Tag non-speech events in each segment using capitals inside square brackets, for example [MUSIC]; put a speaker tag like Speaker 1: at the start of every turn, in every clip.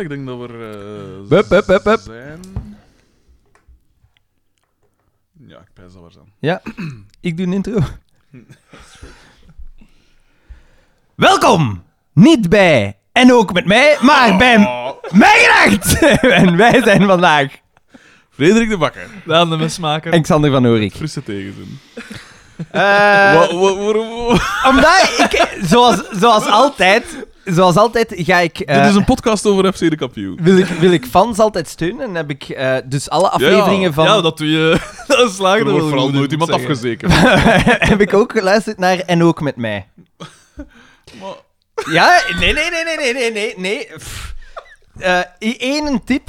Speaker 1: Ik denk dat we er eh,
Speaker 2: Hup, hup, hup, hup.
Speaker 1: zijn. Ja, ik pijs dat we er zijn.
Speaker 2: Ja, ik doe een intro. [LAUGHS] Welkom! Niet bij en ook met mij, maar bij Mijgedacht! [LAUGHS] en wij zijn vandaag
Speaker 1: Frederik de Bakker.
Speaker 3: Daan de mismaker.
Speaker 2: en Xander van Oorik.
Speaker 1: Frisse tegenzin.
Speaker 2: Eh,
Speaker 1: Wa- wa- wa- wa-
Speaker 2: [LAUGHS] omdat ik, zoals, zoals altijd, zoals altijd ga ik... eh,
Speaker 1: Dit is een podcast over FC de kampioen.
Speaker 2: wil ik, wil ik fans altijd steunen en heb ik eh, dus alle afleveringen van...
Speaker 3: Ja, dat doe je. dat is lager
Speaker 1: Er wordt vooral nooit iemand afgezekerd.
Speaker 2: [LAUGHS] heb ik ook geluisterd naar En ook met mij.
Speaker 1: Maar-
Speaker 2: Ja, nee, nee, nee, nee, nee, nee, nee. nee. Pff. Eh, i- één een tip.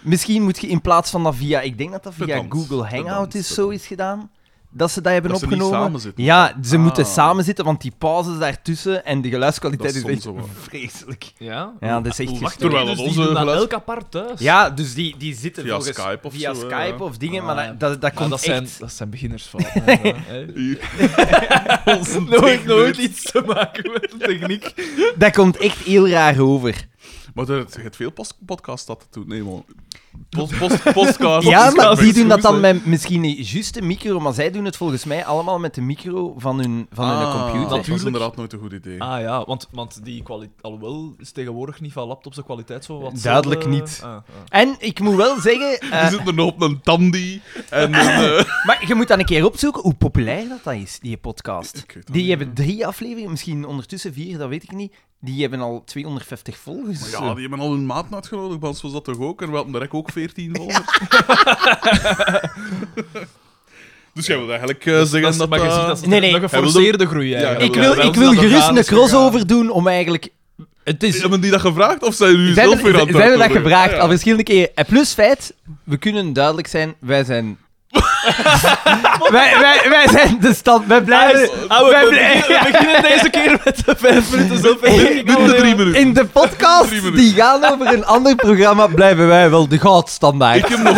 Speaker 2: Misschien moet je in plaats van dat via, ik denk dat dat via
Speaker 1: Pedant,
Speaker 2: Google Hangout
Speaker 1: pedant,
Speaker 2: is,
Speaker 1: pedant.
Speaker 2: zo is gedaan. Dat ze dat hebben
Speaker 1: Dat ze niet
Speaker 2: opgenomen.
Speaker 1: samen zitten.
Speaker 2: Ja, ze
Speaker 1: Ah.
Speaker 2: moeten samen zitten, want die pauzes daartussen en de geluidskwaliteit
Speaker 1: Dat
Speaker 2: is,
Speaker 1: is
Speaker 2: echt
Speaker 1: soms zo wat.
Speaker 2: vreselijk.
Speaker 3: Ja?
Speaker 2: Ja, dat is echt
Speaker 3: Wacht,
Speaker 1: Terwijl
Speaker 2: gestoord.
Speaker 3: terwijl
Speaker 1: dat
Speaker 3: dus
Speaker 1: onze
Speaker 3: onze die doen dat
Speaker 1: geluid-
Speaker 3: elk apart thuis.
Speaker 2: Ja, dus die, die zitten
Speaker 1: Via
Speaker 2: volgens-
Speaker 1: Skype of
Speaker 2: via
Speaker 1: zo, eh. hè,
Speaker 2: Skype
Speaker 1: ja.
Speaker 2: of dingen,
Speaker 3: Ah,
Speaker 2: maar
Speaker 3: ja.
Speaker 2: dat, dat, dat
Speaker 3: Maar
Speaker 2: komt
Speaker 3: dat,
Speaker 2: echt...
Speaker 3: zijn, dat zijn beginnersfouten.
Speaker 2: eh, [LAUGHS]
Speaker 3: hè. [LAUGHS] Hè? [LAUGHS]
Speaker 1: Onze
Speaker 3: nooit,
Speaker 1: techniek.
Speaker 3: nooit iets te maken met de techniek.
Speaker 2: Dat komt echt heel raar over.
Speaker 1: Maar er het veel post- podcasts dat te doen. Nee, man. Post, post, podcast.
Speaker 2: Ja, maar die doen dat dan
Speaker 1: met...
Speaker 2: met misschien niet juist de micro, maar zij doen het volgens mij allemaal met de micro van hun, van hun computer.
Speaker 1: Ah, Dat is
Speaker 3: Natuurlijk.
Speaker 1: inderdaad nooit een goed idee.
Speaker 3: Ah ja, want, want die kwaliteit... Alhoewel is tegenwoordig niet van laptops de kwaliteit zo wat...
Speaker 2: Duidelijk
Speaker 3: zelden-
Speaker 2: niet.
Speaker 3: Ah, ah.
Speaker 2: En ik moet wel zeggen, eh,
Speaker 1: Er zit een hoop een tandy en een... eh,
Speaker 2: maar je moet dan een keer opzoeken hoe populair dat, dat is, die podcast.
Speaker 1: Ik weet dat
Speaker 2: Die
Speaker 1: niet,
Speaker 2: hebben drie afleveringen, misschien ondertussen vier, dat weet ik niet. Die hebben al 250
Speaker 1: Maar
Speaker 2: volgers.
Speaker 1: ja, die hebben al hun maat uitgenodigd, want was dat toch ook? En we hadden direct ook 14 volgers. [LAUGHS] dus jij wil eigenlijk eh, zeggen
Speaker 3: Dat
Speaker 1: dat...
Speaker 3: is- maar je
Speaker 1: eh,
Speaker 3: ziet, dat is
Speaker 2: Nee, nee.
Speaker 3: een geforceerde groei
Speaker 1: Ja,
Speaker 3: eigenlijk.
Speaker 2: Ik wil,
Speaker 3: Bij
Speaker 2: ik
Speaker 3: ons
Speaker 2: wil
Speaker 3: dat de
Speaker 2: gerust
Speaker 3: raam
Speaker 2: een
Speaker 3: is
Speaker 2: crossover doen om eigenlijk... Het is,
Speaker 1: Hebben die dat gevraagd of zijn jullie
Speaker 2: Zij
Speaker 1: zelf weer aan
Speaker 2: hebben,
Speaker 1: het
Speaker 2: zij hebben dat
Speaker 1: uitnodigen?
Speaker 2: gevraagd
Speaker 1: Ah,
Speaker 2: al verschillende keren. En plus feit, we kunnen duidelijk zijn, wij zijn... wij, wij, wij zijn de stand, wij blijven...
Speaker 3: gegaan. Ah, we,
Speaker 2: wij
Speaker 3: we
Speaker 2: blijven- [LAUGHS]
Speaker 3: beginnen, we beginnen deze keer met de vijf minuten zoveel.
Speaker 1: Binnen de drie minuten.
Speaker 2: In de podcast
Speaker 1: Drie
Speaker 2: die gaan over een ander programma blijven wij wel de goudstandaard.
Speaker 1: Ik heb
Speaker 2: [LAUGHS]
Speaker 1: nog-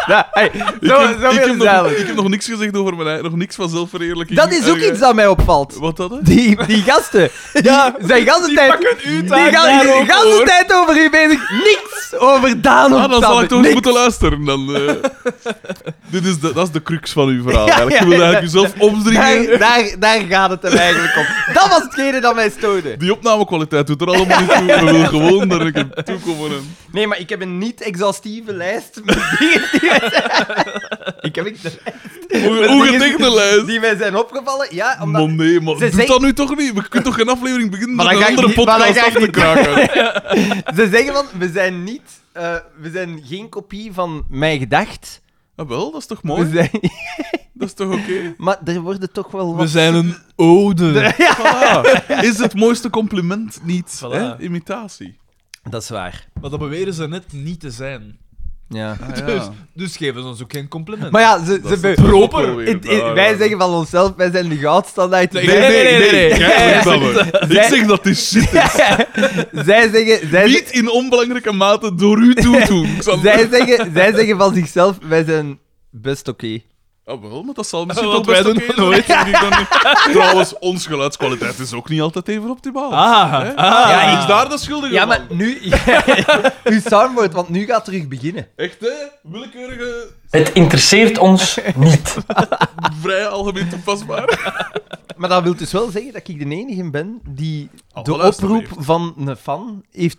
Speaker 2: Ja, hey,
Speaker 1: Ik
Speaker 2: zo
Speaker 1: heb-
Speaker 2: zo
Speaker 1: ik
Speaker 2: is
Speaker 1: heb
Speaker 2: het
Speaker 1: nog-
Speaker 2: duidelijk.
Speaker 1: Ik heb nog niks gezegd over mijn eigen, nog niks van zelfverheerlijking.
Speaker 2: Dat is ook
Speaker 1: Eh,
Speaker 2: iets dat mij opvalt.
Speaker 1: Wat dat, hè?
Speaker 2: Die, die gasten, die zijn de hele tijd...
Speaker 3: u
Speaker 2: Die gaan de hele tijd over u bezig. Niks over Daan of
Speaker 1: Ah, dan zal
Speaker 2: Sander.
Speaker 1: ik toch
Speaker 2: Niks.
Speaker 1: moeten luisteren. Dan,
Speaker 2: [LAUGHS]
Speaker 1: eh. dit is de, dat is de crux van uw verhaal.
Speaker 2: Ja,
Speaker 1: eigenlijk. Je
Speaker 2: ja,
Speaker 1: wil
Speaker 2: ja.
Speaker 1: eigenlijk jezelf opdringen.
Speaker 2: Daar, daar, daar gaat het hem eigenlijk om. Dat was hetgene dat mij stoorde.
Speaker 1: Die opnamekwaliteit doet er allemaal niet toe. We willen gewoon dat ik er toekomen. En...
Speaker 2: Nee, maar ik heb een niet-exhaustieve lijst met dingen die mij zijn... Ik heb een
Speaker 1: Hoe,
Speaker 2: met
Speaker 1: hoe
Speaker 2: dingen
Speaker 1: gedichte lijst?
Speaker 2: Die mij zijn opgevallen, ja, omdat...
Speaker 1: Maar nee, maar
Speaker 2: Ze
Speaker 1: doe
Speaker 2: zeggen-
Speaker 1: dat nu toch niet? We kunnen toch geen aflevering beginnen
Speaker 2: Maar
Speaker 1: met
Speaker 2: dan
Speaker 1: een
Speaker 2: ga ik
Speaker 1: andere
Speaker 2: niet- maar dan
Speaker 1: podcast
Speaker 2: ga ik
Speaker 1: af te
Speaker 2: niet-
Speaker 1: kraken.
Speaker 2: Ze zeggen van, we zijn niet... eh, we zijn geen kopie van mijn gedacht.
Speaker 1: Ah, wel, dat is toch
Speaker 2: We
Speaker 1: mooi?
Speaker 2: zijn...
Speaker 1: Dat is toch
Speaker 2: [LAUGHS]
Speaker 1: oké?
Speaker 2: Maar er worden toch wel
Speaker 3: We
Speaker 2: wat...
Speaker 3: zijn een ode.
Speaker 1: Voilà. Is het mooiste compliment niet
Speaker 3: Voilà.
Speaker 1: hè? imitatie?
Speaker 2: Dat is waar.
Speaker 3: Maar dat beweren ze net niet te zijn.
Speaker 2: Ja.
Speaker 3: Dus, dus geven ze ons ook geen compliment.
Speaker 2: Maar ja, ze... ze be-
Speaker 3: proper.
Speaker 2: in- in- wij zeggen van onszelf, wij zijn de goudstandaard.
Speaker 3: Nee,
Speaker 2: Wij-
Speaker 3: nee, nee, nee, nee.
Speaker 1: Jij zegt dat wel. Ik
Speaker 2: Zij-
Speaker 1: zeg dat die shit is.
Speaker 2: [LAUGHS] Zij zeggen... Zij
Speaker 1: Niet in onbelangrijke mate door u toe doen.
Speaker 2: Zij zeggen, zij zeggen van zichzelf, wij zijn best oké.
Speaker 1: Ah, wel, maar dat zal misschien
Speaker 3: Ah,
Speaker 1: tot
Speaker 3: want
Speaker 1: best
Speaker 3: wij doen
Speaker 1: oké
Speaker 3: dat
Speaker 1: zijn,
Speaker 3: nooit.
Speaker 1: denk ik dan niet. Trouwens, ons geluidskwaliteit is ook niet altijd even optimaal.
Speaker 3: Ah,
Speaker 1: Hè?
Speaker 3: ah.
Speaker 2: Ja,
Speaker 1: Wie is daar de schuldige
Speaker 2: Ja,
Speaker 1: van?
Speaker 2: maar nu... [LAUGHS] uw soundboard, want nu gaat terug beginnen.
Speaker 1: Echt, hè? Willekeurige,
Speaker 4: Het interesseert ons
Speaker 2: [LAUGHS]
Speaker 4: niet.
Speaker 1: vrij algemeen toepasbaar.
Speaker 2: Maar dat wil dus wel zeggen dat ik de enige ben die
Speaker 1: Al
Speaker 2: de
Speaker 1: geluisterd
Speaker 2: oproep
Speaker 1: heeft.
Speaker 2: van een fan heeft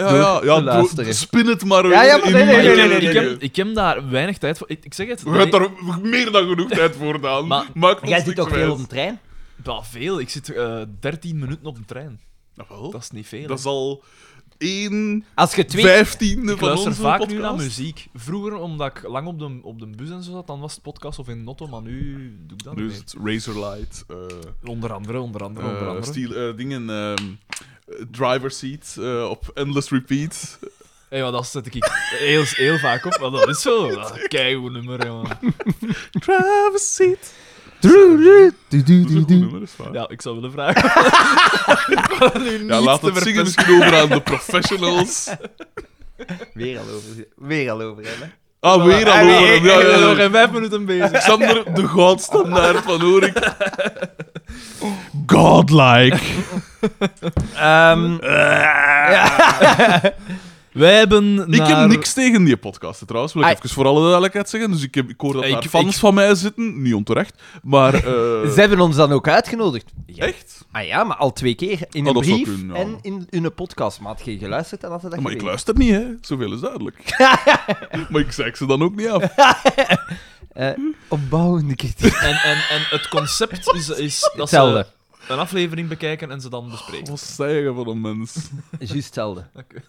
Speaker 1: Ah, ja, ja, dus-
Speaker 2: door
Speaker 1: ja,
Speaker 2: te luisteren.
Speaker 1: doe- spin het maar weer.
Speaker 2: Ja, ja, maar
Speaker 1: in
Speaker 2: nee, nee,
Speaker 1: die-
Speaker 2: nee,
Speaker 3: ik,
Speaker 2: nee,
Speaker 3: heb,
Speaker 2: nee,
Speaker 3: ik,
Speaker 2: nee.
Speaker 3: heb, ik heb daar weinig tijd voor. Ik, ik zeg het.
Speaker 1: We hebben daar meer dan genoeg tijd voor, Daan.
Speaker 3: Maar-
Speaker 1: Maak ons
Speaker 2: Jij zit
Speaker 1: niks
Speaker 2: ook veel
Speaker 1: wijs.
Speaker 2: op de trein.
Speaker 3: Bah, veel. Ik zit eh 13 minuten op een trein.
Speaker 1: Nou, wel,
Speaker 3: Dat is niet veel.
Speaker 1: dat is al 1
Speaker 2: Als je twee...
Speaker 1: vijftiende
Speaker 3: ik
Speaker 1: van onze
Speaker 3: luister vaak
Speaker 1: podcast.
Speaker 3: nu naar muziek. Vroeger, omdat ik lang op de, op de bus en zo zat, dan was het podcast of in Notto, maar nu doe ik dat
Speaker 1: Nu
Speaker 3: niet.
Speaker 1: is het Razorlight, eh
Speaker 3: meer. Onder andere, onder andere,
Speaker 1: Dus- eh,
Speaker 3: onder andere.
Speaker 1: steel, eh, dingen, ehm, eh, driver seat eh, op endless repeat.
Speaker 3: Hey, maar dat zet ik heel, heel vaak op, maar dat is zo. Dat keigoed nummer, jongen.
Speaker 1: driver seat. Dat is een goed nummer, is waar.
Speaker 3: Ja, ik zou willen vragen. nu
Speaker 1: Ja,
Speaker 3: niet
Speaker 1: laat
Speaker 3: te
Speaker 1: het
Speaker 3: verpesten.
Speaker 1: zingen misschien over aan de
Speaker 3: [LAUGHS]
Speaker 1: professionals.
Speaker 2: Weer al over. Weer al over hem, hè.
Speaker 1: Ah, weer al
Speaker 3: Ah, nee, [LAUGHS]
Speaker 1: over
Speaker 3: ik
Speaker 1: hem. Ja,
Speaker 3: ben
Speaker 1: ja,
Speaker 3: nog
Speaker 1: ja.
Speaker 3: geen vijf minuten bezig.
Speaker 1: Xander, de goudstandaard van Orik. Godlike. Eh.
Speaker 2: Ehm, ja.
Speaker 3: Wij hebben
Speaker 1: Ik
Speaker 3: naar...
Speaker 1: heb niks tegen die podcasten trouwens, wil ik
Speaker 2: Ai.
Speaker 1: even voor alle duidelijkheid zeggen. Dus ik, heb, ik hoor dat
Speaker 3: Ik-
Speaker 1: daar fans
Speaker 3: ik-
Speaker 1: van mij zitten, niet onterecht. Maar eh,
Speaker 2: Ze hebben ons dan ook uitgenodigd. Ja.
Speaker 1: echt?
Speaker 2: Ah ja, maar al twee keer. In
Speaker 1: Ah,
Speaker 2: een
Speaker 1: dat zou
Speaker 2: brief
Speaker 1: kunnen, ja.
Speaker 2: en in, in een podcast. Maar had je geluisterd en had je dat
Speaker 1: maar ik
Speaker 2: geweten.
Speaker 1: luister niet, hè. Zoveel is duidelijk.
Speaker 2: [LAUGHS]
Speaker 1: maar ik zeik ze dan ook niet af.
Speaker 2: Eh, opbouwende
Speaker 1: [LAUGHS]
Speaker 2: kritiek.
Speaker 3: En, en, en het concept is, [LAUGHS] is dat
Speaker 2: Hetzelfde.
Speaker 3: ze een aflevering bekijken en ze dan bespreken.
Speaker 1: Wat zeggen van een mens?
Speaker 2: Juist hetzelfde. [LAUGHS]
Speaker 3: Oké.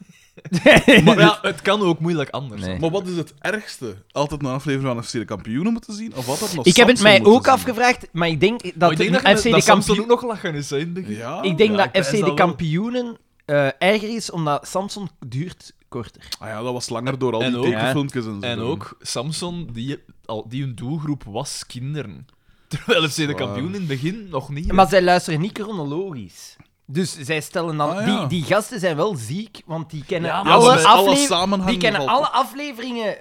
Speaker 3: Maar ja, het kan ook moeilijk anders.
Speaker 2: Nee.
Speaker 1: Maar wat is het ergste? Altijd een aflevering van FC de Kampioenen moeten zien? Of wat dat nog
Speaker 2: Ik heb het
Speaker 1: Samson
Speaker 2: mij
Speaker 1: moeten
Speaker 2: ook
Speaker 1: zien?
Speaker 2: afgevraagd, maar ik denk dat,
Speaker 3: Maar ik denk dat,
Speaker 2: FC de
Speaker 3: Samson ook
Speaker 2: kampioen...
Speaker 3: nog lachen is, hè, in het begin.
Speaker 1: Ja?
Speaker 2: Ik denk
Speaker 3: Ja, ik
Speaker 2: dat
Speaker 3: prijs
Speaker 2: FC
Speaker 3: dat
Speaker 2: de
Speaker 3: wel.
Speaker 2: kampioenen eh erger is, omdat Samson duurt korter.
Speaker 1: Ah ja, dat was langer door al
Speaker 3: En
Speaker 1: die
Speaker 3: ook-
Speaker 1: tekenfilmpjes en zo.
Speaker 3: En ook Samson, die, al, die hun doelgroep was kinderen. [LAUGHS] Terwijl FC de
Speaker 1: Zwaar.
Speaker 3: kampioen in het begin nog niet. hè.
Speaker 2: Maar zij luisteren niet chronologisch. Dus zij stellen dan...
Speaker 1: Ah, ja.
Speaker 2: die, die gasten zijn wel ziek, want die kennen
Speaker 3: Ja, maar
Speaker 1: Ja,
Speaker 2: alle,
Speaker 1: ze zijn alle
Speaker 2: aflever- Die
Speaker 1: samenhangende
Speaker 2: kennen
Speaker 1: Ah, valt
Speaker 2: alle
Speaker 1: op.
Speaker 2: afleveringen...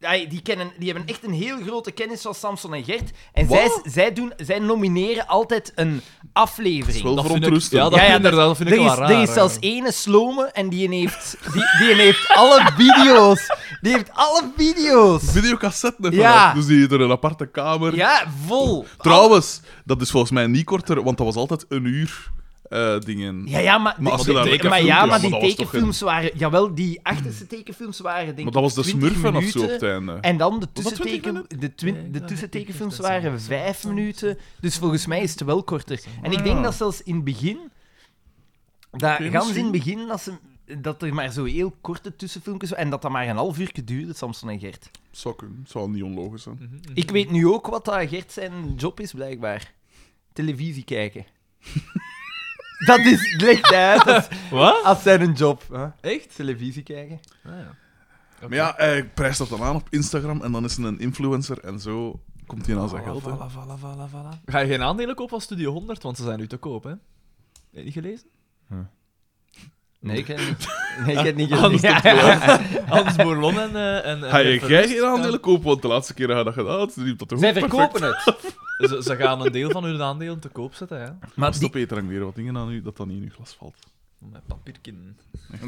Speaker 2: Ai, Die, kennen, die hebben echt een heel grote kennis van Samson en Gert. En
Speaker 1: Wat?
Speaker 2: zij, zij, doen, zij nomineren altijd een
Speaker 1: Dat is
Speaker 2: aflevering.
Speaker 1: wel
Speaker 3: Dat vind ik-
Speaker 1: verontrustend.
Speaker 3: ja, dat-
Speaker 1: Ja,
Speaker 3: vind ik inderdaad- dat vind ik
Speaker 2: er
Speaker 3: wel
Speaker 2: is,
Speaker 3: raar,
Speaker 2: Er is zelfs ene slome en die heeft, die, die heeft alle video's. Die heeft alle video's.
Speaker 1: Videocassetten even
Speaker 2: Ja.
Speaker 1: af, Dus die er een aparte kamer.
Speaker 2: Ja, vol.
Speaker 1: Trouwens, dat is volgens mij niet korter, want dat was altijd een uur eh, dingen.
Speaker 2: Ja, ja, maar,
Speaker 1: Maar als
Speaker 2: die-
Speaker 1: je daar
Speaker 2: die-
Speaker 1: lekker
Speaker 2: maar,
Speaker 1: filmpjes-
Speaker 2: ja, maar
Speaker 1: maar
Speaker 2: die
Speaker 1: dat was toch
Speaker 2: tekenfilms waren... Jawel, die achterste tekenfilms waren denk
Speaker 1: maar dat was
Speaker 2: ik
Speaker 1: de
Speaker 2: 20
Speaker 1: smurfen of zo op
Speaker 2: minuten.
Speaker 1: het einde.
Speaker 2: En dan de,
Speaker 1: 20
Speaker 2: tussenteken,
Speaker 1: minuten?
Speaker 2: de, twin-
Speaker 3: Nee,
Speaker 2: de
Speaker 3: dat
Speaker 2: tussentekenfilms
Speaker 3: weet ik niet.
Speaker 2: waren vijf minuten. Dus volgens mij is het wel korter.
Speaker 3: Ah.
Speaker 2: En ik denk dat zelfs in het begin... Dat,
Speaker 1: Oké,
Speaker 2: gans in
Speaker 1: misschien.
Speaker 2: het begin dat, ze, dat er maar zo heel korte tussenfilmpjes... wa- En dat dat maar een half uur duurde, Samson en Gert.
Speaker 1: Zou kunnen. Zou niet onlogisch zijn.
Speaker 3: Mhm, mhm.
Speaker 2: Ik weet nu ook wat dat Gert zijn job is, blijkbaar. Televisie
Speaker 3: [LAUGHS]
Speaker 2: kijken. dat is... Legt hij uit als,
Speaker 3: Wat?
Speaker 2: als zijn job. hè?
Speaker 3: Echt?
Speaker 2: Televisie kijken.
Speaker 3: Ah, ja. Oké.
Speaker 1: Maar ja, hij prijst dat dan aan op Instagram en dan is hij een influencer en zo komt hij aan
Speaker 2: Oh,
Speaker 1: zijn geld. hè.
Speaker 3: Voilà, voilà, voilà, voilà. Ga je geen aandelen kopen van Studio 100? Want ze zijn nu te koop, hè? Heb je niet gelezen?
Speaker 2: Nee, ik heb niet... Nee, ik heb niet
Speaker 3: Anders
Speaker 2: gezien.
Speaker 3: komt het wel. [LAUGHS] Hans Bourlon en... eh, en, en
Speaker 1: Ga je
Speaker 3: en-
Speaker 1: jij geen aandelen kopen? Want de laatste keer dat je dat gedaan had, riep dat toch
Speaker 2: Zij
Speaker 1: ook perfect.
Speaker 2: verkopen het.
Speaker 3: Ze, ze gaan een deel van hun aandelen te koop zetten, hè?
Speaker 2: Maar
Speaker 1: Als de Peter hangt weer wat dingen aan u, dat dan niet in uw glas valt.
Speaker 3: Met papierkin.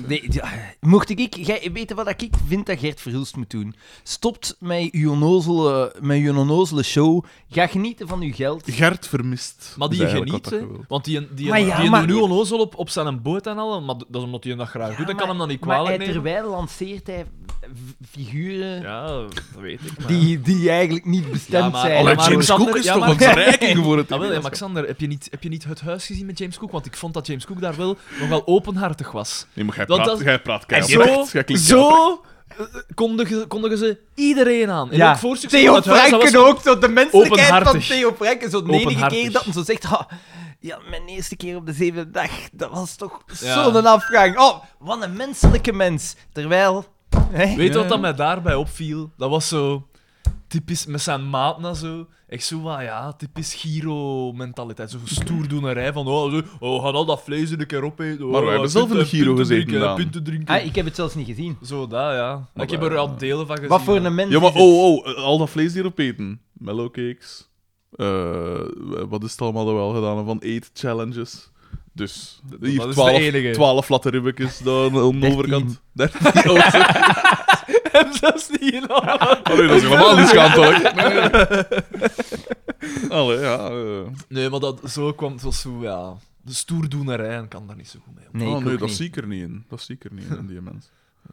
Speaker 2: Nee, ja, mocht ik, ik jij weten wat ik vind dat Gert Verhulst moet doen? Stopt met uw onnozele, met uw onnozele show. Ga genieten van uw geld.
Speaker 1: Gert vermist.
Speaker 3: Maar die
Speaker 1: is Dus eigenlijk wat
Speaker 3: geniet,
Speaker 1: dat je
Speaker 3: hè?
Speaker 1: wilt.
Speaker 3: Want die, die,
Speaker 2: Maar
Speaker 3: die,
Speaker 2: ja,
Speaker 3: die
Speaker 2: maar-
Speaker 3: nu onnozel op, op zijn boot en al, maar dat is omdat hij hem dat graag doet.
Speaker 2: Ja,
Speaker 3: Dat kan hem dan niet
Speaker 2: maar
Speaker 3: kwalijk
Speaker 2: hij-
Speaker 3: nemen.
Speaker 2: terwijl lanceert hij v- figuren
Speaker 3: Ja, dat
Speaker 2: [LAUGHS]
Speaker 3: weet ik. Maar ja.
Speaker 2: die, die eigenlijk niet bestemd
Speaker 3: Ja, maar-
Speaker 2: zijn.
Speaker 1: Allee,
Speaker 3: maar
Speaker 1: James
Speaker 3: Alexander-
Speaker 1: Cook is
Speaker 3: ja,
Speaker 1: toch
Speaker 3: maar-
Speaker 1: een verrijking
Speaker 2: [LAUGHS]
Speaker 1: voor het
Speaker 3: Ah, wel, ja,
Speaker 1: idee,
Speaker 3: maar Xander, heb je, niet, heb je niet het huis gezien met James Cook? Want ik vond dat James Cook daar wel nogal openhartig was.
Speaker 1: Nee, maar jij
Speaker 3: Want
Speaker 1: praat,
Speaker 3: dat-
Speaker 1: jij praat
Speaker 3: En
Speaker 1: keihard.
Speaker 3: zo,
Speaker 1: Jij klinkt
Speaker 3: zo eh, kondigen, kondigen ze iedereen aan. En ook voor succes
Speaker 2: Theo
Speaker 3: van het huis, dat was
Speaker 2: Franken ook, zo de menselijkheid van
Speaker 3: openhartig.
Speaker 2: Theo Franken. Zo de enige
Speaker 3: Openhartig.
Speaker 2: keer dat hij zo zegt... "Ah, ja, mijn eerste keer op de zevende dag, dat was toch
Speaker 3: Ja.
Speaker 2: zo'n afgang. Oh, wat een menselijke mens. Terwijl... hè?
Speaker 3: Weet je wat
Speaker 1: Ja.
Speaker 3: dat mij daarbij opviel? Dat was zo typisch met zijn maat en zo. Echt zo wat, ja, typisch Giro-mentaliteit. Zo'n stoerdoenerij van, oh, zo, oh, we gaan al dat vlees in een keer opeten. Oh,
Speaker 1: Maar wij hebben zelf in de Giro gezeten,
Speaker 3: gedaan.
Speaker 1: Daan.
Speaker 3: Pinten drinken.
Speaker 2: Ah, ik heb het zelfs niet gezien.
Speaker 3: Zo, dat, ja. Maar ik heb
Speaker 1: wij-
Speaker 3: er al delen van gezien.
Speaker 2: Wat voor een mens
Speaker 1: Ja, maar
Speaker 2: is het?
Speaker 1: oh, oh, al dat vlees hierop eten. Mellowcakes. Eh, wat is het allemaal dat we al gedaan hebben van eet challenges. Dus hier
Speaker 3: dat is de
Speaker 1: 12,
Speaker 3: enige.
Speaker 1: 12 latte ribbetjes dan aan de
Speaker 2: Dertien.
Speaker 1: overkant. 13. Oh, sorry.
Speaker 3: En dat is niet in orde.
Speaker 1: Allee, [LAUGHS] dat is helemaal niet schaamtelijk. Allee, ja. eh.
Speaker 3: [LAUGHS] Nee, maar dat, zo kwam het wel zo, ja... De stoerdoenerij en kan daar niet zo goed mee om.
Speaker 2: Nee,
Speaker 1: Ah,
Speaker 2: ik
Speaker 1: nee
Speaker 2: ook
Speaker 1: dat
Speaker 2: niet.
Speaker 1: zie ik er niet in. Dat zie ik er niet in, in die mens.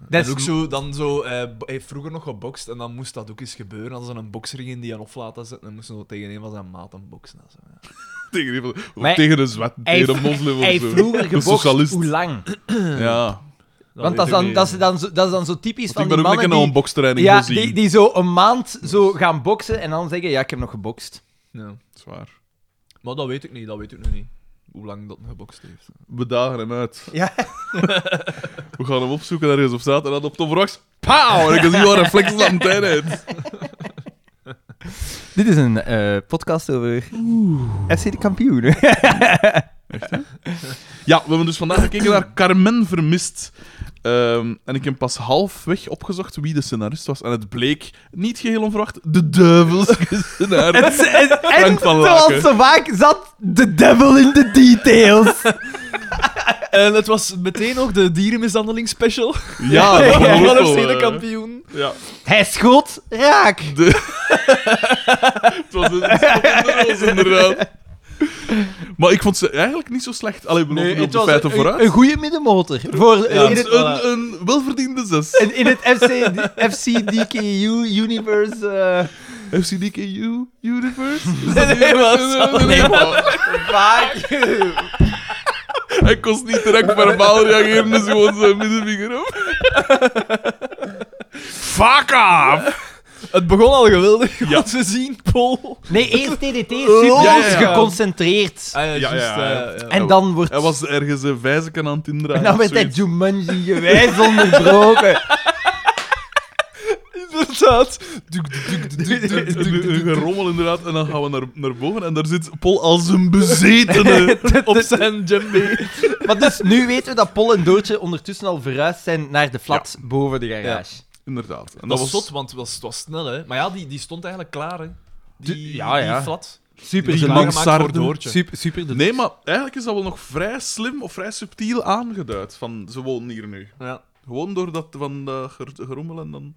Speaker 2: Dat
Speaker 3: en ook
Speaker 2: is-
Speaker 3: zo, dan zo, eh, b- hij heeft vroeger nog gebokst en dan moest dat ook eens gebeuren. Als ze een boksring in die aan of laten zetten, dan moesten ze tegen een van zijn maten boksen. en zo, ja.
Speaker 1: [LAUGHS] Tegen, die van- of
Speaker 2: Maar
Speaker 1: tegen een zwart,
Speaker 2: Hij
Speaker 1: tegen een
Speaker 2: heeft-
Speaker 1: moslim
Speaker 2: Hij
Speaker 1: of
Speaker 2: heeft
Speaker 1: zo.
Speaker 2: vroeger
Speaker 1: [LAUGHS] Een
Speaker 2: gebokst.
Speaker 1: socialist.
Speaker 2: Hoe lang?
Speaker 1: Ja.
Speaker 2: Want dat is dan,
Speaker 3: weet
Speaker 2: dat
Speaker 3: ik
Speaker 2: is
Speaker 3: niet.
Speaker 2: dan, zo, dat is dan zo
Speaker 1: Want
Speaker 2: typisch
Speaker 1: ik
Speaker 2: van
Speaker 1: ben
Speaker 2: die
Speaker 1: ook lekker
Speaker 2: mannen
Speaker 1: naar een
Speaker 2: die,
Speaker 1: bokstraining
Speaker 2: ja,
Speaker 1: gezien.
Speaker 2: die, die zo een maand zo gaan boksen en dan zeggen, ja, ik heb nog gebokst.
Speaker 3: Ja.
Speaker 1: Zwaar.
Speaker 3: Maar dat weet ik niet, dat weet ik nog niet. Hoe lang dat gebokst heeft.
Speaker 1: We dagen hem uit.
Speaker 2: Ja.
Speaker 1: [LAUGHS] We gaan hem opzoeken ergens op straat en dan op Tom Rocks. Pauw! En ik zie wel reflexen aan het einde uit.
Speaker 2: Dit is een eh, podcast over FC de kampioen. [LAUGHS]
Speaker 1: Ja, we hebben dus vandaag gekeken naar Carmen Vermist. Ehm, en ik heb pas halfweg opgezocht wie de scenarist was. En het bleek, niet geheel onverwacht, de [LAUGHS] duivelse scenarist.
Speaker 2: en
Speaker 1: van
Speaker 2: zoals
Speaker 1: Laken.
Speaker 2: [LAUGHS] zo vaak zat de devil in de details.
Speaker 3: En het was meteen nog de dierenmishandeling [LAUGHS] special.
Speaker 1: Ja, dat
Speaker 3: Van
Speaker 1: was ook wel,
Speaker 3: FC de
Speaker 1: eh,
Speaker 3: kampioen.
Speaker 1: Ja,
Speaker 2: Hij schoot, raak.
Speaker 1: het was een het was inderdaad. Maar ik vond ze eigenlijk niet zo slecht. Allee, we lopen nu op de feiten
Speaker 2: een,
Speaker 1: vooruit.
Speaker 2: een goede middenmotor. Voor,
Speaker 1: Ja,
Speaker 2: in,
Speaker 1: het
Speaker 2: het,
Speaker 1: is een, een welverdiende zes.
Speaker 2: in, in het FC, FCDKU universe. eh,
Speaker 1: FCDKU Universe? Is
Speaker 3: Nee,
Speaker 1: dat
Speaker 3: [LAUGHS] nee,
Speaker 1: die-
Speaker 3: was-
Speaker 1: nee, maar
Speaker 2: vaak.
Speaker 1: Hij kost niet direct verbaal reageren, dus gewoon zijn middenvinger op. Fuck off!
Speaker 3: Het begon al geweldig.
Speaker 1: Ja.
Speaker 3: Ja. Ze zien Paul.
Speaker 2: Nee, eerst DDT, super
Speaker 1: Ja, ja, ja.
Speaker 2: geconcentreerd.
Speaker 3: Ah, ja,
Speaker 1: ja,
Speaker 3: juist,
Speaker 1: ja, ja.
Speaker 3: eh, ja.
Speaker 2: En dan wordt...
Speaker 1: Hij was ergens een wijzekan aan het indraaien.
Speaker 2: en dan
Speaker 1: of
Speaker 2: werd hij
Speaker 1: zoiets.
Speaker 2: Jumanji gewijs
Speaker 1: [LAUGHS]
Speaker 2: onderbroken.
Speaker 3: Inderdaad.
Speaker 1: Een- een- een gerommel inderdaad, en dan gaan we naar, naar boven en daar zit Paul als een bezetene.
Speaker 3: Op [LAUGHS] zijn djembe.
Speaker 2: [LAUGHS] maar dus, nu weten we dat Paul en Doortje ondertussen al verhuisd zijn naar de flat boven de garage.
Speaker 1: Inderdaad. En
Speaker 3: Dat was zot, want het was, het was snel, hè. Maar ja, die, die stond eigenlijk klaar, hè. Die,
Speaker 2: Die- ja, ja.
Speaker 3: die flat.
Speaker 2: Super
Speaker 1: Die
Speaker 3: Die
Speaker 2: de
Speaker 1: man-
Speaker 2: man.
Speaker 3: gemaakt voor
Speaker 1: Dus mansarde.
Speaker 3: Doortje.
Speaker 2: Super, super de
Speaker 1: Nee, maar eigenlijk is dat wel nog vrij slim of vrij subtiel aangeduid. Van, ze wonen hier nu.
Speaker 3: Ja.
Speaker 1: Gewoon door dat van de ger- gerommel en dan...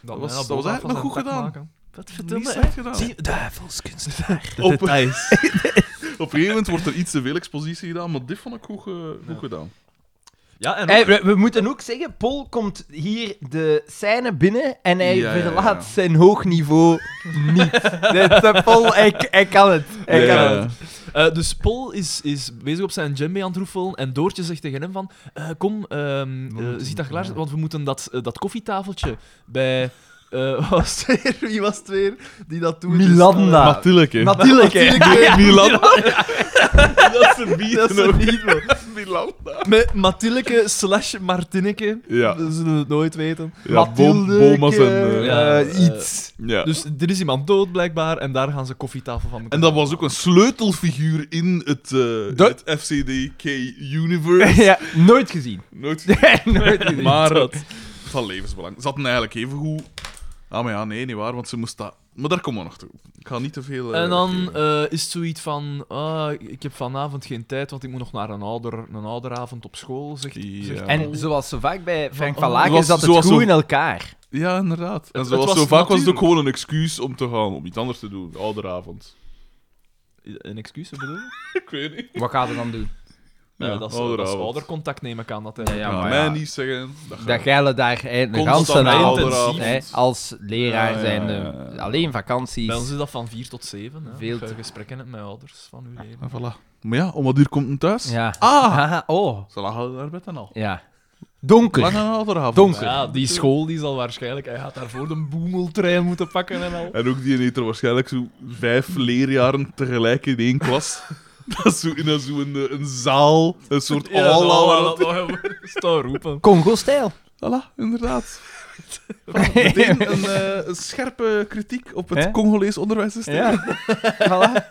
Speaker 3: Dan,
Speaker 1: was-
Speaker 3: ja,
Speaker 1: dat
Speaker 3: Boba
Speaker 1: was eigenlijk
Speaker 3: van
Speaker 1: nog
Speaker 3: zijn
Speaker 1: goed
Speaker 3: pak
Speaker 1: gedaan.
Speaker 3: maken. Wat
Speaker 1: Niet
Speaker 3: verdomme,
Speaker 1: slecht
Speaker 3: hè.
Speaker 1: gedaan.
Speaker 3: Zie- Duivelskunstenaar.
Speaker 1: Op, op
Speaker 3: Details.
Speaker 1: een gegeven moment wordt er iets te veel expositie gedaan, maar dit vond ik goed, ge- goed gedaan.
Speaker 3: Ja, en
Speaker 2: Hey, we, we moeten ook zeggen, Paul komt hier de scène binnen en hij
Speaker 1: Ja, ja,
Speaker 2: verlaat
Speaker 1: ja.
Speaker 2: zijn hoog niveau
Speaker 1: [LAUGHS]
Speaker 2: niet. Dat, dat Paul, hij, hij kan het. Hij
Speaker 1: Ja,
Speaker 2: kan
Speaker 1: ja,
Speaker 2: het.
Speaker 1: ja.
Speaker 3: Eh, dus Paul is, is bezig op zijn djembe aan het roefelen en Doortje zegt tegen hem van eh, kom, ehm eh, ziet dat klaar, want we moeten dat, eh, dat koffietafeltje bij... eh, [LAUGHS] was het weer? Wie was het weer die dat Eh, doet?
Speaker 2: Milanda. Ah,
Speaker 1: Natuurlijk, hè. [LAUGHS]
Speaker 2: Natuurlijk, hè.
Speaker 1: Natuurlijk,
Speaker 3: [LAUGHS]
Speaker 1: Milanda. Dat is een biet.
Speaker 3: Dat is een beat,
Speaker 1: [LAUGHS] Milanda.
Speaker 3: eh, Met Mathileke slash Martineke.
Speaker 1: Ja.
Speaker 3: Dat zullen we het nooit weten.
Speaker 1: Ja, bom, boma's en... eh,
Speaker 3: ja.
Speaker 2: eh,
Speaker 3: eh,
Speaker 2: iets.
Speaker 1: ja.
Speaker 3: Dus er is iemand dood blijkbaar en daar gaan ze koffietafel van
Speaker 1: En
Speaker 3: maken.
Speaker 1: dat was ook een sleutelfiguur in het, eh
Speaker 2: Dat-
Speaker 1: het
Speaker 3: [LAUGHS]
Speaker 1: FCDK-universe.
Speaker 2: [LAUGHS] ja, nooit [LAUGHS] gezien.
Speaker 1: Nooit
Speaker 2: nooit gezien.
Speaker 1: Maar eh, van levensbelang. Ze hadden eigenlijk even goed. Ah, maar ja, nee, niet waar, want ze moest dat. Maar daar komen we nog toe. Ik ga niet te veel. eh,
Speaker 3: En dan
Speaker 1: geven.
Speaker 3: eh, is het zoiets van, ah, ik heb vanavond geen tijd, want ik moet nog naar een, ouder, een ouderavond op school, zegt,
Speaker 1: Ja.
Speaker 3: zegt Paul.
Speaker 2: En zoals zo vaak bij Frank
Speaker 3: Van-
Speaker 2: van Laak
Speaker 1: was-
Speaker 2: is dat het
Speaker 1: zoals
Speaker 2: goed
Speaker 1: zo-
Speaker 2: in elkaar.
Speaker 1: Ja, inderdaad. En
Speaker 3: het
Speaker 1: zoals
Speaker 3: was
Speaker 1: zo vaak was het ook
Speaker 3: natuurlijk.
Speaker 1: gewoon een excuus om te gaan, om iets anders te doen. Ouderavond. [LAUGHS]
Speaker 3: Een excuus, wat bedoel je?
Speaker 1: Ik weet niet.
Speaker 2: Wat gaat er dan doen?
Speaker 3: Ja, dat is, dat is
Speaker 1: ouderavond.
Speaker 3: oudercontact, neem ik aan. Dat hij...
Speaker 2: Ja, ja.
Speaker 1: Ja,
Speaker 2: maar
Speaker 1: mij niet zeggen. Dat
Speaker 2: Dat
Speaker 1: gaat.
Speaker 2: geile daar hè, de
Speaker 3: Constant
Speaker 2: ganse avond
Speaker 1: ouderavond.
Speaker 2: hè, als leraar
Speaker 1: Ja, ja,
Speaker 2: zijn. eh,
Speaker 1: ja, ja.
Speaker 2: Alleen vakanties.
Speaker 3: Bij ons is dat van 4 tot 7. Hè.
Speaker 2: Veel
Speaker 3: Veel
Speaker 2: te-
Speaker 3: gesprekken hebt met ouders van uw leven.
Speaker 1: En voilà. Maar ja, om wat uur komt het thuis?
Speaker 2: Ja.
Speaker 1: Ah!
Speaker 2: Haha, [LAUGHS] oh.
Speaker 1: Ze lagen daar bed en al.
Speaker 2: Ja. Donker.
Speaker 1: Lang aan ouderavond.
Speaker 2: Donker.
Speaker 3: Ja, die school die zal waarschijnlijk... Hij gaat daarvoor de boemeltrein moeten pakken en al.
Speaker 1: En ook die heeft er waarschijnlijk zo vijf leerjaren tegelijk in één klas. [LAUGHS] dat is zo in een, zo een, een zaal, een soort
Speaker 3: Ja,
Speaker 1: aula.
Speaker 3: nou,
Speaker 1: waar
Speaker 3: dat- dat- Staan roepen.
Speaker 2: Congo-stijl.
Speaker 1: Voilà,
Speaker 2: [LAUGHS]
Speaker 1: inderdaad. Voilà, meteen een, eh, een scherpe kritiek op het
Speaker 2: Hè?
Speaker 1: Congolees onderwijssysteem.
Speaker 2: voilà.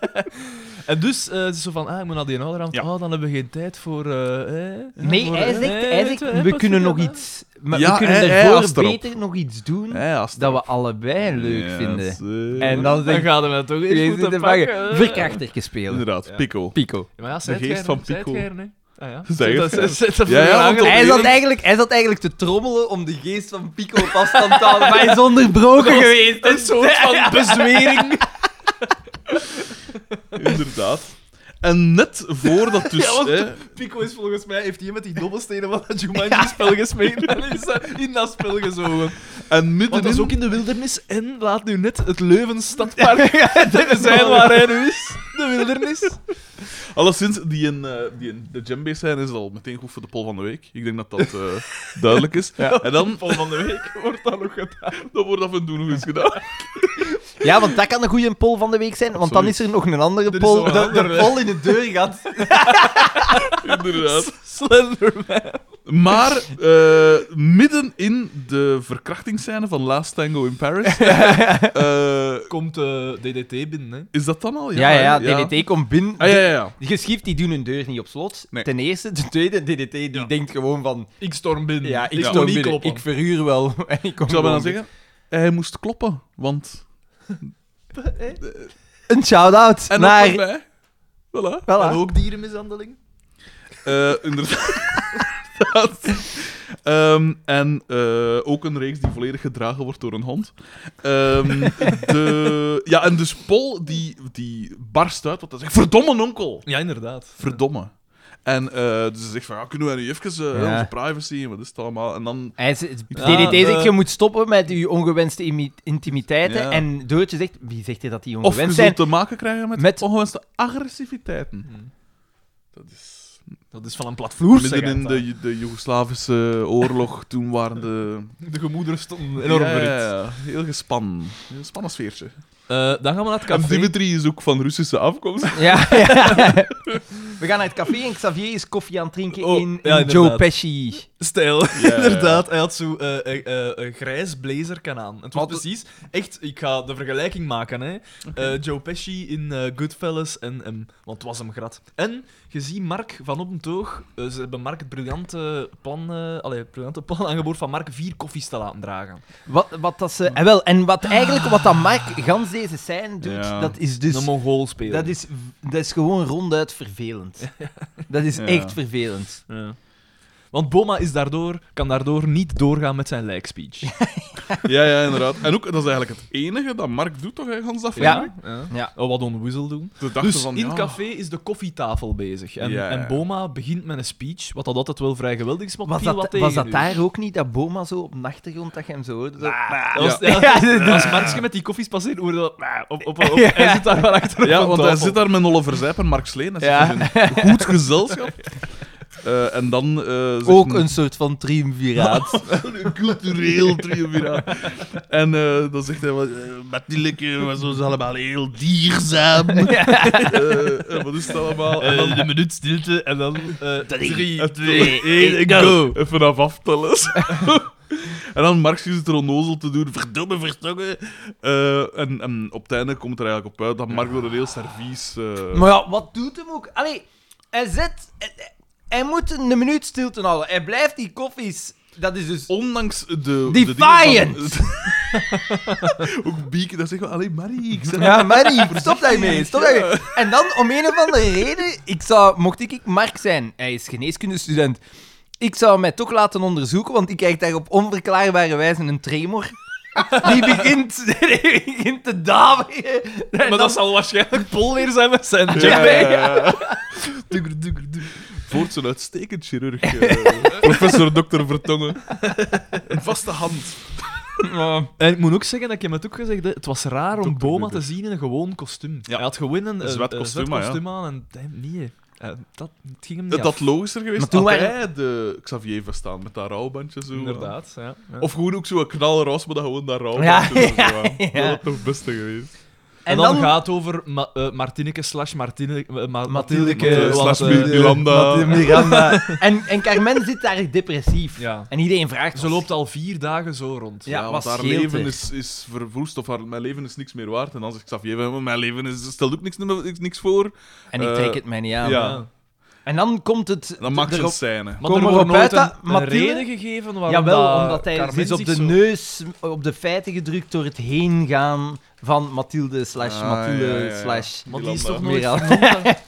Speaker 3: En dus, eh, het is zo van, ah, ik moet naar die ouderavond.
Speaker 1: Ja.
Speaker 3: Oh, dan hebben we geen tijd voor... eh, eh,
Speaker 2: Nee,
Speaker 3: voor,
Speaker 2: hij
Speaker 3: eh,
Speaker 2: zegt, hij
Speaker 3: eh,
Speaker 2: zegt,
Speaker 3: te- eh,
Speaker 2: we
Speaker 3: pas
Speaker 2: kunnen
Speaker 3: op,
Speaker 2: nog
Speaker 3: hè.
Speaker 2: iets... Maar
Speaker 1: Ja,
Speaker 2: we kunnen
Speaker 1: hij- hij
Speaker 2: daarvoor
Speaker 1: ast erop.
Speaker 2: beter nog iets doen
Speaker 1: Ja, als het
Speaker 2: dat
Speaker 1: erop-
Speaker 2: we allebei leuk
Speaker 1: Ja,
Speaker 2: vinden.
Speaker 1: zeker.
Speaker 2: En dan
Speaker 3: Dan
Speaker 2: zeg
Speaker 3: gaan we het toch
Speaker 2: je,
Speaker 3: eens
Speaker 2: je zit te
Speaker 3: moeten
Speaker 2: pakken.
Speaker 3: pakken.
Speaker 2: Verkrachterke spelen.
Speaker 1: Inderdaad, Pico.
Speaker 2: Pico.
Speaker 3: Ja, Maar ja, zij
Speaker 1: De geest van Pico.
Speaker 3: Ah, ja.
Speaker 1: Zij het.
Speaker 3: Zet dat- zet dat
Speaker 1: Ja, ja,
Speaker 3: voor
Speaker 1: want
Speaker 3: haar
Speaker 2: Hij
Speaker 3: aan.
Speaker 2: zat, eigenlijk, hij zat eigenlijk te trommelen om de geest van Pico op afstand te houden, [LAUGHS] maar hij is onderbroken geweest.
Speaker 3: Een soort van [LAUGHS] bezwering.
Speaker 1: Inderdaad. En net voordat dus...
Speaker 3: Ja, want-
Speaker 1: hè,
Speaker 3: Pico is volgens mij, heeft hij met die dobbelstenen van dat Jumanji-spel gesmeed en is dat in dat spel gezogen.
Speaker 1: en middenin...
Speaker 3: Want dat is ook in de wildernis en laat nu net het Leuven [LAUGHS] stadpark zijn waar hij nu is. De wildernis.
Speaker 1: Alleszins, die in, eh, die in de djembe zijn is al meteen goed voor de pol van de week. Ik denk dat dat eh, duidelijk is. En dan...
Speaker 3: Pol van de week wordt [LAUGHS] dat nog gedaan.
Speaker 1: Dat wordt af en toe nog eens gedaan.
Speaker 2: Ja, want dat kan een goede poll van de week zijn, want dan
Speaker 1: Absoluut.
Speaker 2: is er nog een andere
Speaker 3: is
Speaker 2: poll.
Speaker 3: nog
Speaker 2: De,
Speaker 3: een
Speaker 2: de
Speaker 3: andere.
Speaker 2: poll in de deur gaat.
Speaker 1: [LAUGHS]
Speaker 2: [LAUGHS]
Speaker 1: Inderdaad.
Speaker 3: Slenderman.
Speaker 1: Maar eh, midden in de verkrachtingsscène van Last Tango in
Speaker 2: [LAUGHS]
Speaker 1: Paris... eh,
Speaker 3: Komt eh, DDT binnen, hè.
Speaker 1: Is dat dan al?
Speaker 2: Ja, ja,
Speaker 1: hè?
Speaker 2: DDT komt binnen.
Speaker 1: Ah, ja, ja, ja.
Speaker 2: De geschift die doen hun deur niet op slot.
Speaker 1: Nee.
Speaker 2: Ten eerste. Ten tweede, DDT die denkt gewoon van...
Speaker 3: Mm. Ik storm binnen.
Speaker 2: Ja, ik,
Speaker 3: moet
Speaker 2: storm
Speaker 3: niet
Speaker 2: binnen.
Speaker 3: kloppen.
Speaker 2: Ik verhuur wel. [LAUGHS] En ik, kom
Speaker 1: Ik zou
Speaker 2: gewoon
Speaker 1: bijna zeggen, hij moest kloppen, want...
Speaker 2: binnen. Een shout-out
Speaker 1: En
Speaker 2: naar...
Speaker 1: dat was bij. Voilà.
Speaker 2: Voilà.
Speaker 3: En ook dierenmishandeling.
Speaker 1: Eh, inderdaad. [LAUGHS] Ehm, en eh, ook een reeks die volledig gedragen wordt door een hond.
Speaker 2: [LAUGHS]
Speaker 1: Ehm, de, ja, en dus Paul die, die barst uit, want hij zegt: Verdomme, onkel!
Speaker 3: Ja, inderdaad.
Speaker 1: Verdomme. En eh, dus ze zegt: van, ja, Kunnen wij nu even eh,
Speaker 2: Ja.
Speaker 1: onze privacy en wat is het allemaal? En dan
Speaker 2: Hij zegt-
Speaker 3: Ah,
Speaker 2: DDT zegt,
Speaker 3: eh.
Speaker 2: je moet stoppen met je ongewenste imi- intimiteiten.
Speaker 1: Ja.
Speaker 2: En Doortje zegt, wie zegt hier dat die
Speaker 1: Of je
Speaker 2: ongewenst zijn?
Speaker 1: zult te maken krijgen met,
Speaker 2: Met-
Speaker 1: ongewenste agressiviteiten. Dat is...
Speaker 3: Dat is van een platvloer.
Speaker 1: Midden in de, de Joegoslavische oorlog, toen waren de...
Speaker 3: de gemoederen stonden enorm
Speaker 1: Ja,
Speaker 3: verhit.
Speaker 1: ja, ja. Heel gespannen. Heel gespannen sfeertje.
Speaker 3: Eh, dan gaan we naar het
Speaker 1: En
Speaker 3: café.
Speaker 1: Dimitri is ook van Russische afkomst.
Speaker 2: [LAUGHS] Ja, ja. We gaan naar het café en Xavier is koffie aan het drinken
Speaker 3: Oh,
Speaker 2: in, in
Speaker 3: ja,
Speaker 2: Joe
Speaker 3: inderdaad.
Speaker 2: Pesci.
Speaker 3: Stijl,
Speaker 1: ja.
Speaker 3: inderdaad. Hij had zo eh, eh, eh, een grijs blazerkan aan. Het was
Speaker 1: Wat-
Speaker 3: precies... Echt, ik ga de vergelijking maken, hè. Eh, Joe Pesci in eh, Goodfellas en... ehm, want het was hem grad. En, je ziet Mark van op een toog... eh, ze hebben Mark het briljante plan, eh allee, het briljante plan [LAUGHS] aangeboord van Mark vier koffies te laten dragen.
Speaker 2: Wat, wat dat ze... En wel, en wat eigenlijk, wat dat Mark gans deze scène doet,
Speaker 1: Ja.
Speaker 2: dat is dus...
Speaker 3: een Mongool spelen.
Speaker 2: Dat is, dat is gewoon ronduit
Speaker 3: [LAUGHS]
Speaker 2: vervelend. Dat is
Speaker 1: Ja.
Speaker 2: echt vervelend.
Speaker 3: Ja. Want Boma is daardoor, kan daardoor niet doorgaan met zijn like speech.
Speaker 1: [LAUGHS] Ja, ja, inderdaad. En ook, dat is eigenlijk het enige dat Mark doet, toch, hè, Hans? Dat
Speaker 2: Ja.
Speaker 3: Ja.
Speaker 2: [LAUGHS] Ja.
Speaker 3: Oh, wat onwissel doen.
Speaker 1: De dachten
Speaker 3: Dus
Speaker 1: van,
Speaker 3: in
Speaker 1: ja.
Speaker 3: het café is de koffietafel bezig. En,
Speaker 1: Ja.
Speaker 3: en Boma begint met een speech, wat dat altijd wel vrij geweldig is, maar
Speaker 2: Was
Speaker 3: viel
Speaker 2: dat,
Speaker 3: wat tegen
Speaker 2: was dat
Speaker 3: nu.
Speaker 2: daar ook niet, dat Boma zo op de achtergrond dat je hem zo hoorde? Zo- Ah.
Speaker 3: Dat was, [LAUGHS] ja. Als Marksje met die koffies passeert, hoorde dat... Op, op, op,
Speaker 2: [LAUGHS]
Speaker 3: Hij zit daar wel achter op
Speaker 1: Ja,
Speaker 3: een
Speaker 1: want hij
Speaker 3: tafel.
Speaker 1: zit daar met Oliver Zijp en Mark Sleen. Hij
Speaker 2: Ja.
Speaker 1: zit dus in goed gezelschap. Eh, en dan... eh, zegt
Speaker 2: Ook
Speaker 1: een-
Speaker 2: een soort van
Speaker 3: [LAUGHS]
Speaker 2: triumviraat.
Speaker 1: Een cultureel triumviraat. En eh, dan zegt hij, wat, eh, met die likken was ons allemaal heel
Speaker 2: [LAUGHS]
Speaker 1: dierzaam. Eh, en wat is het allemaal? En dan
Speaker 3: een minuut stilte en dan... eh, drie,
Speaker 1: twee, één, go. Even af aftellen. [LAUGHS] zo. en dan Marx zit er onnozel te doen, verdomme, vertongen. Eh, en, en op het einde komt er eigenlijk op uit dat Mark door een heel servies... eh,
Speaker 2: Maar ja, wat doet hem ook? Allee, hij zet... Hij, hij moet een minuut stilte houden. Hij blijft die koffies... Dat is dus...
Speaker 1: Ondanks de... de dingen
Speaker 2: Defiant!
Speaker 1: van- [LAUGHS] Ook Bieke, dat zegt wel, allee, Marie,
Speaker 2: [LAUGHS]
Speaker 1: ik zeg
Speaker 2: Ja, Marie, stop daarmee, stop daarmee. En dan, om een of andere reden, ik zou, mocht ik ik Mark zijn, hij is geneeskundestudent, ik zou mij toch laten onderzoeken, want ik krijg daar op onverklaarbare wijze een tremor. Die begint, die begint te daveren. En
Speaker 3: Maar
Speaker 2: dan-
Speaker 3: dat zal waarschijnlijk Pol weer zijn met zijn
Speaker 1: Ja,
Speaker 3: djembe.
Speaker 1: ja, ja.
Speaker 2: [LAUGHS]
Speaker 1: Dugger, dugger, dugger. Voort zo'n uitstekend chirurg.
Speaker 2: [LAUGHS]
Speaker 1: eh, professor Dr. Vertongen. Een vaste hand.
Speaker 2: Ja.
Speaker 3: En ik moet ook zeggen, dat ik hem het ook gezegd, hè, het was raar om
Speaker 1: Dr.
Speaker 3: Boma
Speaker 1: Gooder.
Speaker 3: te zien in een gewoon kostuum.
Speaker 1: Ja.
Speaker 3: Hij had gewoon een,
Speaker 1: Een
Speaker 3: eh,
Speaker 1: zwart
Speaker 3: eh,
Speaker 1: kostuum,
Speaker 3: zwart
Speaker 1: maar ja.
Speaker 3: kostuum aan en damn, nee. hè. Eh, dat het ging hem
Speaker 1: Dat
Speaker 3: niet
Speaker 1: dat
Speaker 3: af.
Speaker 1: logischer geweest
Speaker 2: Maar toen
Speaker 1: had
Speaker 2: waren-
Speaker 1: hij de Xavier verstaan met dat rouwbandje zo. eh,
Speaker 3: Inderdaad, ja. ja.
Speaker 1: Of gewoon ook zo'n knalroos, maar dan gewoon dat
Speaker 2: Ja,
Speaker 1: rouwbandje. zo
Speaker 2: [LAUGHS] ja,
Speaker 1: aan. Dat
Speaker 2: ja.
Speaker 1: had toch het beste geweest.
Speaker 3: En, dan, gaat het over Ma eh, Martineke slash Martine, eh, Ma Mathildeke.
Speaker 1: Mathilde
Speaker 3: want,
Speaker 1: slash
Speaker 3: eh,
Speaker 1: Mil- Miranda.
Speaker 2: Mathilde Miranda. En, en Carmen zit daar depressief.
Speaker 3: Ja.
Speaker 2: En iedereen vraagt
Speaker 3: Ze loopt al vier dagen zo rond.
Speaker 2: Ja,
Speaker 1: want
Speaker 2: wat
Speaker 1: haar
Speaker 2: scheelt
Speaker 1: leven
Speaker 2: er?
Speaker 1: is, is verwoest of haar, mijn leven is niks meer waard. En dan zegt Xavier, "Maar mijn leven is, stelt ook niks, niks, niks voor. En
Speaker 2: En ik trek het mij niet aan.
Speaker 1: ja.
Speaker 2: En dan komt het...
Speaker 1: dan maakt ze een
Speaker 2: erop-
Speaker 1: scène.
Speaker 3: Maar
Speaker 2: Kom
Speaker 3: er
Speaker 2: erop
Speaker 3: wordt nooit
Speaker 2: uit
Speaker 3: een,
Speaker 2: dat
Speaker 3: een
Speaker 2: Mathilde-
Speaker 3: reden gegeven waarom
Speaker 2: Jawel,
Speaker 3: dat
Speaker 2: omdat hij
Speaker 3: Carmen
Speaker 2: is op de
Speaker 3: zich zo-
Speaker 2: neus, op de feiten gedrukt door het heen gaan van Mathilde slash
Speaker 1: Ah,
Speaker 2: Mathilde
Speaker 1: ja, ja, ja.
Speaker 2: slash...
Speaker 3: Want die is toch
Speaker 1: Miranda. [LAUGHS]
Speaker 3: nooit
Speaker 2: Miranda.
Speaker 3: vernoemd,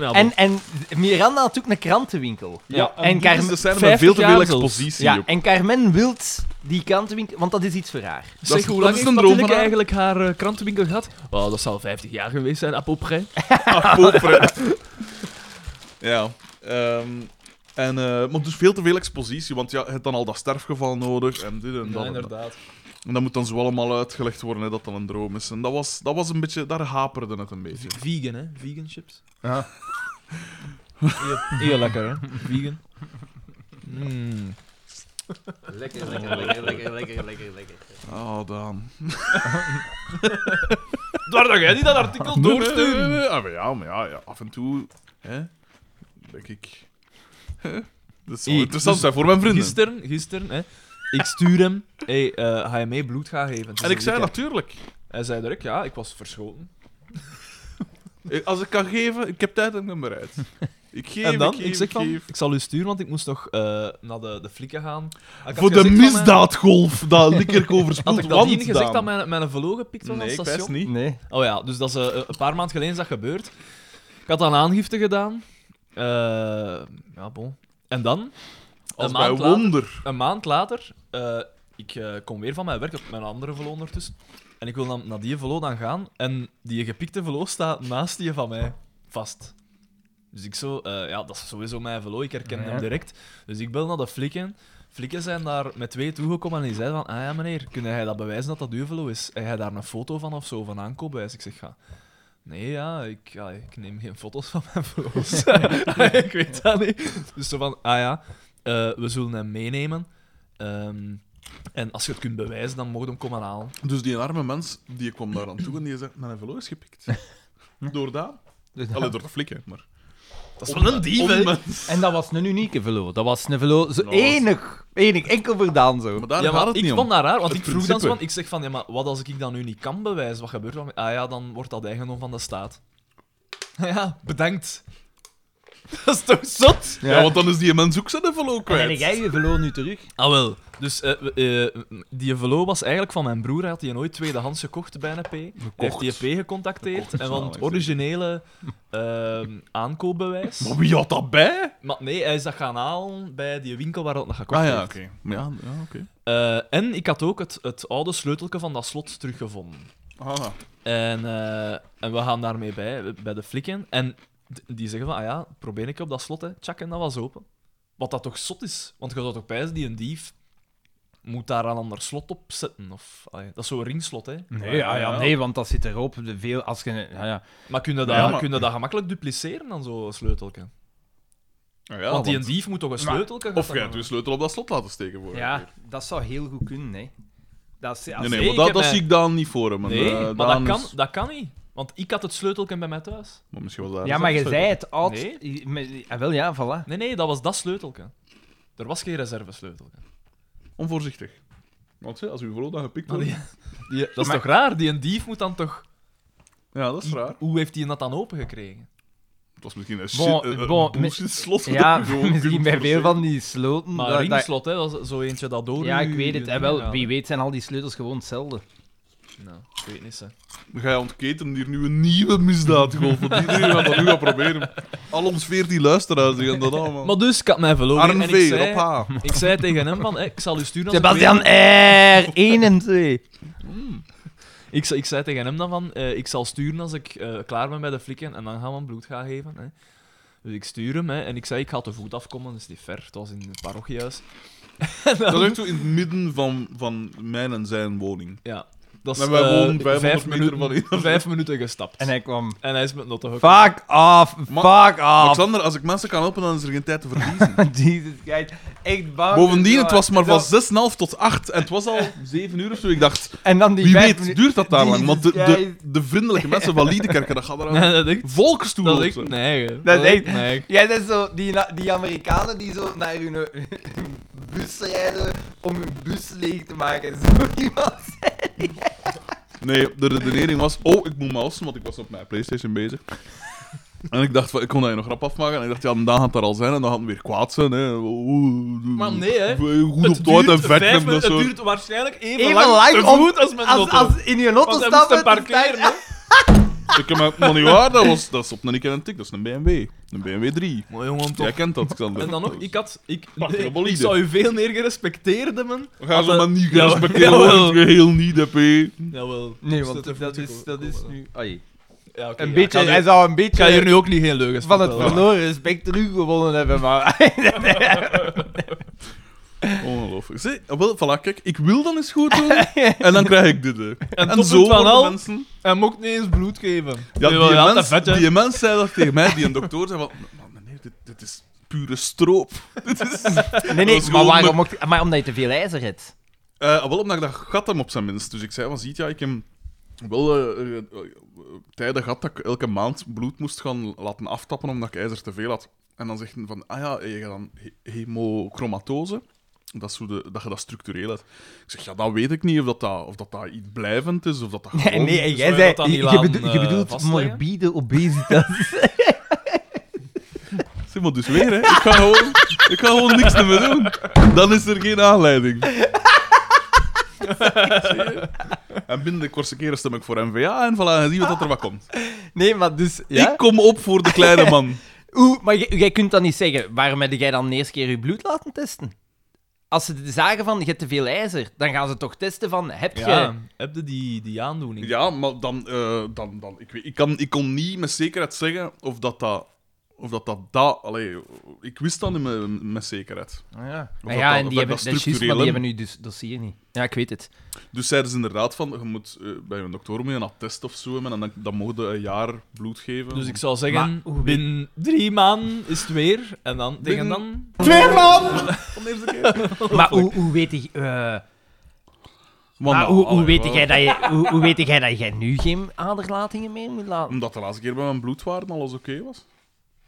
Speaker 3: hè? Ja,
Speaker 2: En, en Miranda had ook een krantenwinkel.
Speaker 3: Ja,
Speaker 2: en
Speaker 1: Dit is
Speaker 2: Carmen-
Speaker 1: de scène met
Speaker 3: 50
Speaker 1: veel te veel
Speaker 3: jaar zelfs.
Speaker 1: expositie
Speaker 2: Ja,
Speaker 1: op.
Speaker 2: en Carmen wilt die krantenwinkel, want dat is iets voor haar.
Speaker 1: Dat
Speaker 3: Zeg,
Speaker 1: is-
Speaker 3: hoe
Speaker 1: dat
Speaker 3: lang
Speaker 1: is
Speaker 3: heeft
Speaker 1: een droom
Speaker 3: Mathilde
Speaker 1: van haar.
Speaker 3: eigenlijk haar eh, krantenwinkel gehad? Oh, dat zal 50 jaar geweest zijn, à peu près.
Speaker 1: Popper. ja. ehm, en, eh, maar dus veel te veel expositie, want ja, je hebt dan al dat sterfgeval nodig en dit en dat. en, dat. en dat moet dan zo allemaal uitgelegd worden hè, dat dat een droom is. En dat was, dat was een beetje, daar haperde het een beetje.
Speaker 3: Vegan, hè? Vegan chips.
Speaker 2: Ja.
Speaker 3: Heel, heel lekker, hè? Vegan. Mm.
Speaker 2: Lekker, lekker, lekker, lekker, lekker, lekker, lekker.
Speaker 1: Oh, Daan.
Speaker 3: Daar dat jij niet dat artikel
Speaker 1: Nee,
Speaker 3: doorstuurt.
Speaker 1: nee, nee. Ah, maar ja, maar ja, ja, af en toe, hè, denk ik. Hè? Dat zou
Speaker 3: Hey,
Speaker 1: interessant
Speaker 3: dus
Speaker 1: zijn voor mijn vrienden.
Speaker 3: Gisteren, gisteren, hè? Ik stuur hem, hey, eh, ga je mee bloed gaan geven? Het is
Speaker 1: En
Speaker 3: een
Speaker 1: ik zei
Speaker 3: weekend.
Speaker 1: natuurlijk,
Speaker 3: Hij zei direct, ja, ik was verschoten.
Speaker 1: eh, als ik kan geven, ik heb tijd en ik ben
Speaker 3: [LAUGHS]
Speaker 1: bereid. Ik geef,
Speaker 3: en dan,
Speaker 1: ik
Speaker 3: ik,
Speaker 1: geef,
Speaker 3: zeg van,
Speaker 1: geef.
Speaker 3: ik zal u sturen, want ik moest nog eh, naar de, de flikken gaan. Ik had
Speaker 1: Voor de
Speaker 3: gezegd van mijn-
Speaker 1: misdaadgolf
Speaker 3: [LAUGHS]
Speaker 1: dat Likkerk
Speaker 3: Had
Speaker 1: overspoelt.
Speaker 3: ik dat
Speaker 1: want
Speaker 3: niet gezegd
Speaker 1: Daan.
Speaker 3: dat mijn, mijn velo gepikt was aan
Speaker 1: Nee,
Speaker 3: het
Speaker 1: ik best
Speaker 3: station?
Speaker 1: niet.
Speaker 2: [LAUGHS] Nee.
Speaker 3: Oh ja, dus dat is eh, een paar maanden geleden is dat gebeurd. Ik had dan aangifte gedaan. Eh, ja, bon. En dan,
Speaker 1: Als
Speaker 3: een
Speaker 1: bij
Speaker 3: maand later,
Speaker 1: Wonder.
Speaker 3: een maand later, eh, ik eh, kom weer van mijn werk op mijn andere velo ondertussen. En ik wil dan naar die velo dan gaan. En die gepikte velo staat naast die van mij vast. Dus ik zo, eh, ja, dat is sowieso mijn velo, ik herken
Speaker 2: Ja.
Speaker 3: hem direct. Dus ik bel naar de flikken. Flikken zijn daar met twee toegekomen en die zeiden van, ah ja meneer, kun jij dat bewijzen dat dat uw velo is? Heb jij daar een foto van of zo, van aankoopbewijs? Ik zeg, ja, nee ja ik, ja, ik neem geen foto's van mijn velo's. [LAUGHS] ik weet dat niet. Dus zo van, ah ja, eh, we zullen hem meenemen. Ehm, en als je het kunt bewijzen, dan mogen we hem komen halen.
Speaker 1: Dus die arme mens die kwam daar aan toe en die zei: Mijn velo is [LAUGHS] gepikt. Door dat? Allee, door de flikken, maar.
Speaker 3: Dat is wel een dief, hè?
Speaker 1: Onmens.
Speaker 2: En dat was een unieke velo. Dat was een velo zo
Speaker 1: Nou, was-
Speaker 2: enig. Enig, enkel verdaan zo.
Speaker 1: Maar daar
Speaker 3: ja, maar
Speaker 1: gaat het
Speaker 3: ik
Speaker 1: niet om.
Speaker 3: vond dat raar, want
Speaker 1: Het
Speaker 3: ik vroeg dan zo
Speaker 1: principe.
Speaker 3: van, ik zeg van, ja, maar wat als ik dat nu niet kan bewijzen, wat gebeurt er dan? Ah ja, dan wordt dat eigendom van de staat. [LAUGHS] Ja, bedankt. [LAUGHS] Dat is toch zot?
Speaker 1: Ja. want dan is die mens ook zijn velo
Speaker 2: En
Speaker 1: kwijt.
Speaker 2: heb jij je velo nu terug?
Speaker 3: Ah wel, dus eh, we- eh, die velo was eigenlijk van mijn broer, hij had die nooit tweedehands gekocht bij een P. Hij Heeft die P gecontacteerd,
Speaker 1: Gekocht,
Speaker 3: en
Speaker 1: ja,
Speaker 3: van
Speaker 1: ik
Speaker 3: het
Speaker 1: zeg.
Speaker 3: originele ehm, aankoopbewijs.
Speaker 1: Maar wie had dat bij?
Speaker 3: Maar nee, hij is dat gaan halen bij die winkel waar dat nog gekocht
Speaker 1: Ah ja,
Speaker 3: heeft.
Speaker 1: oké. Maar Ja, ja oké.
Speaker 3: Eh, en ik had ook het, het oude sleutelke van dat slot teruggevonden.
Speaker 1: Ah,
Speaker 3: En, eh, en we gaan daarmee bij, bij de flikken. En d- die zeggen van, ah ja, probeer ik op dat slot, hè. Tjak, en dat was open. Wat dat toch zot is. Want je zou toch bijzien, die een dief moet daar een ander slot op zetten. Of, ah ja, dat is zo'n ringslot, hè.
Speaker 2: Nee, ja, ja, nee, want dat zit erop. De Veel, als je, ja, ja.
Speaker 3: Maar kun je dat,
Speaker 1: Ja, maar-
Speaker 3: kun je dat gemakkelijk dupliceren dan, zo'n sleutelke?
Speaker 1: Ah ja,
Speaker 3: want die een
Speaker 1: want-
Speaker 3: dief moet toch een
Speaker 2: Maar-
Speaker 3: sleutelke...
Speaker 1: Of jij hebt je sleutel op dat slot laten steken voor.
Speaker 2: ja, dat zou heel goed kunnen. Hè. Dat is, als-
Speaker 1: Nee, nee,
Speaker 3: nee,
Speaker 1: maar
Speaker 3: ik
Speaker 1: dat,
Speaker 3: heb
Speaker 1: dat
Speaker 3: mij-
Speaker 1: zie ik dan niet voor hem. En,
Speaker 3: Nee,
Speaker 1: eh,
Speaker 3: maar dat
Speaker 1: Daan
Speaker 3: kan,
Speaker 1: is-
Speaker 3: dat kan niet. Want ik had het sleutelke bij mij thuis.
Speaker 1: Maar misschien was daar
Speaker 2: ja, maar je
Speaker 1: zelfs-
Speaker 2: zei het oud.
Speaker 3: Nee.
Speaker 2: je- met- Ah, wel, ja,
Speaker 1: [LAUGHS]
Speaker 2: voilà.
Speaker 3: Nee, nee, dat was dat sleutelke. Er was geen reservesleutelke.
Speaker 1: Onvoorzichtig. Want hè, als uw velo dan gepikt wordt...
Speaker 3: die, die, dat is toch raar? Die een dief moet dan toch...
Speaker 1: Ja, dat is raar.
Speaker 3: Hoe heeft hij dat dan opengekregen?
Speaker 1: Het was misschien een,
Speaker 2: Bon,
Speaker 1: bon, een,
Speaker 2: bon,
Speaker 1: bullshit slot.
Speaker 2: Ja, [LAUGHS]
Speaker 1: dat je gewoon
Speaker 2: misschien
Speaker 1: kunt
Speaker 2: bij veel
Speaker 1: forceren.
Speaker 2: van die sloten.
Speaker 3: Maar
Speaker 2: dat- dat-
Speaker 3: ringslot, hè, dat is zo eentje dat door...
Speaker 2: ja, ik
Speaker 3: uw-
Speaker 2: weet het.
Speaker 3: uw
Speaker 2: En
Speaker 3: ding
Speaker 2: wel,
Speaker 3: gaat,
Speaker 2: wie
Speaker 3: hè.
Speaker 2: weet zijn al die sleutels gewoon hetzelfde.
Speaker 3: Nou, ik weet niet, hè.
Speaker 1: Dan ga je ontketen hier nu een nieuwe misdaad, golf. Want iedereen gaat dat nu gaan proberen. Al ons veertien luisteraars die gaan dat allemaal...
Speaker 3: Maar dus, ik had mij verloren.
Speaker 1: Oh. Arm
Speaker 3: en ik
Speaker 1: veer op
Speaker 3: zei,
Speaker 1: H.
Speaker 3: ik zei tegen hem van, hè, ik zal u sturen als ik
Speaker 2: Sebastian
Speaker 3: weet-
Speaker 2: R. 1 en 2.
Speaker 3: Ik, ze- ik zei tegen hem dan van, eh, ik zal sturen als ik eh, klaar ben bij de flikken en dan gaan we hem bloed gaan geven. Hè. Dus ik stuur hem hè, en ik zei, ik ga te voet afkomen, dat is niet ver. Het was in het parochiehuis.
Speaker 1: Dat is echt zo in het midden van, van mijn en zijn woning.
Speaker 3: Ja. Dat is
Speaker 1: Maar wij
Speaker 3: eh,
Speaker 1: wonen 500
Speaker 3: vijf
Speaker 1: meter
Speaker 3: minuten,
Speaker 1: van hier.
Speaker 3: Vijf minuten gestapt.
Speaker 2: En hij kwam.
Speaker 3: En hij is met Notto gekomen.
Speaker 2: Fuck off,
Speaker 1: Ma-
Speaker 2: fuck off.
Speaker 1: Alexander, als ik mensen kan helpen, dan is er geen tijd te verliezen.
Speaker 2: [LAUGHS] Jesus Christ. Echt bang.
Speaker 1: Bovendien, het was maar
Speaker 2: Dat-
Speaker 1: van 6,5 tot 8. En het was al 7 uur of zo. Ik dacht,
Speaker 2: En dan die
Speaker 1: wie
Speaker 2: vijf
Speaker 1: weet,
Speaker 2: minuten-
Speaker 1: duurt dat daar lang?
Speaker 2: Jesus
Speaker 1: Want de, de,
Speaker 2: Christ.
Speaker 1: de vriendelijke mensen van Liedekerken, dat gaat er aan.
Speaker 3: [LAUGHS] Nee, dat is echt-
Speaker 1: Volkstoel
Speaker 3: dat
Speaker 1: op
Speaker 3: is echt
Speaker 1: zijn.
Speaker 3: neig.
Speaker 2: Dat is echt- [LAUGHS]
Speaker 3: neig.
Speaker 2: Jij bent zo die, na- die Amerikanen die zo naar hun eh, bus rijden om hun bus leeg te maken. [LAUGHS] Zo iemand.
Speaker 1: Nee, de redenering was... Oh, ik moet mousen, want ik was op mijn Playstation bezig. [LAUGHS] En ik dacht, van, ik kon dat hier nog rap afmaken. En ik dacht, ja, dan gaat daar al zijn. En dan gaat het weer kwaad zijn. Hè. Oeh,
Speaker 3: Maar nee, hè.
Speaker 1: Goed op dood en vet.
Speaker 3: vijf
Speaker 1: en
Speaker 3: minuten-
Speaker 1: dat soort-
Speaker 3: het duurt waarschijnlijk even,
Speaker 2: Even
Speaker 3: lang,
Speaker 2: lang
Speaker 3: te
Speaker 2: om-
Speaker 3: voet als met
Speaker 2: Als,
Speaker 3: Notto.
Speaker 2: als in je auto
Speaker 3: Want hij moest hem
Speaker 2: stappen...
Speaker 3: parkeren.
Speaker 2: sta-
Speaker 3: hè.
Speaker 1: Ik heb maar, maar niet waar, dat, was, dat is op een ik en een tik. Dat is een BMW. Een BMW 3.
Speaker 2: [LAUGHS]
Speaker 3: Mooi jongen,
Speaker 1: Jij kent dat, Xander.
Speaker 3: En dan nog, ik had... Ik,
Speaker 1: Prachtige
Speaker 3: nee, ik
Speaker 1: bolide.
Speaker 3: zou u veel meer gerespecteerd hebben.
Speaker 1: We gaan ze
Speaker 3: Als,
Speaker 1: maar
Speaker 3: eh,
Speaker 1: niet
Speaker 3: ja,
Speaker 1: gerespecteerd worden.
Speaker 3: jawel.
Speaker 1: Het geheel niet, hè, P.
Speaker 3: Jawel.
Speaker 2: Nee,
Speaker 3: Ik
Speaker 2: want
Speaker 3: zet even
Speaker 2: Dus dat
Speaker 3: toe
Speaker 2: is,
Speaker 3: komen.
Speaker 2: dat is nu... Ai.
Speaker 3: Ja, oké,
Speaker 2: Een
Speaker 3: ja,
Speaker 2: beetje,
Speaker 3: ik ga
Speaker 2: hij
Speaker 3: hier-
Speaker 2: zou een
Speaker 3: Ik ga hier
Speaker 2: beetje
Speaker 3: nu ook niet geen leugens
Speaker 2: van het
Speaker 3: vertellen.
Speaker 2: verloren respect teruggewonnen hebben, maar...
Speaker 1: Ongelooflijk. Zie, ah, wel, voilà, kijk, ik wil dan eens goed
Speaker 3: [LAUGHS]
Speaker 1: doen, en dan krijg ik dit. hè.
Speaker 3: En,
Speaker 1: En
Speaker 3: tot
Speaker 1: zo
Speaker 3: van
Speaker 1: worden
Speaker 3: al,
Speaker 1: mensen...
Speaker 3: [LAUGHS] hij mocht niet eens bloed geven.
Speaker 1: Ja,
Speaker 3: Nee,
Speaker 1: die,
Speaker 3: wel, te
Speaker 1: mens,
Speaker 3: vet, hè.
Speaker 1: die mens zei dat tegen mij, die een dokter zei van... "Man, Meneer, dit, dit is pure stroop. Dit is...
Speaker 2: Nee,
Speaker 1: Dat
Speaker 2: nee,
Speaker 1: is
Speaker 2: maar
Speaker 1: gewoon
Speaker 2: waarom mocht... Maar omdat je te veel ijzer
Speaker 3: [LAUGHS]
Speaker 2: hebt.
Speaker 1: Eh, ah, wel, omdat ik dat gat hem op zijn minst. Dus ik zei van, ziet ja, ik heb wel eh, eh, eh, tijden gehad dat ik elke maand bloed moest gaan laten aftappen omdat ik ijzer te veel had. En dan zegt hij van, ah ja, je hebt dan he- hemochromatose. Dat, is hoe de, dat je dat structureel hebt. Ik zeg, ja, dat weet ik niet of dat, dat, of dat, dat iets blijvend is of dat dat gewoon...
Speaker 2: Nee,
Speaker 3: dus
Speaker 2: jij
Speaker 3: wij
Speaker 2: zei...
Speaker 3: dat
Speaker 2: je-
Speaker 3: dan niet
Speaker 2: Je,
Speaker 3: laten,
Speaker 2: bedoelt- je
Speaker 3: eh,
Speaker 2: bedoelt
Speaker 3: vastleggen?
Speaker 2: morbide obesitas. [LAUGHS]
Speaker 1: Zeg maar dus weer, hè. Ik ga gewoon, ik ga gewoon niks ermee doen. Dan is er geen [LAUGHS] aanleiding. Zie je? En binnen de kortste keren stem ik voor NVA en voilà, en zie wat dat er wat komt.
Speaker 2: Nee, maar dus...
Speaker 1: [LAUGHS]
Speaker 2: Ja?
Speaker 1: Ik kom op voor de kleine man.
Speaker 2: Oeh, maar jij- jij kunt dan niet zeggen, waarom heb jij dan de eerste keer je bloed laten testen? Als ze zagen van, je hebt te veel ijzer, dan gaan ze toch testen van, heb je...
Speaker 3: Ja, heb je die, die aandoening?
Speaker 1: Ja, maar dan... eh, dan, dan ik, weet, ik, kan, ik kon niet met zekerheid zeggen of dat dat... Of dat dat... dat allee, ik wist dat niet met, met zekerheid.
Speaker 2: Ah, ja,
Speaker 1: dat
Speaker 2: ja
Speaker 1: dat-
Speaker 2: en
Speaker 1: of dat
Speaker 2: die hebben,
Speaker 1: dat
Speaker 2: dat is juist, maar
Speaker 1: structureel-
Speaker 2: die hebben nu dus dossier niet. Ja, ik weet het.
Speaker 1: Dus zeiden ze inderdaad van, je moet eh, bij een dokter mee een attest of zo hebben en dan, dan mogen we een jaar bloed geven.
Speaker 3: Dus ik zou zeggen,
Speaker 2: Maar hoe-
Speaker 3: binnen drie maanden is het weer. En dan, tegen
Speaker 1: Binnen-
Speaker 3: dan...
Speaker 1: Van de eerste keer.
Speaker 2: Maar hoe, hoe weet ik... eh,
Speaker 1: Want
Speaker 2: maar
Speaker 1: nou,
Speaker 2: hoe, hoe,
Speaker 1: allee,
Speaker 2: weet
Speaker 1: wel,
Speaker 2: jij dat je, hoe, hoe weet jij dat jij nu geen aderlatingen meer moet laten?
Speaker 1: Omdat de laatste keer bij mijn bloedwaarden alles oké was.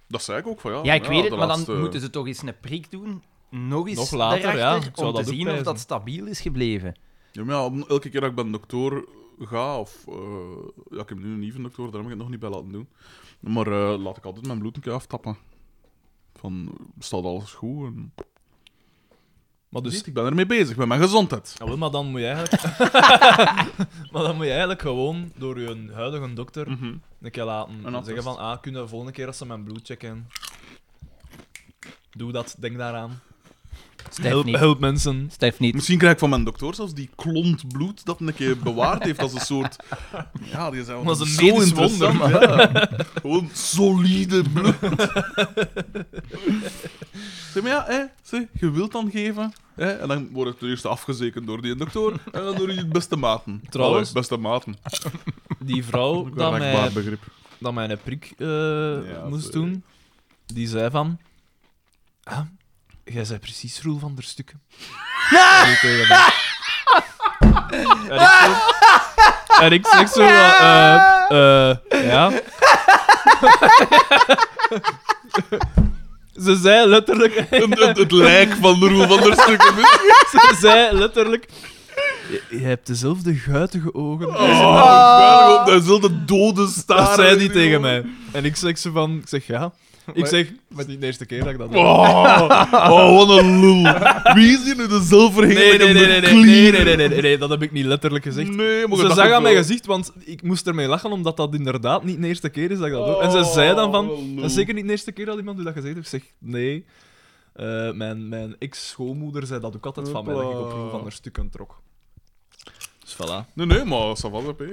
Speaker 1: Dat zei ik ook van ja.
Speaker 2: Ja, ik weet
Speaker 1: de
Speaker 2: het, maar dan
Speaker 1: laatste-
Speaker 2: moeten ze toch eens een prik doen. Nog eens
Speaker 3: Nog later, ja.
Speaker 2: daarachter,
Speaker 3: Ik zou
Speaker 2: om
Speaker 3: dat
Speaker 2: te
Speaker 3: ook
Speaker 2: zien of
Speaker 3: pijzen.
Speaker 2: dat stabiel is gebleven.
Speaker 1: Ja, maar ja, om- elke keer dat ik bij een dokter ga, of... eh, ja, ik heb nu een nieuwe dokter, daar heb ik het nog niet bij laten doen. Maar eh, laat ik altijd mijn bloed een keer aftappen. Van, staat alles goed? En...
Speaker 3: Maar dus...
Speaker 1: Dus ik ben ermee bezig, met mijn gezondheid.
Speaker 3: Ja, Ah, wel, maar dan moet je eigenlijk... [LAUGHS] maar dan moet je eigenlijk gewoon door je huidige dokter
Speaker 1: Mhm.
Speaker 3: een keer laten
Speaker 1: Een attest.
Speaker 3: zeggen van, ah, kunnen we volgende keer als ze mijn bloed checken... Doe dat, denk daaraan.
Speaker 2: Stijf
Speaker 3: Help,
Speaker 2: niet.
Speaker 3: help mensen.
Speaker 2: Stijf niet.
Speaker 1: Misschien krijg ik van mijn dokter zelfs die klont bloed dat een keer bewaard heeft als een soort... Ja, die zijn
Speaker 3: Dat is een
Speaker 1: zo
Speaker 3: medisch
Speaker 1: interessant. ja. Gewoon solide bloed. zeg maar ja, hè, zeg, je wilt dan geven. Hè, en dan word ik ten eerste afgezekerd door die dokter en dan door je beste maten.
Speaker 3: Trouwens. eh,
Speaker 1: Allee, beste maten.
Speaker 3: Die
Speaker 1: [LAUGHS]
Speaker 3: vrouw
Speaker 1: Ook wel
Speaker 3: dat
Speaker 1: een
Speaker 3: mij,
Speaker 1: raakbaar begrip.
Speaker 3: dat mij een prik eh, moest
Speaker 1: sorry.
Speaker 3: doen, die zei van... Ah, jij zei precies Roel van der [LAUGHS] Stukken. Zo tegen mij. En ik zo- En ik zeg zo van... [LAUGHS] eh, eh, ja. [LAUGHS] Ze zei letterlijk... [LAUGHS]
Speaker 1: Het, het, het lijk van de Roel van der Stukken.
Speaker 3: Ze zei letterlijk... "Je- Je hebt dezelfde guitige ogen.
Speaker 1: Oh, oh. op dezelfde dode staar.
Speaker 3: Dat zei die tegen mij. En ik zeg ze van, ik zeg ja. Ik zeg, maar het is niet de eerste keer dat ik dat doe.
Speaker 1: Oh, oh, wat een lul. Wie is hier nu de
Speaker 3: Nee,
Speaker 1: zelfverheerlijkende
Speaker 3: nee, nee, nee, nee,
Speaker 1: klier?
Speaker 3: nee, nee, nee, nee, nee, nee, dat heb ik niet letterlijk gezegd.
Speaker 1: Nee, maar
Speaker 3: ze
Speaker 1: Mm. dat
Speaker 3: zag
Speaker 1: ook
Speaker 3: aan mijn
Speaker 1: wel.
Speaker 3: gezicht, want ik moest ermee lachen, omdat dat inderdaad niet de eerste keer is dat ik dat doe. En ze zei dan van,
Speaker 1: Oh, lul.
Speaker 3: dat is zeker niet de eerste keer dat iemand u dat gezegd heeft. Ik zeg, nee. Eh, mijn mijn ex-schoonmoeder zei dat ook altijd van mij, dat ik op
Speaker 1: Hopla.
Speaker 3: Roel van haar stukken trok. Dus voilà.
Speaker 1: Nee, nee, maar ça va, hè.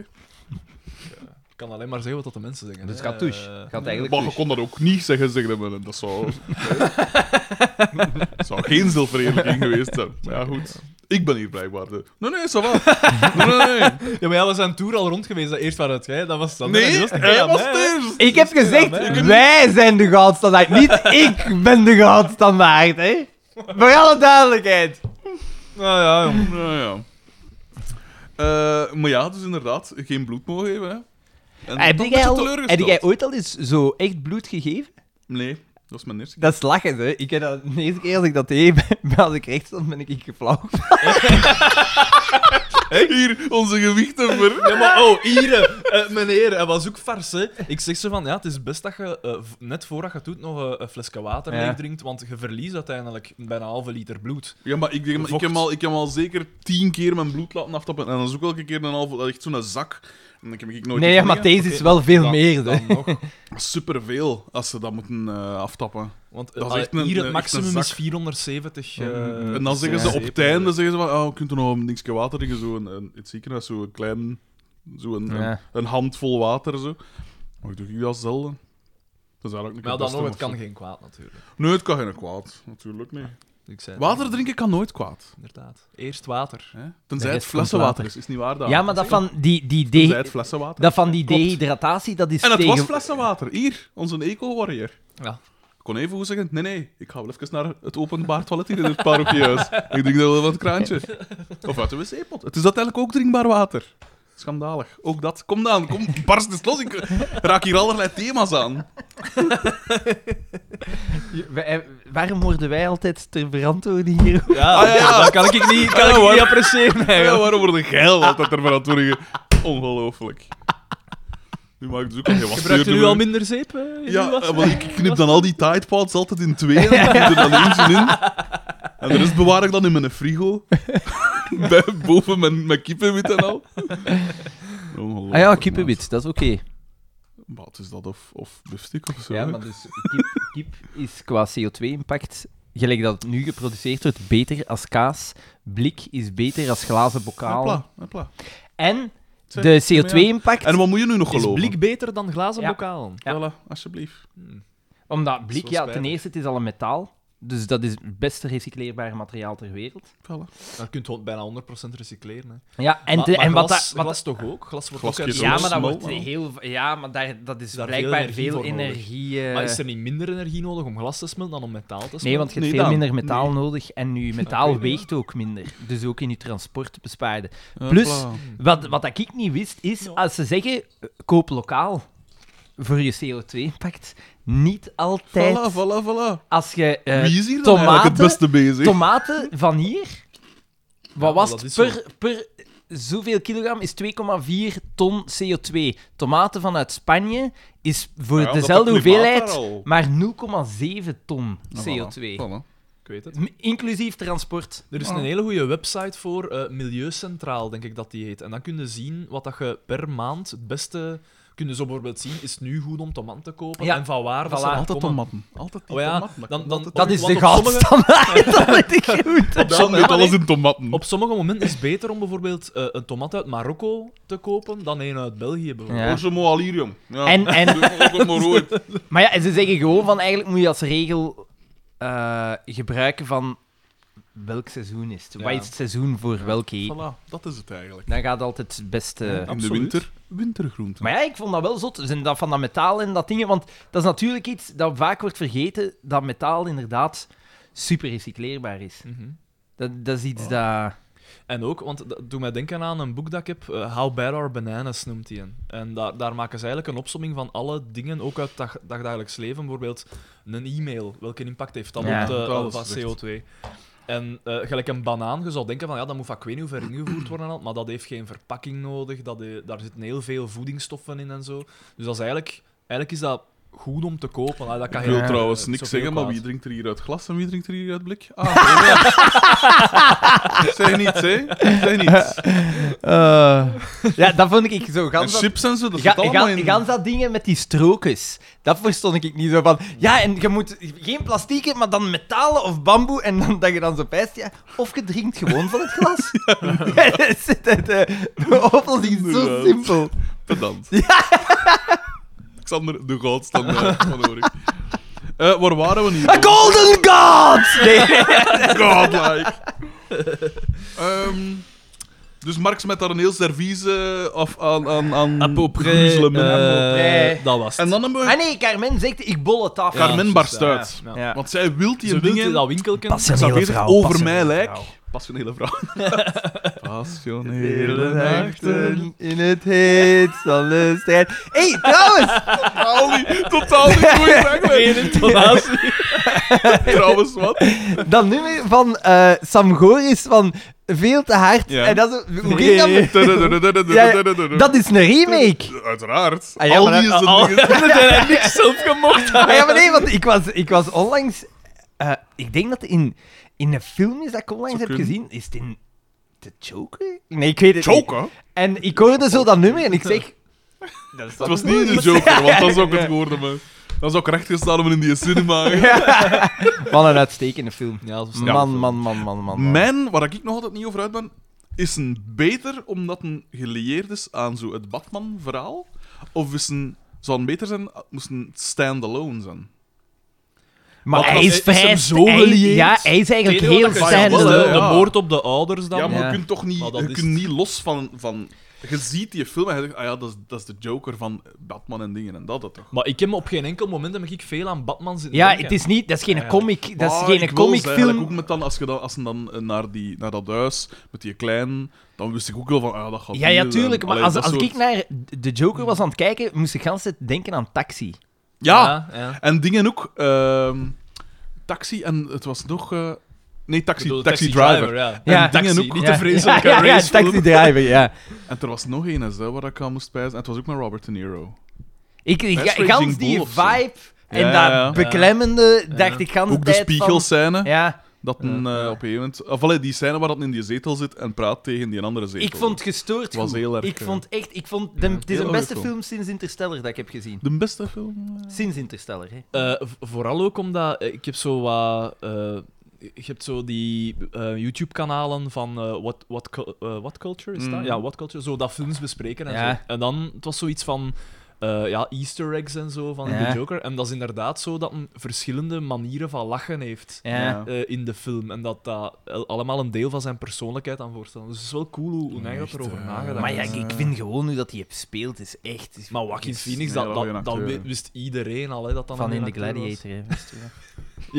Speaker 3: Ik kan alleen maar zeggen wat dat de mensen zeggen.
Speaker 2: Dus
Speaker 3: hè.
Speaker 2: gaat douche.
Speaker 3: Eh,
Speaker 2: Gaat eigenlijk
Speaker 1: Maar je
Speaker 2: douche.
Speaker 1: kon dat ook niet zeggen, zeg dat maar. Dat zou... dat [LAUGHS] zou geen
Speaker 3: [LAUGHS]
Speaker 1: zelfverheerlijking geweest zijn. Maar ja, goed. Ik ben hier blijkbaar de... Nee, nee, ça va. Nee, nee, nee.
Speaker 3: Ja, maar ja, we zijn tour al rond geweest. Dat eerst waren het jij, dat was dan.
Speaker 1: Nee, hij was eerst.
Speaker 2: Ik heb gezegd,
Speaker 3: Ja, maar-
Speaker 2: wij zijn de goudstandaard. Niet ik ben de goudstandaard, hè. Voor alle duidelijkheid.
Speaker 3: Nou ja, jong.
Speaker 1: Nou ja. Eh, maar ja, dus inderdaad, geen bloed mogen geven, hè. En toch
Speaker 2: Heb jij,
Speaker 1: een beetje
Speaker 2: al- heb
Speaker 1: teleurgesteld.
Speaker 2: jij ooit al eens zo echt bloed gegeven?
Speaker 1: Nee, dat was mijn eerste
Speaker 2: Dat is lachen, hè. Ik heb dat de eerste keer als ik dat deed, [LAUGHS] maar als ik recht stond, ben ik geflauwd.
Speaker 1: keer. Hier, onze gewichten ver.
Speaker 3: Ja, maar oh, hier, eh, meneer, hij was ook vars, hè. Ik zeg ze van, ja, het is best dat je eh, v- net voordat je het doet nog eh, een, een flesje water
Speaker 2: Ja.
Speaker 3: leeg drinkt, want je verliest uiteindelijk bijna een halve liter bloed.
Speaker 1: Ja, maar ik, denk, ik,
Speaker 3: Vocht.
Speaker 1: heb al, ik heb al zeker tien keer mijn bloed laten aftappen. En dan is ook elke keer een halve, echt zo'n zak. En ik heb ik nooit
Speaker 2: Nee, ja,
Speaker 1: iets
Speaker 2: maar
Speaker 1: liggen.
Speaker 2: deze is wel veel
Speaker 3: Dan-
Speaker 2: meer, hè.
Speaker 3: dan nog.
Speaker 1: Superveel als ze dat moeten eh, aftappen.
Speaker 3: Want
Speaker 1: Dat is
Speaker 3: eh,
Speaker 1: echt een-
Speaker 3: hier
Speaker 1: een-
Speaker 3: het
Speaker 1: echt
Speaker 3: maximum
Speaker 1: een
Speaker 3: is
Speaker 1: zak.
Speaker 3: 470.
Speaker 2: Mm,
Speaker 3: eh,
Speaker 1: en dan zeggen ze op het
Speaker 3: zeep, eh.
Speaker 1: einde, zeggen ze van, oh, kunt er nog een dingetje water drinken? Zo een, een, in het ziekenhuis, zo een klein, zo een,
Speaker 2: Ja.
Speaker 1: een, een handvol water. Zo. Maar ik doe dat zelden. Dat is eigenlijk niet
Speaker 3: Maar ja, dan nog, het kan
Speaker 1: geen...
Speaker 3: geen kwaad, natuurlijk.
Speaker 1: Nee, het kan geen kwaad. Natuurlijk niet.
Speaker 3: Ik zei het
Speaker 1: Water
Speaker 3: al,
Speaker 1: drinken kan nooit kwaad.
Speaker 3: Inderdaad. Eerst water.
Speaker 1: Hè? Tenzij
Speaker 2: De
Speaker 1: het
Speaker 2: rest komt
Speaker 1: flessenwater
Speaker 2: later.
Speaker 1: is. Is niet waar, dat.
Speaker 2: Ja, maar dat van die, die,
Speaker 1: Tenzij
Speaker 2: de,
Speaker 1: het flessenwater
Speaker 2: dat van die
Speaker 1: Klopt.
Speaker 2: dehydratatie, dat is
Speaker 1: En het was
Speaker 2: tegen...
Speaker 1: flessenwater. Hier, onze eco-warrior.
Speaker 3: Ja.
Speaker 1: Ik kon even goed zeggen, nee, nee, ik ga wel even naar het openbaar toilet hier in het parochiehuis. ik drink dat wel van het kraantje. Of uit de wc-pot. Het is uiteindelijk ook drinkbaar water. Schandalig. Ook dat. Kom dan, kom, barst eens los. Ik raak hier allerlei thema's aan.
Speaker 2: Wa-
Speaker 1: eh,
Speaker 2: Waarom worden wij altijd ter verantwoording hier?
Speaker 3: Ja,
Speaker 1: Ah, ja, ja.
Speaker 3: dat kan ik niet, kan
Speaker 1: Ja,
Speaker 3: ik
Speaker 1: Oh, hoor.
Speaker 3: niet appreciëren.
Speaker 1: Ja,
Speaker 3: eigenlijk.
Speaker 1: waarom worden geil altijd ter verantwoording? Ongelooflijk. Nu maak ik dus ook al geen
Speaker 3: Gebruikt u
Speaker 1: wasdeur
Speaker 3: nu al
Speaker 1: door.
Speaker 3: minder zeep? eh, in uw
Speaker 1: Ja,
Speaker 3: was?
Speaker 1: eh, want ik knip dan al die Tide Pods altijd in tweeën. Ik doe er dan eentje in. En de rest bewaar ik dan in mijn frigo. Bij- Boven mijn, mijn kippenwit en al. Ongelooflijk,
Speaker 2: Ah ja,
Speaker 1: maat.
Speaker 2: kippenwit, dat is oké.
Speaker 1: Wat is dat? Of, of biefstuk of zo?
Speaker 2: Ja,
Speaker 1: hè?
Speaker 2: maar dus kip, Kip is qua CO2-impact, gelijk dat het nu geproduceerd wordt, beter als kaas. Blik is beter als glazen bokaal.
Speaker 1: Hopla, hopla.
Speaker 2: En
Speaker 1: Zeg,
Speaker 2: de CO2-impact,
Speaker 1: En wat moet je nu nog
Speaker 3: Is
Speaker 1: geloven?
Speaker 3: blik beter dan glazen
Speaker 2: Ja.
Speaker 3: bokaal?
Speaker 2: Ja.
Speaker 1: Voilà, alsjeblieft.
Speaker 2: omdat blik,
Speaker 3: Zo
Speaker 2: ja, ten
Speaker 3: spijtig.
Speaker 2: eerste, het is al een metaal. Dus dat is het beste recycleerbare materiaal ter wereld.
Speaker 1: Voilà.
Speaker 3: Dan kun je het bijna 100% recycleren. Hè.
Speaker 2: Ja, en,
Speaker 3: Maar-
Speaker 2: te-
Speaker 3: maar
Speaker 2: en wat,
Speaker 3: glas,
Speaker 2: dat- wat
Speaker 3: glas toch ook? Glas wordt
Speaker 1: Glas
Speaker 3: ook uit
Speaker 1: kies
Speaker 2: Ja,
Speaker 1: Zo'n
Speaker 2: maar dat
Speaker 1: smal,
Speaker 2: wordt
Speaker 1: man.
Speaker 2: heel... Ja, maar daar, dat is
Speaker 3: Daar veel
Speaker 2: blijkbaar
Speaker 3: energie
Speaker 2: veel
Speaker 3: voor nodig.
Speaker 2: energie... eh,
Speaker 3: Maar is er niet minder energie nodig om glas te smelten dan om metaal te smelten?
Speaker 2: Nee, want je hebt
Speaker 1: Nee,
Speaker 2: veel
Speaker 1: dan.
Speaker 2: minder metaal
Speaker 1: Nee.
Speaker 2: nodig en je
Speaker 3: ik
Speaker 2: metaal
Speaker 3: weet
Speaker 2: weegt ook minder. Dus ook in je transport bespaarde. Plus-
Speaker 1: Hopla.
Speaker 2: Wat, wat dat ik niet wist, is
Speaker 3: Ja.
Speaker 2: als ze zeggen, eh, koop lokaal voor je CO2-impact, niet altijd
Speaker 1: Voilà, voilà, voilà.
Speaker 2: als je eh,
Speaker 1: Wie is hier dan eigenlijk het
Speaker 2: tomaten-
Speaker 1: beste bezig?
Speaker 2: tomaten van hier, wat
Speaker 3: Ja,
Speaker 2: was
Speaker 3: dat
Speaker 2: het
Speaker 3: is
Speaker 2: per, per zoveel kilogram, is 2,4 ton CO2. Tomaten vanuit Spanje is voor
Speaker 1: Ja, omdat
Speaker 2: dezelfde
Speaker 1: dat klimaat
Speaker 2: hoeveelheid
Speaker 1: daar al-
Speaker 2: maar 0,7 ton
Speaker 1: Nou, voilà,
Speaker 2: CO2.
Speaker 1: voilà.
Speaker 3: Ik weet het.
Speaker 2: M- Inclusief transport.
Speaker 3: Er is
Speaker 1: Ah.
Speaker 3: een hele goede website voor, eh, Milieucentraal, denk ik dat die heet. En dan kun je zien wat dat je per maand het beste... Kun je zo bijvoorbeeld zien, is het nu goed om tomaten te kopen?
Speaker 2: Ja.
Speaker 3: En van waar dat
Speaker 2: Voilà.
Speaker 3: ze dan
Speaker 1: Altijd
Speaker 3: komen.
Speaker 1: tomaten. Altijd die
Speaker 3: Oh ja,
Speaker 1: tomaten.
Speaker 3: dan-
Speaker 1: komt
Speaker 3: dan-
Speaker 1: altijd
Speaker 2: Dat
Speaker 3: Op-
Speaker 2: is de
Speaker 3: want op sommige-
Speaker 2: gasstandaard, [LAUGHS] dat weet ik goed.
Speaker 1: Op zand met
Speaker 3: Ja, maar
Speaker 1: alles
Speaker 3: nee.
Speaker 1: in tomaten.
Speaker 3: Op sommige momenten is het beter om bijvoorbeeld eh, een tomat uit Marokko te kopen dan een uit België bijvoorbeeld.
Speaker 2: Ja.
Speaker 1: Orzo Moalirium. Ja.
Speaker 2: En, en,
Speaker 1: [LAUGHS] Doe ook het maar ooit.
Speaker 2: maar ja, en ze zeggen gewoon van, eigenlijk moet je als regel eh, gebruiken van welk seizoen is het?
Speaker 3: Ja.
Speaker 2: Wat is het seizoen voor welke eten?
Speaker 1: Voilà, dat is het eigenlijk.
Speaker 2: Dan gaat altijd het beste...
Speaker 3: Ja.
Speaker 1: In de
Speaker 3: absoluut.
Speaker 1: winter, wintergroenten.
Speaker 2: Maar ja, ik vond dat wel zot. Zijn dat van dat metaal en dat dingen. Want dat is natuurlijk iets dat vaak wordt vergeten: dat metaal inderdaad super recycleerbaar is.
Speaker 3: Mhm.
Speaker 2: Dat, dat is iets
Speaker 1: Oh. [LAUGHS]
Speaker 2: dat.
Speaker 3: En ook, want dat doet mij denken aan een boek dat ik heb, eh, How Bad Are Bananas noemt hij. En daar, daar maken ze eigenlijk een opsomming van alle dingen, ook uit dag, dagdagelijks leven. Bijvoorbeeld een e-mail, welke impact heeft dat
Speaker 2: Ja,
Speaker 3: op de
Speaker 1: dat alles
Speaker 3: op dat
Speaker 1: zegt.
Speaker 3: CO2? En eh, gelijk een banaan, je zou denken van ja, dat moet van ik weet niet hoe ver ingevoerd worden, en al, maar dat heeft geen verpakking nodig, dat, eh, daar zitten heel veel voedingsstoffen in en zo. Dus dat is eigenlijk, eigenlijk is dat goed om te kopen. hè. Dat kan
Speaker 1: Ik
Speaker 3: je
Speaker 1: wil
Speaker 2: Ja,
Speaker 1: trouwens
Speaker 3: zoveel
Speaker 1: niks zeggen, maar
Speaker 3: kwaad.
Speaker 1: wie drinkt er hier uit glas en wie drinkt er hier uit blik? Ah,
Speaker 2: [LAUGHS]
Speaker 1: ja. Zeg niets, hè? Zeg niets.
Speaker 2: ja, dat vond ik zo.
Speaker 1: En
Speaker 2: Gans dat,
Speaker 1: chips en zo, dat
Speaker 2: ga,
Speaker 1: zit allemaal
Speaker 2: ga-
Speaker 1: in.
Speaker 2: gans dat dingen met die strookjes. Dat verstond ik niet zo van. Ja, en je moet geen plastieken, maar dan metalen of bamboe. En dan, dat je dan zo pijst. Ja, of je drinkt gewoon van het
Speaker 1: [LAUGHS]
Speaker 2: glas. Ja, dat is het, eh, de oplossing is zo
Speaker 1: Inderdaad.
Speaker 2: simpel. [LAUGHS]
Speaker 1: Pedant. Alexander, de goudstandaard van Orik. Eh, waar waren we nu?
Speaker 2: A golden
Speaker 1: [LAUGHS]
Speaker 2: god! Nee.
Speaker 1: Godlike. Ehm, dus Marx met daar een heel servies eh, af aan... aan, aan roezelen met hem.
Speaker 2: eh,
Speaker 3: dat was het.
Speaker 1: En dan hebben we...
Speaker 2: Ah nee, Carmen zegt ik bol het af.
Speaker 1: Ja, Carmen
Speaker 3: dus,
Speaker 1: barst
Speaker 3: eh,
Speaker 1: uit.
Speaker 3: ja.
Speaker 2: Ja.
Speaker 1: Want zij wil die
Speaker 3: Ze wilde
Speaker 1: dingen...
Speaker 3: dat winkelken.
Speaker 1: Ik zat bezig over mij lijk.
Speaker 2: vrouw.
Speaker 1: Passionele vrouw. [LAUGHS] Passionele nachten.
Speaker 2: in het heet van de strijd. Hé, hey, trouwens!
Speaker 1: Totaal niet, totaal niet goeie [LAUGHS]
Speaker 3: Geen
Speaker 1: segment.
Speaker 3: intonatie.
Speaker 1: Trouwens, wat?
Speaker 2: Dat nummer van eh, Sam Goris van Veel te hard.
Speaker 1: Ja.
Speaker 2: En dat, is- hoe ging dat? met- Dat is een remake.
Speaker 1: Uiteraard.
Speaker 2: Ah, ja,
Speaker 1: Al
Speaker 2: maar dat-
Speaker 1: die is
Speaker 3: al-
Speaker 1: een [LAUGHS] ding.
Speaker 3: Dat hij niks zelf gemocht had.
Speaker 2: Ah, ja, maar nee, want ik was, ik was onlangs... eh, ik denk dat in, in een film is dat ik onlangs
Speaker 1: Zou
Speaker 2: heb
Speaker 1: kunnen.
Speaker 2: gezien. Is het in... De Joker? Nee, ik weet het niet.
Speaker 1: Joker?
Speaker 2: En ik hoorde zo dat nummer en ik zeg... Dat is
Speaker 1: Het was niet de Joker, want dan zou ik het horen, maar... Dan zou ik rechtgestaan hebben in die cinema. [LAUGHS]
Speaker 2: Wat een uitstekende film.
Speaker 3: Ja, dat was
Speaker 1: Ja.
Speaker 2: Man, man, man, man, man, man.
Speaker 1: Mijn, waar ik nog altijd niet over uit ben, is een beter omdat een gelieerd is aan zo het Batman-verhaal? Of is een, zou een beter zijn, moest een stand-alone zijn?
Speaker 2: Maar
Speaker 3: Wat
Speaker 2: hij
Speaker 3: was-
Speaker 2: is
Speaker 3: is hem
Speaker 2: vrij...
Speaker 3: zo
Speaker 2: hij-
Speaker 3: gelieerd?
Speaker 2: Ja, hij is eigenlijk
Speaker 3: Tegen
Speaker 2: heel
Speaker 3: wat dat je
Speaker 1: stand-alone.
Speaker 2: stand
Speaker 1: wel, hè.
Speaker 3: zegt, de,
Speaker 2: alone
Speaker 1: Ja.
Speaker 3: de moord op de ouders dan.
Speaker 1: Ja, maar
Speaker 2: Ja.
Speaker 1: je kunt toch niet,
Speaker 3: Maar dat
Speaker 1: je
Speaker 3: is
Speaker 1: kunt
Speaker 3: het.
Speaker 1: niet los van, van... Je ziet die film en je denkt, ah ja, dat is, dat is de Joker van Batman en dingen en dat, dat toch.
Speaker 3: Maar ik heb me op geen enkel moment heb ik veel aan Batman zitten
Speaker 2: Ja,
Speaker 3: denken.
Speaker 2: het is niet... Dat is geen comic... Dat
Speaker 1: Ah,
Speaker 2: is
Speaker 1: ik
Speaker 2: geen
Speaker 1: wil ze eigenlijk
Speaker 2: comicfilm.
Speaker 1: Ook met dan, als, je dan, als ze dan eh, naar, die, naar dat huis met die klein, dan wist ik ook wel van, ah, dat gaat
Speaker 2: Ja, ja,
Speaker 1: hier zijn.
Speaker 2: tuurlijk. Maar
Speaker 1: Allee,
Speaker 2: als,
Speaker 1: dat
Speaker 2: als
Speaker 1: soort-
Speaker 2: ik naar de Joker was aan het kijken, moest ik gans denken aan Taxi.
Speaker 1: ja,
Speaker 3: ja.
Speaker 1: En dingen ook. ehm, taxi en het was nog. eh, nee, taxi,
Speaker 3: Ik bedoel,
Speaker 1: taxi, driver.
Speaker 3: ja.
Speaker 2: Ja.
Speaker 1: En dingen
Speaker 3: Taxi,
Speaker 1: ook.
Speaker 3: niet
Speaker 2: Ja.
Speaker 3: te
Speaker 2: [LAUGHS]
Speaker 3: vreselijke
Speaker 2: Ja, ja,
Speaker 3: race
Speaker 2: Taxi Driver,
Speaker 1: [LAUGHS]
Speaker 2: ja.
Speaker 1: En er was nog één hè, waar ik aan moest pijzen. En het was ook met Robert De Niro.
Speaker 2: Ik, ik,
Speaker 1: Raging
Speaker 2: gans die
Speaker 1: Bull of zo.
Speaker 2: vibe en
Speaker 1: Ja, ja, ja.
Speaker 2: dat beklemmende dacht ik gans
Speaker 1: Ook de
Speaker 2: tijd van-
Speaker 1: spiegelscène.
Speaker 2: Ja.
Speaker 1: Dat een, eh, op een gegeven moment... Of allee, die scène waar dat in die zetel zit en praat tegen die andere zetel.
Speaker 2: Ik vond het gestoord
Speaker 1: Was
Speaker 2: goed.
Speaker 1: heel erg,
Speaker 2: ik
Speaker 1: eh,
Speaker 2: vond echt... Ik vond, de, het is
Speaker 1: heel
Speaker 2: een
Speaker 1: erg
Speaker 2: beste
Speaker 1: cool.
Speaker 2: film sinds Interstellar dat ik heb gezien.
Speaker 1: De beste film? eh?
Speaker 2: Sinds Interstellar, hè.
Speaker 3: Eh, v- vooral ook omdat eh, ik heb zo wat. eh, je hebt zo die eh, YouTube-kanalen van eh, what, what, Cul- eh, what Culture is dat?
Speaker 1: Mm.
Speaker 3: Ja, What Culture. Zo dat films bespreken en
Speaker 2: Ja.
Speaker 3: zo. En dan, het was zoiets van. eh, ja, Easter eggs en zo van
Speaker 2: Ja.
Speaker 3: de Joker. En dat is inderdaad zo dat een verschillende manieren van lachen heeft
Speaker 2: Ja.
Speaker 1: Ja.
Speaker 3: eh, in de film. En dat dat el- allemaal een deel van zijn persoonlijkheid aan voorstelt. Dus het is wel cool hoe, hoe hij dat
Speaker 1: Echt,
Speaker 3: erover
Speaker 1: eh,
Speaker 3: nagedacht
Speaker 2: Maar
Speaker 3: heeft.
Speaker 2: ja, ik- ik vind gewoon hoe dat hij heeft speelt is echt... Is
Speaker 3: Maar Joaquin
Speaker 2: is-
Speaker 3: Phoenix,
Speaker 1: Nee, wel
Speaker 3: dat, dat,
Speaker 1: een
Speaker 3: dat
Speaker 1: acteur,
Speaker 3: wi-
Speaker 1: hè.
Speaker 3: wist iedereen al. Hè, dat dat
Speaker 2: Van
Speaker 3: een
Speaker 2: in de
Speaker 3: acteur was.
Speaker 2: Gladiator, hè. wist je wel.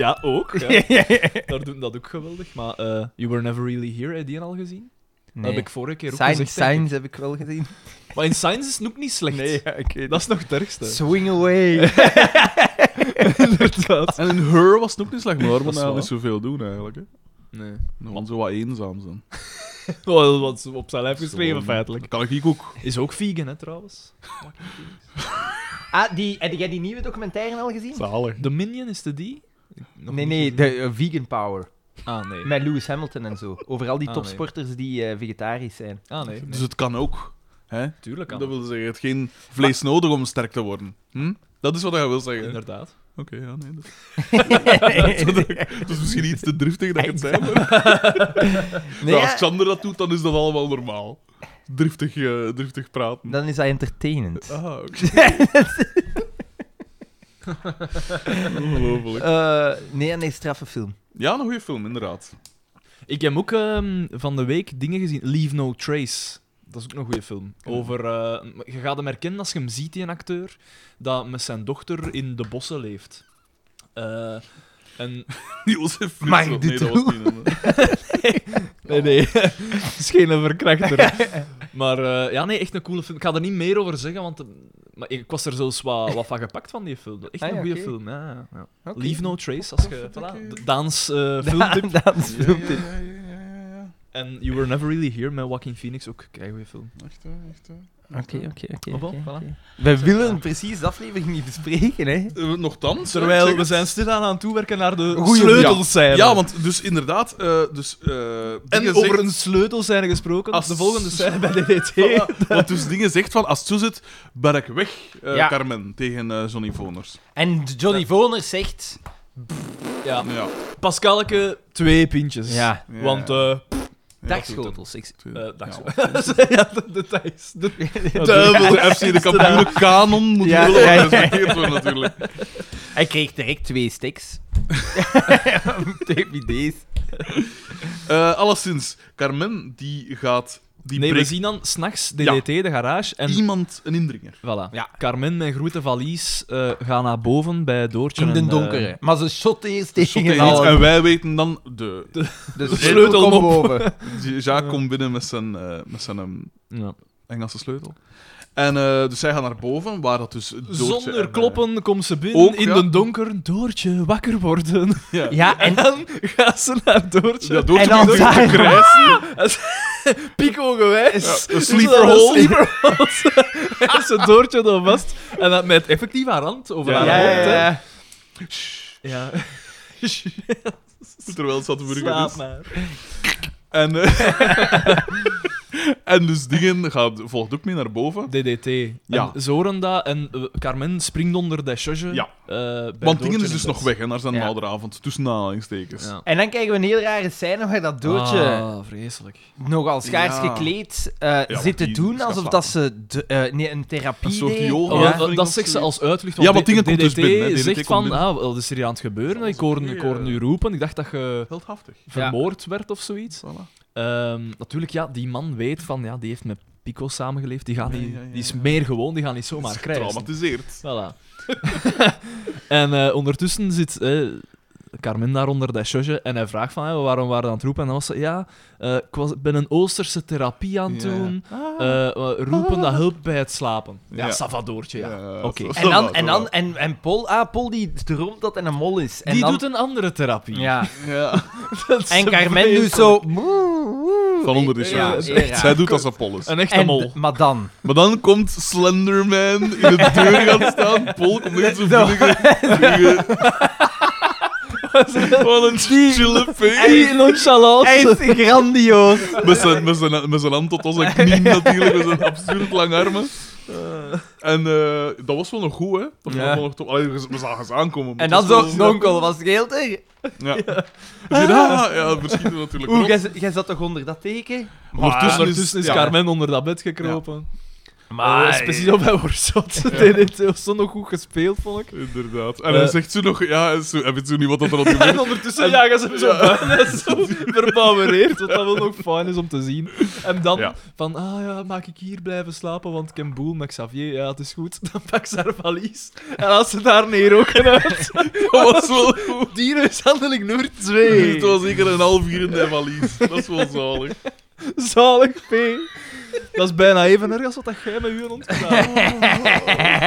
Speaker 3: Ja, ook.
Speaker 2: [LAUGHS]
Speaker 3: Ja. Daar doen dat ook geweldig. Maar eh, You Were Never Really Here, heb je die al gezien? Dat
Speaker 2: Nee.
Speaker 3: heb ik vorige keer ook
Speaker 2: Signs,
Speaker 3: gezegd. denk
Speaker 2: signs heb ik wel
Speaker 3: [LAUGHS]
Speaker 2: gezien.
Speaker 3: ik. Maar in Signs is het ook niet slecht. Dat is nog het ergste.
Speaker 2: Swing away.
Speaker 1: [LAUGHS]
Speaker 3: Inderdaad.
Speaker 1: En in Her was het ook niet slecht,
Speaker 3: [LAUGHS]
Speaker 1: maar daar
Speaker 3: Dat
Speaker 1: moet
Speaker 3: is
Speaker 1: nou
Speaker 3: waar.
Speaker 1: niet zoveel doen eigenlijk. Hè.
Speaker 3: Nee.
Speaker 1: Want zo wat eenzaam zijn.
Speaker 3: Wel, wat ze op zijn lijf geschreven,
Speaker 1: Gewoon-
Speaker 3: feitelijk.
Speaker 1: Dat kan ik ook.
Speaker 3: Is ook vegan, hè, trouwens.
Speaker 2: [LAUGHS] Ah, die, heb jij die nieuwe documentaire al gezien?
Speaker 1: Zalig.
Speaker 3: The Minion, is de die? Nog
Speaker 2: nee,
Speaker 3: niet
Speaker 2: nee,
Speaker 3: gezien.
Speaker 2: de eh, Vegan Power.
Speaker 3: Ah, nee.
Speaker 2: Met Lewis Hamilton en zo. Over al die
Speaker 3: Ah, nee.
Speaker 2: topsporters die eh, vegetarisch
Speaker 3: [LAUGHS]
Speaker 2: zijn.
Speaker 3: Ah, nee.
Speaker 1: Dus
Speaker 3: nee.
Speaker 1: het kan ook. Hè?
Speaker 3: Tuurlijk kan
Speaker 1: Dat
Speaker 3: het.
Speaker 1: wil zeggen, het geen vlees nodig om sterk te worden. Hm? Dat is wat hij wil zeggen. Oké,
Speaker 3: Inderdaad.
Speaker 1: ja, nee. Dat... dat is misschien iets te driftig dat ik het zei, maar
Speaker 2: [LAUGHS] Nee,
Speaker 1: maar als
Speaker 2: ja,
Speaker 1: Xander dat doet, dan is dat allemaal normaal. Driftig, eh, driftig praten.
Speaker 2: dan is dat entertainend.
Speaker 3: Oh,
Speaker 1: Ah, oké.
Speaker 2: [LAUGHS]
Speaker 1: Ongelooflijk.
Speaker 2: Eh, nee, nee, straffe film.
Speaker 1: Ja, een goede film, inderdaad.
Speaker 3: Ik heb ook ehm, van de week dingen gezien. Leave No Trace. Dat is ook een goede film.
Speaker 2: Hm.
Speaker 3: Over, eh, je gaat hem herkennen als je hem ziet, die acteur, dat met zijn dochter in de bossen leeft. Eh,
Speaker 2: [LAUGHS]
Speaker 3: en...
Speaker 1: Jozef Fritzel.
Speaker 2: Mag ik dit
Speaker 1: nee, dat was
Speaker 2: doen?
Speaker 1: niet eh, hem, hè.
Speaker 2: [LAUGHS]
Speaker 3: Nee, nee. [LAUGHS] Het is geen verkrachter. maar eh, ja, nee, echt een coole film. Ik ga er niet meer over zeggen, want eh, maar ik was er zelfs wat, wat van gepakt van die film. Echt
Speaker 2: Ah,
Speaker 3: een
Speaker 2: ja,
Speaker 3: goede
Speaker 2: oké.
Speaker 3: film. Ja, ja, ja.
Speaker 2: Oké.
Speaker 3: Leave No Trace, als je...
Speaker 1: oké.
Speaker 3: Voilà, D- Daans
Speaker 2: [LAUGHS]
Speaker 3: eh,
Speaker 2: Daan-
Speaker 3: filmtip.
Speaker 2: Daans
Speaker 1: Ja,
Speaker 2: filmtip.
Speaker 1: ja, ja, ja, ja, ja.
Speaker 3: En You Were Never Really Here met Joaquin Phoenix. Ook een goede film.
Speaker 1: Echt, hè, echt. hè.
Speaker 2: Oké, oké, oké,
Speaker 3: Op, op,
Speaker 2: oké.
Speaker 3: voilà.
Speaker 2: oké. We willen precies de aflevering niet bespreken, hè.
Speaker 1: Eh, Nochtans, hè,
Speaker 3: Terwijl
Speaker 1: zeg
Speaker 3: we
Speaker 1: het.
Speaker 3: zijn stilaan aan het toewerken naar de
Speaker 2: Goeie-
Speaker 3: sleutels zijn.
Speaker 1: Ja, want dus inderdaad, eh, dus, eh,
Speaker 3: En
Speaker 1: dingen
Speaker 3: over
Speaker 1: zegt-
Speaker 3: een sleutel zijn gesproken.
Speaker 1: Als-
Speaker 3: Als de volgende scène bij
Speaker 1: [LAUGHS]
Speaker 3: DDT.
Speaker 1: Voilà. Want dus dingen zegt van, als het zo zit, ben ik weg, eh,
Speaker 2: Ja.
Speaker 1: Carmen, tegen eh, Johnny Voners.
Speaker 2: En Johnny Voner zegt...
Speaker 3: Ja.
Speaker 1: Ja.
Speaker 3: Pascalke, twee pintjes.
Speaker 2: Ja.
Speaker 1: Ja.
Speaker 3: Want, eh
Speaker 2: Dagschotels. [LAUGHS] Ik-
Speaker 1: Ja,
Speaker 3: eh, dag zo.
Speaker 1: Ja.
Speaker 3: ja, de, de Thijs. De,
Speaker 1: [LAUGHS] Duivel, de FC, de kampioen kanon moet
Speaker 2: Ja,
Speaker 1: wel
Speaker 2: ja, ja.
Speaker 1: [LAUGHS] gerespecteerd worden natuurlijk.
Speaker 2: Hij kreeg direct twee sticks. Twee idee's.
Speaker 1: Eh alleszins, Carmen, die gaat... Die
Speaker 3: nee, we
Speaker 1: breekt
Speaker 3: zien dan s'nachts DDT, de garage. En
Speaker 1: iemand een indringer.
Speaker 3: voilà.
Speaker 2: Ja.
Speaker 3: Carmen met grote valies eh gaan naar boven bij Doortje.
Speaker 2: In
Speaker 3: en,
Speaker 2: de
Speaker 3: eh,
Speaker 2: donkere. Maar ze shot eerst tegen
Speaker 1: Tegen iets.
Speaker 2: allen.
Speaker 1: En wij weten dan, de,
Speaker 2: Dus
Speaker 1: de
Speaker 2: de
Speaker 1: sleutel
Speaker 2: sleutel
Speaker 1: op.
Speaker 2: komt boven.
Speaker 1: Jacques komt binnen met zijn, eh, met zijn ehm,
Speaker 3: ja.
Speaker 1: Engelse sleutel. En eh, dus zij gaan naar boven, waar dat dus Doortje en,
Speaker 3: Zonder
Speaker 1: eh,
Speaker 3: kloppen komt ze binnen
Speaker 1: ook,
Speaker 3: in
Speaker 1: ja.
Speaker 3: de donker. Doortje, wakker worden.
Speaker 2: [LAUGHS]
Speaker 3: [LAUGHS]
Speaker 2: Ja, en...
Speaker 3: En dan gaan ze naar Doortje.
Speaker 1: Ja, Doortje
Speaker 2: En dan
Speaker 1: begint
Speaker 2: daar-
Speaker 1: te
Speaker 3: [LAUGHS]
Speaker 1: krijsen.
Speaker 3: Ah! Pico gewijs.
Speaker 1: Ja, een sleeper hole. [LAUGHS]
Speaker 3: En ze Doortje dan vast. En dat met effectief haar hand over
Speaker 1: Ja,
Speaker 3: haar
Speaker 1: ja,
Speaker 3: hand.
Speaker 1: ja,
Speaker 3: hè.
Speaker 1: ja.
Speaker 3: Ja.
Speaker 1: Terwijl het zat burger
Speaker 3: Slaap
Speaker 1: is.
Speaker 3: maar.
Speaker 1: En, eh, [LAUGHS] en dus dingen gaat, volgt ook mee naar boven.
Speaker 3: DDT.
Speaker 1: Ja.
Speaker 3: En Zorenda en eh, Carmen springt onder de charge.
Speaker 1: Ja.
Speaker 3: eh, bij
Speaker 1: Want dingen
Speaker 3: Doortje
Speaker 1: is dus
Speaker 3: in
Speaker 1: nog
Speaker 3: bed.
Speaker 1: weg, hè, naar zijn
Speaker 2: Ja.
Speaker 1: oudere avond. Tussen aanhalingstekens.
Speaker 3: Ja.
Speaker 2: En dan krijgen we een heel rare scène waar dat doodje
Speaker 3: Ah, vreselijk.
Speaker 2: nogal schaars
Speaker 1: Ja.
Speaker 2: gekleed eh
Speaker 1: want
Speaker 2: zit te
Speaker 1: die
Speaker 2: doen
Speaker 1: is gaan
Speaker 2: alsof
Speaker 1: slapen.
Speaker 2: dat ze de- eh, nee, een therapie
Speaker 1: Een soort
Speaker 2: deed.
Speaker 1: yoga.
Speaker 3: Oh,
Speaker 2: Ja.
Speaker 1: Ja.
Speaker 3: dat- dat zegt ze als uitleg. Want
Speaker 1: Ja, want dingen
Speaker 3: DDT
Speaker 1: komt dus binnen, hè. DDT
Speaker 3: zegt
Speaker 1: komt
Speaker 3: van,
Speaker 1: binnen.
Speaker 3: ah, wat is er hier aan het gebeuren? Ik hoorde, ik hoorde u
Speaker 1: eh.
Speaker 3: roepen. Ik dacht dat je
Speaker 1: Heldhaftig.
Speaker 3: vermoord werd of zoiets.
Speaker 1: Voilà.
Speaker 3: Ehm, natuurlijk, ja, die man weet van, ja, die heeft met Pico samengeleefd. Die, gaat
Speaker 1: Ja,
Speaker 3: niet,
Speaker 1: ja, ja,
Speaker 3: die is
Speaker 1: ja.
Speaker 3: meer gewoon, die gaat niet zomaar krijgen.
Speaker 1: Getraumatiseerd.
Speaker 3: Voilà. [LAUGHS] en eh, ondertussen zit eh, Carmen daar onder de charge en hij vraagt van, eh, waarom waren we aan het roepen? En dan was ze, ja, eh, ik was, ben een Oosterse therapie aan het
Speaker 1: Ja. Ah.
Speaker 3: doen. Eh, eh, roepen dat hulp bij het slapen. Ja,
Speaker 1: Ja.
Speaker 3: Savadoortje, ja.
Speaker 1: Ja,
Speaker 3: Oké.
Speaker 1: zo- zo
Speaker 2: En dan,
Speaker 1: wat,
Speaker 2: en,
Speaker 1: zo
Speaker 2: dan,
Speaker 1: wat.
Speaker 2: en, en Paul, ah, Paul die droomt dat hij een mol is. En
Speaker 3: Die
Speaker 2: dan,
Speaker 3: doet een andere therapie.
Speaker 2: ja.
Speaker 1: [LAUGHS] Ja.
Speaker 3: Dat is
Speaker 2: En Carmen
Speaker 3: vreselijk.
Speaker 2: doet zo... woe, woe.
Speaker 1: Van onder de
Speaker 2: Ja,
Speaker 1: charge.
Speaker 2: heel raar.
Speaker 1: Zij doet als Apollos.
Speaker 3: Een echte
Speaker 2: En-
Speaker 3: mol.
Speaker 2: Maar dan...
Speaker 1: Maar dan komt Slenderman
Speaker 2: [LAUGHS]
Speaker 1: in de deur gaan staan. Paul komt in zijn binnen. Wat een chille
Speaker 3: Die
Speaker 1: pees.
Speaker 3: nonchalant.
Speaker 2: Hij is grandioos.
Speaker 1: Met zijn, met, zijn, met zijn hand tot als een knie natuurlijk, met zijn absurd lange armen. En eh, dat was wel nog goed, hè? Dat
Speaker 2: Ja.
Speaker 1: was wel nog top. Allee, we we zagen ze aankomen. maar
Speaker 2: En
Speaker 1: het
Speaker 2: dan
Speaker 1: was
Speaker 2: zo,
Speaker 1: wel-
Speaker 2: Nonkel, wat scheelt er?
Speaker 1: Ja. [LAUGHS] Ja, ja, dat verschiet er natuurlijk
Speaker 2: Oeh,
Speaker 1: rond.
Speaker 2: jij- jij zat toch onder dat teken?
Speaker 1: Ondertussen
Speaker 3: Ah, Ondertussen, is
Speaker 1: ja.
Speaker 3: Carmen onder dat bed gekropen.
Speaker 2: Maar...
Speaker 3: Eh, speciaal bij Worshot. [LAUGHS] Die heeft zo nog goed gespeeld, vond ik.
Speaker 1: Inderdaad. En hij
Speaker 3: Eh.
Speaker 1: zegt zo nog... Ja, zo, hij weet zo niet wat dat er al gebeurt.
Speaker 3: En ondertussen jagen ze hem zo buiten, zo [LAUGHS] verbouwereerd, wat dat wel nog fijn is om te zien. En dan
Speaker 1: Ja.
Speaker 3: van, ah ja, maak ik hier blijven slapen, want ik heb boel met Xavier, ja, het is goed. [LAUGHS] Dan pak ze haar valies en laat ze daar neer ook uit.
Speaker 1: Dat was wel goed.
Speaker 3: [LAUGHS] Dierenmishandeling nummer
Speaker 1: [LAUGHS] Het
Speaker 3: 2.
Speaker 1: was zeker een half uur in de valies. Dat is wel zalig.
Speaker 3: Zalig, P. Dat is bijna even erg als wat dat jij met je hond gedaan hebt.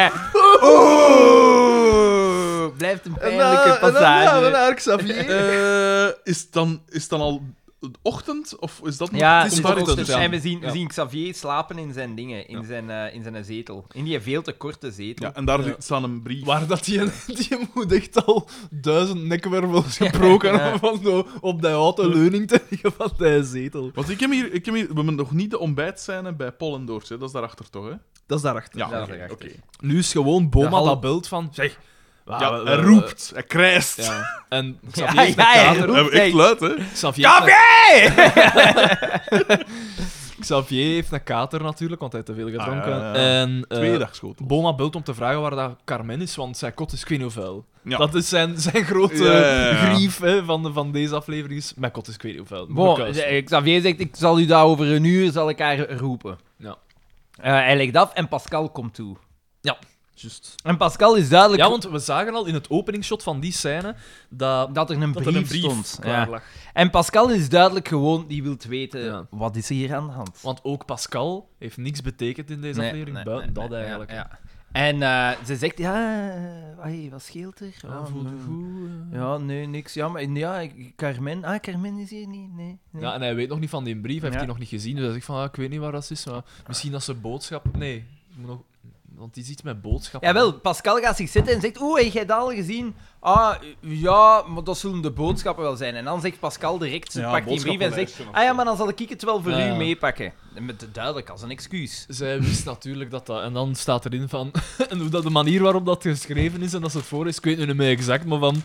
Speaker 2: Oeh, blijft een
Speaker 3: En dan- en
Speaker 2: pijnlijke
Speaker 3: dan- ja, dan
Speaker 2: passage.
Speaker 3: naar Xavier.
Speaker 1: Eh, is, het dan, is het dan al de ochtend? Of is dat nog-
Speaker 2: Ja,
Speaker 1: komt
Speaker 2: het is
Speaker 1: daar
Speaker 3: ochtend,
Speaker 1: iets tussen?
Speaker 3: ja.
Speaker 2: En we zien, we
Speaker 3: dus Ja.
Speaker 2: zien Xavier slapen in zijn dingen, in, zijn, eh, in zijn zetel. In die veel te korte zetel.
Speaker 1: Ja, en daar staat een brief.
Speaker 3: Waar dat die, [LAUGHS] die moet echt al duizend [LAUGHS] nekwervels gebroken
Speaker 2: Ja.
Speaker 3: hebben van zo op die houten leuning te liggen van die zetel.
Speaker 1: Want ik heb hier, ik heb hier we hebben nog niet de ontbijtscène bij Pollendoors, hè? dat is daarachter toch? Hè?
Speaker 3: Dat is daarachter.
Speaker 1: Ja,
Speaker 2: Daar
Speaker 1: oké,
Speaker 2: erachter.
Speaker 1: oké.
Speaker 3: Nu is gewoon Boma
Speaker 2: De hal-
Speaker 3: dat beeld van... Zeg, wa-
Speaker 1: Ja,
Speaker 3: wa- wa-
Speaker 1: hij roept, hij krijst.
Speaker 3: Ja. [LAUGHS] eh, En
Speaker 2: Ja,
Speaker 3: Xavier
Speaker 2: ja, hij
Speaker 3: heeft
Speaker 1: [LAUGHS] Hij
Speaker 2: roept.
Speaker 3: een kater.
Speaker 1: heeft echt
Speaker 2: echt.
Speaker 1: luid, hè?
Speaker 3: Xavier heeft [LAUGHS] een- Xavier heeft een kater natuurlijk, want hij heeft te veel gedronken.
Speaker 1: Ah, ja, ja.
Speaker 3: En, eh,
Speaker 1: Twee dagschoten.
Speaker 3: Boma belt om te vragen waar dat Carmen is, want zijn kot is kwinovel.
Speaker 1: Ja.
Speaker 3: Dat is zijn, zijn grote
Speaker 1: Ja, ja, ja.
Speaker 3: grief hè, van, de, van deze aflevering. Is, mijn kot is kwinovel.
Speaker 2: Bon, eh, Xavier zegt, ik zal u daar over een uur zal ik haar roepen.
Speaker 3: Ja.
Speaker 2: Eh, hij legt af en Pascal komt toe.
Speaker 3: Juist.
Speaker 2: En Pascal is duidelijk
Speaker 3: Ja, want we zagen al in het openingsshot van die scène dat,
Speaker 2: dat er een
Speaker 3: dat
Speaker 2: brief,
Speaker 3: er een brief
Speaker 2: stond.
Speaker 3: klaar
Speaker 2: Ja.
Speaker 3: lag.
Speaker 2: En Pascal is duidelijk gewoon, die wil weten,
Speaker 3: Ja.
Speaker 2: wat is er hier aan de hand?
Speaker 3: Want ook Pascal heeft niks betekend in deze
Speaker 2: Nee,
Speaker 3: aflevering,
Speaker 2: nee,
Speaker 3: buiten
Speaker 2: nee,
Speaker 3: dat
Speaker 2: nee,
Speaker 3: eigenlijk.
Speaker 2: ja, ja. En eh, ze zegt, ja, eh, ai, wat scheelt er?
Speaker 3: Ja,
Speaker 2: Oh,
Speaker 3: voelde
Speaker 2: nee.
Speaker 3: goed, eh.
Speaker 2: Ja, nee, niks. Ja, maar ja, ik- Carmen. Ah, Carmen is hier niet. Nee. nee.
Speaker 3: Ja, en hij weet nog niet van die brief, hij heeft
Speaker 2: Ja.
Speaker 3: die nog niet gezien. Dus hij zegt van, ah, ik weet niet waar dat is, maar misschien dat ze boodschap... Nee, ik moet nog... want het is iets met boodschappen.
Speaker 2: Jawel, Pascal gaat zich zitten en zegt: Oeh, heb jij dat al gezien? Ah, ja, maar dat zullen de boodschappen wel zijn. En dan zegt Pascal direct: ze
Speaker 1: Ja,
Speaker 2: pakt die brief en zegt:
Speaker 1: boodschappenlijstje of
Speaker 2: Ah ja, maar dan zal ik het wel voor
Speaker 3: Ja.
Speaker 2: u meepakken. Met, duidelijk als een excuus.
Speaker 3: Zij wist natuurlijk dat dat... En dan staat erin van... [LAUGHS] en hoe dat de manier waarop dat geschreven is en dat ze het voor is, ik weet nu niet meer exact, maar van...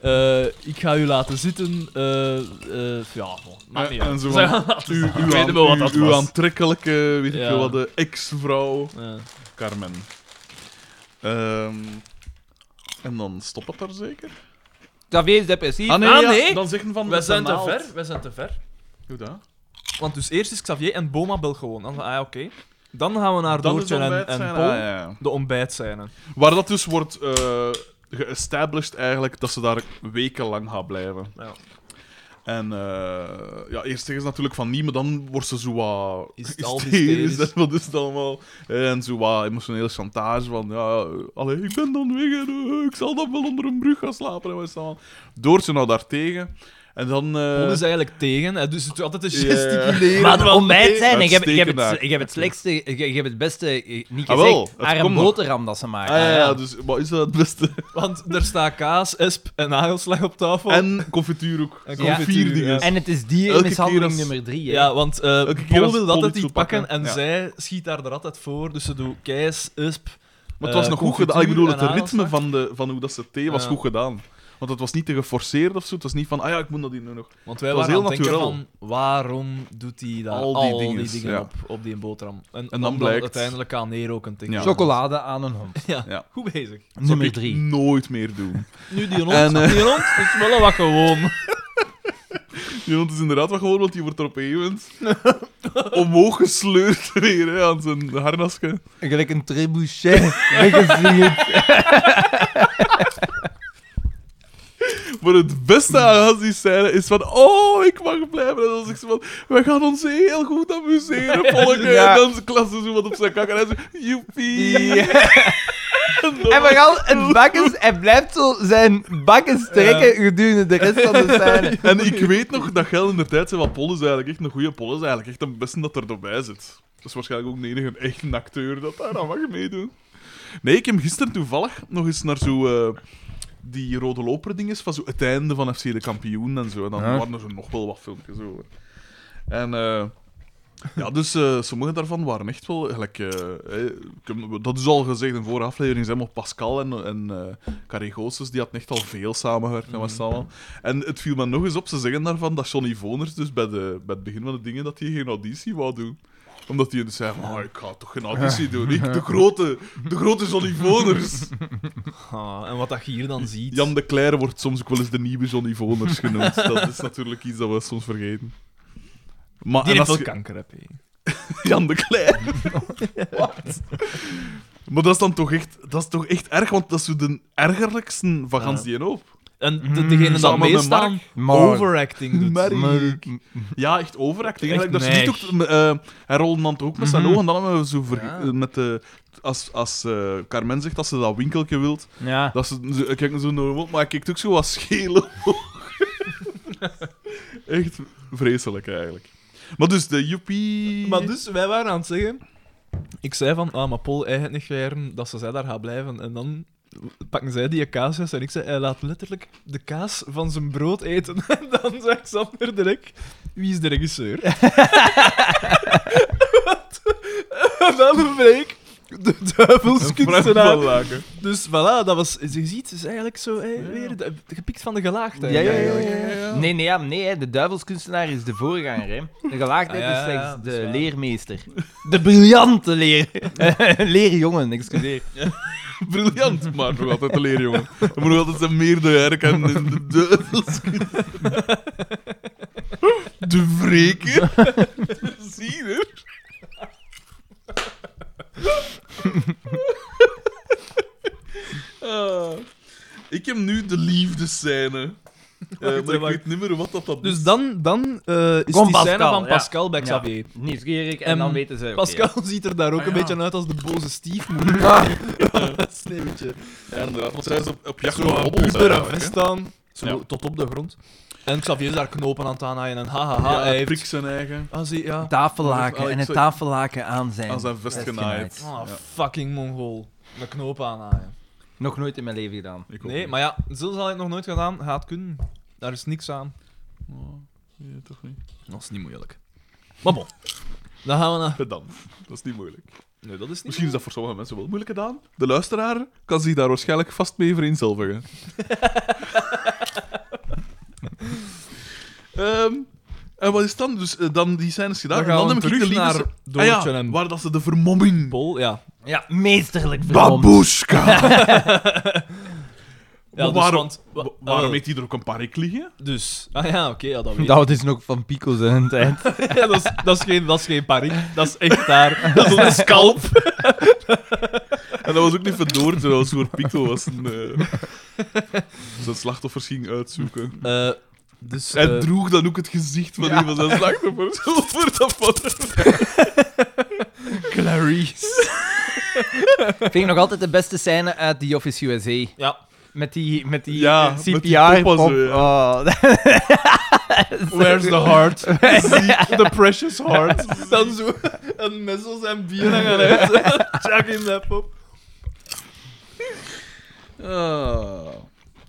Speaker 3: eh, ik ga u laten zitten. eh, eh, ja, bon, maakt niet
Speaker 1: En- en
Speaker 3: uit. [LAUGHS]
Speaker 1: zo
Speaker 3: Zij-
Speaker 1: van, Uw, uw,
Speaker 3: weet
Speaker 1: aan-
Speaker 3: niet wat dat
Speaker 1: uw- uw
Speaker 3: was.
Speaker 1: aantrekkelijke, weet ik
Speaker 3: Ja.
Speaker 1: veel wat, de ex-vrouw
Speaker 3: Ja.
Speaker 1: Carmen. Ehm, en dan stopt het daar zeker?
Speaker 2: Xavier is depressief.
Speaker 3: Ah, nee.
Speaker 1: dan zeggen van...
Speaker 3: Wij zijn te
Speaker 1: naald.
Speaker 3: ver, wij zijn te ver.
Speaker 1: Hoe dat?
Speaker 3: Want dus eerst is Xavier en Boma bel gewoon. Dan van, ah, ja, oké. Dan gaan we naar
Speaker 1: Dan is
Speaker 3: Doortje
Speaker 1: het
Speaker 3: en, en
Speaker 1: ontbijtscène.
Speaker 3: Paul.
Speaker 1: Ah, ja, ja.
Speaker 3: De ontbijtscène.
Speaker 1: Waar dat dus wordt eh geestablished eigenlijk dat ze daar wekenlang gaat blijven.
Speaker 3: Ja.
Speaker 1: En eh, ja, eerst zeggen ze natuurlijk van niet, maar dan wordt ze zo wat...
Speaker 3: Is het al
Speaker 1: hysterisch,
Speaker 3: hysterisch?
Speaker 1: hè, Wat is het allemaal? En zo wat emotionele chantage van ja, eh, allee, ik ben dan weg en eh, ik zal dan wel onder een brug gaan slapen. En wat is het allemaal. Doortje nou daartegen. En dan... eh,
Speaker 3: Paul is eigenlijk tegen, hè, dus het doet altijd een
Speaker 1: Ja.
Speaker 3: gesticuleren.
Speaker 2: Maar de
Speaker 3: van-
Speaker 2: ontbijt zijn, ik heb, ik
Speaker 1: Uitstekend
Speaker 2: heb, het,
Speaker 1: daar.
Speaker 2: ik heb het slechtste, ik, ik heb het beste, eh, niet
Speaker 1: Ah,
Speaker 2: gezegd,
Speaker 1: wel, het
Speaker 2: haar een
Speaker 1: komt nog.
Speaker 2: boterham dat ze maken.
Speaker 1: Ah, ja, ja,
Speaker 2: Ja.
Speaker 1: dus wat is dat het beste?
Speaker 3: Want er staan kaas, esp en nagelslag op tafel.
Speaker 1: En confituur ook.
Speaker 3: En
Speaker 1: Zo'n
Speaker 3: confituur,
Speaker 1: vier dingen.
Speaker 3: ja.
Speaker 2: En het is dierenmishandeling
Speaker 1: Elke keer als- oh.
Speaker 2: nummer drie. Hè.
Speaker 3: ja, want eh
Speaker 1: keer
Speaker 3: Paul
Speaker 1: als
Speaker 3: wil
Speaker 1: Paul
Speaker 3: dat het
Speaker 1: iets
Speaker 3: iets
Speaker 1: wil
Speaker 3: pakken
Speaker 1: pakken,
Speaker 3: en
Speaker 1: ja.
Speaker 3: zij schiet daar er altijd voor. Dus ze doet keis, esp.
Speaker 1: Maar het was
Speaker 3: eh,
Speaker 1: nog goed gedaan. Ik bedoel,
Speaker 3: confituur
Speaker 1: het
Speaker 3: en
Speaker 1: ritme
Speaker 3: nagelslag.
Speaker 1: van, de, van hoe dat ze thee was
Speaker 3: Ja.
Speaker 1: goed gedaan. Want het was niet te geforceerd of zo. Het was niet van, ah ja, ik moet dat hier nu nog.
Speaker 3: Want wij
Speaker 1: het was
Speaker 3: waren aan het
Speaker 1: heel
Speaker 3: denken
Speaker 1: natuurlijk.
Speaker 3: van, waarom doet hij daar
Speaker 1: Al
Speaker 3: al
Speaker 1: die
Speaker 3: die
Speaker 1: dinges,
Speaker 3: dingen
Speaker 1: ja.
Speaker 3: op, op die boterham? En,
Speaker 1: dan
Speaker 3: omdat
Speaker 1: blijkt-
Speaker 3: uiteindelijk aan neerroken tegen.
Speaker 1: Ja.
Speaker 2: Chocolade aan een hond.
Speaker 3: [LAUGHS] Ja.
Speaker 1: Ja.
Speaker 3: goed bezig.
Speaker 1: Dat zou
Speaker 2: Nummer
Speaker 1: ik
Speaker 2: drie.
Speaker 1: nooit meer doen.
Speaker 3: [LAUGHS] Nu die hond,
Speaker 1: En, eh,
Speaker 3: die hond is wel wat gewoon.
Speaker 1: Die hond is inderdaad wel gewoon, want die wordt er op een gegeven
Speaker 3: [LAUGHS]
Speaker 1: moment omhoog gesleurd weer hè, aan zijn harnasje.
Speaker 2: [LAUGHS] Gelijk een trebuchet. weggezingerd.
Speaker 1: Maar het beste aan die scène is van, oh, ik mag blijven. En dan zeg ze van, wij gaan ons heel goed
Speaker 3: [LAUGHS]
Speaker 1: amuseren, volgen.
Speaker 2: Ja.
Speaker 1: En dan klassen ze wat op zijn kak en hij zegt, joepie.
Speaker 2: [LAUGHS]
Speaker 1: [LAUGHS]
Speaker 2: En vooral het bakkes, hij blijft zo zijn bakken strekken gedurende de rest van de scène.
Speaker 1: [LAUGHS] En ik weet nog dat geld in de tijd zei van Pol is eigenlijk echt een goede Pol is eigenlijk echt een beste dat er voorbij zit. Dat is waarschijnlijk ook de enige echte acteur dat daar aan mag meedoen. Nee, ik heb gisteren toevallig nog eens naar zo eh, die rode loper ding is van zo het einde van FC de kampioen en zo. En dan
Speaker 2: Ja.
Speaker 1: waren er zo nog wel wat filmpjes over. En eh, ja, dus eh, sommige daarvan waren echt wel. Gelijk, eh, eh, ik heb- dat is al gezegd in vorige aflevering. Zijn Pascal en, en eh, Carré Goossens, die hadden echt al veel samengewerkt met
Speaker 3: Mhm.
Speaker 1: West Ham. En het viel me nog eens op, ze zeggen daarvan dat Johnny Voners dus bij, de, bij het begin van de dingen dat hij geen auditie wou doen omdat hij dus zei, "Ah, ik ga toch geen auditie doen. Ik, de grote, de grote Johnny Voners.
Speaker 3: Ah, en wat dat je hier dan ziet.
Speaker 1: Jan de Cler wordt soms ook wel eens de nieuwe Johnny Voners genoemd. Dat is natuurlijk iets dat we soms vergeten. Maar
Speaker 3: die
Speaker 1: en
Speaker 3: heeft
Speaker 1: als
Speaker 3: wel
Speaker 1: je-
Speaker 3: kanker, heb je.
Speaker 1: Jan de Cler. [LAUGHS] Wat? Maar dat is dan toch echt, dat is toch echt erg, want dat is zo de ergerlijkste van gans die een hoop.
Speaker 3: En de, degene dat
Speaker 1: Mm, Samen met
Speaker 3: meestaan
Speaker 2: Maar-
Speaker 3: overacting doet.
Speaker 1: Merk. [LAUGHS] Ja, echt overacting.
Speaker 3: Echt
Speaker 1: Echt dat ze
Speaker 3: neig.
Speaker 1: niet ook, eh, hij rolde dan toch ook met zijn
Speaker 2: Mhm.
Speaker 1: ogen. Dan hebben we zo ver-
Speaker 3: Ja.
Speaker 1: eh, met de, als, als eh, Carmen zegt dat ze dat winkeltje wilt,
Speaker 2: Ja.
Speaker 1: dat ze ze- kijk zo naar hem op, maar hij kijkt ook zo wat scheel omhoog. [LAUGHS] Echt vreselijk eigenlijk. Maar dus de joepie...
Speaker 3: Maar dus, wij waren aan het zeggen... Ik zei van, ah, maar Paul, hij gaat niet geren dat ze zij daar gaat blijven. En dan pakken zij die kaasjes en ik zei, hij laat letterlijk de kaas van zijn brood eten. [LAUGHS] En dan zei Xander direct, wie is de
Speaker 2: [LAUGHS]
Speaker 3: regisseur? Wat? [LAUGHS] en dan bleek de duivelskunstenaar.
Speaker 1: Fruitballaken.
Speaker 3: Dus voilà, dat was, je ziet, het is eigenlijk zo hé, weer de- gepikt van de gelaagdheid.
Speaker 2: Ja, ja, ja,
Speaker 3: eigenlijk.
Speaker 2: ja, ja. Nee, nee, ja, nee, hè, de duivelskunstenaar is de voorganger. Hè. De gelaagdheid
Speaker 3: Ah,
Speaker 2: is
Speaker 3: ja, ja,
Speaker 2: slechts
Speaker 3: dat is
Speaker 2: de
Speaker 3: waar.
Speaker 2: leermeester. [LAUGHS] De briljante leer... [LAUGHS] leerjongen, excuseer.
Speaker 1: Briljant, maar nog altijd te leren, jongen. We moeten nog altijd zijn meerdere herkennen in de duivels. De wreken. Zie je er? Ah. Ik heb nu de liefdescène. Eh maar ik
Speaker 3: wacht.
Speaker 1: weet niet meer wat dat, dat
Speaker 3: Dus dan, dan eh, is
Speaker 2: Kom,
Speaker 3: die scène
Speaker 2: Pascal,
Speaker 3: van
Speaker 2: ja.
Speaker 3: Pascal bij
Speaker 2: Ja.
Speaker 3: Xavier.
Speaker 2: Nieuwsgierig, en
Speaker 3: Ehm,
Speaker 2: dan weten ze... oké.
Speaker 3: Pascal [LAUGHS] ziet er daar ook
Speaker 1: Ah,
Speaker 3: een
Speaker 1: ja.
Speaker 3: beetje uit als de boze stiefmoeder. [LAUGHS] Sneeuwtje.
Speaker 1: Ja, inderdaad, eh, want zij is op, op jacht
Speaker 3: Zo eh,
Speaker 1: naar
Speaker 3: een
Speaker 1: hobbels,
Speaker 3: puberen
Speaker 1: eigenlijk,
Speaker 3: vest
Speaker 1: hè.
Speaker 3: aan, zo
Speaker 1: Ja.
Speaker 3: tot op de grond. En Xavier is daar knopen aan het aanhaaien en hahaha,
Speaker 1: Ja,
Speaker 3: hij
Speaker 1: hij
Speaker 3: heeft...
Speaker 1: prikt zijn eigen
Speaker 3: Ah, zie, ja.
Speaker 1: Oh,
Speaker 2: Tafellaken
Speaker 1: ik
Speaker 2: en het
Speaker 1: zou-
Speaker 2: tafellaken aan zijn.
Speaker 1: aan zijn vest genaaid.
Speaker 3: Ah,
Speaker 1: Ja.
Speaker 3: fucking mongool. Een knoop aanhaaien.
Speaker 2: Nog nooit in mijn leven gedaan.
Speaker 1: Ik ook
Speaker 3: Nee,
Speaker 1: niet.
Speaker 3: maar ja, zo zal hij het nog nooit gedaan. Gaat kunnen. Daar is niks aan.
Speaker 1: Oh, nee, toch niet.
Speaker 3: Dat is niet moeilijk. Maar bon. Dan gaan we naar...
Speaker 1: Pedant. Dat is niet moeilijk.
Speaker 3: Nee, dat is niet
Speaker 1: Misschien is dat voor sommige mensen wel moeilijk gedaan. De luisteraar kan zich daar waarschijnlijk vast mee vereenzelvigen. [LAUGHS] Ehm, en wat is het dan? Dus eh, dan die scènes gedaan.
Speaker 3: Dan
Speaker 1: en
Speaker 3: gaan
Speaker 1: dan
Speaker 3: we
Speaker 1: ik de
Speaker 3: terug naar
Speaker 1: liefdes-
Speaker 3: Doortje
Speaker 1: Ah ja,
Speaker 3: en
Speaker 1: waar dat ze de vermomming...
Speaker 3: Pol, ja.
Speaker 2: Ja, meesterlijk vermomd.
Speaker 1: Babushka!
Speaker 3: [LAUGHS] Ja,
Speaker 1: Maar
Speaker 3: dus,
Speaker 1: waarom,
Speaker 3: want- wa-
Speaker 1: wa- waarom
Speaker 3: eh,
Speaker 1: heeft hij er ook een parik [LAUGHS] liggen?
Speaker 3: Dus... Ah ja, oké, ja, dat weet ik.
Speaker 2: Dat is nog van Pico zijn [LAUGHS] tijd.
Speaker 3: [LAUGHS] Ja, dat, is, dat, is geen, dat is geen parik. Dat is echt daar. Dat is een scalp.
Speaker 1: [LAUGHS] En dat was ook niet verdoord, dat was voor Pico. Was een, eh, [LAUGHS] zijn slachtoffers ging uitzoeken.
Speaker 3: Eh, dus,
Speaker 1: Hij
Speaker 3: eh,
Speaker 1: droeg dan ook het gezicht van een van zijn
Speaker 3: [LAUGHS]
Speaker 1: slachtoffers over dat foto.
Speaker 3: Clarice.
Speaker 2: Vind ik nog altijd de beste scène uit The Office USA.
Speaker 3: Ja.
Speaker 2: Met die, met die
Speaker 1: Ja,
Speaker 2: eh,
Speaker 1: met die
Speaker 2: CPR.
Speaker 1: pop en
Speaker 2: pop.
Speaker 1: zo, ja.
Speaker 2: Oh,
Speaker 3: Where's the [LAUGHS] heart?
Speaker 1: The precious heart.
Speaker 3: Dan zo een mes als zijn bier hangen uit. [LAUGHS] Jack in that pop.
Speaker 1: Ah.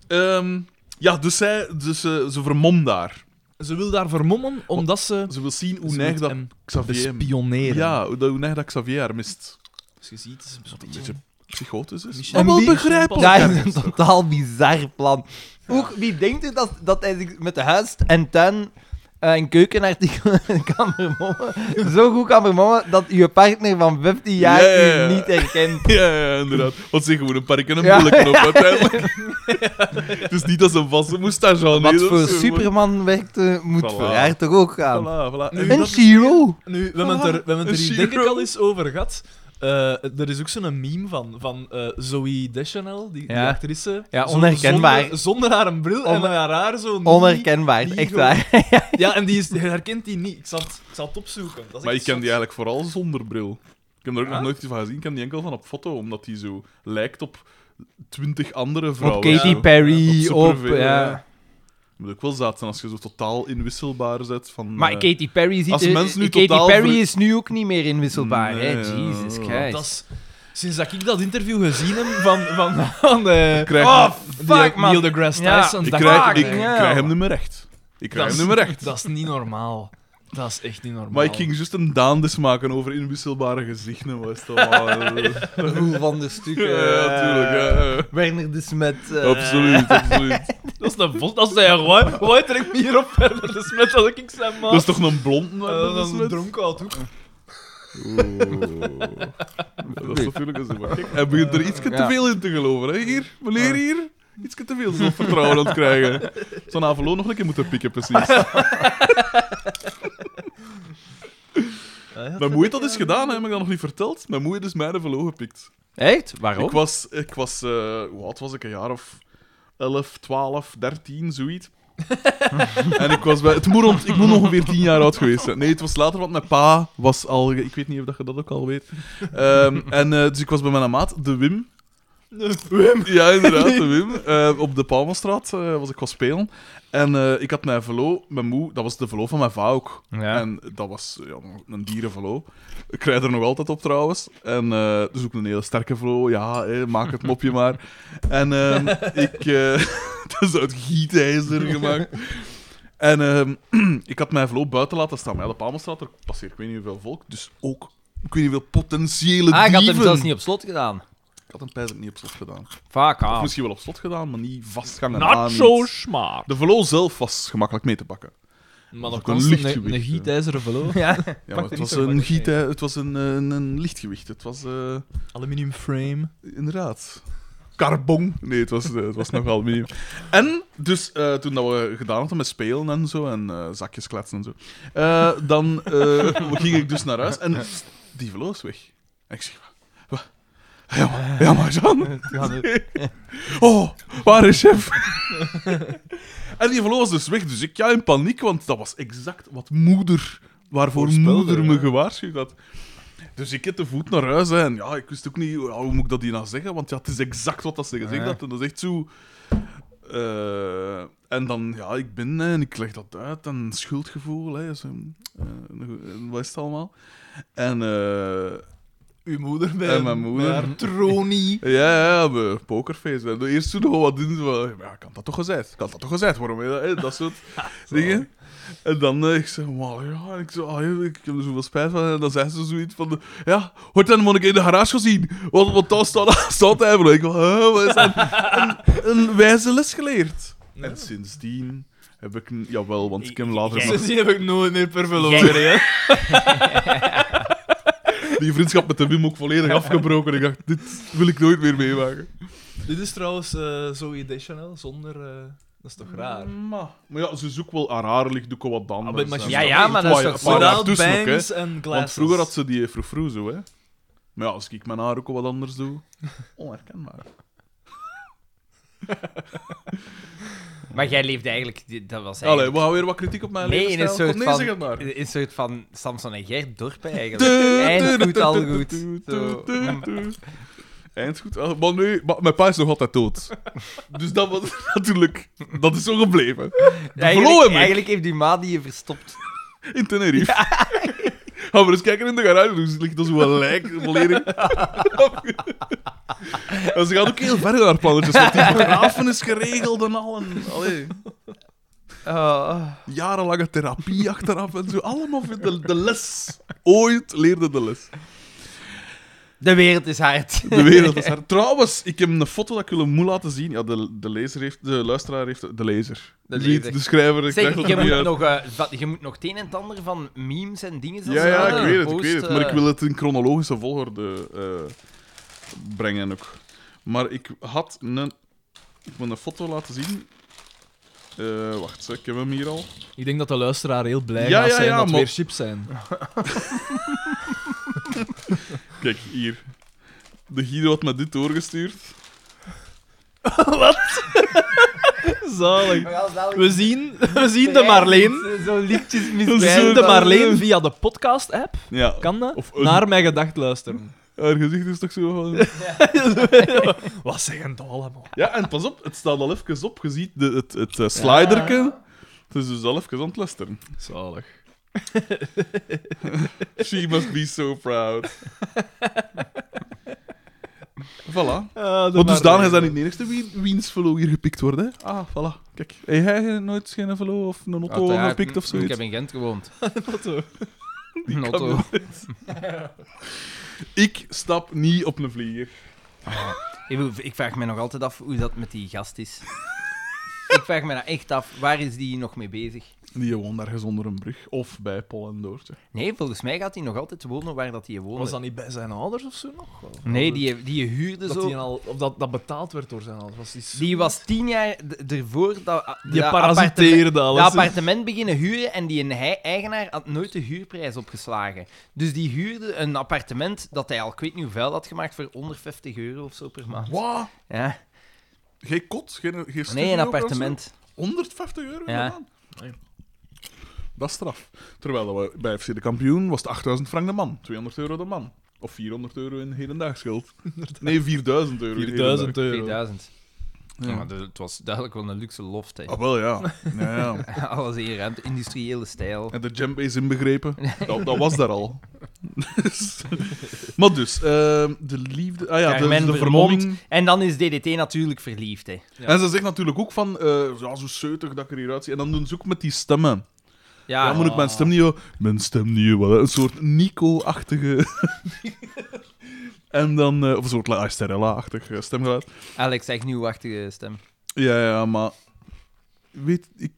Speaker 1: Ehm, ja, dus, zij, dus eh, ze vermom daar.
Speaker 3: Ze wil daar vermommen omdat ze...
Speaker 1: Ze wil zien hoe
Speaker 3: ze
Speaker 1: neig
Speaker 3: moet
Speaker 1: dat
Speaker 3: hem
Speaker 1: Xavier...
Speaker 3: bespioneren.
Speaker 1: Ja, hoe, dat- hoe neig dat Xavier haar mist.
Speaker 3: Dus je ziet, het is een
Speaker 1: Een
Speaker 3: beetje...
Speaker 1: beetje psychotisch is.
Speaker 3: Michel-
Speaker 2: wie-
Speaker 3: begrijpelijk.
Speaker 2: Dat is [LAUGHS] een totaal bizar plan. Ook wie denkt er dat, dat hij zich met de huis en tuin eh, en keukenartikelen [LAUGHS] kan vermommen? Zo goed kan vermommen dat je partner van 15 jaar
Speaker 1: Ja, ja, ja.
Speaker 2: u niet herkent.
Speaker 1: [LAUGHS] Ja, ja, ja, inderdaad. Want ze gewoon een park en een [LAUGHS]
Speaker 2: Ja.
Speaker 1: bullekken op, uiteindelijk. Het is niet als een vaste moustache aan.
Speaker 2: Wat
Speaker 1: nee, dat
Speaker 2: voor
Speaker 1: is eh, gewoon-
Speaker 2: Superman werkte, moet
Speaker 1: Voilà.
Speaker 2: voor haar toch ook gaan.
Speaker 1: Voilà,
Speaker 3: Ah,
Speaker 1: voilà. En
Speaker 2: Een
Speaker 1: dat-
Speaker 2: Shiro.
Speaker 3: Nu, we hebben het er, we hebben het er
Speaker 1: Een
Speaker 3: hier denk ik
Speaker 1: Shiro.
Speaker 3: al eens over gehad. Eh, er is ook zo'n meme van, van eh Zoe Deschanel, die, die
Speaker 2: Ja.
Speaker 3: actrice.
Speaker 2: Ja,
Speaker 3: Zo-
Speaker 2: onherkenbaar.
Speaker 3: Zonder, zonder haar een bril en
Speaker 2: Onher-
Speaker 3: haar haar zo niet-
Speaker 2: Onherkenbaar,
Speaker 3: die
Speaker 2: echt
Speaker 3: gewoon-
Speaker 2: waar.
Speaker 3: Ja, en die is, je herkent die niet. Ik zal het, ik zal het opzoeken. Dat is
Speaker 1: Maar ik
Speaker 3: echt
Speaker 1: ken die
Speaker 3: zot.
Speaker 1: eigenlijk vooral zonder bril. Ik heb er ook
Speaker 3: Ja?
Speaker 1: nog nooit iets van gezien. Ik ken die enkel van op foto, omdat die zo lijkt op twintig andere
Speaker 2: Op
Speaker 1: vrouwen.
Speaker 2: Katy
Speaker 1: zo.
Speaker 2: Perry,
Speaker 1: superveel,
Speaker 2: op... eh, ja.
Speaker 1: Moet ook wel zaad zijn als je zo totaal inwisselbaar bent van...
Speaker 2: Maar
Speaker 1: eh,
Speaker 2: Katy Perry ziet
Speaker 1: als
Speaker 2: er-
Speaker 1: mensen nu
Speaker 2: Katy
Speaker 1: totaal
Speaker 2: Perry
Speaker 1: ver-
Speaker 2: is nu ook niet meer inwisselbaar, hè?
Speaker 1: Nee, ja. Oh,
Speaker 2: Jesus
Speaker 1: Dat
Speaker 2: Christ.
Speaker 3: Dat is, Sinds dat ik dat interview gezien heb van... van, van eh,
Speaker 1: krijg,
Speaker 2: Oh,
Speaker 3: die-
Speaker 2: fuck, man.
Speaker 3: Neil deGrasse
Speaker 2: Ja.
Speaker 3: Tyson.
Speaker 1: ik
Speaker 3: dacht
Speaker 1: krijg,
Speaker 2: fuck,
Speaker 1: ik
Speaker 2: ja.
Speaker 1: krijg hem niet meer recht. Ik krijg
Speaker 3: is-
Speaker 1: hem niet meer recht.
Speaker 3: Dat is niet normaal. Dat is echt niet normaal.
Speaker 1: Maar ik ging juist een daandis maken over inwisselbare gezichten. Was
Speaker 2: [LAUGHS]
Speaker 1: het allemaal, eh,
Speaker 2: Roel van der Stuk.
Speaker 1: [LAUGHS] ja, natuurlijk. ja, ja.
Speaker 2: Werner de Smet. eh,
Speaker 1: Absoluut, absoluut.
Speaker 3: Dat is een vol... Dat is een rooi. Rooi trekt me hierop verder. Dat is met dat ik zijn man. Eh,
Speaker 1: Dat is toch een blond?
Speaker 3: dat is een dronken oud hoek.
Speaker 1: Dat is natuurlijk een zo. maar kijk, Hij begint er iets te
Speaker 2: Ja.
Speaker 1: veel in te geloven. Hè? Hier, meneer hier. Iets te veel zelfvertrouwen aan het krijgen. Zo'n Avelo nog een keer moeten pikken, precies. Mijn moei heeft dat is gedaan, hè, heb ik dat nog niet verteld. Mijn moei heeft dus mijn Avelo gepikt.
Speaker 2: Echt? Waarom?
Speaker 1: Ik was, ik was eh, hoe oud was ik? Een jaar of 11, 12, 13, zoiets. en ik was bij... Het moet ont- ik moet ongeveer 10 jaar oud geweest zijn. Nee, het was later, want mijn pa was al... Ik weet niet of dat je dat ook al weet. Ehm, en, eh, dus ik was bij mijn maat, de Wim. Wim? Ja, inderdaad, de Wim. Eh, op de Palmenstraat eh, was ik gaan spelen. En eh, ik had mijn velo, mijn moe, dat was de velo van mijn va ook.
Speaker 2: Ja.
Speaker 1: En dat was ja, een dierenvelo. Ik krijg er nog altijd op trouwens. En eh, dus ook een hele sterke vlo. Ja, hè, maak het mopje maar. En ehm, ik. eh [LAUGHS] het is uit gietijzer gemaakt. En ehm, [CLEARS THROAT] ik had mijn vlo buiten laten staan. Maar ja, de Palmenstraat, er passeert ik weet niet hoeveel volk. Dus ook, ik weet niet hoeveel potentiële
Speaker 2: Ah, ik had
Speaker 1: dieven.
Speaker 2: hem zelfs niet op slot gedaan.
Speaker 1: Ik had hem pijzend niet op slot gedaan.
Speaker 2: Vaak,
Speaker 1: Of
Speaker 2: ah.
Speaker 1: misschien wel op slot gedaan, maar niet vastgangen.
Speaker 3: Not so smart.
Speaker 1: De velo zelf was gemakkelijk mee te pakken. Dat
Speaker 3: Maar dat
Speaker 1: is ook een
Speaker 3: kan een,
Speaker 1: lichtgewicht,
Speaker 3: een,
Speaker 1: hè.
Speaker 3: gietijzeren velo.
Speaker 2: Ja.
Speaker 1: Ja, maar het
Speaker 3: niet
Speaker 1: was,
Speaker 3: zo
Speaker 1: een
Speaker 3: makkelijk
Speaker 1: giet, het was een, eh, een, een lichtgewicht. Het was... eh,
Speaker 3: [LAUGHS] Aluminium frame.
Speaker 1: Inderdaad. Carbon. Nee, het was, eh, het was nog wel medium. En dus eh, toen dat we gedaan hadden met spelen en zo, en eh, zakjes kletsen en zo, eh, dan eh, [LAUGHS] ging ik dus naar huis en die velo is weg. En ik zeg, "Wa- wa- Ja, maar, [LAUGHS] ja, maar Jean. Oh, waar is chef? [LAUGHS] en die velo was dus weg, dus ik ja in paniek, want dat was exact wat moeder, waarvoor
Speaker 3: Voorspelde,
Speaker 1: moeder me
Speaker 3: ja.
Speaker 1: gewaarschuwd had. Dus ik heb de voet naar huis hè, en ja, ik wist ook niet ja, hoe moet ik dat hier nou zeggen, want ja, het is exact wat dat ze gezegd had. En dat is echt zo. eh, en dan, ja, ik ben hè, en ik leg dat uit en schuldgevoel, hè, zo, eh, en wat is het allemaal? En, eh,
Speaker 3: Uw moeder bij
Speaker 1: En mijn moeder.
Speaker 3: bij haar [LAUGHS] tronie.
Speaker 1: ja, ja, we pokerface. hè. Eerst toen nog wat doen, zo van, ja, ik had dat toch gezegd? Ik had dat toch gezegd? Waarom heb je dat? hè? Dat [LAUGHS] soort dingen. En dan, eh, ik zeg, maar ja, ik, zo, ah, ja, ik heb er zoveel spijt van. En dan zei ze zoiets van, ja, hoort dan, moet ik in de garage gezien. Want, want daar staat, [LAUGHS] staat hij voor. Ik van, huh, wat is dat? Een, een wijze les geleerd. En sindsdien heb ik, een- jawel, want ik heb hem later nog... [LAUGHS]
Speaker 3: Sindsdien heb ik nooit meer per velo
Speaker 2: Jij-
Speaker 3: gereden.
Speaker 1: Die vriendschap met de Wim ook volledig afgebroken. Ik dacht, dit wil ik nooit meer meemaken.
Speaker 3: [LAUGHS] Dit is trouwens eh Zoe Deschanel zonder... eh, dat is toch raar?
Speaker 1: Maar, maar ja, ze zoekt wel aan haar lichtdoek wat dan.
Speaker 3: Ah, maar- maar-
Speaker 2: Ja, ja, maar dat is toch
Speaker 1: Maar daar
Speaker 2: zo.
Speaker 3: Without
Speaker 1: tussen ook, hè.
Speaker 3: bangs en glasses.
Speaker 1: Want vroeger had ze die froufrou zo, hè. Maar ja, als ik mijn haar ook al wat anders
Speaker 2: [LAUGHS]
Speaker 1: doe... Onherkenbaar.
Speaker 2: Maar jij leefde eigenlijk... die- Dat was
Speaker 1: Allee,
Speaker 2: eigenlijk...
Speaker 1: we gaan weer wat kritiek op mijn
Speaker 2: nee, in een
Speaker 1: levensstijl.
Speaker 2: soort
Speaker 1: Kom, nee,
Speaker 2: van...
Speaker 1: zeg het
Speaker 2: [LAUGHS]
Speaker 1: maar.
Speaker 2: in Een soort van Samson en Gert dorp eigenlijk. Eind goed,
Speaker 1: [LAUGHS]
Speaker 2: al goed. Zo.
Speaker 1: Eindgoed, Eindgoed. Ah, Maar nu, maar mijn pa is nog altijd dood.
Speaker 2: [LAUGHS]
Speaker 1: Dus dat was [LAUGHS] natuurlijk... Dat is zo gebleven. vlo heb
Speaker 2: Eigenlijk,
Speaker 1: ik.
Speaker 2: eigenlijk heeft die ma die je verstopt.
Speaker 1: In Tenerife. Gaan we eens kijken in de garage. Er ligt dus wel lijk
Speaker 2: [LAUGHS]
Speaker 1: volledig. en ze gaan ook heel ver naar plannetjes. Want die begrafenis is geregeld en al. En, allee,
Speaker 2: Oh.
Speaker 1: jarenlange therapie achteraf en zo. Allemaal voor de, de les. Ooit leerde de les.
Speaker 2: De wereld is hard.
Speaker 1: De wereld is haar. Trouwens, ik heb een foto dat ik jullie moet laten zien. Ja, de, de, lezer heeft, de luisteraar heeft... De lezer.
Speaker 2: De
Speaker 1: Niet
Speaker 2: lezer.
Speaker 1: de schrijver. Ik
Speaker 2: Zeg,
Speaker 1: krijg dat
Speaker 2: je
Speaker 1: er niet
Speaker 2: moet,
Speaker 1: uit.
Speaker 2: nog, eh, wat- je moet nog het een en het ander van memes en dingen... eh, zelfs
Speaker 1: Ja, ja,
Speaker 2: laten
Speaker 1: ik weet het, ik
Speaker 2: posten.
Speaker 1: weet het. Maar ik wil het in chronologische volgorde eh, brengen ook. Maar ik had een... Ik moet een foto laten zien. Eh, wacht, hè, ik heb hem hier al.
Speaker 3: Ik denk dat de luisteraar heel blij
Speaker 1: Ja,
Speaker 3: gaat
Speaker 1: ja,
Speaker 3: zijn
Speaker 1: ja,
Speaker 3: dat
Speaker 1: maar-
Speaker 3: weer chips zijn.
Speaker 1: Kijk, hier. De Guido had me dit doorgestuurd.
Speaker 3: [LAUGHS] Zalig. We zien, we zien de Marleen.
Speaker 2: eh, Zo liedjes
Speaker 1: [LAUGHS]
Speaker 3: We zien de Marleen via de podcast-app.
Speaker 1: Ja.
Speaker 3: Kan dat?
Speaker 1: Of een-
Speaker 3: Naar mijn gedacht luisteren.
Speaker 1: Haar gezicht is toch zo van...
Speaker 3: Wat zeggen dat allemaal?
Speaker 1: Ja, en pas op, het staat al even op. Je ziet de, het, het eh, sliderke. Het is dus al even aan het luisteren.
Speaker 3: Zalig.
Speaker 1: She must be so proud. Voilà. Want dus
Speaker 2: eh,
Speaker 1: Daan is dan niet de enige wie, wiens velo hier gepikt wordt, hè? Ah, voilà. Kijk. Heb jij nooit geen velo of een auto
Speaker 2: Uiteraard,
Speaker 1: gepikt of
Speaker 2: Ik
Speaker 1: zoiets?
Speaker 2: heb in Gent
Speaker 1: [LAUGHS]
Speaker 2: gewoond.
Speaker 3: [LAUGHS] foto.
Speaker 2: Een auto.
Speaker 1: Ik stap niet op een vlieger.
Speaker 2: Ik, bedoel, ik vraag me nog altijd af hoe dat met die gast is. ik vraag me dat echt af. Waar is die nog mee bezig?
Speaker 1: Die woont ergens onder een brug. Of bij Paul en Doortje.
Speaker 2: Nee, volgens mij gaat hij nog altijd wonen waar dat hij woonde.
Speaker 3: Was dat niet bij zijn ouders of zo nog? Of-
Speaker 2: Nee,
Speaker 3: of-
Speaker 2: die, die huurde
Speaker 3: Dat,
Speaker 2: zo...
Speaker 3: die al, of dat, dat betaald werd door zijn ouders. Was die, zo-
Speaker 2: Die was tien jaar d- ervoor dat...
Speaker 3: die
Speaker 2: dat appartement-
Speaker 3: parasiteerde
Speaker 2: Dat
Speaker 3: alles.
Speaker 2: appartement beginnen huren en die hei- eigenaar had nooit de huurprijs opgeslagen. Dus die huurde een appartement dat hij al ik weet niet hoe vuil had gemaakt voor 150 euro of zo per maand.
Speaker 1: Wat?
Speaker 2: Ja.
Speaker 1: Geen kot? Geen, geen
Speaker 2: Ah. Nee,
Speaker 1: studio
Speaker 2: een
Speaker 1: ook of zo?
Speaker 2: appartement.
Speaker 1: 150 euro?
Speaker 2: Ja.
Speaker 1: Ja.
Speaker 3: Nee.
Speaker 1: Dat is straf. Terwijl dat we bij FC de kampioen was het 8000 frank de man, 200 euro de man. Of 400 euro in hedendaags geld. Nee, 4000 euro. in
Speaker 3: 4000 euro.
Speaker 2: 4000. Ja. maar de- het was duidelijk wel een luxe loft. hè.
Speaker 1: hedendaags. Ah, wel ja. ja, ja.
Speaker 2: [LAUGHS] Alles in ruimte, industriële stijl.
Speaker 1: En de djembe is inbegrepen. Dat, dat was daar al. [LAUGHS] Dus- maar dus, ehm, de liefde. Ah ja, de,
Speaker 2: Carmen
Speaker 1: de
Speaker 2: Vermont.
Speaker 1: vermomming.
Speaker 2: En dan is DDT natuurlijk verliefd. Hè.
Speaker 3: Ja.
Speaker 1: En ze zegt natuurlijk ook van. eh, ja, zo zeutig dat ik er hieruit zie. En dan doen ze ook met die stemmen.
Speaker 2: Ja,
Speaker 1: Ja, moet ik mijn stem niet... horen? Mijn stem niet, eh, wel. Een soort Nico-achtige... [LAUGHS] en dan... eh, of een soort Asterella-achtig eh, stemgeluid.
Speaker 2: Alex zegt nieuwachtige stem.
Speaker 1: Ja, ja, maar... Weet... Ik,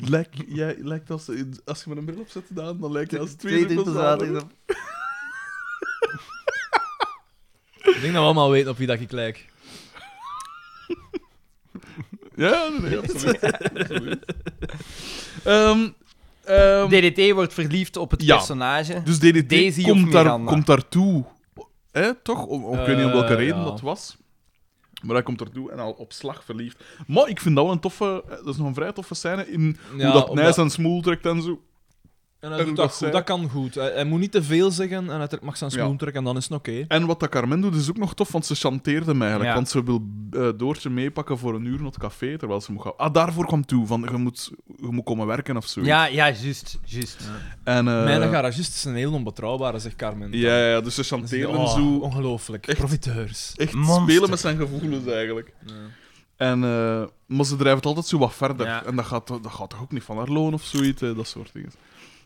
Speaker 1: lijk, jij lijkt als... Als je met een bril opzet, Daan, dan lijk je als twee druppels
Speaker 3: Ik denk dat we allemaal weten op wie dat ik lijk.
Speaker 1: Ja, nee, nee, absoluut. absoluut. Ehm, ehm,
Speaker 2: DDT wordt verliefd op het
Speaker 1: Ja.
Speaker 2: personage.
Speaker 1: dus DDT
Speaker 2: Daisy of
Speaker 1: komt, daar,
Speaker 2: Miranda?
Speaker 1: komt daartoe. Hè, toch? Om, om- ik weet niet om welke
Speaker 3: Eh,
Speaker 1: reden
Speaker 3: ja.
Speaker 1: dat was. Maar hij komt daartoe en al op slag verliefd. Maar ik vind dat wel een toffe... eh, Dat is nog een vrij toffe scène in
Speaker 3: Ja,
Speaker 1: hoe dat
Speaker 3: omdat-
Speaker 1: Nijs en Smoel trekt en zo.
Speaker 3: En
Speaker 1: En
Speaker 3: hij
Speaker 1: hoe
Speaker 3: doet
Speaker 1: dat
Speaker 3: dat, goed,
Speaker 1: zij-
Speaker 3: dat kan goed. Hij, hij moet niet te veel zeggen en hij trekt- mag zijn
Speaker 1: Ja.
Speaker 3: schoen trekken en dan is het oké.
Speaker 1: En wat dat Carmen doet is ook nog tof, want ze chanteerde hem eigenlijk.
Speaker 2: Ja.
Speaker 1: Want ze wil eh, Doortje meepakken voor een uur naar het café, terwijl ze moet gaan... Ah, daarvoor kwam toe, van je moet, je moet komen werken of zo.
Speaker 2: Ja, ja, juist. juist.
Speaker 1: En, eh,
Speaker 3: Mijn garagist is een heel onbetrouwbare, zegt Carmen.
Speaker 1: ja, ja, dus ze
Speaker 3: Dat is-
Speaker 1: chanteerde hem
Speaker 3: oh,
Speaker 1: zo.
Speaker 3: Ongelooflijk.
Speaker 1: Echt.
Speaker 3: Profiteurs.
Speaker 1: Echt
Speaker 2: Monster.
Speaker 1: spelen met zijn gevoelens eigenlijk. En, eh, maar ze drijven het altijd zo wat verder.
Speaker 2: Ja.
Speaker 1: En dat gaat, dat gaat toch ook niet van haar loon of zoiets, hè, dat soort dingen.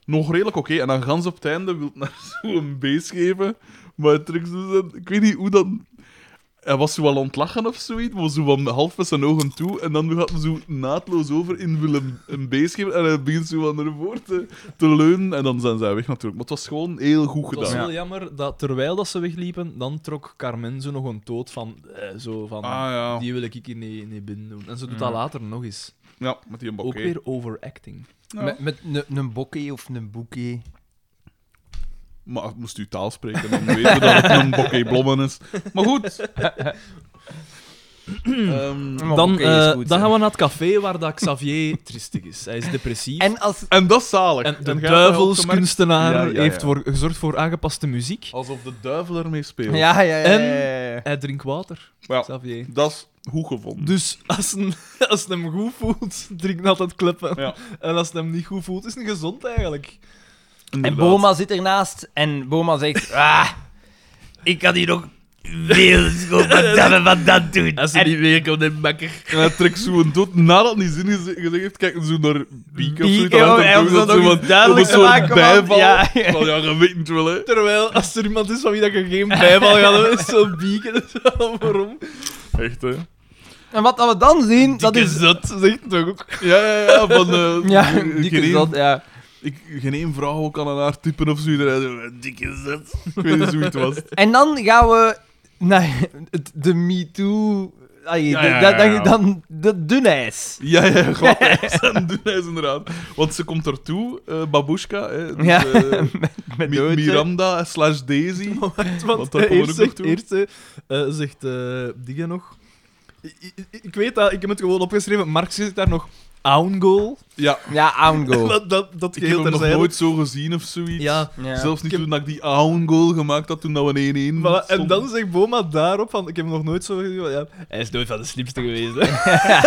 Speaker 1: Nog redelijk oké. En dan gans op het [LAUGHS] einde wil naar zo'n beest geven. Maar Trix, ik weet niet hoe dat. Hij was zo wel aan het lachen of zoiets, maar zo van half met zijn ogen toe. En dan gaat hij zo naadloos over in Willem een beest geven. En hij begint zo van ervoor te, te leunen. En dan zijn zij weg natuurlijk. Maar het was gewoon heel goed
Speaker 3: Het
Speaker 1: gedaan.
Speaker 3: was
Speaker 2: Ja.
Speaker 3: wel jammer dat terwijl dat ze wegliepen, dan trok Carmen zo nog een toot van... eh, zo van
Speaker 1: Ah ja.
Speaker 3: Die wil ik hier niet, niet binnen doen. En ze doet dat
Speaker 2: Mm.
Speaker 3: later nog eens.
Speaker 1: Ja, met die een
Speaker 3: Ook weer
Speaker 1: [CLEARS THROAT]
Speaker 3: overacting.
Speaker 1: Ja.
Speaker 2: Met, met een- een bokkie of een boekie.
Speaker 1: Maar moest u taal spreken, dan weten we dat het een bokkie blommen is. Maar goed.
Speaker 3: Hmm.
Speaker 1: Ehm,
Speaker 2: Maar
Speaker 3: dan,
Speaker 2: bokkie is
Speaker 3: eh,
Speaker 2: goed,
Speaker 3: dan
Speaker 2: hè.
Speaker 3: gaan we naar het café waar dat Xavier [LAUGHS] tristig is. Hij is depressief.
Speaker 2: En als...
Speaker 1: en dat is zalig.
Speaker 3: En de
Speaker 1: jij hebt dat ook gemerkt?
Speaker 3: duivelskunstenaar
Speaker 1: Ja, ja, ja.
Speaker 3: heeft voor, gezorgd voor aangepaste muziek.
Speaker 1: Alsof de duivel ermee speelt.
Speaker 2: Ja, ja, ja.
Speaker 3: En-
Speaker 2: ja, ja.
Speaker 3: Hij drinkt water,
Speaker 1: Ja,
Speaker 3: Xavier.
Speaker 1: dat is goed gevonden.
Speaker 3: Dus als een, [LAUGHS] als een hem goed voelt, drinkt hij altijd kleppen.
Speaker 1: Ja.
Speaker 3: En als hij hem niet goed voelt, is hij gezond eigenlijk.
Speaker 2: En
Speaker 1: Inderdaad.
Speaker 2: Boma zit ernaast en Boma zegt... [LAUGHS] Ah, ik kan hier nog veel vertellen wat dat doet.
Speaker 3: Als hij
Speaker 2: En [LAUGHS]
Speaker 3: niet weer komt, dan bakker.
Speaker 1: En hij trekt zo'n dood. Nadat hij zin geze- gezegd heeft, kijkt zo naar Bieke of zo.
Speaker 2: Bieke,
Speaker 1: Dan
Speaker 2: oh, hij
Speaker 1: doet
Speaker 2: wil dat
Speaker 1: zo
Speaker 2: nog
Speaker 1: wat-
Speaker 2: eens
Speaker 1: op
Speaker 2: duidelijk
Speaker 1: een soort
Speaker 2: maken, want-
Speaker 1: bijval.
Speaker 2: ja.
Speaker 1: Wel, ja, je weet het wel, hè.
Speaker 3: Terwijl, als er iemand is van wie dat je geen bijval gaat hebben, Oh, is zo'n bieken. Dat is wel waarom.
Speaker 1: Echt, hè.
Speaker 2: En wat dat we dan zien, [LAUGHS] dat
Speaker 3: Dikke
Speaker 2: is...
Speaker 3: zot, zegt
Speaker 1: [LAUGHS]
Speaker 3: toch ook.
Speaker 1: Ja, ja, ja. Van, eh,
Speaker 2: Ja,
Speaker 1: geen
Speaker 2: dikke
Speaker 1: één-
Speaker 2: zot, ja.
Speaker 1: Ik, geen één vrouw kan aan haar typen of zo. Iedereen zo, Dikke zet. Ik weet niet hoe het was.
Speaker 2: En dan gaan we naar [LAUGHS] het, de MeToo... Allee,
Speaker 1: Ja,
Speaker 2: de-
Speaker 1: ja,
Speaker 2: dat-
Speaker 1: ja,
Speaker 2: dat-
Speaker 1: ja.
Speaker 2: Dan de dunijs.
Speaker 1: Ja, ja, ja,
Speaker 2: [LAUGHS]
Speaker 1: glad ijs en dun ijs, inderdaad. Want ze komt ertoe, eh Babushka, hè, dus,
Speaker 2: Ja. [LAUGHS]
Speaker 1: eh,
Speaker 2: Met
Speaker 1: Mi-
Speaker 2: Doodje.
Speaker 1: Miranda slash Daisy.
Speaker 3: Want,
Speaker 1: Want dat komen
Speaker 3: eh,
Speaker 1: we
Speaker 3: eerst
Speaker 1: ook nog
Speaker 3: zegt,
Speaker 1: toe.
Speaker 3: eerst, eh, eh, zegt eh, Digga nog... ik, ik- ik weet dat, ik heb het gewoon opgeschreven. Marx zit daar nog. Aungol.
Speaker 1: Ja,
Speaker 2: Ja,
Speaker 1: [LAUGHS]
Speaker 2: Aango.
Speaker 3: Dat, dat, dat
Speaker 1: ik heb
Speaker 3: geheel
Speaker 1: hem nog
Speaker 3: terzijde.
Speaker 1: nooit zo gezien of zoiets.
Speaker 3: Ja,
Speaker 2: Ja.
Speaker 1: Zelfs niet
Speaker 3: Ik heb-
Speaker 1: toen dat ik die own goal gemaakt had, toen dat we 1-1
Speaker 3: Voilà, en
Speaker 1: stonden.
Speaker 3: dan zegt Boma daarop van, ik heb hem nog nooit zo gezien. Ja, hij is nooit van de slimste geweest. Hè.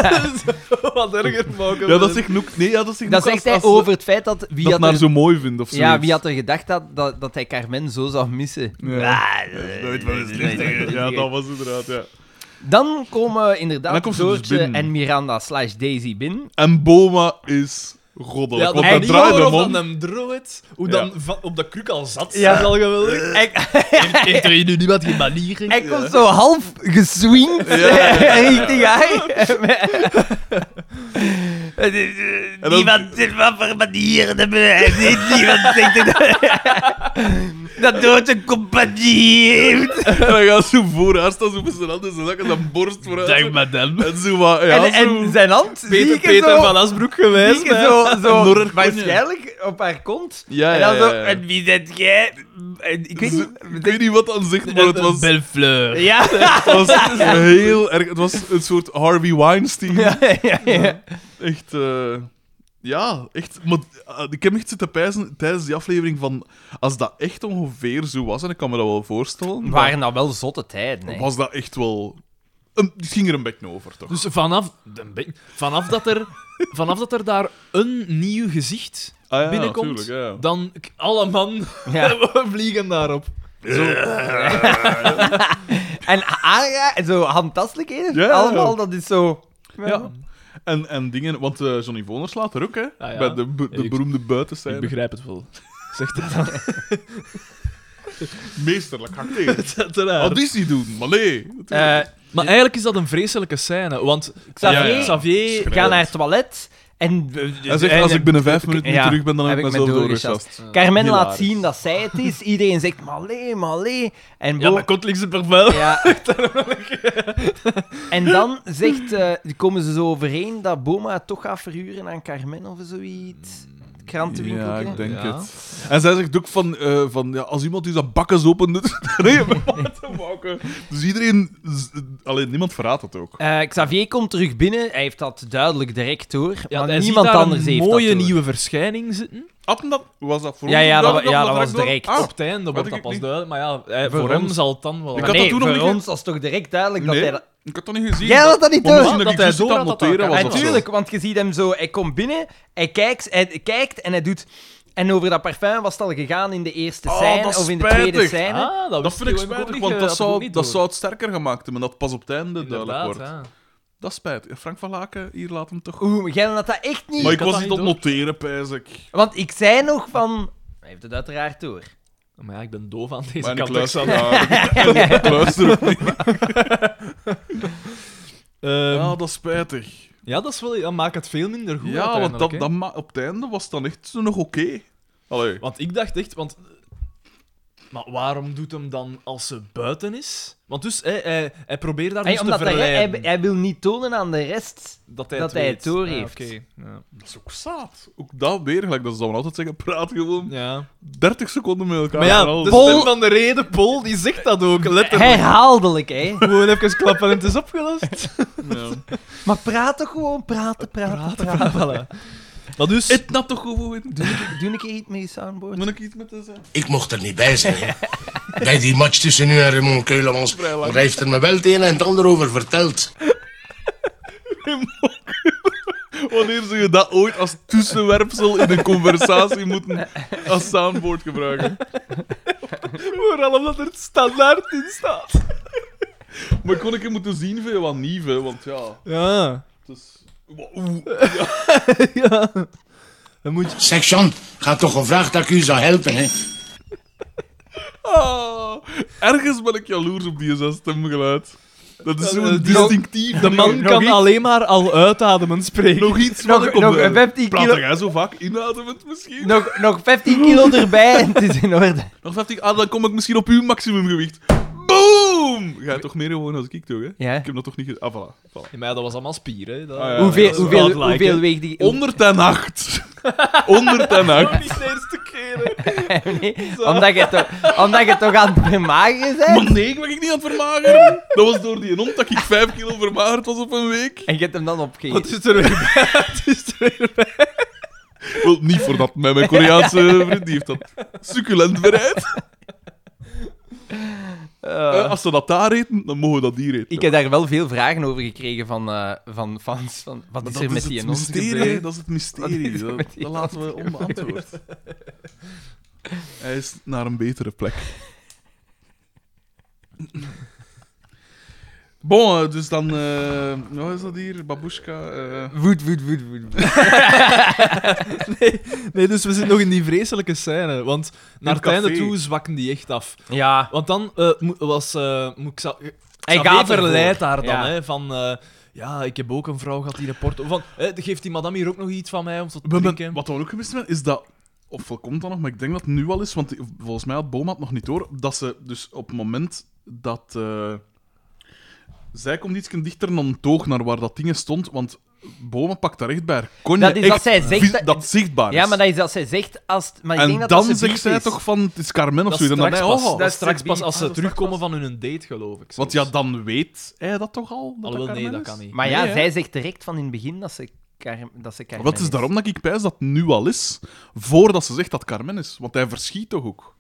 Speaker 3: [LAUGHS] Zo, Wat erger maken.
Speaker 1: Ja, dat zegt Noek... Nee, ja, dat zegt
Speaker 2: [LAUGHS] Dat
Speaker 1: Noek
Speaker 2: zegt
Speaker 1: als-
Speaker 2: hij
Speaker 1: als ze
Speaker 2: over het feit dat... Wie
Speaker 1: dat
Speaker 2: had
Speaker 1: maar
Speaker 2: er,
Speaker 1: zo mooi vindt of zo.
Speaker 2: ja, wie had er gedacht dat, dat, dat hij Carmen zo zou missen?
Speaker 1: Ja.
Speaker 2: Ah, eh,
Speaker 1: Nooit van de
Speaker 2: nee, nee,
Speaker 1: slimste.
Speaker 2: nee,
Speaker 1: Ja,
Speaker 2: nee.
Speaker 1: dat was inderdaad, ja.
Speaker 2: Dan komen
Speaker 1: En
Speaker 2: inderdaad
Speaker 1: dan komt ze dus
Speaker 2: Doortje
Speaker 1: binnen.
Speaker 2: en Miranda slash Daisy binnen.
Speaker 1: En Boma is goddelijk,
Speaker 3: Ja,
Speaker 1: want
Speaker 3: dat
Speaker 1: dat draait hem
Speaker 3: waarop
Speaker 1: om.
Speaker 3: dat hem droeit, hoe
Speaker 1: Ja.
Speaker 3: dan va- op de kruk al zat,
Speaker 2: Ja.
Speaker 3: dat is al geweldig.
Speaker 2: Hij,
Speaker 3: [LAUGHS] Heeft er hier nu niemand geen manieren?
Speaker 2: hij komt zo half geswingd [LAUGHS] richting haar.
Speaker 1: dan-
Speaker 2: Niemand zit wat voor manieren hebben. hij niet. Niemand denkt dat, dat Doortje compagnie heeft.
Speaker 1: [LAUGHS] En dan gaat ze voor haar staan, zo met zijn handen in zijn zak en zijn borst vooruit.
Speaker 3: madame.
Speaker 1: En zo wat, ja,
Speaker 2: en,
Speaker 1: zo...
Speaker 2: en zijn hand, zie
Speaker 3: Peter,
Speaker 2: ik er
Speaker 3: Peter
Speaker 2: zo,
Speaker 3: van Asbroek
Speaker 2: zie
Speaker 3: geweest.
Speaker 2: ik er
Speaker 3: hè.
Speaker 2: zo, zo
Speaker 1: Door haar konje.
Speaker 2: waarschijnlijk op haar kont.
Speaker 1: Ja,
Speaker 2: en dan
Speaker 1: ja,
Speaker 2: zo,
Speaker 1: ja, ja.
Speaker 2: en wie zet jij? En ik weet
Speaker 1: Ze-
Speaker 2: niet...
Speaker 1: ik weet niet wat aan zegt, maar het was,
Speaker 3: Belle
Speaker 1: [LAUGHS]
Speaker 3: Fleur.
Speaker 2: Ja.
Speaker 1: het was heel erg... Het was een soort Harvey Weinstein.
Speaker 2: Ja, ja, ja.
Speaker 1: Echt, eh, ja, echt. Maar eh, ik heb echt zitten pijzen tijdens die aflevering van. Als dat echt ongeveer zo was, en ik kan me dat wel voorstellen.
Speaker 2: Waren dat wel zotte tijden, hè?
Speaker 1: Was dat echt wel. Een, het ging er een beetje over, toch?
Speaker 3: Dus vanaf, de be- vanaf, dat er, vanaf dat er daar een nieuw gezicht
Speaker 1: Ah ja,
Speaker 3: binnenkomt,
Speaker 1: tuurlijk, ja, ja.
Speaker 3: dan k- alle man
Speaker 2: Ja.
Speaker 3: [LAUGHS] vliegen daarop.
Speaker 2: En Aria, zo handtastelijkheden,
Speaker 1: Ja, ja, ja.
Speaker 2: allemaal, dat is zo...
Speaker 1: Ja. En, en dingen, want eh, Johnny Voners slaat er ook, hè?
Speaker 3: Ah, ja.
Speaker 1: Bij de, be- de
Speaker 3: Ik-
Speaker 1: beroemde
Speaker 3: Ik
Speaker 1: buitenscène.
Speaker 3: begrijp
Speaker 1: [LAUGHS]
Speaker 3: het wel. Zeg dat dan.
Speaker 1: Meesterlijk
Speaker 3: [LAUGHS]
Speaker 1: acteren.
Speaker 3: Uiteraard.
Speaker 1: Auditie doen, maar nee.
Speaker 2: Eh,
Speaker 3: Maar eigenlijk is dat een vreselijke scène, want
Speaker 2: Xavier,
Speaker 1: Ja, ja.
Speaker 3: Xavier
Speaker 2: ga naar het toilet en...
Speaker 1: Hij zegt, als ik binnen vijf minuten niet
Speaker 2: ja,
Speaker 1: terug ben, dan heb ik
Speaker 2: heb ik me
Speaker 1: mezelf
Speaker 2: doorgesjast.
Speaker 1: doorgesjast.
Speaker 2: Carmen laat
Speaker 1: hilarisch.
Speaker 2: zien dat zij het is. Iedereen zegt, malee, malee. En
Speaker 3: Ja,
Speaker 2: Bo...
Speaker 3: maar Kotlings is perfect.
Speaker 1: [LAUGHS]
Speaker 2: Ja. en dan zegt, eh, komen ze zo overeen dat Boma het toch gaat verhuren aan Carmen of zoiets. Krantenwinkel.
Speaker 1: Mm, Ja,
Speaker 2: hè?
Speaker 1: ik denk
Speaker 3: Ja.
Speaker 1: het. En zij zegt ook van, eh, van ja, als iemand dus dat bakkes open doet, [LAUGHS] dan heb je wat te maken. Dus iedereen... z- Alleen, niemand verraadt het ook.
Speaker 2: Eh, Xavier komt terug binnen. Hij heeft dat duidelijk direct door.
Speaker 3: Ja,
Speaker 2: maar
Speaker 3: hij ziet
Speaker 2: niemand
Speaker 3: daar
Speaker 2: anders
Speaker 3: een
Speaker 2: heeft
Speaker 3: mooie
Speaker 2: dat door.
Speaker 3: nieuwe verschijning zitten.
Speaker 1: Appen dat... Was dat voor
Speaker 2: Ja,
Speaker 1: ons
Speaker 2: ja, dat,
Speaker 1: duidelijk
Speaker 2: ja,
Speaker 1: dat
Speaker 2: dat was
Speaker 1: direct door-
Speaker 2: direct.
Speaker 1: Ah,
Speaker 3: Op het einde wordt
Speaker 1: weet
Speaker 3: dat
Speaker 1: ik
Speaker 3: pas
Speaker 1: niet.
Speaker 3: duidelijk, maar ja, hij-
Speaker 1: Voor
Speaker 3: voor hem
Speaker 1: ons.
Speaker 3: zal het dan wel...
Speaker 1: Ik
Speaker 2: Maar
Speaker 1: had dat
Speaker 2: nee,
Speaker 1: toen nog
Speaker 2: voor
Speaker 1: niet ge-
Speaker 2: ons was toch direct duidelijk
Speaker 1: Nee.
Speaker 2: dat hij dat...
Speaker 1: Ik had dat niet gezien.
Speaker 2: Jij had dat niet
Speaker 1: Omdat
Speaker 2: door.
Speaker 1: misschien dat
Speaker 3: Dat
Speaker 1: ik
Speaker 3: hij
Speaker 1: juist
Speaker 3: door
Speaker 1: aan het
Speaker 3: had dat
Speaker 1: noteren
Speaker 3: hij
Speaker 1: was
Speaker 3: kan.
Speaker 1: of zo.
Speaker 2: Natuurlijk, want je ziet hem zo... Hij komt binnen, hij kijkt, hij kijkt en hij doet... En over dat parfum was het al gegaan in de eerste
Speaker 1: Oh,
Speaker 2: scène
Speaker 1: dat
Speaker 2: of in de
Speaker 1: spijtig.
Speaker 2: tweede scène.
Speaker 3: Ah,
Speaker 1: Dat
Speaker 3: dat, wist
Speaker 1: vind ik
Speaker 3: ook
Speaker 1: spijtig,
Speaker 3: niet,
Speaker 1: want
Speaker 3: eh,
Speaker 1: dat
Speaker 3: had ik ook
Speaker 1: zou,
Speaker 3: niet
Speaker 1: dat
Speaker 3: door.
Speaker 1: zou het sterker gemaakt hebben, dat pas op het einde duidelijk
Speaker 3: Inderdaad,
Speaker 1: wordt.
Speaker 3: ja.
Speaker 1: Dat is spijtig. Frank van Laken, hier laat hem toch...
Speaker 2: Oeh, jij had dat echt niet.
Speaker 1: maar ik
Speaker 3: had
Speaker 1: was
Speaker 3: dat
Speaker 1: niet
Speaker 3: niet
Speaker 1: aan het noteren, pijs ik.
Speaker 2: Want ik zei nog van... Hij heeft het uiteraard
Speaker 1: [LAUGHS]
Speaker 2: door.
Speaker 3: Maar ja, ik ben doof aan deze
Speaker 1: Maar ik
Speaker 3: kant. ook zo.
Speaker 1: luister, ja,
Speaker 3: [LAUGHS]
Speaker 1: ik luister ook niet.
Speaker 3: Ehm,
Speaker 1: Ja, dat is spijtig.
Speaker 3: ja, dat, is wel, dat maakt het veel minder goed
Speaker 1: Ja, want
Speaker 3: uiteindelijk,
Speaker 1: dat,
Speaker 3: hè.
Speaker 1: dat ma- op het einde was het dan echt nog oké. Allee.
Speaker 3: Want ik dacht echt, want... Maar waarom doet hem dan als ze buiten is? Want dus, hij, hij, hij probeert daar
Speaker 2: Hey,
Speaker 3: dus
Speaker 2: omdat
Speaker 3: te
Speaker 2: hij,
Speaker 3: verleiden.
Speaker 2: hij, hij wil niet tonen aan de rest.
Speaker 3: dat hij
Speaker 2: dat
Speaker 3: het,
Speaker 2: hij
Speaker 3: weet.
Speaker 2: het door
Speaker 3: Ah,
Speaker 2: heeft.
Speaker 3: oké, ja.
Speaker 1: Dat is ook zaad. Ook dat weer, gelijk dat ze dan altijd zeggen, praat gewoon
Speaker 3: Ja.
Speaker 1: 30 seconden met elkaar.
Speaker 3: Maar ja,
Speaker 1: en al.
Speaker 3: de
Speaker 2: Pol-
Speaker 3: stem van de reden, Pol, die zegt
Speaker 2: [LAUGHS]
Speaker 3: dat ook, letterlijk.
Speaker 2: Herhaaldelijk, hè.
Speaker 3: Gewoon even klappen en het is opgelost.
Speaker 2: [LAUGHS]
Speaker 1: Ja.
Speaker 2: Maar praat toch gewoon, praten, praten, praten.
Speaker 3: voilà. Maar dus...
Speaker 1: Het nat toch gewoon. Doe-
Speaker 2: Doe een keer iets met je soundboard.
Speaker 1: Moet ik iets met deze?
Speaker 5: Ik mocht er niet bij zijn. bij die match tussen u en Raymond Keulemans.
Speaker 1: Vrij lang.
Speaker 5: Maar hij heeft er me wel het een en het ander over verteld.
Speaker 1: Wanneer zou je dat ooit als tussenwerpsel in een conversatie moeten als soundboard gebruiken?
Speaker 3: Vooral omdat er het standaard in staat.
Speaker 1: Maar kon ik hem moeten zien veel wat nieuw, hè, want ja,
Speaker 3: Ja.
Speaker 1: het is... Oeh,
Speaker 3: ja. Dan moet je...
Speaker 5: Zeg, Jean, ga toch gevraagd dat ik u zou helpen, hè?
Speaker 1: ah. Ergens ben ik jaloers op die zijn stemgeluid. Dat is
Speaker 3: eh,
Speaker 1: zo'n
Speaker 3: die-
Speaker 1: distinctief.
Speaker 3: De man
Speaker 1: nog
Speaker 3: kan
Speaker 1: iets-
Speaker 3: alleen maar al uitademen spreken.
Speaker 1: Nog iets
Speaker 2: Nog-
Speaker 1: van... ik op-
Speaker 2: nog 15
Speaker 1: Praat
Speaker 2: kilo-
Speaker 1: jij zo vaak inademend misschien?
Speaker 2: Nog, nog 15 kilo erbij en het is in orde.
Speaker 1: Nog 15, ah, dan kom ik misschien op uw maximumgewicht. Boom! Ga je toch meer gewoon als ik toch, hè?
Speaker 2: Ja.
Speaker 1: Ik heb dat toch niet... ge- Ah, voilà. voilà.
Speaker 3: Ja, maar dat was allemaal spieren. hè. Dat...
Speaker 1: Ah, ja.
Speaker 2: hoeveel
Speaker 1: dat is
Speaker 2: hoeveel,
Speaker 3: godlike,
Speaker 2: hoeveel
Speaker 3: hè.
Speaker 2: weegt die...
Speaker 1: Onder ten acht. Onder ten acht.
Speaker 3: Niet de eerste keer.
Speaker 2: Nee, [LAUGHS] omdat je toch, omdat je toch aan het vermageren bent.
Speaker 1: Maar nee, ik ben ik niet aan het vermageren. Dat was door die hond dat ik 5 kilo vermagerd was op een week.
Speaker 2: En je hebt hem dan
Speaker 3: Wat
Speaker 2: opgegeten.
Speaker 3: is er weer bij? Wat is er weer bij?
Speaker 1: Wel, niet voor dat met mijn Koreaanse vriend. Die heeft dat succulent bereid. Eh, als ze dat daar eten, dan mogen we dat hier eten.
Speaker 2: Ah. Ik heb daar wel veel vragen over gekregen van, eh, van fans. Van, wat
Speaker 1: Maar
Speaker 2: is
Speaker 1: dat
Speaker 2: er met
Speaker 1: het
Speaker 2: die hond
Speaker 1: mysterie.
Speaker 2: gebeurd?
Speaker 1: Dat is het
Speaker 2: Wat is
Speaker 1: mysterie.
Speaker 2: er
Speaker 1: Dat,
Speaker 2: met die
Speaker 1: dat laten we onbeantwoord. Hij is naar een betere plek. Bon, eh, dus dan... eh wat is dat hier? Babushka? eh,
Speaker 2: Woed, woed, woed, woed. woed.
Speaker 3: Nee, nee, dus we zitten nog in die vreselijke scène. Want naar het
Speaker 1: café.
Speaker 3: einde toe zwakken die echt af.
Speaker 2: Ja.
Speaker 3: Want dan eh, mo- was... eh, moet ik za-
Speaker 2: Hij
Speaker 3: Xavier
Speaker 2: gaat ervoor.
Speaker 3: verleidt haar dan,
Speaker 2: Ja.
Speaker 3: hè, van... eh, ja, ik heb ook een vrouw gehad die rapport... Van, eh, geeft die madame hier ook nog iets van mij om te
Speaker 1: we hebben-
Speaker 3: drinken?
Speaker 1: wat we ook gemist hebben, is dat... Of komt dat nog, maar ik denk dat het nu al is, want die- volgens mij had Boma het nog niet door, dat ze dus op het moment dat... eh, zij komt iets dichter dan het oog naar waar dat ding stond, want Boma pakt daar echt bij haar konje.
Speaker 2: Dat is dat
Speaker 1: echt
Speaker 2: zij zegt
Speaker 1: vis-
Speaker 2: dat-
Speaker 1: dat zichtbaar is.
Speaker 2: Ja, maar dat is dat zij zegt als... het- Maar ik
Speaker 1: Oh, dus- en
Speaker 2: denk dat
Speaker 1: dan
Speaker 2: dat ze
Speaker 1: zegt
Speaker 2: bief
Speaker 1: zij
Speaker 2: is.
Speaker 1: toch van, het is Carmen of
Speaker 3: Dat
Speaker 1: zo. En dan
Speaker 3: straks
Speaker 1: hij,
Speaker 3: pas,
Speaker 1: oh,
Speaker 3: dat
Speaker 2: dat is
Speaker 3: straks
Speaker 2: straks
Speaker 3: pas als
Speaker 2: ah,
Speaker 3: ze
Speaker 2: dat is
Speaker 3: terugkomen van hun date, geloof ik.
Speaker 1: want
Speaker 3: soms.
Speaker 1: ja, dan weet hij dat toch al? Dat
Speaker 3: Alhoewel, nee,
Speaker 1: Carmen
Speaker 3: dat
Speaker 1: is?
Speaker 3: kan niet.
Speaker 2: Maar ja,
Speaker 1: Nee, hè?
Speaker 2: zij zegt direct van in het begin dat ze, Car- dat ze Carmen
Speaker 1: Wat is daarom dat ik pijs dat het nu al is, voordat ze zegt dat Carmen is. Want hij verschiet toch ook?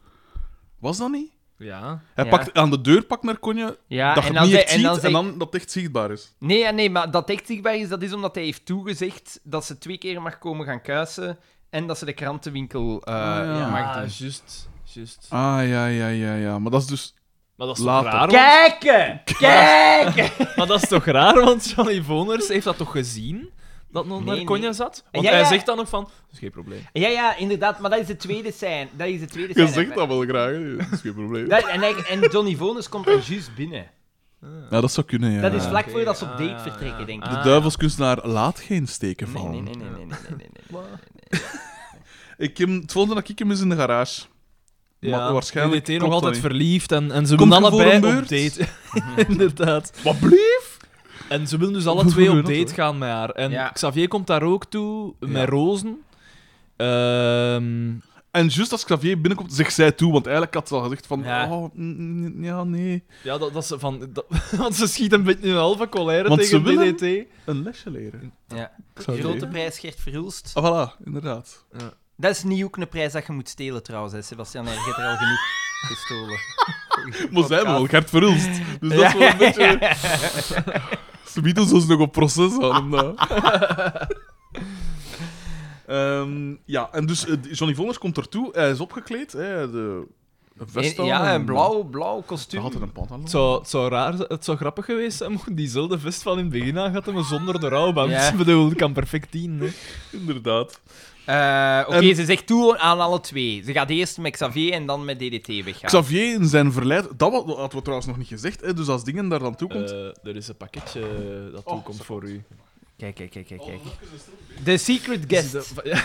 Speaker 1: Was dat niet?
Speaker 3: Ja.
Speaker 1: Hij
Speaker 2: Ja.
Speaker 1: pakt aan de deur pakt naar Konje,
Speaker 2: Ja,
Speaker 1: dat je het
Speaker 2: en dan
Speaker 1: niet
Speaker 2: zei-
Speaker 1: echt
Speaker 2: en
Speaker 1: ziet
Speaker 2: dan
Speaker 1: en
Speaker 2: zei-
Speaker 1: dan dat het echt zichtbaar is.
Speaker 2: Nee, ja, nee, maar dat echt zichtbaar is, dat is omdat hij heeft toegezegd dat ze twee keer mag komen gaan kuisen en dat ze de krantenwinkel eh,
Speaker 1: Ah, ja.
Speaker 2: mag doen.
Speaker 3: juist. juist.
Speaker 1: Ah, ja, ja, ja, ja. Maar dat is dus...
Speaker 3: Maar dat is toch
Speaker 1: Later.
Speaker 3: raar? want-
Speaker 2: Kijken! Kijken!
Speaker 3: Maar dat is toch raar, want Johnny Voners heeft dat toch gezien? Dat nog
Speaker 2: Nee,
Speaker 3: naar Konya
Speaker 2: nee.
Speaker 3: zat? Want
Speaker 2: Ja,
Speaker 3: hij
Speaker 2: ja.
Speaker 3: zegt dan nog van... Dat is geen probleem.
Speaker 2: ja, ja, inderdaad, maar dat is de tweede scène. Dat is de tweede
Speaker 1: Je
Speaker 2: scène.
Speaker 1: zegt dat wel graag, hè. dat is geen probleem.
Speaker 2: Dat- en, hij- en Johnny Voners komt dan juist binnen.
Speaker 1: Ja, dat zou kunnen, ja.
Speaker 2: Dat is
Speaker 1: Ja.
Speaker 2: vlak
Speaker 3: oké.
Speaker 2: voordat ze op date
Speaker 3: Ah,
Speaker 2: vertrekken,
Speaker 3: ja.
Speaker 2: denk ik.
Speaker 1: De
Speaker 3: Ah.
Speaker 1: duivelskunstenaar laat geen steken
Speaker 2: Nee,
Speaker 1: vallen.
Speaker 2: nee, nee, nee, nee, nee, nee, nee, nee.
Speaker 1: Ik hem, het volgende dat ik hem is in de garage. Maar waarschijnlijk
Speaker 3: DDT nog
Speaker 1: klopt
Speaker 3: altijd
Speaker 1: dat
Speaker 3: verliefd en, en ze
Speaker 1: Komt
Speaker 3: willen
Speaker 1: er voor
Speaker 3: allebei
Speaker 1: een
Speaker 3: op
Speaker 1: beurt?
Speaker 3: date. [LAUGHS] Inderdaad.
Speaker 1: niet. Wat blief?
Speaker 3: En ze willen dus alle
Speaker 1: Hoe
Speaker 3: twee op
Speaker 1: gebeurt dat,
Speaker 3: date gaan met haar. En
Speaker 2: Ja.
Speaker 3: Xavier komt daar ook toe, met rozen. Ehm,
Speaker 1: En juist als Xavier binnenkomt, zegt zij toe, want eigenlijk had ze al gezegd van...
Speaker 2: Ja.
Speaker 1: Oh, mm, mm, ja, nee.
Speaker 3: ja, dat, dat ze van... Dat, [LAUGHS] want ze schiet een beetje een halve colère
Speaker 1: Want
Speaker 3: tegen
Speaker 1: ze willen-
Speaker 3: DDT.
Speaker 1: Een lesje leren.
Speaker 2: Ja.
Speaker 1: Xavier.
Speaker 2: Grote prijs Gert Verhulst.
Speaker 1: Ah, voilà, inderdaad.
Speaker 2: Dat is niet ook een prijs dat je moet stelen trouwens, hè, Sebastian. Je hebt er al genoeg gestolen.
Speaker 1: Maar zij hebben wel Gert Verhulst. Dus dat is wel [LAUGHS]
Speaker 2: Ja.
Speaker 1: een beetje... Ze bieden ons dus nog op proces aan. hem, nou. [LAUGHS] Ehm, ja, en dus eh, Johnny Voners komt ertoe. Hij is opgekleed. Hè, de, een vest aan
Speaker 2: ja,
Speaker 1: en-
Speaker 2: een blauw, blauw
Speaker 1: Hij
Speaker 2: kostuum.
Speaker 1: had er een pand aan.
Speaker 3: Het zou, het zou raar, zijn- het zou grappig geweest zijn mocht diezelfde vest van in het begin aan gaat hebben zonder de rouwband.
Speaker 2: Ja.
Speaker 3: [LAUGHS] Ik bedoel, ik kan perfect tien. hè.
Speaker 1: Inderdaad.
Speaker 2: Eh, Oké,
Speaker 1: En-
Speaker 2: ze zegt toe aan alle twee. Ze gaat eerst met Xavier en dan met DDT weggaan.
Speaker 1: Xavier in zijn verleid... Dat wa- dat hadden we trouwens nog niet gezegd. Hè, dus als dingen daar dan toe komt...
Speaker 3: Eh, er is een pakketje dat
Speaker 1: Oh,
Speaker 3: toekomt voor u.
Speaker 2: Kijk, kijk, kijk, kijk. kijk. The secret guest.
Speaker 3: [LAUGHS] Ja.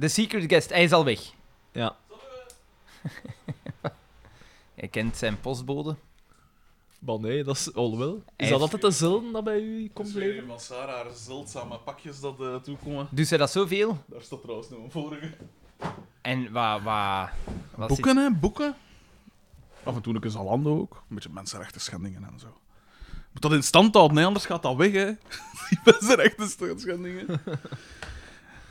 Speaker 2: The secret guest. Hij is al weg.
Speaker 3: Ja.
Speaker 2: Hij kent zijn postbode.
Speaker 3: Maar nee, dat is al wel. Is
Speaker 2: Hij
Speaker 3: dat
Speaker 2: is-
Speaker 3: altijd dezelfde dat bij u komt leven?
Speaker 1: van Sarah haar zeldzame pakjes dat eh, toekomen.
Speaker 2: Doet zij dat zoveel?
Speaker 1: Daar staat trouwens nog een vorige.
Speaker 2: En waar... waar wat zit-
Speaker 1: Boeken, hè? Boeken. Af en toe een Zalando ook. Een beetje mensenrechten schendingen en zo. Moet dat in stand houden, nee, anders gaat dat weg, hè. [LAUGHS] Die mensenrechten schendingen.
Speaker 2: [LAUGHS]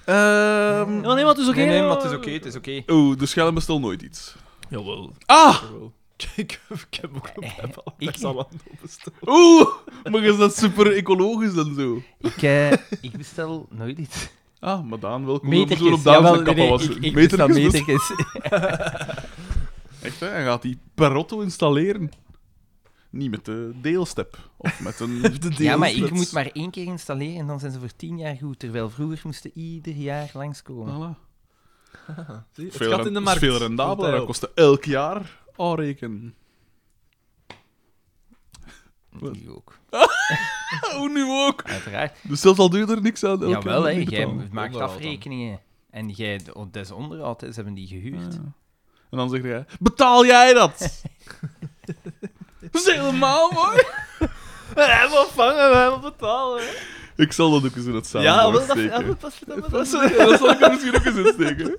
Speaker 1: Ehm
Speaker 3: Oh, nee, maar het is oké.
Speaker 2: Nee, nee, maar het is oké, het is oké.
Speaker 1: Oeh, de schellen bestel nooit iets.
Speaker 3: Jawel.
Speaker 1: Ah!
Speaker 2: [LAUGHS]
Speaker 3: jawel. Ik, ik heb ook een bijbal
Speaker 2: ik-
Speaker 3: bij Zalando besteld.
Speaker 1: Oeh! Maar is dat super ecologisch en zo?
Speaker 2: Ik, eh, ik bestel nooit iets.
Speaker 1: Ah, maar Daan, welkom.
Speaker 2: Metertjes.
Speaker 1: Moeten we op Daan
Speaker 2: Jawel,
Speaker 1: zijn kappa
Speaker 2: nee, nee,
Speaker 1: wassen?
Speaker 2: ik, ik
Speaker 1: Metertjes
Speaker 2: bestel
Speaker 1: best-
Speaker 2: metertjes.
Speaker 1: [LAUGHS] Echt, hè? Hij gaat die perotto installeren. Niet met de deelstep. Of met een...
Speaker 2: [LAUGHS] Ja, maar ik moet maar één keer installeren en dan zijn ze voor tien jaar goed. Terwijl vroeger moesten ieder jaar
Speaker 1: Voilà.
Speaker 2: langskomen.
Speaker 3: Zie, Het
Speaker 1: Veel
Speaker 3: gaat
Speaker 1: ren-
Speaker 3: in de markt. eh,
Speaker 1: is veel rendabeler.
Speaker 3: Komt
Speaker 1: Dat
Speaker 3: hij op.
Speaker 1: kostte elk jaar aanrekenen. Ah,
Speaker 2: Nu ook.
Speaker 1: Oh, nu ook.
Speaker 2: Uiteraard.
Speaker 1: Dus zelfs al duurde er niks aan. elk
Speaker 2: Jawel,
Speaker 1: jaar
Speaker 2: hè.
Speaker 1: moet je
Speaker 2: Jij
Speaker 1: betalen.
Speaker 2: maakt
Speaker 3: Onderhoud
Speaker 2: afrekeningen. En jij, oh, dat is onderhoud, hè. ze hebben die gehuurd.
Speaker 1: Ja. Ah. En dan zegt hij, betaal jij
Speaker 3: [LAUGHS]
Speaker 1: dat? dat is helemaal mooi.
Speaker 2: [LAUGHS]
Speaker 3: We hebben ontvangen, we hebben betalen.
Speaker 1: Ik zal dat ook eens in het
Speaker 3: Ja,
Speaker 1: samenwoord [LAUGHS]
Speaker 3: wel, dat,
Speaker 1: steken.
Speaker 3: ja, dat, dat, dat, dat, [LAUGHS]
Speaker 1: dat zal ik er misschien ook eens in steken.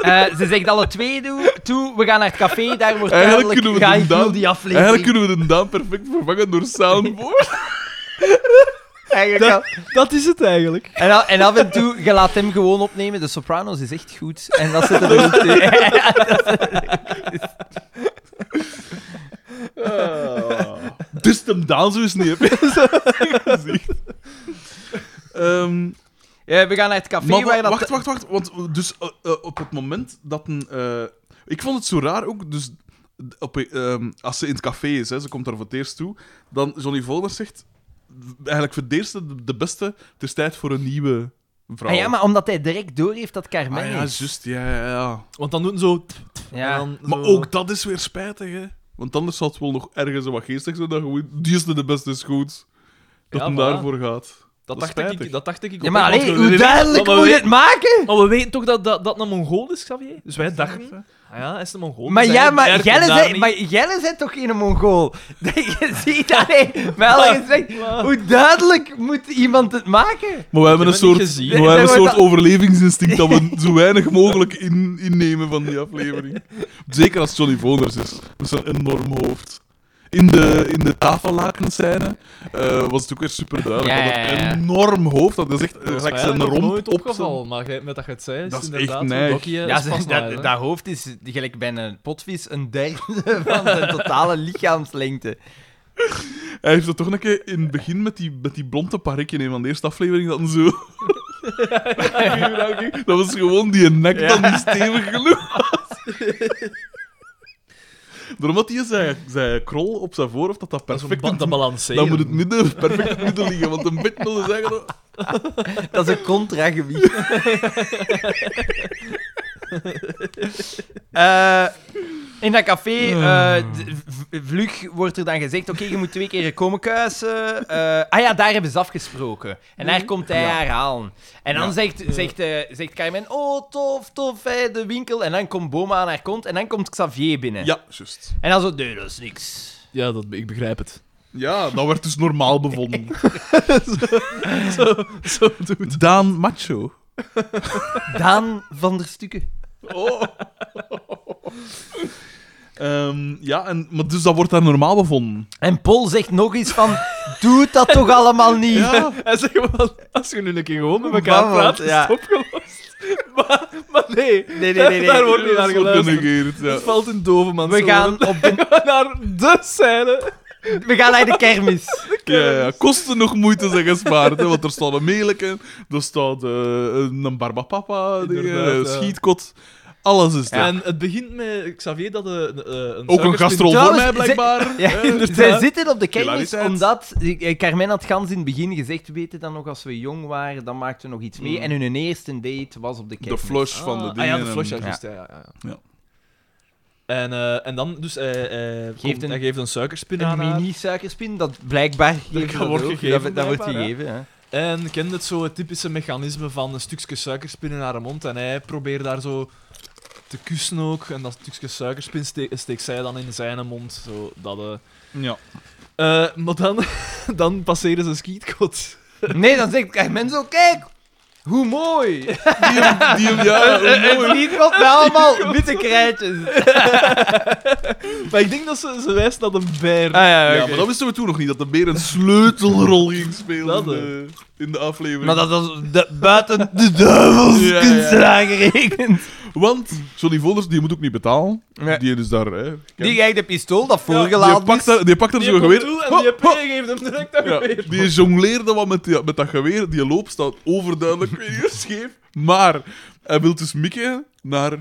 Speaker 2: Eh, ze zegt alle twee toe, toe, we gaan naar het café, daar wordt
Speaker 1: Eigenlijk
Speaker 2: duidelijk,
Speaker 1: kunnen we
Speaker 2: ga
Speaker 1: doen
Speaker 2: ik
Speaker 1: dat.
Speaker 2: heel die aflevering.
Speaker 1: Eigenlijk kunnen we de Daan perfect vervangen door
Speaker 3: [LAUGHS]
Speaker 1: soundboard.
Speaker 2: Eigenlijk
Speaker 3: Dat,
Speaker 2: al.
Speaker 3: dat is het eigenlijk.
Speaker 2: [LAUGHS] En, al- en af en toe, je laat hem gewoon opnemen. De Sopranos is echt goed. En dat zit er [LAUGHS] ook in.
Speaker 3: Ah.
Speaker 1: Dus de Daan zo is niet, heb je
Speaker 3: [LAUGHS]
Speaker 1: gezien. Ehm,
Speaker 2: Ja, we gaan naar het café
Speaker 1: maar
Speaker 2: waar
Speaker 1: wa-
Speaker 2: dat...
Speaker 1: wacht, wacht, wacht. Want dus eh, eh, op het moment dat een... eh, ik vond het zo raar ook, dus... Op, eh, ehm, als ze in het café is, hè, ze komt daar voor het eerst toe, dan Johnny Volder zegt... Eigenlijk voor het eerste, de, de beste, het is tijd voor een nieuwe vrouw.
Speaker 2: Ah ja, maar omdat hij direct door heeft dat
Speaker 1: Ah
Speaker 2: Carmen
Speaker 1: ja,
Speaker 2: is.
Speaker 1: juist, ja, ja, ja.
Speaker 3: Want dan doen ze zo...
Speaker 2: Ja.
Speaker 3: en dan zo-
Speaker 1: Maar ook dat is weer spijtig, hè. Want anders zal het wel nog ergens wat geestig zijn dan gewoon... Die is de beste is goed. Dat
Speaker 3: Ja,
Speaker 1: hem
Speaker 3: voilà.
Speaker 1: daarvoor gaat.
Speaker 3: Dat,
Speaker 1: is
Speaker 3: dacht ik,
Speaker 1: spijtig.
Speaker 3: dat dacht ik ook.
Speaker 2: Ja, maar
Speaker 3: Want
Speaker 2: allee,
Speaker 3: we-
Speaker 2: hoe
Speaker 3: we-
Speaker 2: duidelijk
Speaker 3: maar we-
Speaker 2: moet je het maken?
Speaker 3: Maar we weten toch dat dat, dat een Mongool is, Xavier? Dus wij dachten... Ah ja, hij is een Mongool.
Speaker 2: Maar
Speaker 3: Dus
Speaker 2: ja,
Speaker 3: hij- hij
Speaker 2: maar
Speaker 3: komt
Speaker 2: Jelle
Speaker 3: daar
Speaker 2: zei,
Speaker 3: niet.
Speaker 2: maar Jelle zei toch geen Mongool? [LAUGHS] Je ziet, allee, met alle respect,
Speaker 3: [LAUGHS] maar-
Speaker 2: hoe duidelijk moet iemand het maken?
Speaker 1: Maar we hebben een
Speaker 3: heb het niet
Speaker 1: soort,
Speaker 3: gezien.
Speaker 1: maar wij
Speaker 2: Nee,
Speaker 1: hebben
Speaker 2: nee,
Speaker 1: een
Speaker 2: maar
Speaker 1: soort overlevingsinstinct dat
Speaker 3: [LAUGHS]
Speaker 1: we zo weinig mogelijk in, innemen van die aflevering. Zeker als Johnny Voners is, met zijn enorm hoofd. In de, in de tafellakenscène eh, was het ook weer super duidelijk.
Speaker 2: Ja,
Speaker 1: dat
Speaker 2: ja,
Speaker 1: het
Speaker 2: ja.
Speaker 1: enorm hoofd, dat is echt eh,
Speaker 3: Dat is
Speaker 1: gelijk
Speaker 3: mij
Speaker 1: zijn
Speaker 3: eigenlijk nog
Speaker 1: romp
Speaker 3: nooit
Speaker 1: op zijn-
Speaker 3: opgevallen, maar jij- met dat je het zei, is
Speaker 1: Dat is echt
Speaker 3: inderdaad
Speaker 1: neig.
Speaker 3: een blokje
Speaker 2: Ja,
Speaker 3: ja,
Speaker 2: zeg, dat, dat hoofd is gelijk bij een potvis een derde [LAUGHS] van zijn totale lichaamslengte.
Speaker 1: Hij heeft dat toch een keer in het begin met die, met die blonde parik in een van de eerste aflevering dan zo.
Speaker 3: [LAUGHS]
Speaker 1: dat was gewoon die nek dan niet stevig genoeg was. Daarom had hij zijn, zijn krol op zijn voorhoofd dat dat
Speaker 3: Dat is een
Speaker 1: perfect
Speaker 3: ba- te balanceren.
Speaker 1: Dan moet het midden, perfect in het midden liggen, want een beetje wilde zeggen.
Speaker 2: Dat is een contragewicht. [LAUGHS] Eh, in dat café, eh, d- v- vlug wordt er dan gezegd: Oké, je moet twee keer komen kuisen. Eh, ah ja, daar hebben ze afgesproken. En daar komt hij haar halen. En dan zegt, zegt, eh, zegt Carmen: Oh, tof, tof, hè, de winkel. En dan komt Boma aan haar kont. En dan komt Xavier binnen.
Speaker 1: Ja, juist.
Speaker 2: En dan zo: Nee, dat is niks.
Speaker 3: Ja, dat, ik begrijp het.
Speaker 1: Ja, dat werd dus normaal
Speaker 3: [LAUGHS]
Speaker 1: bevonden. Daan Macho.
Speaker 2: Daan van der Stukken.
Speaker 1: Oh. Ehm, ja, en, maar dus dat wordt daar normaal bevonden.
Speaker 2: En Paul zegt nog eens: van, Doe dat toch allemaal niet.
Speaker 3: [LAUGHS]
Speaker 1: Ja.
Speaker 3: Hij zegt gewoon, als je nu een keer gewoon met elkaar
Speaker 2: Babbelt,
Speaker 3: praat, is
Speaker 2: ja.
Speaker 3: het opgelost. [LAUGHS] Maar, maar nee,
Speaker 2: Nee, nee, nee, nee.
Speaker 3: daar wordt niet naar
Speaker 1: Dat wordt
Speaker 3: geluisterd.
Speaker 1: genegeerd, ja.
Speaker 3: Het valt in dove, man.
Speaker 2: We gaan, op de,
Speaker 3: [LAUGHS] naar de scène.
Speaker 2: we gaan naar de kermis.
Speaker 1: Ja, ja, kosten nog moeite zijn gespaard, hè, want er staat een meleken, er staat eh, een barbapapa, dingen,
Speaker 3: Inderdaad,
Speaker 1: een
Speaker 3: ja.
Speaker 1: eh, schietkot, alles is er.
Speaker 3: En het begint met Xavier dat een... eh, een
Speaker 1: Ook een gastrol voor
Speaker 2: Trouwens,
Speaker 1: mij,
Speaker 2: ze-
Speaker 1: blijkbaar.
Speaker 2: [LAUGHS] Ja,
Speaker 1: Eh,
Speaker 2: zij zitten op de kermis
Speaker 1: Hilariteit.
Speaker 2: omdat eh, Carmen had gans in het begin gezegd: We weten dan nog als we jong waren, dan maakten we nog iets mee. En hun eerste date was op de
Speaker 1: de
Speaker 2: kermis.
Speaker 1: flush van de
Speaker 3: Ah,
Speaker 1: dingen.
Speaker 3: ah, ja, de
Speaker 1: en-
Speaker 3: flush, ja,
Speaker 2: Ja.
Speaker 3: juist, ja. ja, ja.
Speaker 1: Ja.
Speaker 3: En, eh, en dan, dus, hij, hij komt-
Speaker 2: een-
Speaker 3: hij geeft een suikerspin
Speaker 2: Een
Speaker 3: aan haar.
Speaker 2: mini-suikerspin, dat blijkbaar geeft
Speaker 3: kan
Speaker 2: dat
Speaker 3: worden
Speaker 2: ook.
Speaker 3: gegeven,
Speaker 2: Dat, dat wordt
Speaker 3: blijkbaar,
Speaker 2: gegeven. hè.
Speaker 3: En kent het zo het typische mechanisme van een stukje suikerspin in haar mond en hij probeert daar zo te kussen ook. En dat stukje suikerspin ste- steekt zij dan in zijn mond. Zo, dat, eh.
Speaker 1: Ja.
Speaker 3: Eh, maar dan, [LAUGHS] dan passeren ze skietkot.
Speaker 2: Nee, dan zegt Carmen zo: Kijk, hoe
Speaker 1: [LAUGHS]
Speaker 2: mooi! Eh,
Speaker 1: Die, hem- [LAUGHS] die, hem- ja,
Speaker 3: Eh,
Speaker 1: hoe mooi.
Speaker 2: Het niet
Speaker 1: [LAUGHS]
Speaker 2: wat met allemaal witte krijtjes. Ah,
Speaker 3: Maar ik denk dat ze, ze wijst naar een beer.
Speaker 2: Ah, ja,
Speaker 1: Ja,
Speaker 2: oké.
Speaker 1: maar dat wisten we toen nog niet, dat de beer een sleutelrol ging spelen
Speaker 3: Dat, eh.
Speaker 1: in, de, in de aflevering.
Speaker 2: Maar dat was de- buiten de duivels
Speaker 1: Ja, ja.
Speaker 2: kunstenaar gerekend.
Speaker 1: Want Johnny Volders, die moet ook niet betalen.
Speaker 2: Nee.
Speaker 1: Die is daar, hè.
Speaker 2: Die krijgt een pistool dat
Speaker 1: die
Speaker 2: voorgeladen
Speaker 1: pakt
Speaker 2: is.
Speaker 1: daar, die pakt daar
Speaker 3: Die
Speaker 1: zo'n
Speaker 3: komt
Speaker 1: geweer.
Speaker 3: toe
Speaker 1: Ho,
Speaker 3: en die
Speaker 1: ho,
Speaker 3: P geeft hem direct aan
Speaker 1: Ja,
Speaker 3: weer.
Speaker 1: die jongleerde wat met, die- met dat geweer. Die loop staat overduidelijk weer scheef. Maar hij wil dus mikken naar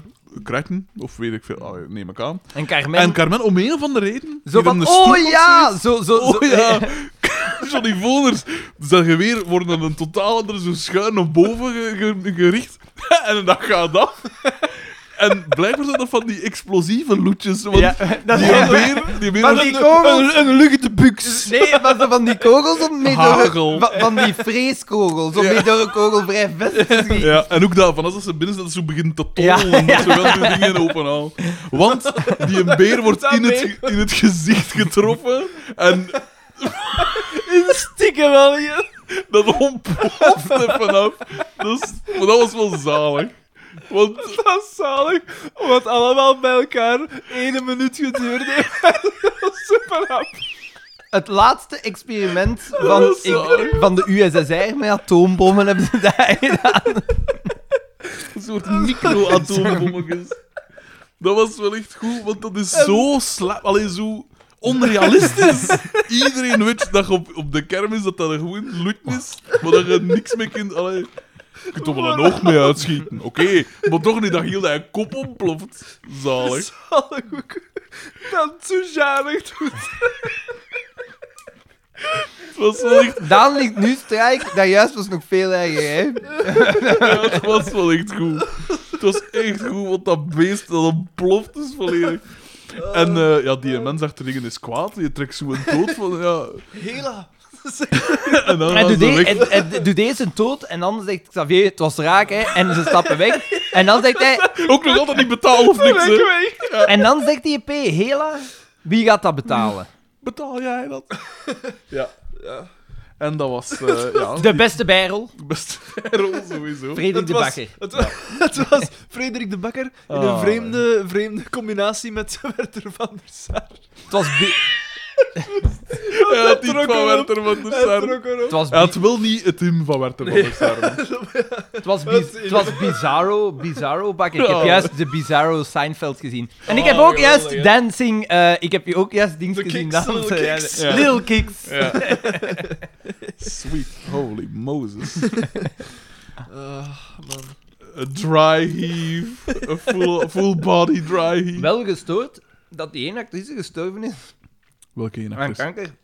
Speaker 1: Kratten, of weet ik veel, ah, neem ik aan.
Speaker 2: En Carmen...
Speaker 1: En Carmen, om een of andere reden...
Speaker 2: zo
Speaker 1: geeft hem
Speaker 2: van,
Speaker 1: een
Speaker 2: oh
Speaker 1: stoep of
Speaker 2: ja! Zo, zo,
Speaker 1: zoiets.
Speaker 2: zo-
Speaker 1: Oh ja! [LAUGHS] Johnny Voners, zijn geweer wordt dan een totaal andere, zo schuin naar boven ge- ge- gericht. [LAUGHS] en dat gaat af. En blijkbaar zijn dat van die explosieve loetjes. Want
Speaker 2: [LAUGHS] Ja, dat
Speaker 1: die
Speaker 2: zijn-
Speaker 1: beer... Die Oh, beer
Speaker 2: Van
Speaker 1: had
Speaker 2: die
Speaker 1: een-
Speaker 2: kogels.
Speaker 1: een, een luchte buks.
Speaker 2: Nee, maar zo van die kogels om mee door...
Speaker 1: Hagel.
Speaker 2: Van, van die vreeskogels, om
Speaker 1: Ja.
Speaker 2: mee door een kogel vrij vest
Speaker 1: [LAUGHS]
Speaker 2: te schieten.
Speaker 1: Ja, en ook daarvan, als ze binnen zijn, dat ze begint te tollen,
Speaker 2: Ja,
Speaker 1: dat ze wel die dingen openhaal. Want
Speaker 2: [LAUGHS]
Speaker 1: die een beer wordt in het, ge- in het gezicht getroffen en
Speaker 3: Stikke wel hier.
Speaker 1: dat ontploft er vanaf. Dus, maar dat was wel zalig. Want
Speaker 3: Dat is zalig, wat allemaal bij elkaar één minuut geduurd heeft.
Speaker 2: [LAUGHS]
Speaker 3: Dat is super rap.
Speaker 2: Het laatste experiment van, ik- van de USSR met atoombommen hebben ze daar gedaan.
Speaker 1: een soort micro-atoombommetjes. Dat was wel echt goed, want dat is zo slap. Alleen zo onrealistisch. Iedereen weet dat je op, op de kermis dat dat er gewoon loot is, maar dat je niks mee kunt. Allee, je kunt er wel een oog mee uitschieten, oké. Maar toch niet dat heel dat kop ontploft. Zalig.
Speaker 3: Zalig ook. Dat zo jarig doet.
Speaker 1: Het was wel echt,
Speaker 2: Daan ligt nu strijk, dat juist was nog veel erger, hè?
Speaker 1: ja, het was wel echt goed. Het was echt goed, want dat beest dat ontploft is volledig. En eh, ja, die mens achterin is kwaad. Je trekt zo een dood van. Ja.
Speaker 3: Hela.
Speaker 1: [LAUGHS] En dan
Speaker 2: En
Speaker 1: gaan
Speaker 2: doe,
Speaker 1: ze
Speaker 2: de,
Speaker 1: weg.
Speaker 2: en, en doe deze dood en dan zegt Xavier, het was raak, hè? En ze stappen weg. En dan zegt hij,
Speaker 1: Ook nog altijd niet betalen of niks, hè?
Speaker 2: en dan zegt die P, Hela, wie gaat dat betalen?
Speaker 1: Betaal jij dat? ja. En dat was eh ja,
Speaker 2: De beste bijrol,
Speaker 1: de beste rol sowieso.
Speaker 2: Frederik de
Speaker 3: was-
Speaker 2: Bakker.
Speaker 3: Het, wa- het was Frederik de Bakker in een
Speaker 1: Oh,
Speaker 3: vreemde, vreemde combinatie met [LAUGHS] Werther van der Sar.
Speaker 2: Het was, Bi-
Speaker 1: Ja, het team
Speaker 3: trok
Speaker 1: van
Speaker 3: hem op.
Speaker 1: Werther van der
Speaker 3: Hij
Speaker 1: Sar.
Speaker 3: trok erop.
Speaker 2: het was,
Speaker 1: Hij
Speaker 2: Bi-
Speaker 1: had wel niet het team van Werther van der Sar.
Speaker 2: het was, Bi- het was Bizarro, Bizarro Bakker. Ik heb
Speaker 1: Ja.
Speaker 2: juist de Bizarro Seinfeld gezien. En ik heb ook juist Dancing, eh, ik heb ook juist Dings
Speaker 3: Oh, De
Speaker 2: gezien.
Speaker 3: Kicks,
Speaker 2: dansen,
Speaker 3: Little
Speaker 2: ja.
Speaker 3: Kicks.
Speaker 1: Ja.
Speaker 2: Little Kicks.
Speaker 1: Ja. [LAUGHS] Sweet holy Moses.
Speaker 3: Ah, man.
Speaker 1: A dry heave. A full, full body dry heave.
Speaker 2: Wel gestoord dat die ene actrice gestorven is
Speaker 1: Welke ene
Speaker 2: aan
Speaker 1: actrice?
Speaker 2: kanker.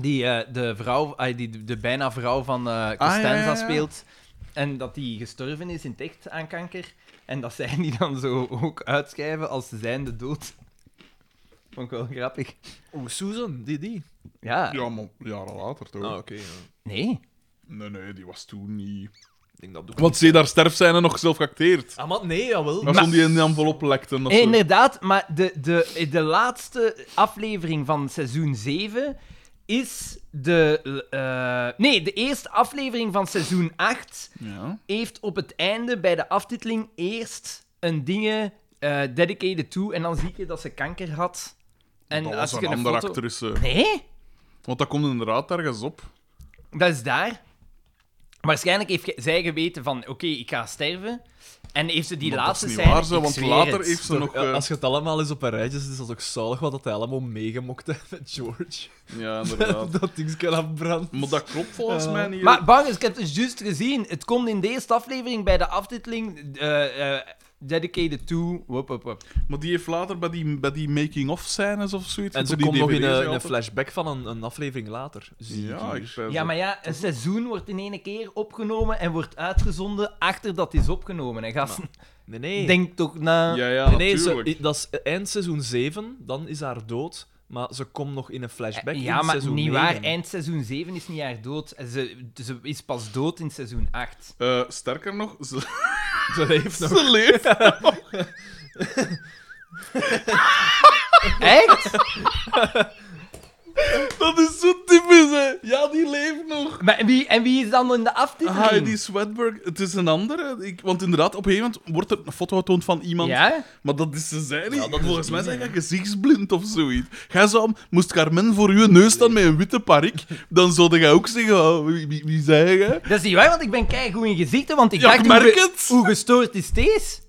Speaker 2: Die eh, de vrouw, ah, die de, de bijna vrouw van eh Costanza
Speaker 1: Ah, ja, ja, ja.
Speaker 2: speelt. En dat die gestorven is in het echt aan kanker. En dat zij die dan zo ook uitschrijven als zijnde dood. [LAUGHS] Vond ik wel grappig.
Speaker 3: Oeh, Oh, Susan, die, die.
Speaker 2: Ja.
Speaker 1: Ja, maar jaren later toch?
Speaker 3: Ah,
Speaker 2: Nee.
Speaker 1: Nee, nee, die was toen niet.
Speaker 3: Ik denk dat doe ik
Speaker 1: Want ze daar sterf zijn en nog zelf geacteerd.
Speaker 3: Ah, man, nee, jawel.
Speaker 1: Maar stond die in die envelop lekte. of zo.
Speaker 2: Inderdaad, maar de, de, de laatste aflevering van seizoen 7 is de... eh, nee, de eerste aflevering van seizoen 8
Speaker 1: Ja.
Speaker 2: heeft op het einde bij de aftiteling eerst een dingen eh, dedicated to en dan zie je dat ze kanker had. En
Speaker 1: dat was
Speaker 2: als ik
Speaker 1: een
Speaker 2: een
Speaker 1: andere
Speaker 2: foto...
Speaker 1: actrice.
Speaker 2: Nee,
Speaker 1: Want dat komt inderdaad ergens op.
Speaker 2: dat is daar. Waarschijnlijk heeft ge- zij geweten van, oké, ik ga sterven. En heeft ze die
Speaker 1: Maar
Speaker 2: laatste
Speaker 1: dat is
Speaker 2: scène...
Speaker 1: niet waar, ze,
Speaker 2: ik
Speaker 1: want
Speaker 2: zweer
Speaker 1: later
Speaker 2: het.
Speaker 1: heeft ze
Speaker 3: Toch,
Speaker 1: nog...
Speaker 3: ja,
Speaker 1: eh,
Speaker 3: Als je het allemaal eens op een rijtje zet, is dat ook zalig wat dat hij allemaal meegemokt heeft met George. [LAUGHS]
Speaker 1: Ja, inderdaad. [LAUGHS]
Speaker 3: dat ding kan afbranden.
Speaker 1: maar dat klopt volgens
Speaker 3: Ja.
Speaker 1: mij niet.
Speaker 2: Maar Bang, ik heb het dus juist gezien. Het komt in deze aflevering bij de aftiteling... eh, eh, dedicated to... Wop, wop, wop.
Speaker 1: Maar die heeft later bij die, bij die making-of scènes of zoiets...
Speaker 3: En
Speaker 1: op
Speaker 3: ze
Speaker 1: die
Speaker 3: komt nog in
Speaker 1: DVD's
Speaker 3: een, in een
Speaker 1: altijd.
Speaker 3: flashback van een, een aflevering later. Zie
Speaker 1: Ja,
Speaker 3: ik
Speaker 1: ik
Speaker 3: hier.
Speaker 1: zei
Speaker 2: Ja,
Speaker 1: zo.
Speaker 2: maar ja, een seizoen wordt in één keer opgenomen en wordt uitgezonden achter dat het is opgenomen. Hè, gasten.
Speaker 3: Nee, nee.
Speaker 2: Denk toch na.
Speaker 1: Ja, ja,
Speaker 3: nee, nee, ze-
Speaker 1: natuurlijk.
Speaker 3: i- dat is eind seizoen 7, dan is haar dood. Maar ze komt nog in een flashback
Speaker 2: Eh, Ja,
Speaker 3: in
Speaker 2: maar
Speaker 3: seizoen
Speaker 2: niet waar.
Speaker 3: 9.
Speaker 2: Eind seizoen 7 is niet haar dood. Eh, Ze, ze is pas dood in seizoen 8.
Speaker 1: Eh, sterker nog, [LAUGHS] ze,
Speaker 3: [LAUGHS] Ze leeft nog.
Speaker 1: ze leeft.
Speaker 2: [LAUGHS] Echt?
Speaker 1: Dat is zo typisch, hè. Ja, die leeft nog.
Speaker 2: Maar en wie, en wie is dan in de aftiteling?
Speaker 3: Ah,
Speaker 1: Heidi Ah, Swedberg, het is een andere. Ik, want inderdaad, op een gegeven moment wordt er een foto getoond van iemand.
Speaker 2: Ja?
Speaker 1: Maar dat is ze zijn niet.
Speaker 3: Ja, dat is
Speaker 1: Volgens
Speaker 3: het
Speaker 1: mij
Speaker 3: niet,
Speaker 1: zijn jij gezichtsblind of zoiets. Gij zou, moest Carmen voor uw neus staan met een witte parik, dan zouden jij ook zeggen: oh, wie, wie, wie zei
Speaker 3: [LAUGHS]
Speaker 1: jij?
Speaker 2: Dat is niet waar, want ik ben keigoed in gezichten, want ik
Speaker 1: Ja,
Speaker 2: dacht,
Speaker 1: ik
Speaker 2: hoe,
Speaker 1: merk
Speaker 2: ge-
Speaker 1: het.
Speaker 2: hoe gestoord is deze?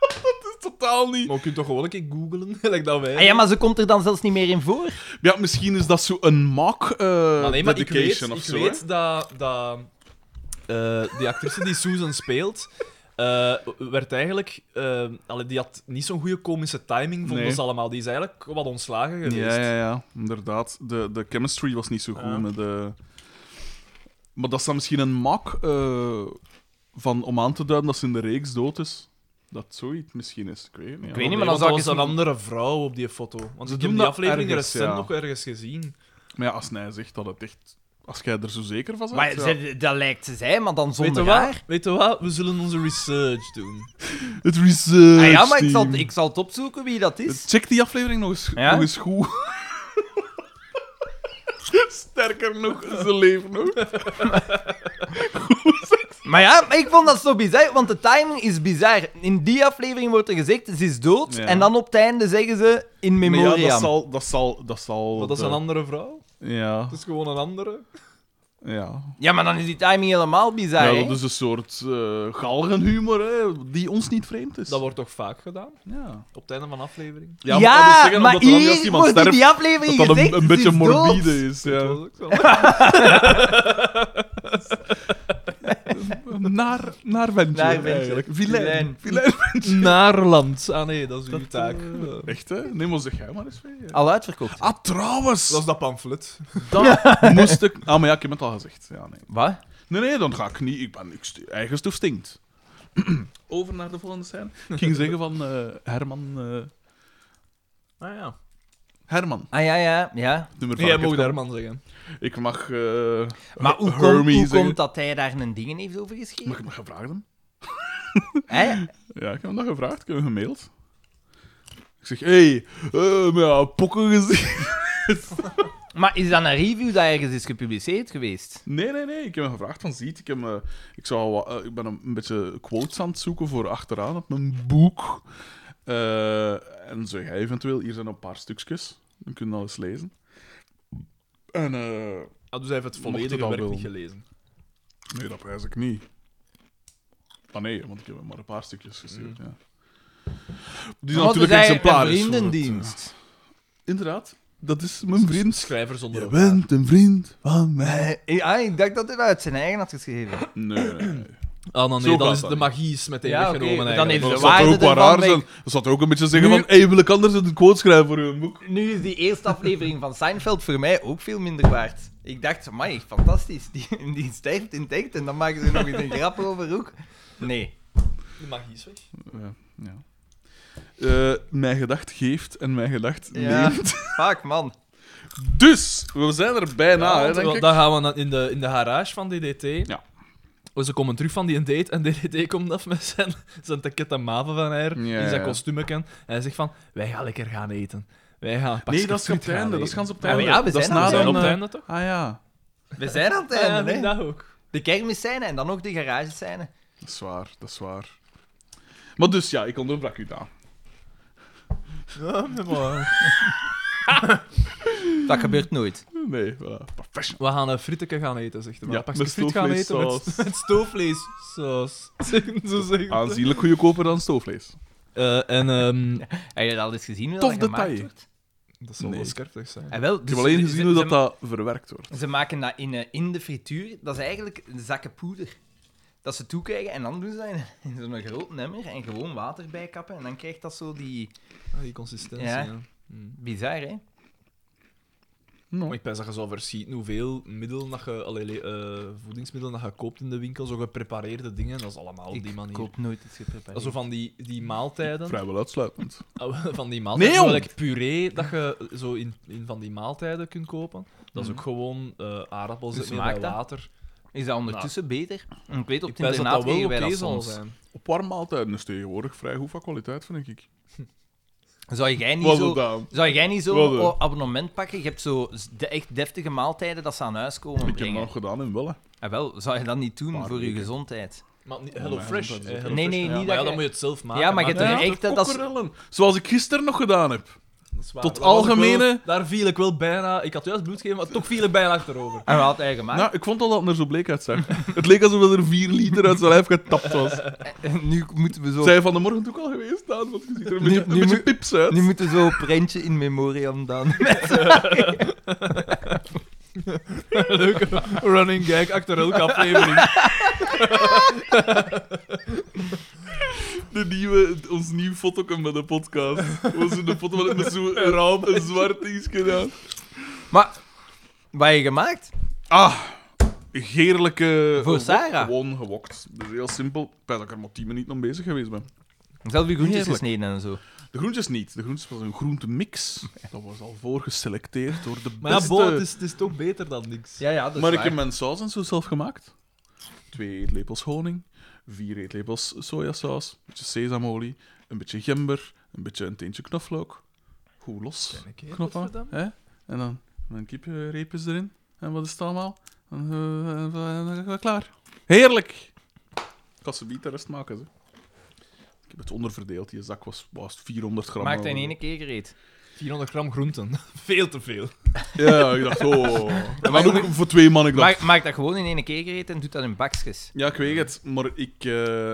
Speaker 1: Dat is totaal niet.
Speaker 3: Maar je kunt toch gewoon een keer googlen, [LAUGHS] gelijk dat wij.
Speaker 2: Ah ja, maar ze komt er dan zelfs niet meer in voor.
Speaker 1: Ja, misschien is dat zo een mock eh
Speaker 3: Maar nee, maar ik weet,
Speaker 1: dedication of
Speaker 3: ik
Speaker 1: zo. hè?
Speaker 3: weet dat, dat eh, die actrice die Susan speelt, eh, werd eigenlijk... eh, allee, die had niet zo'n goede komische timing, vonden
Speaker 1: Nee.
Speaker 3: ze allemaal. Die is eigenlijk wat ontslagen
Speaker 1: Ja,
Speaker 3: geweest.
Speaker 1: ja, ja, inderdaad. De, de chemistry was niet zo goed
Speaker 3: Ja.
Speaker 1: met de... Maar dat is dan misschien een mak eh, van, om aan te duiden dat ze in de reeks dood is. Dat zoiets misschien is, ik weet het niet.
Speaker 2: weet niet,
Speaker 3: maar
Speaker 2: maar
Speaker 3: dan
Speaker 2: dan
Speaker 3: was
Speaker 2: zou ik
Speaker 3: een
Speaker 2: eens-
Speaker 3: andere vrouw op die foto. Want
Speaker 1: Ze doen
Speaker 3: ik heb die
Speaker 1: dat
Speaker 3: aflevering
Speaker 1: ergens,
Speaker 3: recent
Speaker 1: ja.
Speaker 3: nog ergens gezien.
Speaker 1: Maar ja, als hij zegt dat het echt... Als jij er zo zeker van bent...
Speaker 2: Maar
Speaker 1: ja.
Speaker 2: ze- dat lijkt ze zijn, maar dan
Speaker 3: Weet je,
Speaker 2: zonder haar.
Speaker 3: wat? Weet je wat? We zullen onze research doen.
Speaker 1: Het research
Speaker 2: Ah ja, maar ik zal,
Speaker 1: team.
Speaker 2: ik zal het opzoeken wie dat is.
Speaker 1: Check die aflevering nog eens,
Speaker 2: Ja?
Speaker 1: nog eens goed. Sterker nog, ze leven nog.
Speaker 2: Maar ja, maar ik vond dat zo bizar, want de timing is bizar. In die aflevering wordt er gezegd, ze is dood,
Speaker 1: Ja.
Speaker 2: en dan op het einde zeggen ze in
Speaker 1: Maar ja,
Speaker 2: memoriam.
Speaker 1: dat zal... Dat zal, dat zal eh,
Speaker 3: Want dat is
Speaker 1: de-
Speaker 3: een andere vrouw.
Speaker 1: Ja,
Speaker 3: Het is gewoon een andere.
Speaker 1: ja.
Speaker 2: Ja, maar dan is die timing helemaal bizar,
Speaker 1: ja
Speaker 2: hè?
Speaker 1: dat is een soort eh, galgenhumor hè, die ons niet vreemd is.
Speaker 3: Dat wordt toch vaak gedaan?
Speaker 1: Ja,
Speaker 3: Op het einde van de aflevering.
Speaker 2: Ja,
Speaker 1: maar dat wil zeggen,
Speaker 2: maar
Speaker 1: omdat er dan
Speaker 2: hier
Speaker 1: juist iemand
Speaker 2: wordt in
Speaker 1: sterft,
Speaker 2: die aflevering
Speaker 1: dat dat
Speaker 2: gezegd,
Speaker 1: een, een
Speaker 2: ze
Speaker 1: beetje
Speaker 2: is
Speaker 1: morbide
Speaker 2: dood.
Speaker 1: is.
Speaker 3: Dat
Speaker 1: Ja.
Speaker 3: was ook zo.
Speaker 1: Naar, naar ventje,
Speaker 2: Naar ventje.
Speaker 1: eigenlijk. Vilain.
Speaker 2: Vilain.
Speaker 1: Vilain.
Speaker 2: [LAUGHS]
Speaker 3: Naarland. Ah nee, dat is
Speaker 1: eh, [LAUGHS]
Speaker 3: uw taak.
Speaker 1: Echt, hè? Neem ons de geheim maar eens mee. hè.
Speaker 2: Al uitverkocht.
Speaker 1: Ah, trouwens!
Speaker 3: Dat is dat pamflet.
Speaker 1: Dat [LAUGHS] moest ik... Ah, maar ja, ik heb het al gezegd. Ja, nee.
Speaker 3: Ah,
Speaker 2: Wat?
Speaker 1: nee, nee, dan ga ik niet... Ik ben ik stu- eigen stof stinkt. Over naar de volgende scène. Ik ging zeggen van eh, Herman... eh,
Speaker 3: Ah ja.
Speaker 1: Herman,
Speaker 2: Ah ja, ja, ja.
Speaker 1: nummer
Speaker 3: Nee,
Speaker 1: van
Speaker 3: jij
Speaker 1: ik,
Speaker 3: mag Herman zeggen.
Speaker 1: ik mag... eh,
Speaker 2: Maar hoe,
Speaker 1: Hermie
Speaker 2: komt- hoe
Speaker 1: zeggen.
Speaker 2: komt dat hij daar een dingen heeft over geschreven?
Speaker 1: mag ik me gevraagd hem?
Speaker 2: Hè?
Speaker 1: Ja, ik heb hem dat gevraagd. Ik heb hem gemaild. Ik zeg, hé, hey, eh, maar ja, pokken gezien.
Speaker 2: Maar is dat een review dat ergens is gepubliceerd geweest?
Speaker 1: Nee, nee, nee. Ik heb hem gevraagd van, ziet, ik, heb, eh, ik, zou, wat- eh, ik ben een, een beetje quotes aan het zoeken voor achteraan op mijn boek. Eh, en zeg hij eventueel, hier zijn een paar stukjes. Dan kun je dat eens lezen. En, eh,
Speaker 3: Ah, dus hij
Speaker 1: Mocht
Speaker 3: heeft het
Speaker 1: het
Speaker 3: volledige
Speaker 1: al
Speaker 3: werk
Speaker 1: wel.
Speaker 3: niet gelezen.
Speaker 1: nee, dat prijs ik niet. Ah nee, want ik heb hem maar een paar stukjes gestuurd, ja. Mm. Die is
Speaker 2: Want het
Speaker 1: natuurlijk
Speaker 2: is
Speaker 1: exemplaar.
Speaker 2: eigenlijk
Speaker 1: is voor
Speaker 2: Een
Speaker 1: het, eh,
Speaker 2: vriendendienst.
Speaker 1: Inderdaad, dat is mijn vriend.
Speaker 3: Schrijver zonder
Speaker 1: Je
Speaker 3: elkaar.
Speaker 1: bent een vriend van mij.
Speaker 2: Eh, ah, ik dacht dat hij dat uit zijn eigen had geschreven.
Speaker 1: Nee.
Speaker 3: Ah, dan
Speaker 1: Zo
Speaker 3: nee,
Speaker 1: gaat
Speaker 3: dan is
Speaker 1: dat
Speaker 3: de
Speaker 1: niet.
Speaker 3: magie is meteen
Speaker 2: Ja,
Speaker 3: weggenomen
Speaker 2: oké, dan
Speaker 3: eigenlijk.
Speaker 2: heeft
Speaker 1: Dat
Speaker 2: ze
Speaker 1: zou
Speaker 2: waarde
Speaker 1: toch ook wel
Speaker 2: ervan
Speaker 1: raar
Speaker 2: weg.
Speaker 1: zijn. Dat zou toch ook een beetje zeggen
Speaker 2: Nu-
Speaker 1: van... Hé, wil ik anders een quote schrijven voor uw boek?
Speaker 2: Nu is die eerste aflevering van Seinfeld voor mij ook veel minder waard. Ik dacht, amai, fantastisch. Die, die sterft in tekst en dan maken ze er nog eens een grap over ook. Nee.
Speaker 3: De magie is weg.
Speaker 1: ja. Eh, mijn gedacht geeft en mijn gedacht
Speaker 2: Ja.
Speaker 1: neemt.
Speaker 2: Fuck, man.
Speaker 1: Dus, we zijn er bijna,
Speaker 3: Ja,
Speaker 1: Nou, hè,
Speaker 3: want-
Speaker 1: denk
Speaker 3: want
Speaker 1: ik.
Speaker 3: dan gaan we na- in de, in de garage van DDT.
Speaker 1: Ja.
Speaker 3: Oh, Ze komen terug van die date en [LAUGHS] DDT komt af met zijn, zijn tekket en maven van haar
Speaker 1: Ja,
Speaker 3: in zijn
Speaker 1: ja.
Speaker 3: kostuumeken. En hij zegt van, wij gaan lekker gaan eten. Wij gaan een
Speaker 1: Nee,
Speaker 3: pakje
Speaker 1: dat is op
Speaker 3: friet
Speaker 1: het einde. Dat is
Speaker 3: eten."
Speaker 1: gaan ze op het
Speaker 2: Ah,
Speaker 1: einde.
Speaker 2: maar ja, we
Speaker 1: dat is
Speaker 2: zijn al-
Speaker 1: na
Speaker 3: We zijn
Speaker 1: dan,
Speaker 3: op het
Speaker 1: eh,
Speaker 3: einde, toch?
Speaker 1: Ah ja,
Speaker 2: We zijn aan het
Speaker 3: Ja,
Speaker 2: einde,
Speaker 3: ik
Speaker 2: hè.
Speaker 3: dat ook.
Speaker 2: De kermisscène en dan nog de garagescène.
Speaker 1: dat is waar, dat is waar. Maar dus, ja, ik onderbrak u daar.
Speaker 2: Dat gebeurt nooit.
Speaker 1: Nee, voilà. Professional.
Speaker 3: We gaan een fritteke gaan eten, zegt hij. We
Speaker 1: Ja,
Speaker 3: gaan een pakje
Speaker 1: met
Speaker 3: friet gaan eten
Speaker 1: stoofvleessaus.
Speaker 3: [LAUGHS] met, met stoofvleessaus. [LAUGHS] Zo zegt hij.
Speaker 1: [LAUGHS] Aanzienlijk goedkoper dan stoofvlees.
Speaker 3: Eh, En
Speaker 1: [LAUGHS]
Speaker 3: ehm,
Speaker 2: Heb je dat al eens gezien hoe
Speaker 1: Tof
Speaker 2: dat gemaakt
Speaker 1: detail.
Speaker 2: wordt?
Speaker 3: dat zal
Speaker 1: Nee.
Speaker 3: wel scherpig zijn.
Speaker 2: Ah, wel,
Speaker 1: Ik
Speaker 2: dus
Speaker 1: heb alleen
Speaker 2: ze-
Speaker 1: gezien
Speaker 2: ze-
Speaker 1: hoe
Speaker 2: ze
Speaker 1: dat, dat verwerkt wordt.
Speaker 2: Ze maken dat in, eh, in de frituur. Dat is eigenlijk zakken poeder. Dat ze toekrijgen en dan doen ze dat in, in zo'n groot nummer en gewoon water bijkappen. En dan krijgt dat zo die...
Speaker 3: Ah, die consistentie,
Speaker 2: Ja.
Speaker 3: ja. Hmm.
Speaker 2: Bizar, hè?
Speaker 1: Nou,
Speaker 3: Maar ik pens dat je zou verschieten hoeveel middelen dat je, allee, le- eh, voedingsmiddelen dat je koopt in de winkel, zo geprepareerde dingen, dat is allemaal op die manier.
Speaker 2: koop nooit iets
Speaker 3: Dat
Speaker 2: geprepareerd.
Speaker 3: is zo van die, die maaltijden.
Speaker 1: Vrijwel uitsluitend.
Speaker 3: Ah, Van die maaltijden.
Speaker 1: Nee,
Speaker 3: zo
Speaker 1: jong!
Speaker 3: like puree dat je eh, zo in, in van die maaltijden kunt kopen. Dat is ook gewoon eh aardappels
Speaker 2: Dus
Speaker 3: en
Speaker 2: maakt Mhm. dat?
Speaker 3: water.
Speaker 2: Is dat ondertussen beter? Ik weet, op
Speaker 3: Nou.
Speaker 2: het
Speaker 3: Ik pens dat dat
Speaker 2: internaat
Speaker 3: wel
Speaker 2: kregen
Speaker 3: oké
Speaker 2: wij dat
Speaker 3: zal
Speaker 2: soms.
Speaker 3: zijn.
Speaker 1: Op warmmaaltijden is tegenwoordig vrij goed van kwaliteit, vind ik.
Speaker 2: Zou jij niet
Speaker 1: Wat
Speaker 2: zo...
Speaker 1: dan?
Speaker 2: Zou jij niet
Speaker 1: Wat
Speaker 2: zo
Speaker 1: dan?
Speaker 2: een abonnement pakken? Je hebt zo de echt deftige maaltijden dat ze aan huis komen
Speaker 1: Ik heb dat
Speaker 2: brengen.
Speaker 1: nog gedaan in Welle.
Speaker 2: Ah, wel, zou je dat niet doen
Speaker 1: Paar
Speaker 2: voor je
Speaker 1: weken.
Speaker 2: gezondheid?
Speaker 3: Maar niet,
Speaker 1: Oh,
Speaker 3: Hello
Speaker 1: mijn
Speaker 3: Fresh.
Speaker 1: hand, dat is
Speaker 3: eh,
Speaker 1: ook-
Speaker 3: Hello
Speaker 2: Nee, nee,
Speaker 3: Fresh, ja.
Speaker 2: niet
Speaker 3: Maar
Speaker 2: dat
Speaker 3: ja,
Speaker 2: je-
Speaker 3: dan moet je het zelf maken.
Speaker 2: Ja, maar je
Speaker 3: maakt
Speaker 2: hebt
Speaker 3: niet
Speaker 2: er
Speaker 3: uit.
Speaker 2: echt- dat is-
Speaker 1: Kokkerellen. Zoals ik gisteren nog gedaan heb.
Speaker 3: Dat is waar.
Speaker 1: tot
Speaker 3: Daar was ik wel-
Speaker 1: algemene-
Speaker 3: daar viel ik wel bijna... Ik had juist bloed gegeven, maar toch viel ik bijna achterover.
Speaker 2: En wat Ah, had hij gemaakt?
Speaker 1: Nou, ik vond al dat het er zo bleek uitzag. [LAUGHS] het leek alsof er vier liter uit zijn lijf getapt was.
Speaker 2: [LAUGHS] nu moeten we zo...
Speaker 1: Zij van de morgen ook al geweest, Daan, want je ziet er een beetje,
Speaker 2: Nu- nu
Speaker 1: een beetje
Speaker 2: moet-
Speaker 1: pips uit.
Speaker 2: Nu moeten we zo een prentje in memoriam
Speaker 3: [LAUGHS]
Speaker 2: dan.
Speaker 3: Leuke running gag achter elke aflevering.
Speaker 1: [LAUGHS] De nieuwe, ons nieuw foto met de podcast. was in de foto met- met zo'n raam, een zwart iets gedaan.
Speaker 2: Maar, wat heb je gemaakt?
Speaker 1: Ah, geerlijke...
Speaker 2: Voor Sarah.
Speaker 1: Gewoon gewokt. Dat is heel simpel. Ik weet dat ik er maar 10 minuten aan bezig geweest ben.
Speaker 2: Zelf je groentjes
Speaker 1: Heerlijk.
Speaker 2: gesneden en zo.
Speaker 1: De groentjes niet. De groentjes was een groentemix. Dat was al voorgeselecteerd door de beste...
Speaker 3: Maar ja, bo, het is, het is toch beter dan niks.
Speaker 2: Ja, ja, dat
Speaker 1: maar ik heb mijn saus en zo zelf gemaakt. Twee eetlepels honing, vier eetlepels sojasaus, een beetje sesamolie, een beetje gember, een beetje een teentje knoflook. Goed los.
Speaker 3: Oké,
Speaker 1: Knop aan.
Speaker 3: godverdamme.
Speaker 1: Hè? En dan een kipreepjes erin. En wat is het allemaal? En, eh, en, eh, en, eh, klaar. Heerlijk! Ik had ze niet de rest maken. Ze. Ik heb het onderverdeeld. Die zak was, was 400 gram.
Speaker 2: Maakt hij in één keer gereed.
Speaker 3: 400 gram groenten. Veel te veel.
Speaker 1: Ja, ik dacht, [LAUGHS] oh. En dan ook voor twee man. Ik dacht,
Speaker 2: Maak, maak dat gewoon in één keer gereed en doet dat in bakjes.
Speaker 1: Ja, ik weet het, maar ik, eh,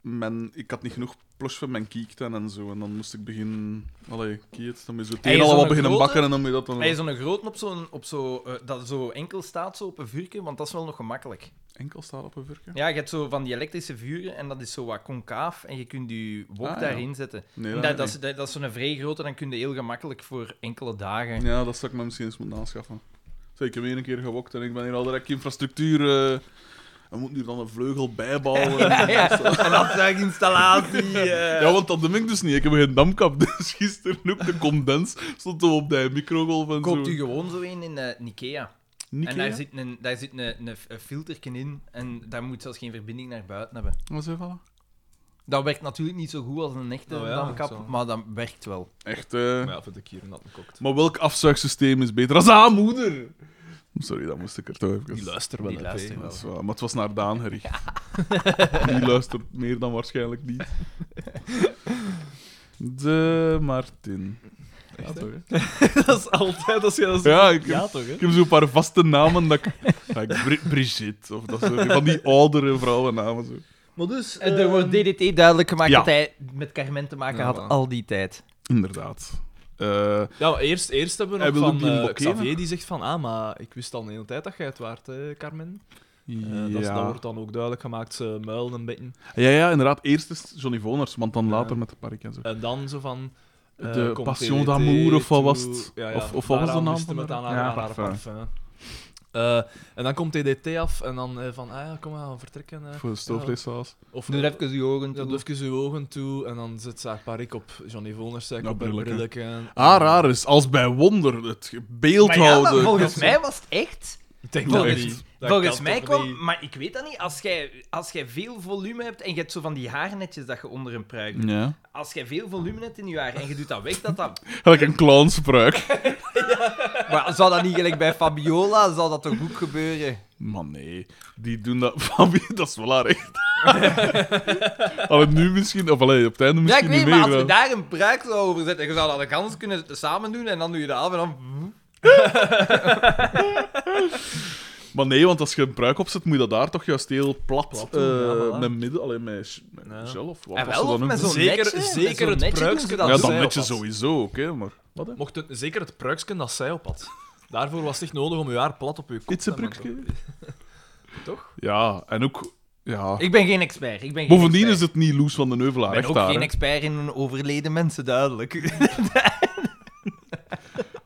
Speaker 1: mijn, ik had niet genoeg plush van mijn kiekten en zo. En dan moest ik beginnen. Allee, kiet, dan moet je zo het een
Speaker 2: is
Speaker 1: al
Speaker 2: zo'n
Speaker 1: wat beginnen
Speaker 2: grote?
Speaker 1: bakken en dan moet je dat dan.
Speaker 2: Hij is zo'n grote op zo'n, op zo, eh, dat zo enkel staat zo op een vuurtje, want dat is wel nog gemakkelijk.
Speaker 1: Enkel staal op een vurkje?
Speaker 2: Ja, je hebt zo van die elektrische vuren en dat is zo wat concaaf en je kunt je wok
Speaker 1: Ah, ja.
Speaker 2: daarin zetten.
Speaker 1: Nee,
Speaker 2: En
Speaker 1: dat,
Speaker 2: dat, dat,
Speaker 1: niet.
Speaker 2: is, dat, dat is zo'n vrij grote, dan kun je heel gemakkelijk voor enkele dagen.
Speaker 1: Ja, dat zou ik me misschien eens moeten aanschaffen. Zo, ik heb één keer gewokt en ik ben hier al direct infrastructuur. eh we moeten hier dan een vleugel
Speaker 2: [LAUGHS]
Speaker 1: bijbouwen. Ja,
Speaker 2: En afzuiginstallatie.
Speaker 1: [LAUGHS]
Speaker 2: eh.
Speaker 1: want dat doe ik dus niet. Ik heb geen damkap, [LAUGHS] dus gisteren ook de condens stond zo op de microgolf en
Speaker 2: Koopt
Speaker 1: zo.
Speaker 2: u gewoon zo een in eh, Ikea. En
Speaker 1: Nikea?
Speaker 2: daar zit een, daar zit een, een, een filterken in en daar moet zelfs geen verbinding naar buiten hebben.
Speaker 1: Wat zou je vallen?
Speaker 2: Dat werkt natuurlijk niet zo goed als een echte
Speaker 3: Oh ja,
Speaker 2: damkap,
Speaker 3: zo.
Speaker 2: maar dat werkt wel.
Speaker 1: Echt, eh.
Speaker 3: Maar ja, vind ik hier nat gekokt.
Speaker 1: Maar welk afzuigsysteem is beter? Als haar moeder! Sorry, dat moest ik er toch even...
Speaker 3: Die luistert wel.
Speaker 2: Die
Speaker 3: hè,
Speaker 2: luistert
Speaker 3: P.
Speaker 2: wel.
Speaker 1: Dat is waar, maar het was naar Daan gericht. [LAUGHS] Die luistert meer dan waarschijnlijk niet. De Martin. Ja, toch, hè? [LAUGHS]
Speaker 3: dat is altijd als je dat zegt.
Speaker 1: Ja, ik heb,
Speaker 3: Ja, toch, hè?
Speaker 1: ik heb zo'n paar vaste namen. Dat ik, ja, ik- Bri- Brigitte, of dat soort van die oudere vrouwennamen. Zo.
Speaker 3: Maar dus...
Speaker 2: Eh, Er wordt DDT duidelijk gemaakt
Speaker 1: ja.
Speaker 2: dat hij met Carmen te maken
Speaker 3: Ja,
Speaker 2: had
Speaker 3: voilà.
Speaker 2: al die tijd.
Speaker 1: Inderdaad. Eh,
Speaker 3: Ja, maar eerst, eerst hebben we
Speaker 1: Hij
Speaker 3: nog
Speaker 1: wil ook
Speaker 3: van
Speaker 1: die
Speaker 3: eh,
Speaker 1: blokkeren.
Speaker 3: Xavier die zegt van ah, maar ik wist al een hele tijd dat jij het waard, hè, Carmen. Eh, dat, is-
Speaker 1: ja.
Speaker 3: dat wordt dan ook duidelijk gemaakt, ze muilen een beetje.
Speaker 1: ja, ja, inderdaad. Eerst is Johnny Voners, want dan
Speaker 3: Ja.
Speaker 1: later met de park en zo.
Speaker 3: En dan zo van... eh,
Speaker 1: De
Speaker 3: komt
Speaker 1: Passion
Speaker 3: TDT
Speaker 1: d'Amour, of wat
Speaker 3: toe-
Speaker 1: was het? Of- of wat was de
Speaker 3: daaraan
Speaker 1: naam
Speaker 3: moesten we
Speaker 1: van
Speaker 3: het aan
Speaker 1: haar?
Speaker 3: haar,
Speaker 1: Ja,
Speaker 3: aan haar
Speaker 1: parfum.
Speaker 3: parfum. Eh, en dan komt TDT af en dan eh, van, ah ja, kom maar, we gaan vertrekken. eh.
Speaker 1: Voor de stoofvleessaus.
Speaker 3: Of eh,
Speaker 2: Doe er even je ogen
Speaker 3: Ja,
Speaker 2: toe.
Speaker 1: dus
Speaker 3: doe even uw ogen toe en dan zet ze haar parik op Johnny Voners,
Speaker 1: Ja,
Speaker 3: op haar
Speaker 1: brilletje.
Speaker 3: brilletje.
Speaker 1: Ah, raar is, als bij wonder, het beeld
Speaker 2: Maar ja, maar
Speaker 1: houden.
Speaker 2: volgens mij was het echt.
Speaker 3: Ik denk
Speaker 1: Ja,
Speaker 3: dat
Speaker 1: echt.
Speaker 3: niet. Dat
Speaker 2: volgens
Speaker 3: kan
Speaker 2: mij
Speaker 3: toch
Speaker 2: kwam,
Speaker 3: niet?
Speaker 2: maar ik weet dat niet. Als jij, als jij veel volume hebt en je hebt zo van die haarnetjes dat je onder een pruik doet.
Speaker 1: Ja.
Speaker 2: Als jij veel volume hebt in je haar en je doet dat weg, dat dat.
Speaker 1: Gelijk een clownspruik.
Speaker 2: Maar zou dat niet gelijk bij Fabiola? Zou dat toch ook gebeuren?
Speaker 1: Man, nee. Die doen dat... [LAUGHS] Fabi, dat is wel haar
Speaker 2: [LAUGHS]
Speaker 1: echt. Allee, nu misschien... Of allee, op het einde
Speaker 2: Ja, ik
Speaker 1: misschien niet
Speaker 2: weet, maar
Speaker 1: meer. eh.
Speaker 2: als we
Speaker 1: hè.
Speaker 2: daar een pruik zou over zetten, je zou dat de kans kunnen samen doen en dan doe je dat af en dan.
Speaker 1: Maar nee, want als je een pruik opzet, moet je dat daar toch juist heel plat...
Speaker 3: Plat
Speaker 1: eh,
Speaker 3: doen, ja, voilà.
Speaker 1: met midden... Allee, met, sh- met
Speaker 3: Ja.
Speaker 1: gel of wat
Speaker 2: En
Speaker 1: was
Speaker 2: Ah, wel,
Speaker 1: dat
Speaker 2: of
Speaker 1: dan
Speaker 2: met
Speaker 1: ook?
Speaker 2: zo'n
Speaker 3: Zeker-
Speaker 2: netje, met
Speaker 3: zeker
Speaker 2: zo'n
Speaker 3: het
Speaker 2: netje doen
Speaker 3: pruikske
Speaker 2: ze
Speaker 3: dat
Speaker 1: Ja,
Speaker 3: zij
Speaker 1: dat
Speaker 3: op
Speaker 1: met je
Speaker 3: had.
Speaker 1: sowieso ook, hè. Maar... Wat, hè?
Speaker 3: Mocht het, zeker het pruiksken dat zij op had. Daarvoor was het echt nodig om uw haar plat op uw kop
Speaker 1: Iets een
Speaker 3: te hebben.
Speaker 1: pruikje.
Speaker 2: [LAUGHS]
Speaker 3: Toch?
Speaker 1: Ja, en ook... Ja.
Speaker 2: Ik ben geen expert. Ik ben geen
Speaker 1: Bovendien is
Speaker 2: expert.
Speaker 1: het niet Loes van den Heuvelaar,
Speaker 2: Ik ben
Speaker 1: echt
Speaker 2: ook
Speaker 1: daar.
Speaker 2: geen
Speaker 1: hè.
Speaker 2: expert in overleden mensen, [LAUGHS] duidelijk.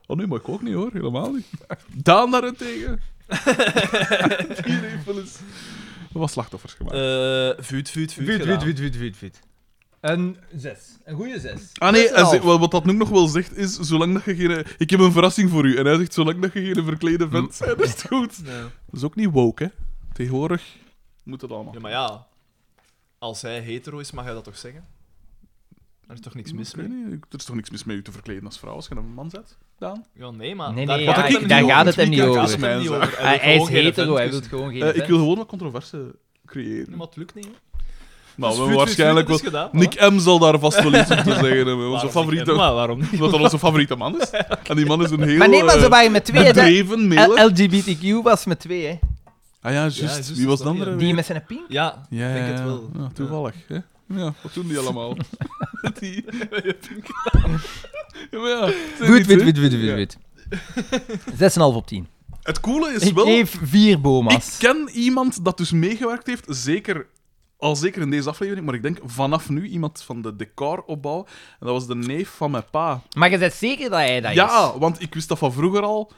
Speaker 1: Oh nee, maar ik ook niet hoor, helemaal niet. Daan
Speaker 3: [LAUGHS]
Speaker 1: daarentegen. Die heeft wel eens wat slachtoffers gemaakt.
Speaker 3: Eh vuut, vuut, vuut.
Speaker 2: Vuut,
Speaker 3: gedaan.
Speaker 2: vuut, vuut, vuut, vuut, vuut. Een zes. Een goede zes.
Speaker 1: ah nee,
Speaker 2: zes en
Speaker 1: en
Speaker 2: half.
Speaker 1: ze- wat wat dat nu nog wel zegt is, zolang dat je geen... Ik heb een verrassing voor u. En hij zegt, zolang dat je geen
Speaker 3: Mm.
Speaker 1: verklede vent bent, is het goed.
Speaker 3: Nee.
Speaker 1: Dat is ook niet woke, hè. Tegenwoordig moet dat allemaal.
Speaker 3: Ja, maar ja. Als hij hetero is, mag hij dat toch zeggen? Er is toch niks mis
Speaker 1: Ik weet
Speaker 3: mee?
Speaker 1: niet, Er is toch niks mis mee u te verkleden als vrouw, als je een man bent, Daan?
Speaker 3: Ja, nee, maar...
Speaker 2: Nee, nee,
Speaker 3: gaat
Speaker 1: ja,
Speaker 3: het hem
Speaker 1: ik- daar
Speaker 3: niet
Speaker 1: gaat
Speaker 3: over.
Speaker 1: het hem niet
Speaker 3: Daar
Speaker 1: over.
Speaker 3: gaat het hem niet over.
Speaker 2: Hij,
Speaker 3: wil
Speaker 2: hij is
Speaker 3: gewoon geen
Speaker 2: hetero, hij
Speaker 3: event
Speaker 2: wil
Speaker 3: kussen.
Speaker 2: gewoon geen
Speaker 1: Eh, ik
Speaker 2: event.
Speaker 1: wil gewoon wat controverse creëren.
Speaker 3: Nee, maar het lukt niet. hè.
Speaker 1: nou, we
Speaker 3: Dus
Speaker 1: hebben
Speaker 3: vuut, vuut,
Speaker 1: waarschijnlijk wel...
Speaker 3: vuut is gedaan, voilà.
Speaker 1: Nick M zal daar vast wel iets op
Speaker 3: [LAUGHS]
Speaker 1: te zeggen hebben. Onze
Speaker 3: Waarom
Speaker 1: favoriete...
Speaker 3: niet?
Speaker 1: [LAUGHS]
Speaker 3: Maar waarom niet?
Speaker 1: Omdat dat onze favoriete man is. En die man is een heel...
Speaker 2: Maar nee, maar
Speaker 1: eh,
Speaker 2: ze waren met twee. hè. Eh,
Speaker 1: Bedreven, mailer.
Speaker 2: L- LGBTQ was met twee, hè.
Speaker 1: Ah ja, juist.
Speaker 3: Ja, juist,
Speaker 1: Wie was de
Speaker 3: dat
Speaker 1: andere?
Speaker 3: hier.
Speaker 2: Die met zijn pink.
Speaker 3: Ja,
Speaker 1: Ja,
Speaker 3: ik denk
Speaker 1: ja,
Speaker 3: het
Speaker 1: ja.
Speaker 3: wel.
Speaker 1: Ja, toevallig. Hè? Ja, wat doen die
Speaker 3: [LAUGHS]
Speaker 1: allemaal? [LAUGHS] die... [LAUGHS] ja, maar ja, het zijn
Speaker 2: Goed,
Speaker 1: niet
Speaker 2: wit,
Speaker 1: zo.
Speaker 2: wit, wit, wit,
Speaker 1: Ja.
Speaker 2: wit. [LAUGHS] 6,5 op 10.
Speaker 1: Het coole is
Speaker 2: Ik
Speaker 1: wel...
Speaker 2: geef vier
Speaker 1: Ik
Speaker 2: boma's.
Speaker 1: ken iemand dat dus meegewerkt heeft, zeker... Al zeker in deze aflevering, maar ik denk vanaf nu iemand van de decoropbouw. En dat was de neef van mijn pa.
Speaker 2: Maar je bent zeker dat hij dat is?
Speaker 1: ja, want ik wist dat van vroeger al.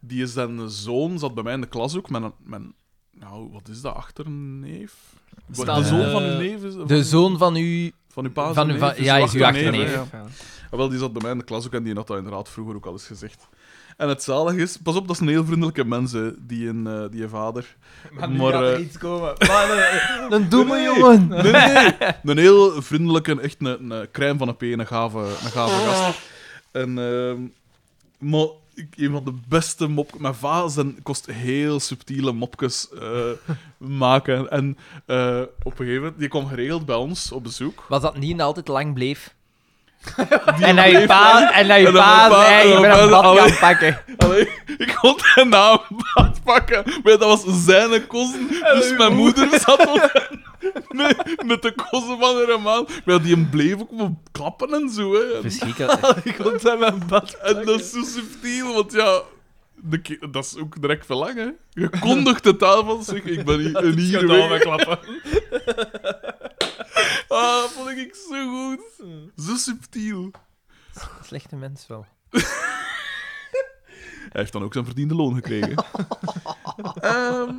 Speaker 1: Die is zijn zoon, zat bij mij in de klas ook. Mijn, mijn nou, wat is dat, achterneef?
Speaker 3: Staat,
Speaker 1: de zoon
Speaker 3: eh,
Speaker 1: van uw neef? is- van-
Speaker 2: De zoon van u...
Speaker 1: Van uw pa?
Speaker 2: Van
Speaker 1: zijn
Speaker 2: uw va-
Speaker 1: neef,
Speaker 2: ja,
Speaker 1: uw
Speaker 2: is uw
Speaker 1: achterneef,
Speaker 2: achterneef.
Speaker 1: hè, ja. Ah, Wel, die zat bij mij in de klas ook en die had dat inderdaad vroeger ook al eens gezegd. En het zalige is, pas op, dat is een heel vriendelijke mens, hè, die, een, eh, die een vader. Maar, eh,
Speaker 2: iets komen. Een domme
Speaker 1: Nee,
Speaker 2: jongen.
Speaker 1: Nee, nee. Een heel vriendelijke, echt
Speaker 2: Ah.
Speaker 1: een, een crème van een P, een gave, een gave gast. En, ehm, maar ik- een van de beste mopjes. Mijn va zijn, kost heel subtiele mopjes eh, [LAUGHS] maken. En eh, op een gegeven moment, die kwam geregeld bij ons op bezoek.
Speaker 2: Was dat niet altijd lang bleef? en naar je pa, en naar je
Speaker 1: En dan
Speaker 2: pa,
Speaker 1: mijn pa,
Speaker 2: zei,
Speaker 1: en
Speaker 2: ik
Speaker 1: dan
Speaker 2: ben een
Speaker 1: mijn
Speaker 2: bad
Speaker 1: alle-
Speaker 2: gaan pakken.
Speaker 1: Allee, ik kon zijn naam bad pakken, maar dat was zijn kozen. Dus mijn moeder zat op met, met de kozen van haar man. Maar die bleef ook maar klappen en zo. Hè. En,
Speaker 2: Verschrikkelijk.
Speaker 3: Ik kon zijn mijn bad.
Speaker 1: en dat is zo subtiel, want ja, de ki- dat is ook direct verlangen. Je kondigt het aan van zich, ik ben hier, een hier weg.
Speaker 3: klappen.
Speaker 1: [LAUGHS] Ah, dat vond ik zo goed. Zo subtiel.
Speaker 2: Slechte mens wel.
Speaker 1: Hij heeft dan ook zijn verdiende loon gekregen.
Speaker 2: [LAUGHS]
Speaker 1: Ehm,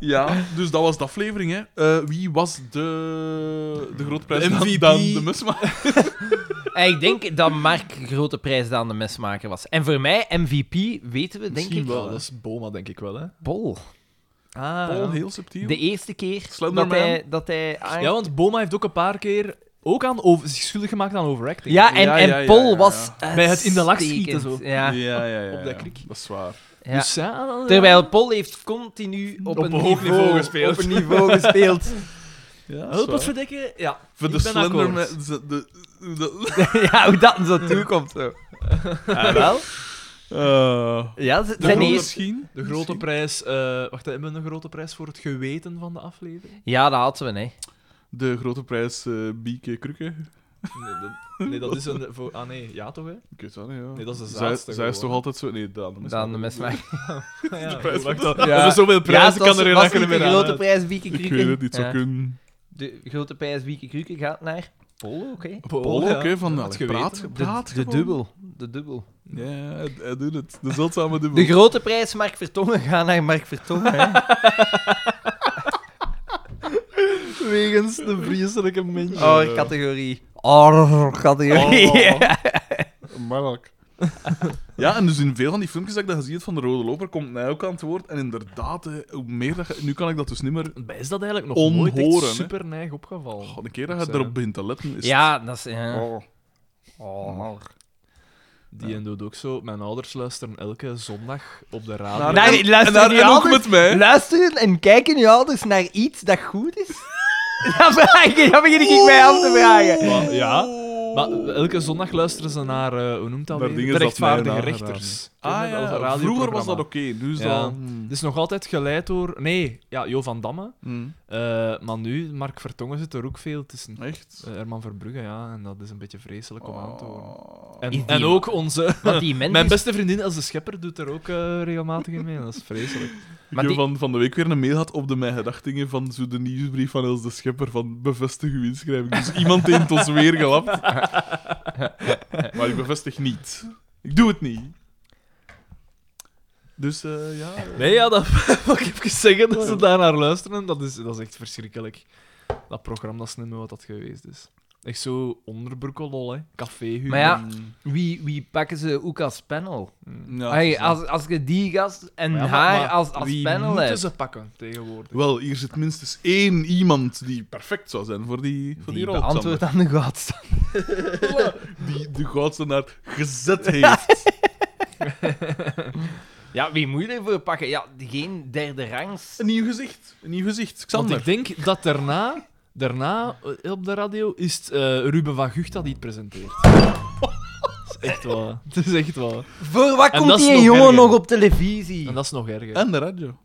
Speaker 1: ja, dus dat was de aflevering. Hè. Eh, wie was de, de grote prijs
Speaker 3: De
Speaker 1: dan-
Speaker 3: MVP?
Speaker 1: dan de [LAUGHS] mesmaker?
Speaker 2: En ik denk dat Mark grote prijs aan de mesmaker was. En voor mij, MVP, weten we, denk ik
Speaker 3: Dat is Boma, denk ik wel, hè.
Speaker 2: Bol. Ah,
Speaker 1: Paul, heel subtiel.
Speaker 2: de eerste keer dat
Speaker 1: Slenderman.
Speaker 2: hij, dat hij aan-
Speaker 3: Ja, want Boma heeft ook een paar keer ook aan over, zich schuldig gemaakt aan overacting.
Speaker 2: Ja, en,
Speaker 1: Ja, ja,
Speaker 2: en
Speaker 1: ja,
Speaker 2: Paul
Speaker 1: ja, ja.
Speaker 2: was
Speaker 3: Bij het in de lak
Speaker 2: uitstekend.
Speaker 3: schieten, zo.
Speaker 2: Ja.
Speaker 1: ja, ja, ja,
Speaker 3: Op
Speaker 1: ja.
Speaker 3: dat krik.
Speaker 1: Dat is waar.
Speaker 2: ja.
Speaker 3: Dus ja, ja.
Speaker 2: Terwijl Paul heeft continu op,
Speaker 3: Op
Speaker 2: een
Speaker 3: een hoog niveau gespeeld.
Speaker 2: Op een niveau gespeeld.
Speaker 1: Ja, dat is waar.
Speaker 3: Hulp wat verdikken? Ja.
Speaker 1: Voor de
Speaker 3: ik ben
Speaker 1: Slenderman.
Speaker 3: akkoord.
Speaker 1: de- de- de-
Speaker 2: [LAUGHS] ja, hoe dat zo toekomt. Zo. [LAUGHS] wel?
Speaker 1: Eh,
Speaker 2: Ja,
Speaker 1: de
Speaker 2: ze- zijn
Speaker 1: grote-
Speaker 2: eerste...
Speaker 1: misschien?
Speaker 3: De grote prijs... eh wacht, hebben we een grote prijs voor het geweten van de aflevering?
Speaker 2: Ja, dat hadden we, hè.
Speaker 1: De grote prijs eh Bieke Krukke.
Speaker 3: [LAUGHS] Nee, dat, nee, dat is een... Voor, ah nee, ja toch, hè?
Speaker 1: Ik weet dat niet, ja.
Speaker 3: Nee, dat is de
Speaker 1: zij,
Speaker 3: zaadste
Speaker 1: zij is toch
Speaker 3: gewoon.
Speaker 1: altijd zo... Nee, Daan de mesmaker.
Speaker 2: Dan de mesmaker.
Speaker 3: Ja, de
Speaker 1: prijs
Speaker 3: [LAUGHS] wacht,
Speaker 1: voor
Speaker 3: dat- dat is zoveel
Speaker 2: Ja,
Speaker 3: prijzen
Speaker 2: het was,
Speaker 3: kan
Speaker 2: was
Speaker 3: er
Speaker 2: niet
Speaker 3: eigenlijk
Speaker 2: de
Speaker 3: meer aan.
Speaker 2: grote
Speaker 3: hè.
Speaker 2: prijs Wieke
Speaker 1: Ik
Speaker 2: Kruken.
Speaker 1: weet het niet, zo
Speaker 2: Ja.
Speaker 1: kunnen...
Speaker 2: De grote prijs Wieke Kruken gaat naar Pol, oké.
Speaker 1: Paul ook,
Speaker 3: ja.
Speaker 1: hè, Oh, van...
Speaker 3: Dat
Speaker 1: allee,
Speaker 3: geweten.
Speaker 1: praat, praat
Speaker 2: De, de
Speaker 1: gewoon.
Speaker 2: dubbel. De dubbel.
Speaker 1: Ja, hij, hij doet het. De zeldzame dubbel.
Speaker 2: De grote prijs Mark Vertongen gaat naar Mark Vertongen, hè.
Speaker 3: Wegens de vreselijke mens.
Speaker 2: Oh, categorie. Oh, categorie. [LAUGHS]
Speaker 1: Mark. Ja, en dus in veel van die filmpjes dat ik dat gezien heb van de Rode Loper, komt mij ook aan het woord. En inderdaad, hè, hoe meer dat je- Nu kan ik dat dus niet meer...
Speaker 3: Is dat eigenlijk nog nooit
Speaker 1: Onhoren,
Speaker 3: echt
Speaker 1: hè.
Speaker 3: super neig opgevallen?
Speaker 1: Oh, de keer dat je erop begint te letten, is
Speaker 2: Ja, dat is... eh,
Speaker 1: Oh.
Speaker 2: oh.
Speaker 3: Die en doet ook zo. Mijn ouders luisteren elke zondag op de radio.
Speaker 1: Naar-
Speaker 2: Daar
Speaker 1: en-
Speaker 2: luisteren
Speaker 1: en daar-
Speaker 2: die
Speaker 1: en ook
Speaker 2: ouders-
Speaker 1: met mij.
Speaker 2: Luisteren en kijken je ouders naar iets dat goed is? [LAUGHS] dat, vraag ik, dat begin ik mij af te vragen.
Speaker 3: Maar- ja. Maar elke zondag luisteren ze naar, eh, hoe noemt dat?
Speaker 1: Naar
Speaker 3: weer?
Speaker 1: dingen
Speaker 3: de
Speaker 1: dat mij
Speaker 3: rechtvaardige
Speaker 1: aangedaan
Speaker 3: rechters.
Speaker 1: Ah,
Speaker 3: Ken je dat?
Speaker 1: ja.
Speaker 3: Dat
Speaker 1: Vroeger
Speaker 3: radioprogramma.
Speaker 1: was dat oké, nu is
Speaker 3: Ja. Dus-
Speaker 1: dat... Hmm.
Speaker 3: Het is nog altijd geleid door... Nee, ja, Jo van Damme.
Speaker 1: Hmm.
Speaker 3: Eh, maar nu, Mark Vertongen zit er ook veel tussen.
Speaker 1: Echt?
Speaker 3: Eh, Herman Verbrugge, ja. En dat is een beetje vreselijk om aan te horen.
Speaker 1: Oh.
Speaker 3: En,
Speaker 2: Is die-
Speaker 3: en ook onze...
Speaker 2: Want die mens
Speaker 3: Mijn
Speaker 2: is-
Speaker 3: beste vriendin Els de Schepper doet er ook eh, regelmatig in mee. en Dat is vreselijk.
Speaker 1: Ik
Speaker 2: Maar
Speaker 1: heb
Speaker 2: die-
Speaker 1: van, van de week weer een mail gehad op de Mijn Gedachtingen van zo de nieuwsbrief van Els de Schepper van bevestig uw inschrijving. Dus iemand heeft ons weer [LAUGHS] gelapt. maar ik bevestig niet. Ik doe het niet. Dus eh, ja...
Speaker 3: Nee, ja, dat [LAUGHS] wil ik even zeggen dat ze daar naar luisteren. Dat is, dat is echt verschrikkelijk. Dat programma, dat is niet meer wat dat geweest is. Echt zo onderbroekelol, hè. Caféhuur.
Speaker 2: Maar ja, wie, wie pakken ze ook als panel?
Speaker 1: Mm, ja, dus, eh,
Speaker 2: Hey, als, als je die gast en
Speaker 3: Mm. Maar ja, maar-
Speaker 2: haar
Speaker 3: maar
Speaker 2: als, als
Speaker 3: Wie
Speaker 2: panel
Speaker 3: moeten
Speaker 2: hebt.
Speaker 3: ze pakken tegenwoordig?
Speaker 1: Wel, hier zit minstens één iemand die perfect zou zijn voor die, voor die,
Speaker 2: Die
Speaker 1: rol.
Speaker 2: beantwoord aan de godstand.
Speaker 1: Xander. Die de goudstandaard gezet heeft.
Speaker 2: Ja, wie moet je ervoor pakken? Ja, geen derde rangs.
Speaker 1: [LAUGHS] een nieuw gezicht. Een nieuw gezicht.
Speaker 3: Want
Speaker 1: Xander.
Speaker 3: ik denk dat daarna, daarna eh, op de radio, is het eh, Ruben van Gucht dat die het presenteert. [LAUGHS] dat is echt wel. [LAUGHS] Dat is echt wel.
Speaker 2: Voor wat
Speaker 3: En
Speaker 2: komt
Speaker 3: dat is
Speaker 2: die
Speaker 3: nog
Speaker 2: jongen
Speaker 3: erger.
Speaker 2: nog op televisie?
Speaker 3: En dat is nog erger.
Speaker 1: En de radio.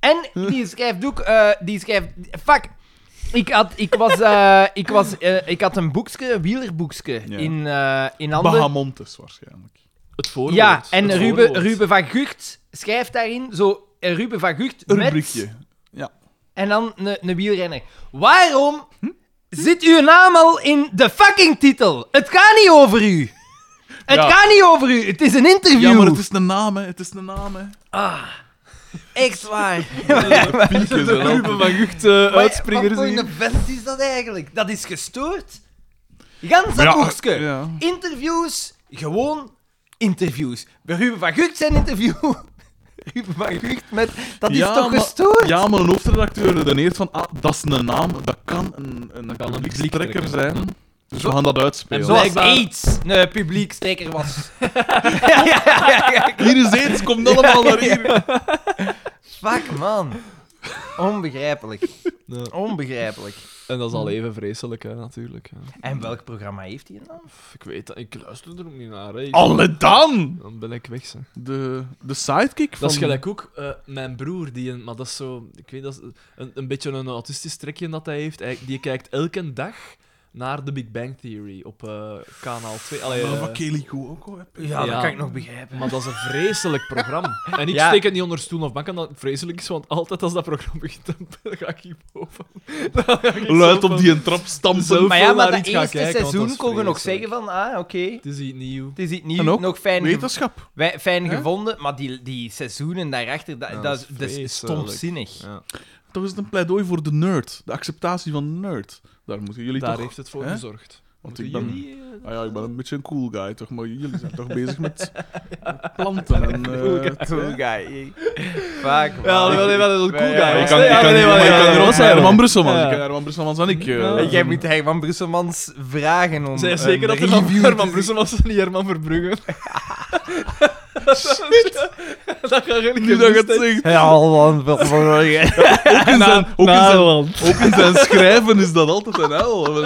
Speaker 2: En die schrijft ook, eh, die schrijft, fuck. Ik had, ik was, eh,
Speaker 1: [LAUGHS]
Speaker 2: ik was, eh, ik had een boekje, een wielerboekje
Speaker 1: Ja.
Speaker 2: in, eh, in handen.
Speaker 1: Bahamontes waarschijnlijk.
Speaker 3: Het voorwoord.
Speaker 2: ja, en
Speaker 3: het
Speaker 2: Ruben,
Speaker 3: voorwoord.
Speaker 2: Ruben van Gucht schrijft daarin zo, eh, Ruben van Gucht
Speaker 1: Een
Speaker 2: met-
Speaker 1: rubriekje.
Speaker 2: en dan een een wielrenner. Waarom zit uw naam al in de fucking titel? Het gaat niet over u. Het
Speaker 1: Ja.
Speaker 2: gaat niet over u. Het is een interview.
Speaker 1: Ja, maar het is een naam, hè. Het is een naam,
Speaker 3: [LAUGHS]
Speaker 1: hè.
Speaker 2: Echt waar.
Speaker 1: Pieken
Speaker 3: De
Speaker 1: zijn
Speaker 3: Ruben
Speaker 1: altijd-
Speaker 3: van Gucht eh
Speaker 2: Wat
Speaker 3: uitspringers
Speaker 2: voor
Speaker 3: hier.
Speaker 2: een vent is dat eigenlijk? Dat is gestoord. Gans dat
Speaker 1: Ja,
Speaker 2: boekske.
Speaker 1: ja.
Speaker 2: Interviews, gewoon interviews. Bij Ruben van Gucht zijn interview. [LAUGHS] Ruben van Gucht met... Dat is
Speaker 1: Ja,
Speaker 2: toch
Speaker 1: maar-
Speaker 2: gestoord?
Speaker 1: Ja, maar een hoofdredacteur redeneert van, ah, dat is een naam, dat kan een, een
Speaker 3: kan een
Speaker 1: publiekstrekker
Speaker 3: publiekstrekker
Speaker 1: zijn. Dus we gaan dat
Speaker 3: En
Speaker 1: uitspelen.
Speaker 3: zo-
Speaker 2: Zoals
Speaker 3: Blijkbaar-
Speaker 2: AIDS een publiekstrekker
Speaker 1: [LAUGHS]
Speaker 2: was. ja, ja, ja, ja.
Speaker 1: Hier is aids, komt allemaal naar
Speaker 3: [LAUGHS]
Speaker 1: hier.
Speaker 2: Fuck, man. Onbegrijpelijk. Onbegrijpelijk.
Speaker 3: En dat is al even vreselijk, hè, natuurlijk. hè.
Speaker 2: En welk programma heeft hij dan?
Speaker 3: Pff, Ik weet dat, ik luister er ook niet naar. Hè. Ik-
Speaker 1: Alle dan!
Speaker 3: Dan ben ik weg, ze.
Speaker 1: De, de sidekick van...
Speaker 3: Dat is gelijk ook eh, mijn broer, die een, maar dat is zo, ik weet dat is een, een beetje een autistisch trekje dat hij heeft. Hij, die kijkt elke dag naar de Big Bang Theory op eh, kanaal 2. Allee,
Speaker 1: Maar
Speaker 3: eh,
Speaker 1: wat Kelly Koe ook al heb.
Speaker 2: Ja,
Speaker 3: Ja.
Speaker 2: dat kan ik nog begrijpen.
Speaker 3: maar dat is een vreselijk
Speaker 1: [LAUGHS]
Speaker 3: programma. En ik
Speaker 2: Ja.
Speaker 3: steek het niet onder stoel of bank, omdat het vreselijk is, want altijd als dat programma begint, dan [LAUGHS] ga ik hier boven. [LAUGHS] Dan ga ik
Speaker 1: Luid op
Speaker 3: zo van-
Speaker 1: die een trap stampen.
Speaker 3: Zo
Speaker 2: Maar ja,
Speaker 3: veel
Speaker 2: maar
Speaker 3: naar
Speaker 2: dat
Speaker 3: iets gaan
Speaker 2: eerste
Speaker 3: kijken, want dat
Speaker 2: seizoen
Speaker 3: is
Speaker 2: kon je nog zeggen
Speaker 3: vreselijk.
Speaker 2: van, ah, oké,
Speaker 3: Het is iets nieuw.
Speaker 2: het is iets
Speaker 1: En
Speaker 2: nieuws,
Speaker 1: ook
Speaker 2: nog fijn, gevo-
Speaker 1: Wetenschap.
Speaker 2: wij- fijn
Speaker 1: Hè?
Speaker 2: gevonden, maar die, die seizoenen daarachter, dat,
Speaker 3: Ja,
Speaker 2: dat,
Speaker 3: dat
Speaker 2: is-
Speaker 3: is
Speaker 2: dat is
Speaker 3: vreselijk.
Speaker 2: stomzinnig.
Speaker 1: Toch is het een pleidooi voor de nerd. De acceptatie van de nerd. Daar moeten jullie
Speaker 3: Daar
Speaker 1: toch...
Speaker 3: heeft het voor
Speaker 1: Hè?
Speaker 3: gezorgd.
Speaker 1: Want
Speaker 3: Moeten
Speaker 1: ik ben...
Speaker 3: jullie, eh,
Speaker 1: Ah ja, ik ben een beetje een cool guy, toch? Maar jullie zijn toch bezig met [LAUGHS] planten en... eh,
Speaker 2: [LAUGHS] Cool guy. Fuck, man.
Speaker 3: Ja, wel nee, wel een cool
Speaker 2: Ja, ja,
Speaker 3: guy.
Speaker 1: Ja,
Speaker 2: ja.
Speaker 1: ik
Speaker 3: was,
Speaker 1: kan,
Speaker 3: hè?
Speaker 1: ik
Speaker 3: Ja,
Speaker 1: kan,
Speaker 3: nee,
Speaker 1: maar
Speaker 3: wel,
Speaker 1: ik
Speaker 3: ja,
Speaker 1: kan
Speaker 3: ja,
Speaker 1: er
Speaker 3: ja.
Speaker 1: wel zijn. Herman Brusselmans.
Speaker 3: Ja.
Speaker 1: Ik ken Herman Brusselmans en ik. eh,
Speaker 3: Ja.
Speaker 2: En Jij moet Herman Brusselmans vragen om
Speaker 3: Zij
Speaker 2: een
Speaker 3: zeker dat er dan
Speaker 2: review
Speaker 3: Herman
Speaker 2: te-
Speaker 3: Brussel was en niet Herman Verbrugge. dat ga ik
Speaker 1: Nu dat je het zegt.
Speaker 2: Ja, man. wat- wat- wat-
Speaker 1: [LAUGHS] Ook in zijn, ook in zijn, ook in zijn schrijven is dat altijd een hel.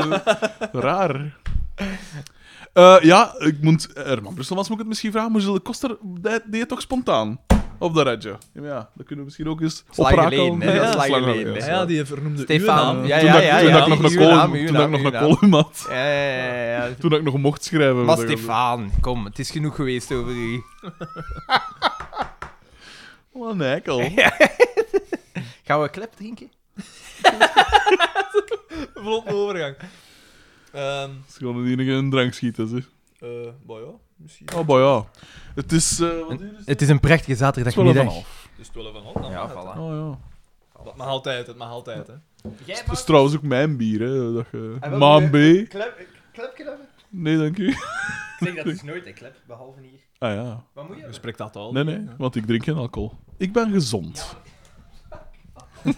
Speaker 1: Raar. Eh, ja, ik moet... Herman Brusselmans moet ik het misschien vragen, maar Gilles de Koster die- deed het toch spontaan? Op de radio. Ja, dat kunnen we misschien ook eens
Speaker 2: lang
Speaker 1: oprakelen.
Speaker 2: geleden, hè?
Speaker 1: Ja,
Speaker 2: Dat is
Speaker 1: dat is
Speaker 2: lang
Speaker 1: lang
Speaker 2: geleden,
Speaker 1: geleden,
Speaker 2: hè?
Speaker 1: ja.
Speaker 3: Ja, die vernoemde
Speaker 2: Stefan. Ja,
Speaker 1: Toen
Speaker 2: ja,
Speaker 1: dat-
Speaker 2: ja.
Speaker 1: toen
Speaker 2: ja,
Speaker 1: dat ik nog een
Speaker 2: uw naam,
Speaker 1: column-
Speaker 2: uw
Speaker 1: toen dat ik nog
Speaker 2: naam,
Speaker 1: een
Speaker 2: uw naam.
Speaker 1: column had.
Speaker 2: Ja, ja, ja, ja.
Speaker 1: Toen ik nog mocht schrijven.
Speaker 2: Maar
Speaker 1: wat ik-
Speaker 2: Stefan, kom, het is genoeg geweest over u.
Speaker 1: Wat een eikel.
Speaker 2: Gaan we een klep drinken?
Speaker 3: [LAUGHS] Vlot overgang. Ehm
Speaker 1: Ze gaan er enige een drank schieten, zeg.
Speaker 3: eh maar ja, misschien.
Speaker 1: Oh, maar ja. Het is... eh, wat uur is het?
Speaker 2: Het is een prachtige zaterdagmiddag.
Speaker 3: Dus Het is 12 en half.
Speaker 2: Ja, voilà.
Speaker 1: Oh, ja.
Speaker 3: Het mag altijd, het mag altijd. Hè.
Speaker 2: Jij
Speaker 1: Dat is trouwens ook mijn bier, hè. Dat je...
Speaker 2: Ah, wel,
Speaker 1: Maan B?
Speaker 2: klep, klepje hebben?
Speaker 1: Nee, dank u.
Speaker 2: Ik zeg dat is nooit een klep, behalve hier.
Speaker 1: Ah ja.
Speaker 2: Wat moet
Speaker 3: Je spreekt dat al.
Speaker 1: Nee, nee, want ik drink geen alcohol. Ik ben gezond. [LAUGHS]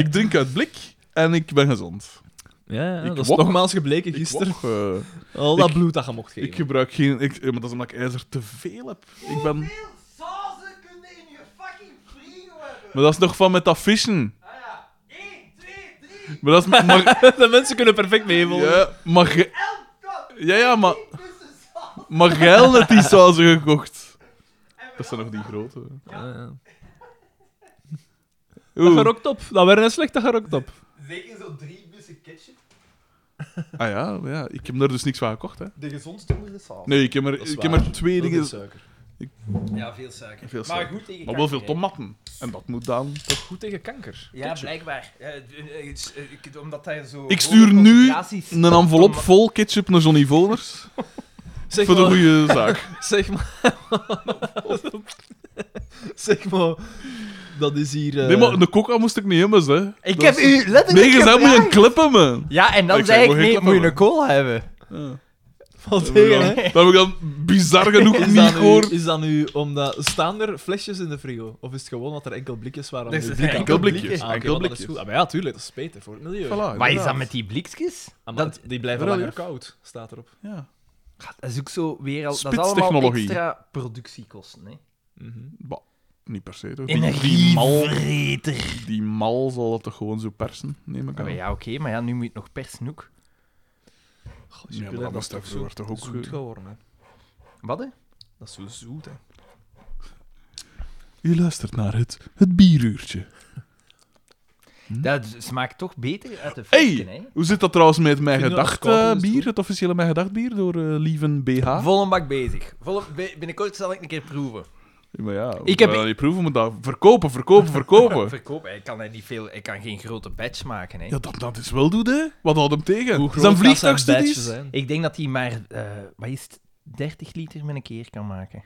Speaker 1: ik drink uit blik en ik ben gezond.
Speaker 3: Ja, ja,
Speaker 1: Ik
Speaker 3: dat is
Speaker 1: wok.
Speaker 3: nogmaals gebleken gisteren.
Speaker 1: Gisteren? Ik, wou, eh,
Speaker 3: Al dat
Speaker 1: Ik-
Speaker 3: bloed dat je mocht geven.
Speaker 1: ik gebruik geen... Ik, eh, maar dat is omdat ik ijzer te veel heb. Ik ben...
Speaker 2: Sauzen kunnen in je fucking frigo hebben!
Speaker 1: Maar dat is nog van met dat vissen.
Speaker 2: Ah ja, 1, 2, 3,
Speaker 1: Maar dat is... Maar,
Speaker 3: [LAUGHS] de mensen kunnen perfect meevolgen.
Speaker 1: ja, maar... ge-
Speaker 2: elk kop!
Speaker 1: Ja, ja, maar...
Speaker 2: Tussen saus!
Speaker 1: Maar geil net die sauzen gekocht. Dat zijn nog die grote.
Speaker 3: Dat
Speaker 1: Oeh.
Speaker 3: gerokt op. Dat werd een slechte gerokt op.
Speaker 2: Zeker zo drie bussen ketchup.
Speaker 1: Ah ja, maar ja, ik heb er dus niks van gekocht, hè.
Speaker 2: De gezondste onder de saus.
Speaker 1: Nee, ik heb er,
Speaker 3: Dat is
Speaker 1: ik heb
Speaker 3: waar.
Speaker 1: er twee dingen...
Speaker 2: Ja, veel suiker.
Speaker 1: Veel
Speaker 2: Maar
Speaker 1: suiker.
Speaker 2: goed tegen
Speaker 1: Maar wel veel
Speaker 2: kanker, hè.
Speaker 1: tomaten. En dat moet dan...
Speaker 3: Goed tegen kanker.
Speaker 2: Ja, blijkbaar. Ja, eh, eh, het is, eh, ik- omdat hij zo...
Speaker 1: Ik stuur
Speaker 2: hoge
Speaker 1: nu
Speaker 2: concentraties-
Speaker 1: een envelop
Speaker 2: Toma-
Speaker 1: vol ketchup naar Johnny Voners.
Speaker 3: Zeg
Speaker 1: voor de
Speaker 3: maar-
Speaker 1: goede
Speaker 3: [LAUGHS]
Speaker 1: zaak.
Speaker 3: Zeg maar. zeg maar. Dat is hier. eh,
Speaker 1: Nee, maar de coca moest ik niet hebben, hè.
Speaker 2: Ik
Speaker 1: Dat
Speaker 2: heb
Speaker 1: is-
Speaker 2: u
Speaker 1: Nee, je
Speaker 2: letterlijk
Speaker 1: zei moet je
Speaker 2: gevraagd.
Speaker 1: een klippen, man.
Speaker 2: Ja, en dan
Speaker 1: Ik
Speaker 2: zei
Speaker 1: zei,
Speaker 2: ik,
Speaker 1: mag ik
Speaker 2: nee,
Speaker 1: dat
Speaker 2: moet je
Speaker 1: wel?
Speaker 2: een kool hebben.
Speaker 3: valt
Speaker 1: Dat
Speaker 3: tegen, hè?
Speaker 1: heb ik dan- dat heb ik dan bizar
Speaker 2: [LAUGHS]
Speaker 1: genoeg
Speaker 3: Is
Speaker 1: niet
Speaker 3: dat,
Speaker 1: gehoord.
Speaker 3: nu, is dat nu omdat... Staan er flesjes in de frigo? Of is het gewoon dat er enkel blikjes waren?
Speaker 2: Dus
Speaker 3: Die
Speaker 2: het
Speaker 3: blikken-
Speaker 2: zijn
Speaker 1: Enkel
Speaker 2: enkel
Speaker 1: blikjes.
Speaker 2: blikjes.
Speaker 3: Ah, oké,
Speaker 1: Enkel
Speaker 3: wel, dat is
Speaker 1: blikjes.
Speaker 3: goed. Ah, maar ja, tuurlijk. Dat is beter voor het milieu.
Speaker 1: Voilà,
Speaker 2: Wat is dat
Speaker 1: inderdaad.
Speaker 2: met die blikjes?
Speaker 3: Ah, maar
Speaker 2: Dat,
Speaker 3: die blijven
Speaker 1: Wel,
Speaker 3: langer
Speaker 1: ja.
Speaker 3: koud, staat erop.
Speaker 1: Ja.
Speaker 2: dat is ook zo weer al... Dat is allemaal
Speaker 1: Spitstechnologie.
Speaker 2: extra productiekosten, hè.
Speaker 3: Mhm.
Speaker 1: Bah, niet per se, toch? Die, die, mal,
Speaker 2: Energievreter.
Speaker 1: die mal zal dat toch gewoon zo persen, neem ik aan.
Speaker 2: Oh, ja, oké, maar ja, nu moet je het nog persen ook.
Speaker 3: Goh,
Speaker 1: Ja, maar dat was toch vroeger toch ook...
Speaker 3: zoet
Speaker 1: eh,
Speaker 3: geworden, hè.
Speaker 2: Wat, hè?
Speaker 3: Dat is zo zoet, hè.
Speaker 1: Je luistert naar het, het bieruurtje.
Speaker 2: Dat smaakt toch beter uit de
Speaker 1: Hey!
Speaker 2: frisken, hè?
Speaker 1: Hoe zit dat trouwens met mijn
Speaker 3: Vinden we dat
Speaker 1: gedacht
Speaker 3: als koud
Speaker 1: eh,
Speaker 3: is,
Speaker 1: bier,
Speaker 3: toch?
Speaker 1: het officiële mijn gedacht bier, door eh, Lieven BH?
Speaker 2: Vol een bak bezig. Volle, be- binnenkort zal ik een keer proeven.
Speaker 1: Ja, maar ja,
Speaker 2: Ik
Speaker 1: ik
Speaker 2: heb-
Speaker 1: heb dat niet proeven, moet dat verkopen, verkopen, verkopen.
Speaker 2: Verkoop, ik kan, er niet veel, ik kan geen grote batch maken. Hè.
Speaker 1: ja, dat dat is wel doet, hè? Wat houdt hem tegen?
Speaker 3: groot
Speaker 1: zijn
Speaker 3: dat
Speaker 1: vliegtuigstudies?
Speaker 3: badges zijn.
Speaker 2: Ik denk dat hij maar, eh, wat is het, 30 liter met een keer kan maken.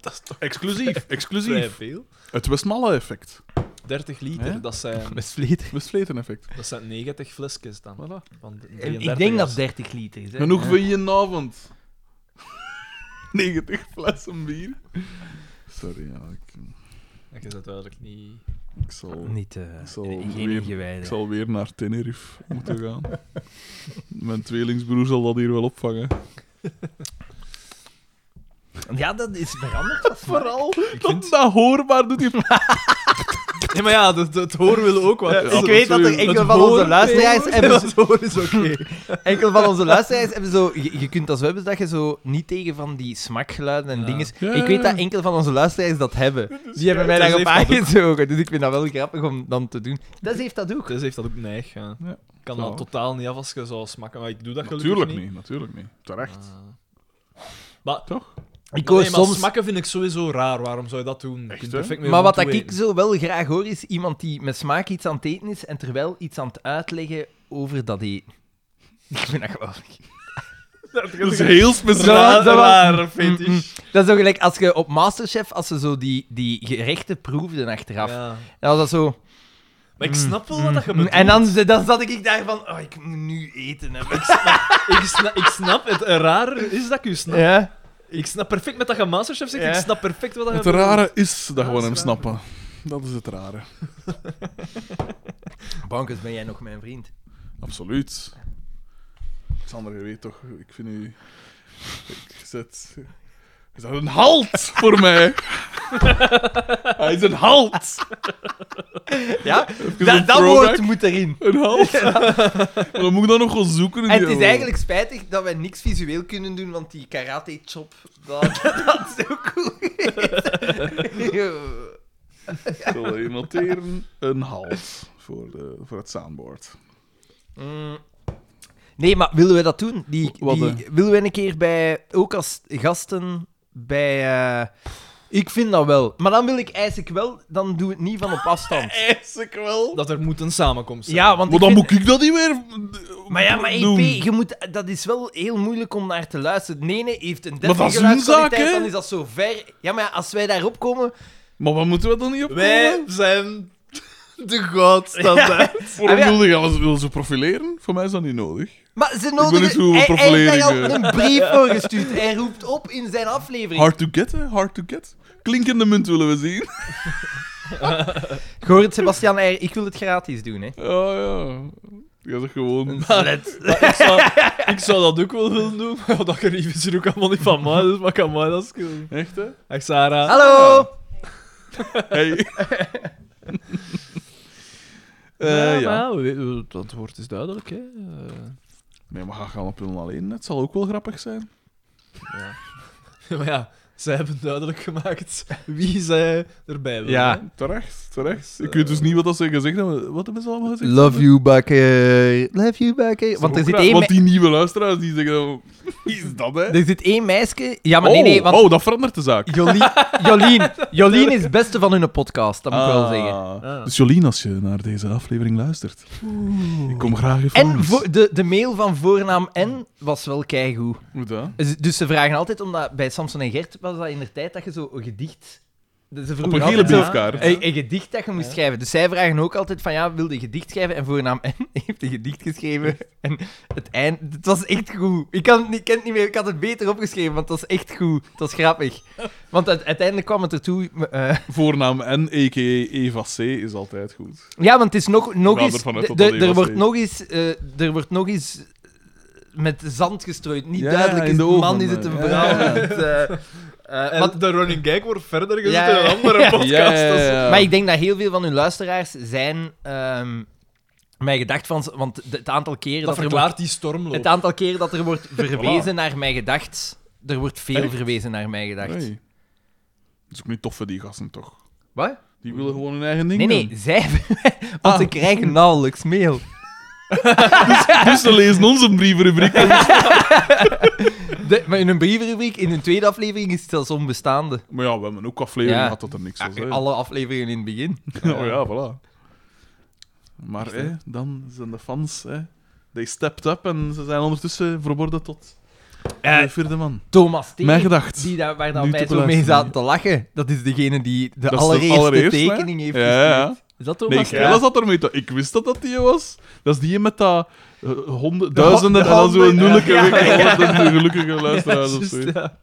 Speaker 3: Dat is toch
Speaker 1: Exclusief,
Speaker 3: vrij
Speaker 1: exclusief.
Speaker 3: veel.
Speaker 1: Het Westmalle-effect.
Speaker 3: 30 liter,
Speaker 1: Hè?
Speaker 3: dat,
Speaker 2: [LAUGHS]
Speaker 3: zijn,
Speaker 2: Besleten.
Speaker 1: Westvleten-effect.
Speaker 3: dat zijn 90 flesjes dan. Van de-
Speaker 2: Ik
Speaker 3: 33
Speaker 2: denk dat
Speaker 3: is.
Speaker 2: 30 liter is. Hè.
Speaker 1: Genoeg
Speaker 2: Ja.
Speaker 1: voor je avond. [LAUGHS] 90 flessen bier. Sorry, ja. Ik...
Speaker 3: Ik is dat duidelijk niet
Speaker 1: Ik zal,
Speaker 2: Niet eh
Speaker 1: ik zal
Speaker 2: geen
Speaker 1: weer-
Speaker 2: ingewijden.
Speaker 1: ik zal weer naar Tenerife moeten gaan. [LAUGHS] Mijn tweelingsbroer zal dat hier wel opvangen.
Speaker 2: Ja, dat is
Speaker 1: [LAUGHS]
Speaker 2: veranderd. dat is maar-
Speaker 1: Vooral, dat, dat hoorbaar doet hij...
Speaker 3: Nee, maar ja, dat, dat horen willen ook wat.
Speaker 1: Ja,
Speaker 2: ik weet dat er enkele van onze luisteraars hebben... Dat is oké. [LAUGHS] Enkele van onze luisteraars hebben zo... Je, je kunt als hebben dat je zo niet tegen van die smakgeluiden en
Speaker 3: Ja.
Speaker 2: dinges...
Speaker 1: Ja,
Speaker 2: Ik weet
Speaker 1: ja.
Speaker 2: dat enkele van onze luisteraars dat hebben. Die hebben mij
Speaker 3: Tess
Speaker 2: daarop
Speaker 3: heeft dat
Speaker 2: aangezogen. Dus ik vind dat wel grappig om dan te doen. Dat heeft dat ook.
Speaker 3: Tess heeft dat ook neig. Ja.
Speaker 1: Ja.
Speaker 3: Ik kan
Speaker 1: Zo.
Speaker 3: dat totaal niet af als je zou smakken, maar ik doe dat gelukkig
Speaker 1: Natuurlijk
Speaker 3: niet.
Speaker 1: niet, natuurlijk niet. Terecht.
Speaker 3: Ah. Maar,
Speaker 1: Toch?
Speaker 2: Ik hoor
Speaker 3: nee, maar
Speaker 2: soms...
Speaker 3: smakken vind ik sowieso raar. Waarom zou je dat doen? Je
Speaker 1: Echt,
Speaker 3: kunt
Speaker 1: hè?
Speaker 3: perfect met je
Speaker 2: Maar
Speaker 3: mond
Speaker 2: wat dat
Speaker 3: toe
Speaker 2: ik
Speaker 3: eten.
Speaker 2: zo wel graag hoor, is iemand die met smaak iets aan het eten is en terwijl iets aan het uitleggen over dat eten. [LAUGHS] Ik vind dat geweldig.
Speaker 1: Dat is heel
Speaker 2: Zo,
Speaker 1: speciaal.
Speaker 2: zo,
Speaker 3: rare
Speaker 2: mm,
Speaker 3: fetish.
Speaker 2: mm. Dat is zo gelijk als je op Masterchef, als ze zo die, die gerechten proefden achteraf.
Speaker 3: Ja.
Speaker 2: Dan was dat zo...
Speaker 3: Maar ik snap wel wat dat je
Speaker 2: mm,
Speaker 3: bedoelt.
Speaker 2: En dan, dan zat ik daar van, oh, ik moet nu eten hebben.
Speaker 3: ik, sna- ik snap, het rare is dat ik u snap.
Speaker 2: Ja.
Speaker 3: Ik snap perfect met dat je Masterchef zegt,
Speaker 2: Ja.
Speaker 3: ik snap perfect wat dat je
Speaker 1: Het
Speaker 3: bedoelt.
Speaker 1: rare is dat
Speaker 3: Ja,
Speaker 1: we
Speaker 3: dat
Speaker 1: hem
Speaker 3: is
Speaker 1: snappen. Dat is het rare.
Speaker 2: Bankers, ben jij nog mijn
Speaker 1: [LAUGHS]
Speaker 2: vriend?
Speaker 1: Absoluut. Sander, je weet toch, ik vind u... Ik zet... Is dat een halt voor [LAUGHS] mij? Hij is een halt.
Speaker 2: Ja,
Speaker 1: Even een
Speaker 2: dat, dat
Speaker 1: throwback.
Speaker 2: woord moet erin.
Speaker 1: Een halt. Maar dan moet ik dat nog gaan zoeken. in die
Speaker 2: En het is
Speaker 1: oude.
Speaker 2: eigenlijk spijtig dat wij niks visueel kunnen doen, want die karate-chop, dat, [LAUGHS] dat is ook cool.
Speaker 1: [LAUGHS]
Speaker 2: geweest.
Speaker 1: Ik zal even noteren. Een halt voor, de, voor het soundboard.
Speaker 2: Mm. Nee, maar willen we dat doen? Die,
Speaker 1: Wat,
Speaker 2: die, willen we een keer bij, ook als gasten bij. eh, ik vind dat wel. Maar dan wil ik eigenlijk wel, dan doe het niet van op
Speaker 1: [LAUGHS]
Speaker 2: afstand.
Speaker 1: Is ik wel.
Speaker 3: Dat er moet een samenkomst zijn.
Speaker 2: Ja, want
Speaker 1: Maar
Speaker 2: ik
Speaker 1: dan
Speaker 2: vind-
Speaker 1: moet ik dat niet meer eh,
Speaker 2: Maar ja, maar E
Speaker 1: doen.
Speaker 2: EP, je moet, dat is wel heel moeilijk om naar te luisteren. Nee, nee, heeft een
Speaker 1: dat
Speaker 2: deftige
Speaker 1: is hun
Speaker 2: geluidskwaliteit,
Speaker 1: zaak, hè?
Speaker 2: dan is dat zo ver. Ja, maar ja, als wij daarop komen...
Speaker 1: Maar wat moeten we dan niet op?
Speaker 3: Wij zijn de goudstandaard.
Speaker 1: Waarom
Speaker 2: Ah, ja.
Speaker 1: wilde je alles wil ze profileren? Voor mij is dat niet nodig.
Speaker 2: Maar ze
Speaker 1: ben niet
Speaker 2: nodigen...
Speaker 1: zo goed op
Speaker 2: Hij, hij heeft daar al
Speaker 1: profileringen.
Speaker 2: een brief voor gestuurd. Hij roept op in zijn aflevering.
Speaker 1: Hard to get, hè? Hard to get. Klinkende munt willen we
Speaker 2: [LAUGHS]
Speaker 1: zien.
Speaker 2: Ik hoor het, Sebastian Eier. Ik wil het gratis doen, hè.
Speaker 1: Oh ja. Ja, dat gewoon.
Speaker 3: ik, zou, ik zou dat ook wel willen doen, maar ja, dat gerief is hier ook allemaal niet van mij, dus wat kan mij dat schelen?
Speaker 1: Echt, hè?
Speaker 3: Echt, Sarah.
Speaker 1: Ah.
Speaker 2: Hallo! [LAUGHS]
Speaker 1: Hey. Eh,
Speaker 3: ja,
Speaker 1: Eh,
Speaker 3: maar
Speaker 1: ja.
Speaker 3: ja, we weten- het antwoord is duidelijk, hè.
Speaker 1: Nee, maar ga gaan op hun alleen. Het zal ook wel grappig zijn.
Speaker 3: Eh, maar ja, zij hebben duidelijk gemaakt wie zij erbij willen. hè.
Speaker 1: Terecht, terecht. Ik weet dus niet wat dat ze gezegd hebben. Wat hebben ze allemaal gezegd?
Speaker 2: Love you, Bakker. Love you, Bakker. Want er zit, één
Speaker 1: Want
Speaker 2: me-
Speaker 1: die nieuwe luisteraars die zeggen... oh, [LAUGHS] Wie is dat, hè?
Speaker 2: er zit één meisje... Ja, maar nee, nee,
Speaker 1: Oh,
Speaker 2: want
Speaker 1: Oh, dat verandert de zaak.
Speaker 2: Jolien,
Speaker 1: [LAUGHS]
Speaker 2: Jolien, Jolien is het beste van hun podcast, dat moet ik wel
Speaker 1: Ah.
Speaker 2: zeggen.
Speaker 3: Ah.
Speaker 1: Dus Jolien, als je naar deze aflevering luistert, ik kom graag even
Speaker 2: En
Speaker 1: langs.
Speaker 2: voor- de, de mail van voornaam N was wel keigoed.
Speaker 1: Hoe dat?
Speaker 2: Dus- Dus ze vragen altijd, omdat bij Samson en Gert was dat in de tijd dat je zo een gedicht... dus Ze
Speaker 1: Op
Speaker 2: vroegen
Speaker 1: een gele
Speaker 2: altijd zo-
Speaker 1: briefkaart.
Speaker 2: Een, een gedicht dat je moest schrijven. Dus zij vragen ook altijd van, ja, wilde je gedicht schrijven? En voornaam N [LAUGHS] heeft een gedicht geschreven. En het eind... Het was echt goed. Ik kan het niet, ik ken het niet meer. Ik had het beter opgeschreven, want het was echt goed. Het was grappig. Want u- uiteindelijk kwam het ertoe... eh,
Speaker 1: Voornaam en a.k.a. Eva C. is altijd goed.
Speaker 2: ja, want het is nog, nog
Speaker 1: ga
Speaker 2: eens...
Speaker 1: ervan uit
Speaker 2: de-
Speaker 1: dat dat
Speaker 2: de-
Speaker 1: die
Speaker 2: Er
Speaker 1: was,
Speaker 2: wordt
Speaker 1: hè.
Speaker 2: nog eens... eh, Er wordt nog eens... Met zand gestrooid. Niet
Speaker 1: Ja,
Speaker 2: duidelijk
Speaker 1: in
Speaker 2: is
Speaker 1: de
Speaker 2: het
Speaker 1: ogen,
Speaker 2: man, is het
Speaker 1: eh.
Speaker 2: een
Speaker 1: Ja. [LAUGHS]
Speaker 2: vrouw. Het, eh, eh,
Speaker 3: En
Speaker 2: wat-
Speaker 3: de running gag wordt verder gezet
Speaker 2: Ja,
Speaker 3: in
Speaker 2: ja,
Speaker 3: een andere
Speaker 2: ja.
Speaker 3: podcast. dat is-
Speaker 1: eh,
Speaker 2: Maar ik denk dat heel veel van hun luisteraars zijn ehm mij gedacht van... Want de- het aantal keren
Speaker 3: Dat
Speaker 2: dat, er
Speaker 3: verklaart die stormloop.
Speaker 2: wordt, Het aantal keren dat er wordt verwezen naar mij gedacht... Er wordt veel verwezen naar mij gedacht.
Speaker 1: Hey. Dat is ook niet tof voor die gasten, toch?
Speaker 2: Wat?
Speaker 1: Die willen gewoon hun eigen ding Ah.
Speaker 2: Nee, nee,
Speaker 1: doen.
Speaker 2: zij... [LAUGHS] Want ze krijgen nauwelijks mail.
Speaker 1: Dus ze lezen onze
Speaker 2: [LAUGHS]
Speaker 1: brievenrubriek.
Speaker 2: De- maar in hun brievenrubriek, in hun tweede aflevering, is het zelfs onbestaande.
Speaker 1: maar ja, we hebben ook afleveringen
Speaker 2: Ja.
Speaker 1: gehad dat er niks was. hè. Dus-
Speaker 2: Alle afleveringen in het begin.
Speaker 1: Oh ja, voilà. Maar hè, dan zijn de fans... Hè, they stepped up en ze zijn ondertussen verworden tot de vierde man.
Speaker 2: Thomas T.
Speaker 1: Mijn gedacht.
Speaker 2: Die daar, waar dat
Speaker 1: Nu te
Speaker 2: wij zo mee
Speaker 1: beluisteren.
Speaker 2: zaten te lachen, dat is degene die de
Speaker 1: Dat is de
Speaker 2: allereerste
Speaker 1: allereerste, hè?
Speaker 2: tekening heeft
Speaker 1: Ja, ja.
Speaker 2: gestuurd.
Speaker 3: Is dat toch
Speaker 1: Nee,
Speaker 3: wat-
Speaker 1: Keila zat ermee te... Ik wist dat dat die was. Dat is die met dat eh, honderd,
Speaker 2: De
Speaker 1: duizenden
Speaker 2: ho- de
Speaker 1: en dan zo'n
Speaker 2: handen,
Speaker 1: nulleke
Speaker 2: ja.
Speaker 1: ja, de gelukkige
Speaker 3: Ja,
Speaker 1: luisteraars of
Speaker 3: juist,
Speaker 1: zoiets.
Speaker 3: ja.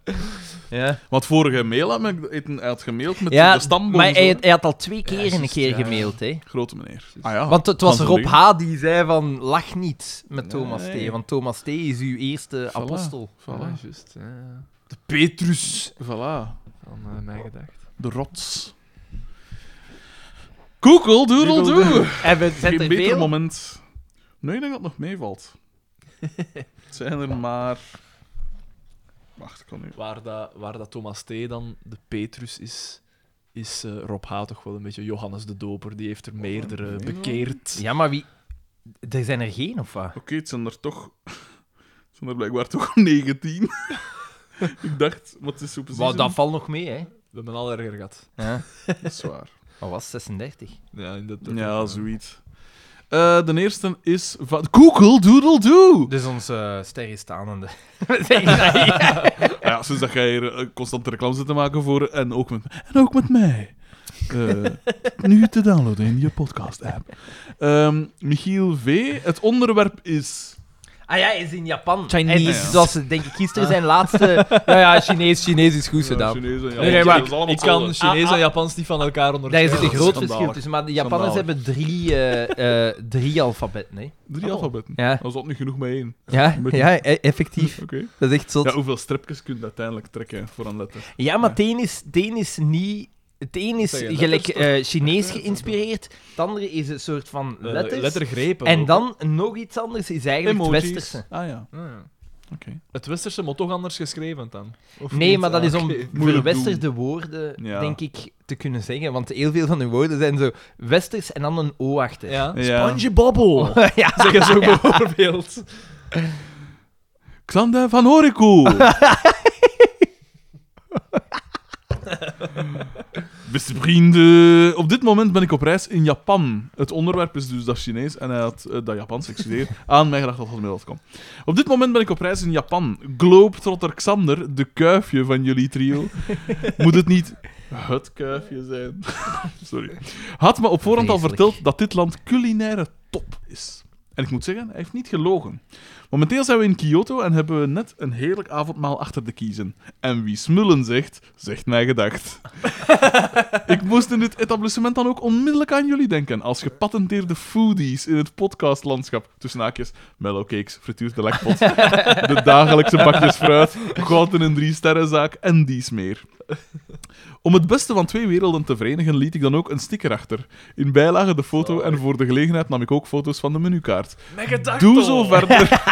Speaker 2: Ja,
Speaker 1: Want vorige mail had ik het- hij had gemaild met
Speaker 2: ja
Speaker 1: de stamboom. zo.
Speaker 2: maar hij, hij had al twee keer in een
Speaker 3: juist,
Speaker 2: keer
Speaker 3: ja.
Speaker 2: gemaild, hè.
Speaker 1: Grote meneer. Ah ja.
Speaker 2: Want het was
Speaker 1: Van
Speaker 2: Rob
Speaker 1: Vliegen.
Speaker 2: H. die zei van, lach niet met Thomas
Speaker 1: Nee.
Speaker 2: T. Want Thomas T. is uw eerste apostel.
Speaker 1: Voilà.
Speaker 3: Voilà, juist. ja.
Speaker 2: Petrus.
Speaker 1: voilà.
Speaker 3: Van eh, mij gedacht.
Speaker 1: De rots. Google doodle
Speaker 3: Doodle
Speaker 1: doe.
Speaker 2: En we zijn
Speaker 1: Geen
Speaker 2: er
Speaker 1: beter
Speaker 2: veel.
Speaker 1: moment. Nee, ik denk dat het nog meevalt. het zijn er maar... Wacht, ik kan nu...
Speaker 3: Waar dat, waar dat Thomas T. dan de Petrus is, is eh, Rob H. toch wel een beetje Johannes de Doper. Die heeft er meerdere
Speaker 1: nee,
Speaker 3: bekeerd.
Speaker 2: Ja, maar wie... Er zijn er geen, of wat?
Speaker 1: Oké, het zijn er toch... Het zijn er blijkbaar toch [LAUGHS] 19. ik dacht, maar het is zo precies...
Speaker 2: Maar dat
Speaker 1: een-
Speaker 2: valt nog mee, hè.
Speaker 3: We hebben al erger gehad.
Speaker 2: Ja.
Speaker 1: Dat is waar.
Speaker 2: Wat was 36?
Speaker 3: Ja, in dat,
Speaker 1: Ja, zoiets. Eh, de eerste is van... Google doodle doe.
Speaker 2: Dus onze [LAUGHS] sterrenstaande.
Speaker 1: Ah ja, sinds dat jij hier eh, constante reclame zit te maken voor en ook met, en ook met mij. Eh, nu te downloaden in je podcast-app. Ehm, Michiel V. Het onderwerp is...
Speaker 2: Ah ja, hij is in Japan.
Speaker 3: Chinese.
Speaker 2: En is, zoals ze, denk ik, gisteren zijn laatste... Nou [LAUGHS] ja, Chinees, Chinees is goed
Speaker 1: Ja,
Speaker 2: gedaan.
Speaker 1: Chinees en Japans.
Speaker 3: Nee,
Speaker 2: nee, maar
Speaker 1: Dat is allemaal
Speaker 3: ik kan
Speaker 1: hetzelfde.
Speaker 3: Chinees
Speaker 2: Ah,
Speaker 3: en
Speaker 2: ah.
Speaker 3: Japans niet van elkaar
Speaker 2: Daar
Speaker 3: onderscheiden.
Speaker 2: is een groot
Speaker 1: Schandalig.
Speaker 2: verschil tussen. Maar de
Speaker 1: Schandalig.
Speaker 2: Japanners hebben drie, eh, eh, drie alfabetten, hè.
Speaker 1: Drie alfabetten.
Speaker 2: Ja.
Speaker 1: Dan zat nu genoeg mee in.
Speaker 2: Ja,
Speaker 1: Moet je-
Speaker 2: ja, e- effectief.
Speaker 1: Oké.
Speaker 2: Dat is echt zot.
Speaker 1: Ja,
Speaker 2: Ja,
Speaker 1: hoeveel stripjes kun je uiteindelijk trekken voor een letter?
Speaker 2: maar het een is, het een is niet... Het een is
Speaker 3: Zeg je
Speaker 2: gelijk
Speaker 3: letters,
Speaker 2: eh, Chinees geïnspireerd, het andere is een soort van
Speaker 3: Eh,
Speaker 2: letters.
Speaker 3: lettergrepen.
Speaker 2: En
Speaker 3: ook.
Speaker 2: dan nog iets anders is eigenlijk het Westerse.
Speaker 1: Ah ja,
Speaker 3: Ah, ja.
Speaker 1: oké.
Speaker 3: Het Westerse moet toch anders geschreven dan? Of
Speaker 2: Nee,
Speaker 3: niet?
Speaker 2: maar dat
Speaker 3: Ah,
Speaker 2: is om
Speaker 3: oké.
Speaker 1: Moeilijk
Speaker 2: verwesterde woorden,
Speaker 1: Ja.
Speaker 2: denk ik, te kunnen zeggen. Want heel veel van hun woorden zijn zo westers en dan een O achter.
Speaker 3: Ja.
Speaker 1: Ja.
Speaker 3: [LAUGHS] SpongeBobble.
Speaker 2: Ja.
Speaker 3: Zeggen ze ook bijvoorbeeld.
Speaker 1: Xander van Horiko. Beste vrienden, op dit moment ben ik op reis in Japan. Het onderwerp is dus dat Chinees en hij had eh, dat Japans, ik studeer, aan mij gedacht dat het middels kwam. Op dit moment ben ik op reis in Japan. Globetrotter Xander, de kuifje van jullie trio. Moet het niet het kuifje zijn? [LAUGHS] Sorry. Had me op voorhand al
Speaker 2: Vreselijk.
Speaker 1: verteld dat dit land culinaire top is. En ik moet zeggen, hij heeft niet gelogen. Momenteel zijn we in Kyoto en hebben we net een heerlijk avondmaal achter de kiezen. En wie smullen zegt, zegt mij gedacht. ik moest in dit etablissement dan ook onmiddellijk aan jullie denken. Als gepatenteerde foodies in het podcastlandschap. Tussen haakjes, mellowcakes, frituurde lekpot, de dagelijkse bakjes fruit, goud in een drie sterrenzaak en dies meer. Om het beste van twee werelden te verenigen, liet ik dan ook een sticker achter. In bijlage de foto en voor de gelegenheid nam ik ook foto's van de menukaart. Doe zo verder.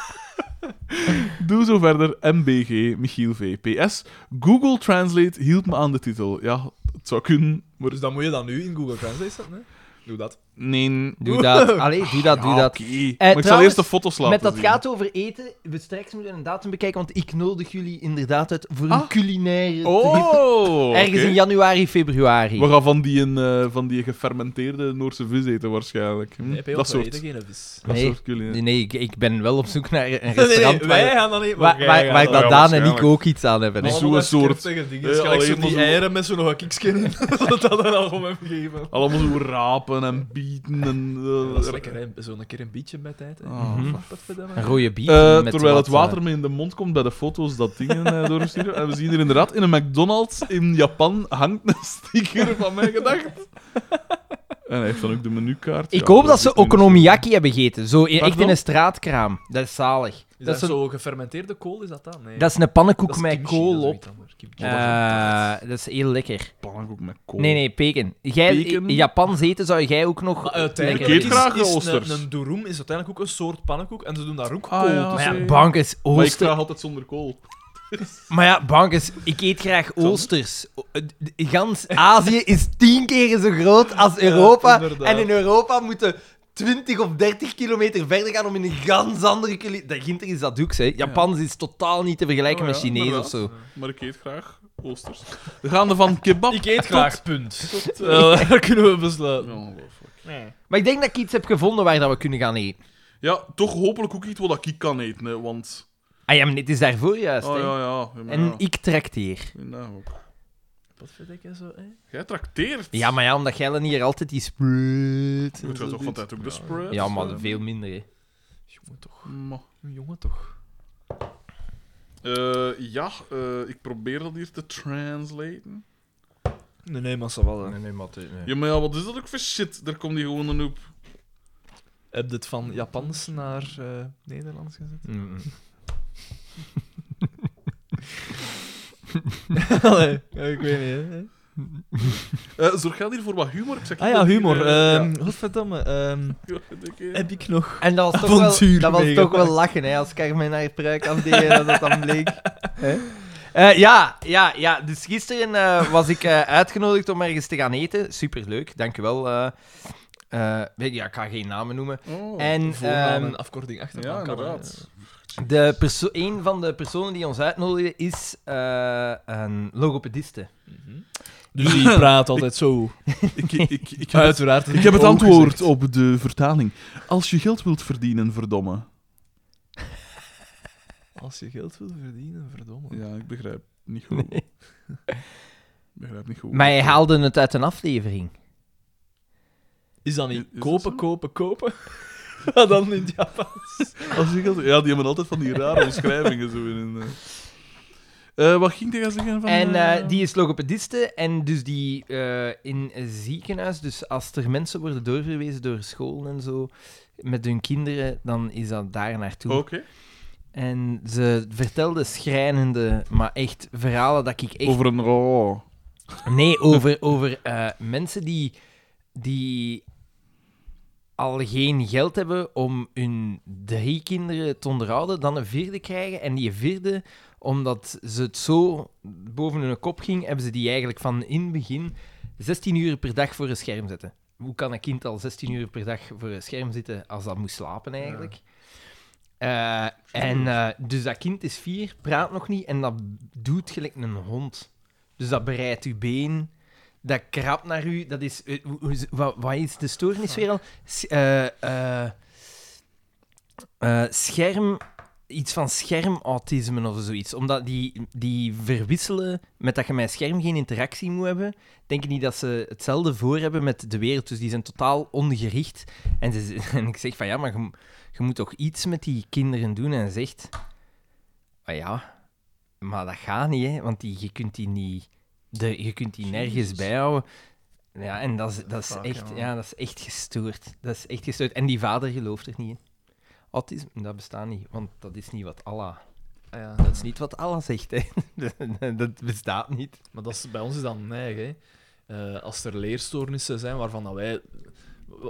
Speaker 1: [LAUGHS] Doe zo verder. MBG, Michiel V. PS. Google Translate hielp me aan de titel. Ja, het zou kunnen, maar...
Speaker 3: Dus dan moet je dat nu in Google Translate zetten, hè? Doe dat.
Speaker 1: Nee. [LAUGHS]
Speaker 2: Doe dat. Allee, doe dat, doe
Speaker 1: Ja,
Speaker 2: dat. Eh,
Speaker 1: oké. maar ik zal
Speaker 2: trouwens,
Speaker 1: eerst de foto's laten
Speaker 2: Met dat
Speaker 1: zien.
Speaker 2: gaat over eten, we straks moeten een datum bekijken, want ik nodig jullie inderdaad uit voor een
Speaker 1: Ah.
Speaker 2: culinaire trip.
Speaker 1: Oh!
Speaker 2: [LAUGHS] Ergens
Speaker 1: oké.
Speaker 2: in januari, februari.
Speaker 1: We gaan van die, een, eh, van die gefermenteerde Noorse vis eten waarschijnlijk. Hm?
Speaker 3: Nee,
Speaker 1: dat soort,
Speaker 3: geen vis.
Speaker 1: dat
Speaker 2: Nee.
Speaker 1: soort culinaire.
Speaker 2: Nee, nee ik, ik ben wel op zoek
Speaker 1: [LAUGHS]
Speaker 2: naar een
Speaker 3: [LAUGHS] Nee, nee,
Speaker 2: restaurant
Speaker 3: wij
Speaker 2: waar,
Speaker 3: gaan dan niet.
Speaker 2: waar,
Speaker 3: jij
Speaker 2: waar,
Speaker 3: gaat
Speaker 2: waar ik
Speaker 3: dan.
Speaker 1: Ja,
Speaker 2: dat Daan en ik
Speaker 1: waarschijnlijk.
Speaker 2: ook iets aan hebben.
Speaker 1: Nee.
Speaker 2: hè.
Speaker 1: zo'n
Speaker 3: Allemaal
Speaker 1: soort-
Speaker 3: scherpzinnige
Speaker 1: Ja,
Speaker 3: dingen. Dus gelijk
Speaker 1: alleen
Speaker 3: zo die
Speaker 1: maar zo-
Speaker 3: eieren met zo'n nog een kikskin in. [LAUGHS] dat dat dan al om hem gegeven.
Speaker 1: Allemaal zo rapen en bieten en... eh,
Speaker 3: Dat is lekker, hè? Zo'n keer een beetje bij tijd. hè.
Speaker 1: Ah,
Speaker 2: Mhm.
Speaker 1: fuck.
Speaker 3: [LAUGHS]
Speaker 2: Een rode bier.
Speaker 1: Eh,
Speaker 2: met
Speaker 1: terwijl
Speaker 2: wat,
Speaker 1: het water
Speaker 2: eh,
Speaker 1: me in de mond komt bij de foto's dat dingen eh, doorsturen. En we zien hier inderdaad in een McDonald's in Japan hangt een sticker van mij gedacht. En hij heeft dan ook de menukaart.
Speaker 2: Ik
Speaker 1: Ja,
Speaker 2: hoop dat
Speaker 1: is
Speaker 2: ze
Speaker 1: niet zo.
Speaker 2: okonomiyaki hebben gegeten. Zo in- echt
Speaker 1: Pardon?
Speaker 2: in een straatkraam. Dat is zalig. dat,
Speaker 3: Is dat
Speaker 2: is een,
Speaker 3: zo gefermenteerde kool, is dat dat? Nee.
Speaker 2: dat is een pannenkoek
Speaker 3: Dat is
Speaker 2: met
Speaker 3: kimchi, dat
Speaker 2: kool
Speaker 3: is
Speaker 2: op.
Speaker 3: zoiets anders. Kimchi.
Speaker 2: Eh, dat is heel lekker.
Speaker 1: Pannenkoek met kool.
Speaker 2: Nee, nee, peken. Jij,
Speaker 1: Peken?
Speaker 2: in Japan eten zou jij ook nog...
Speaker 3: Maar
Speaker 1: Ik
Speaker 3: uiteindelijk
Speaker 1: eet
Speaker 3: is,
Speaker 1: graag
Speaker 3: is
Speaker 1: oesters.
Speaker 3: een, een durum is uiteindelijk ook een soort pannenkoek en ze doen daar ook
Speaker 1: Ah,
Speaker 3: kool
Speaker 1: ja.
Speaker 3: tussen.
Speaker 2: Maar ja,
Speaker 1: Oké.
Speaker 2: bankers,
Speaker 1: Maar ik
Speaker 2: oosters...
Speaker 1: vraag altijd zonder kool.
Speaker 2: Maar ja, bankers, ik eet graag oosters. O- eh, d- Gans Azië is tien keer zo groot als Europa.
Speaker 3: inderdaad.
Speaker 2: en in Europa moeten 20 of 30 kilometer verder gaan om in een gans andere cultuur. Dat Ginter is dat doeks, hè. Japans is totaal niet te vergelijken
Speaker 1: Oh
Speaker 2: met
Speaker 1: ja,
Speaker 2: Chinees
Speaker 1: inderdaad.
Speaker 2: of zo.
Speaker 1: Maar ik eet graag oosters. We gaan er van kebab.
Speaker 3: Ik eet
Speaker 2: [LAUGHS]
Speaker 3: graag, punt. Eh, [LAUGHS] daar kunnen we besluiten.
Speaker 1: Ongelooflijk.
Speaker 2: Maar ik denk dat ik iets heb gevonden waar dat we kunnen gaan eten.
Speaker 1: Ja, toch hopelijk ook iets wat ik kan eten, hè, want...
Speaker 2: Ah ja, maar dit is daarvoor juist,
Speaker 1: Oh
Speaker 2: hè.
Speaker 1: ja, ja. ja, maar
Speaker 2: En
Speaker 1: ja.
Speaker 2: ik trek hier.
Speaker 1: Nou, ook.
Speaker 3: Potverdek en zo, hè?
Speaker 1: Jij trakteert.
Speaker 2: Ja, maar ja, omdat jij dan hier altijd die spread...
Speaker 1: Moet je toch van tijd ook de spread?
Speaker 2: Ja, maar veel minder, hè.
Speaker 3: Jongen toch.
Speaker 1: Maar-
Speaker 3: Jongen toch.
Speaker 1: Eh, ja, eh, ik probeer dat hier te translaten.
Speaker 3: Nee, nee, maar wel.
Speaker 2: nee, Matte. Nee.
Speaker 1: Ja, maar ja, wat is dat ook voor shit? Daar komt die gewoon een hoop.
Speaker 3: Heb je het van Japans naar eh,
Speaker 1: [LAUGHS]
Speaker 3: Nederlands gezet?
Speaker 2: Mm.
Speaker 3: Allee, ja, ik weet niet, hè?
Speaker 1: Eh, zorg jij hier voor wat humor? Ik zeg
Speaker 3: Ah ja,
Speaker 1: dat
Speaker 3: humor.
Speaker 1: hier, eh, [LAUGHS]
Speaker 3: Ehm Godverdomme. ehm,
Speaker 1: ja, ik denk, eh,
Speaker 3: heb ik nog...
Speaker 2: En dat was toch wel,
Speaker 3: Avontuur
Speaker 2: dat was toch
Speaker 3: meegemaakt.
Speaker 2: wel lachen, hè, als Carmen haar pruik afdeed en dat dat dan bleek. Hè? Eh, ja, ja, ja. Dus gisteren eh, was ik eh, uitgenodigd om ergens te gaan eten. Superleuk, dankjewel. eh eh, weet je, ja, ik ga geen namen noemen.
Speaker 1: oh.
Speaker 2: En
Speaker 3: Voornaam
Speaker 2: ehm,
Speaker 3: en afkorting achter
Speaker 1: ja,
Speaker 3: elkaar, hè.
Speaker 1: inderdaad.
Speaker 2: de perso- een van de personen die ons uitnodigde is eh, een logopediste.
Speaker 1: [LAUGHS]
Speaker 3: Mhm. Dus die praat altijd zo.
Speaker 1: ik, ik, ik,
Speaker 3: [LAUGHS]
Speaker 1: ik, heb, het,
Speaker 3: Uiteraard.
Speaker 1: ik heb het antwoord op de vertaling. Als je geld wilt verdienen, verdomme.
Speaker 3: Als je geld wil verdienen, verdomme.
Speaker 1: Ja, ik begrijp niet goed. Ik begrijp niet goed.
Speaker 2: Maar hij haalde het uit een aflevering.
Speaker 3: Is dat niet
Speaker 1: Is- is dat
Speaker 3: kopen,
Speaker 1: zo?
Speaker 3: kopen, kopen? [LAUGHS] Maar dan in het Japans.
Speaker 1: Als je geld... Ja, die hebben altijd van die rare omschrijvingen. Zo in, een, eh. Eh, wat ging die gaan zeggen? Van,
Speaker 2: En
Speaker 1: eh,
Speaker 2: eh, die is logopediste en dus die eh, in een ziekenhuis, dus als er mensen worden doorverwezen door scholen en zo, met hun kinderen, dan is dat daar naartoe.
Speaker 1: Oké.
Speaker 2: En ze vertelde schrijnende, maar echt verhalen dat ik echt...
Speaker 1: Over een... Oh.
Speaker 2: Nee, over, over eh, mensen die, die al geen geld hebben om hun drie kinderen te onderhouden, dan een vierde krijgen. En die vierde, omdat ze het zo boven hun kop ging, hebben ze die eigenlijk van in het begin 16 uur per dag voor een scherm zetten. Hoe kan een kind al 16 uur per dag voor een scherm zitten als dat moet slapen eigenlijk? Eh, en eh, dus dat kind is vier, praat nog niet en dat doet gelijk een hond. Dus dat bereidt uw been, dat krabt naar u. Dat is, eh, hoe- hoe- wat, wat is de stoornis weer al? S- eh, eh, eh, scherm, iets van schermautisme of zoiets. Omdat die, die verwisselen met dat je met scherm geen interactie moet hebben. Denken die dat ze hetzelfde voor hebben met de wereld. Dus die zijn totaal ongericht. En, ze, [LAUGHS] en ik zeg van ja, maar je, mo- je moet toch iets met die kinderen doen. En ze zegt, maar ja, maar dat gaat niet, hè, want die, je kunt die niet, de, je kunt die nergens bijhouden. Ja, en dat is, dat, is
Speaker 1: Fuck,
Speaker 2: echt,
Speaker 1: ja.
Speaker 2: ja, dat is echt gestoord. Dat is echt gestoord. En die vader gelooft er niet in. Autisme, dat bestaat niet, want dat is niet wat Allah...
Speaker 1: Ah
Speaker 3: ja.
Speaker 2: Dat is niet wat Allah zegt, hè. [LAUGHS] dat bestaat niet.
Speaker 3: Maar dat is, bij ons is dat neig, hè. Eh, als er leerstoornissen zijn waarvan dat wij...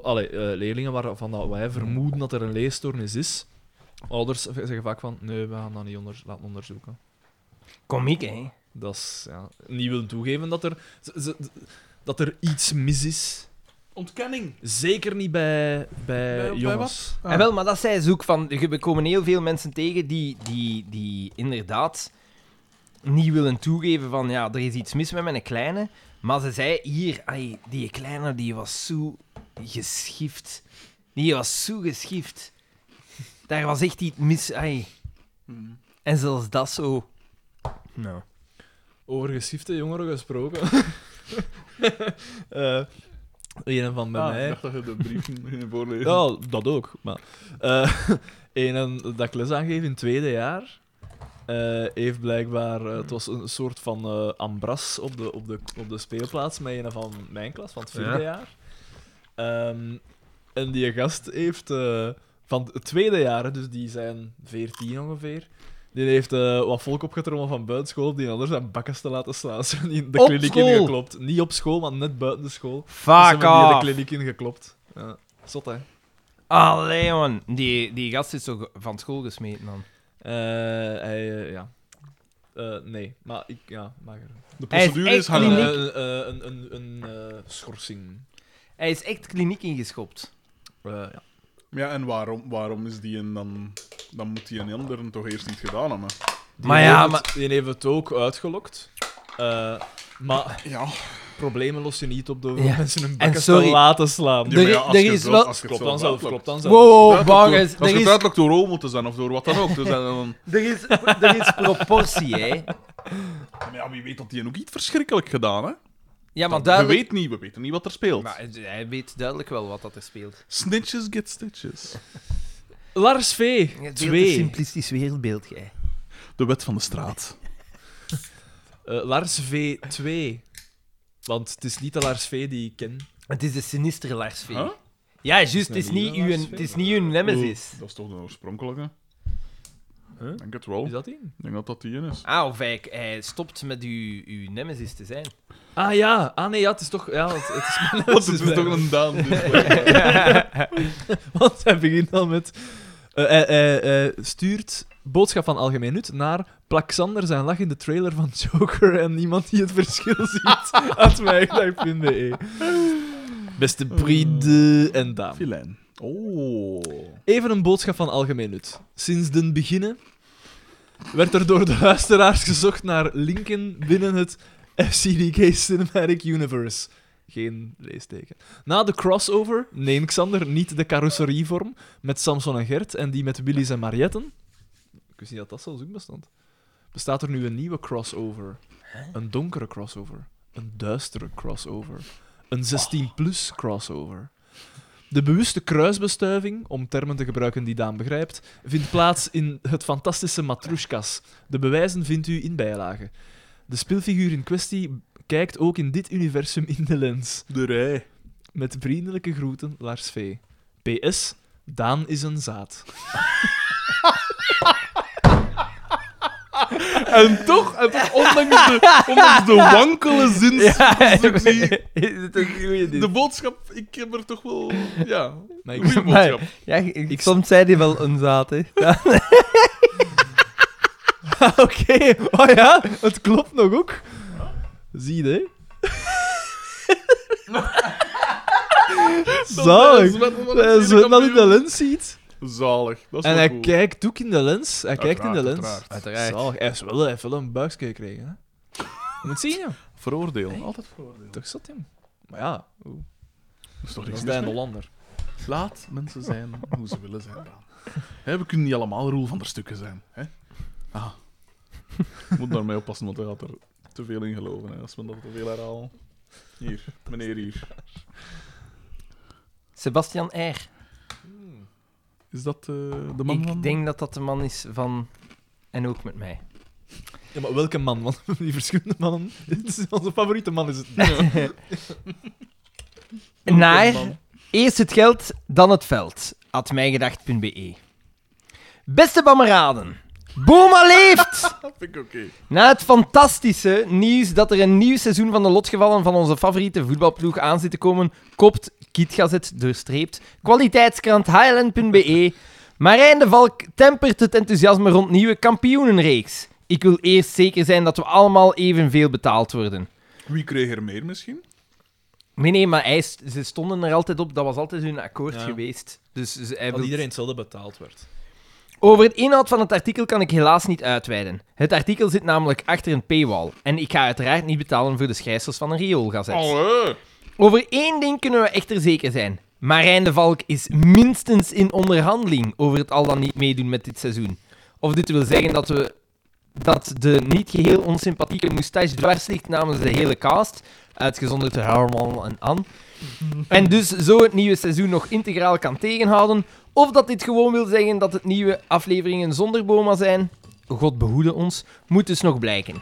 Speaker 3: Allee, eh, leerlingen waarvan dat wij vermoeden dat er een leerstoornis is, ouders zeggen vaak van, nee, we gaan dat niet onder, laten onderzoeken.
Speaker 2: Komiek, hè?
Speaker 3: Dat is, ja, niet willen toegeven dat er, ze- ze- dat er iets mis is.
Speaker 1: Ontkenning.
Speaker 3: Zeker niet bij, bij,
Speaker 1: Bij- bij
Speaker 3: jongens.
Speaker 1: Ah.
Speaker 2: En wel, maar dat zij zoek van. We komen heel veel mensen tegen die, die, die inderdaad niet willen toegeven van ja, er is iets mis met mijn kleine. Maar ze zei hier, ai, die kleine die was zo geschift. Die was zo geschift. Daar was echt iets mis. Ai.
Speaker 1: Hmm.
Speaker 2: En zelfs dat zo. Nou.
Speaker 3: Over geschifte
Speaker 1: [LAUGHS]
Speaker 3: jongeren gesproken. Eh een van bij
Speaker 1: Ah,
Speaker 3: mij...
Speaker 1: Ik dacht dat je de brief ging voorlezen.
Speaker 3: Ja, dat ook. Maar, eh [LAUGHS] een dat ik les aangeef in het tweede jaar, eh, heeft blijkbaar... eh, het was een soort van eh, ambras op de, op, de, op de speelplaats met een van mijn klas, van het vierde
Speaker 2: Ja.
Speaker 3: jaar. Ehm, en die gast heeft... eh, van het tweede jaar, hè, dus die zijn veertien ongeveer... Die heeft eh, wat volk opgetrommeld van buitenschool om die anders zijn bakkes te laten slaan. [LAUGHS] Ze hebben die de
Speaker 2: Op
Speaker 3: kliniek
Speaker 2: school?
Speaker 3: ingeklopt. Niet op school, maar net buiten de school. Ze
Speaker 2: Fuck
Speaker 3: hebben die de
Speaker 2: off!
Speaker 3: kliniek ingeklopt. Ja. Zot, hè?
Speaker 2: Allee, man. Die, die gast is zo ge- van school gesmeten dan.
Speaker 3: Eh, hij, eh, ja. Eh, nee, maar ik, ja, maak er.
Speaker 1: De
Speaker 2: Hij is
Speaker 1: procedure
Speaker 2: echt
Speaker 1: is
Speaker 3: Een,
Speaker 1: hangen.
Speaker 2: kliniek.
Speaker 3: eh, een, een, een eh, schorsing.
Speaker 2: Hij is echt kliniek ingeschopt.
Speaker 3: Eh, ja.
Speaker 1: Ja, en waarom, waarom is die een dan... Dan moet die een ander hem toch eerst niet gedaan hebben.
Speaker 3: Die
Speaker 2: Maar ja,
Speaker 3: heeft,
Speaker 2: maar-
Speaker 3: Die heeft het ook uitgelokt. Eh, maar
Speaker 1: Ja.
Speaker 3: problemen los je niet op door
Speaker 2: Ja.
Speaker 3: mensen hun bakken te
Speaker 2: sorry.
Speaker 3: laten slaan.
Speaker 2: Ja, Er-
Speaker 1: maar als
Speaker 2: er
Speaker 1: je het
Speaker 2: is
Speaker 1: zo-
Speaker 2: wel-
Speaker 1: als je het
Speaker 3: Klopt
Speaker 1: zo
Speaker 3: dan zelf,
Speaker 1: uitlokt.
Speaker 3: klopt dan zelf.
Speaker 2: Wow,
Speaker 1: Uitlokt
Speaker 2: Bagus.
Speaker 1: door- Als
Speaker 2: Er
Speaker 1: je het
Speaker 2: is,
Speaker 1: uitlokt door homo te zijn of door wat dan ook, te zijn dan...
Speaker 2: er, is, er is proportie, hè.
Speaker 1: Maar ja, wie weet dat die ook iets verschrikkelijk gedaan, hè?
Speaker 2: Ja, maar
Speaker 1: We
Speaker 2: duidelijk...
Speaker 1: weten niet, we weten niet wat er speelt.
Speaker 2: Maar hij weet duidelijk wel wat dat er speelt.
Speaker 1: Snitches get stitches.
Speaker 3: Lars V.
Speaker 2: Een
Speaker 3: 2.
Speaker 2: simplistisch wereldbeeld, jij.
Speaker 1: De wet van de straat.
Speaker 3: Eh, Lars V. 2. Want het is niet de Lars V die ik ken.
Speaker 2: Het is de sinistere Lars V.
Speaker 1: Huh?
Speaker 2: Ja, juist. Het
Speaker 3: is
Speaker 2: is
Speaker 3: niet
Speaker 2: niet
Speaker 3: een
Speaker 2: uw-
Speaker 3: Lars V.
Speaker 2: het is niet uw nemesis.
Speaker 1: Oeh, Dat is toch de oorspronkelijke?
Speaker 3: Huh?
Speaker 1: Ik denk het wel.
Speaker 3: Is
Speaker 1: Ik
Speaker 3: dat die?
Speaker 1: denk dat dat die in is.
Speaker 2: Ah, of hij, hij stopt met uw, uw nemesis te zijn.
Speaker 3: Ah ja, ah nee, ja, het is toch. Ja, het, [LAUGHS]
Speaker 1: [LAUGHS]
Speaker 3: het is mijn
Speaker 1: Dat is
Speaker 3: nemesis,
Speaker 1: toch een Daan. dus.
Speaker 3: [LAUGHS] Want hij begint al met. eh, hij- hij- hij stuurt boodschap van algemeen nut naar Plaxander zijn lach in de trailer van Joker en iemand die het verschil [LAUGHS] ziet. At mijgedag.be. Beste Bride en dame.
Speaker 1: Filijn. Oh.
Speaker 3: Even een boodschap van algemeen nut. Sinds den beginnen werd er door de luisteraars gezocht naar linken binnen het FCDK Cinematic Universe. Geen leesteken. Na de crossover, nee Xander, niet de carrosserievorm, met Samson en Gert en die met Willys en Marietten. Ik wist niet dat dat zelfs ook bestond. Bestaat er nu een nieuwe crossover. Een donkere crossover. Een duistere crossover. Een 16-plus crossover. De bewuste kruisbestuiving, om termen te gebruiken die Daan begrijpt, vindt plaats in het fantastische Matrushkas. De bewijzen vindt u in bijlagen. De speelfiguur in kwestie kijkt ook in dit universum in de lens.
Speaker 1: De rij.
Speaker 3: Met vriendelijke groeten, Lars V. PS, Daan is een zaad.
Speaker 1: En toch, en toch, ondanks, de, ondanks
Speaker 3: [LAUGHS]
Speaker 1: de wankele zinsconstructie,
Speaker 2: [LAUGHS] is een goeie
Speaker 1: de boodschap, ik heb er toch wel... Ja,
Speaker 3: Maar ik- [LAUGHS]
Speaker 1: goede boodschap.
Speaker 2: Ja, ik, soms zei die wel een zaad, hè. Ja. [LAUGHS]
Speaker 3: Oké, oh ja, het klopt nog ook. Zie je, hè? Zalig. Hij
Speaker 1: is
Speaker 3: zwemt dat in de lens ziet.
Speaker 1: Zalig. Dat is
Speaker 3: En
Speaker 1: wel
Speaker 3: hij
Speaker 1: cool.
Speaker 3: kijkt ook in de lens. Hij kijkt in de
Speaker 1: Uiteraard,
Speaker 3: lens.
Speaker 1: uiteraard.
Speaker 2: Uiteraard.
Speaker 3: Zalig. Hij is wel, hij heeft wel een buikje gekregen. Hè? Je moet zien, joh.
Speaker 1: Veroordeel. Altijd veroordeel.
Speaker 3: Toch zat hem. Maar ja, oeh,
Speaker 1: Dat is toch
Speaker 3: dat
Speaker 1: niks
Speaker 3: is
Speaker 1: mis
Speaker 3: een
Speaker 1: mee?
Speaker 3: Hollander.
Speaker 1: Laat mensen zijn hoe ze willen zijn. Daan. Hè, we kunnen niet allemaal Roel van der Stukken zijn. Hè? Ah. [LAUGHS] Moet daarmee oppassen, want hij gaat er te veel in geloven. Hè, als we dat te veel herhalen. Hier, meneer hier.
Speaker 2: Sebastian R.
Speaker 1: Is dat eh, de man van...
Speaker 2: Ik denk dat dat de man is van... En ook met mij.
Speaker 3: Ja, maar welke man? [LAUGHS] Want die verschillende mannen. [LAUGHS] Het is onze favoriete man is het. Ja.
Speaker 2: Naar eerst het geld, dan het veld. At mijgedacht.be Beste kameraden, Boma leeft!
Speaker 1: Dat vind ik oké.
Speaker 2: Na het fantastische nieuws dat er een nieuw seizoen van de lotgevallen van onze favoriete voetbalploeg aan zit te komen, kopt Kietgazet doorstreept kwaliteitskrant highland.be Marijn de Valk tempert het enthousiasme rond nieuwe kampioenenreeks. Ik wil eerst zeker zijn dat we allemaal evenveel betaald worden.
Speaker 1: Wie kreeg er meer misschien?
Speaker 2: Nee, nee, maar hij, st- ze stonden er altijd op. Dat was altijd hun akkoord
Speaker 3: Ja.
Speaker 2: geweest. Dus ze- hij
Speaker 3: Dat
Speaker 2: wil-
Speaker 3: iedereen hetzelfde betaald werd.
Speaker 2: Over het inhoud van het artikel kan ik helaas niet uitweiden. Het artikel zit namelijk achter een paywall. En ik ga uiteraard niet betalen voor de schijsels van een rioolgazet.
Speaker 1: Allee.
Speaker 2: Over één ding kunnen we echter zeker zijn. Marijn de Valk is minstens in onderhandeling over het al dan niet meedoen met dit seizoen. Of dit wil zeggen dat we dat de niet geheel onsympathieke moustache dwars ligt namens de hele cast, uitgezonderd Herman en Anne. En dus zo het nieuwe seizoen nog integraal kan tegenhouden, of dat dit gewoon wil zeggen dat het nieuwe afleveringen zonder Boma zijn, God behoede ons, moet dus nog blijken.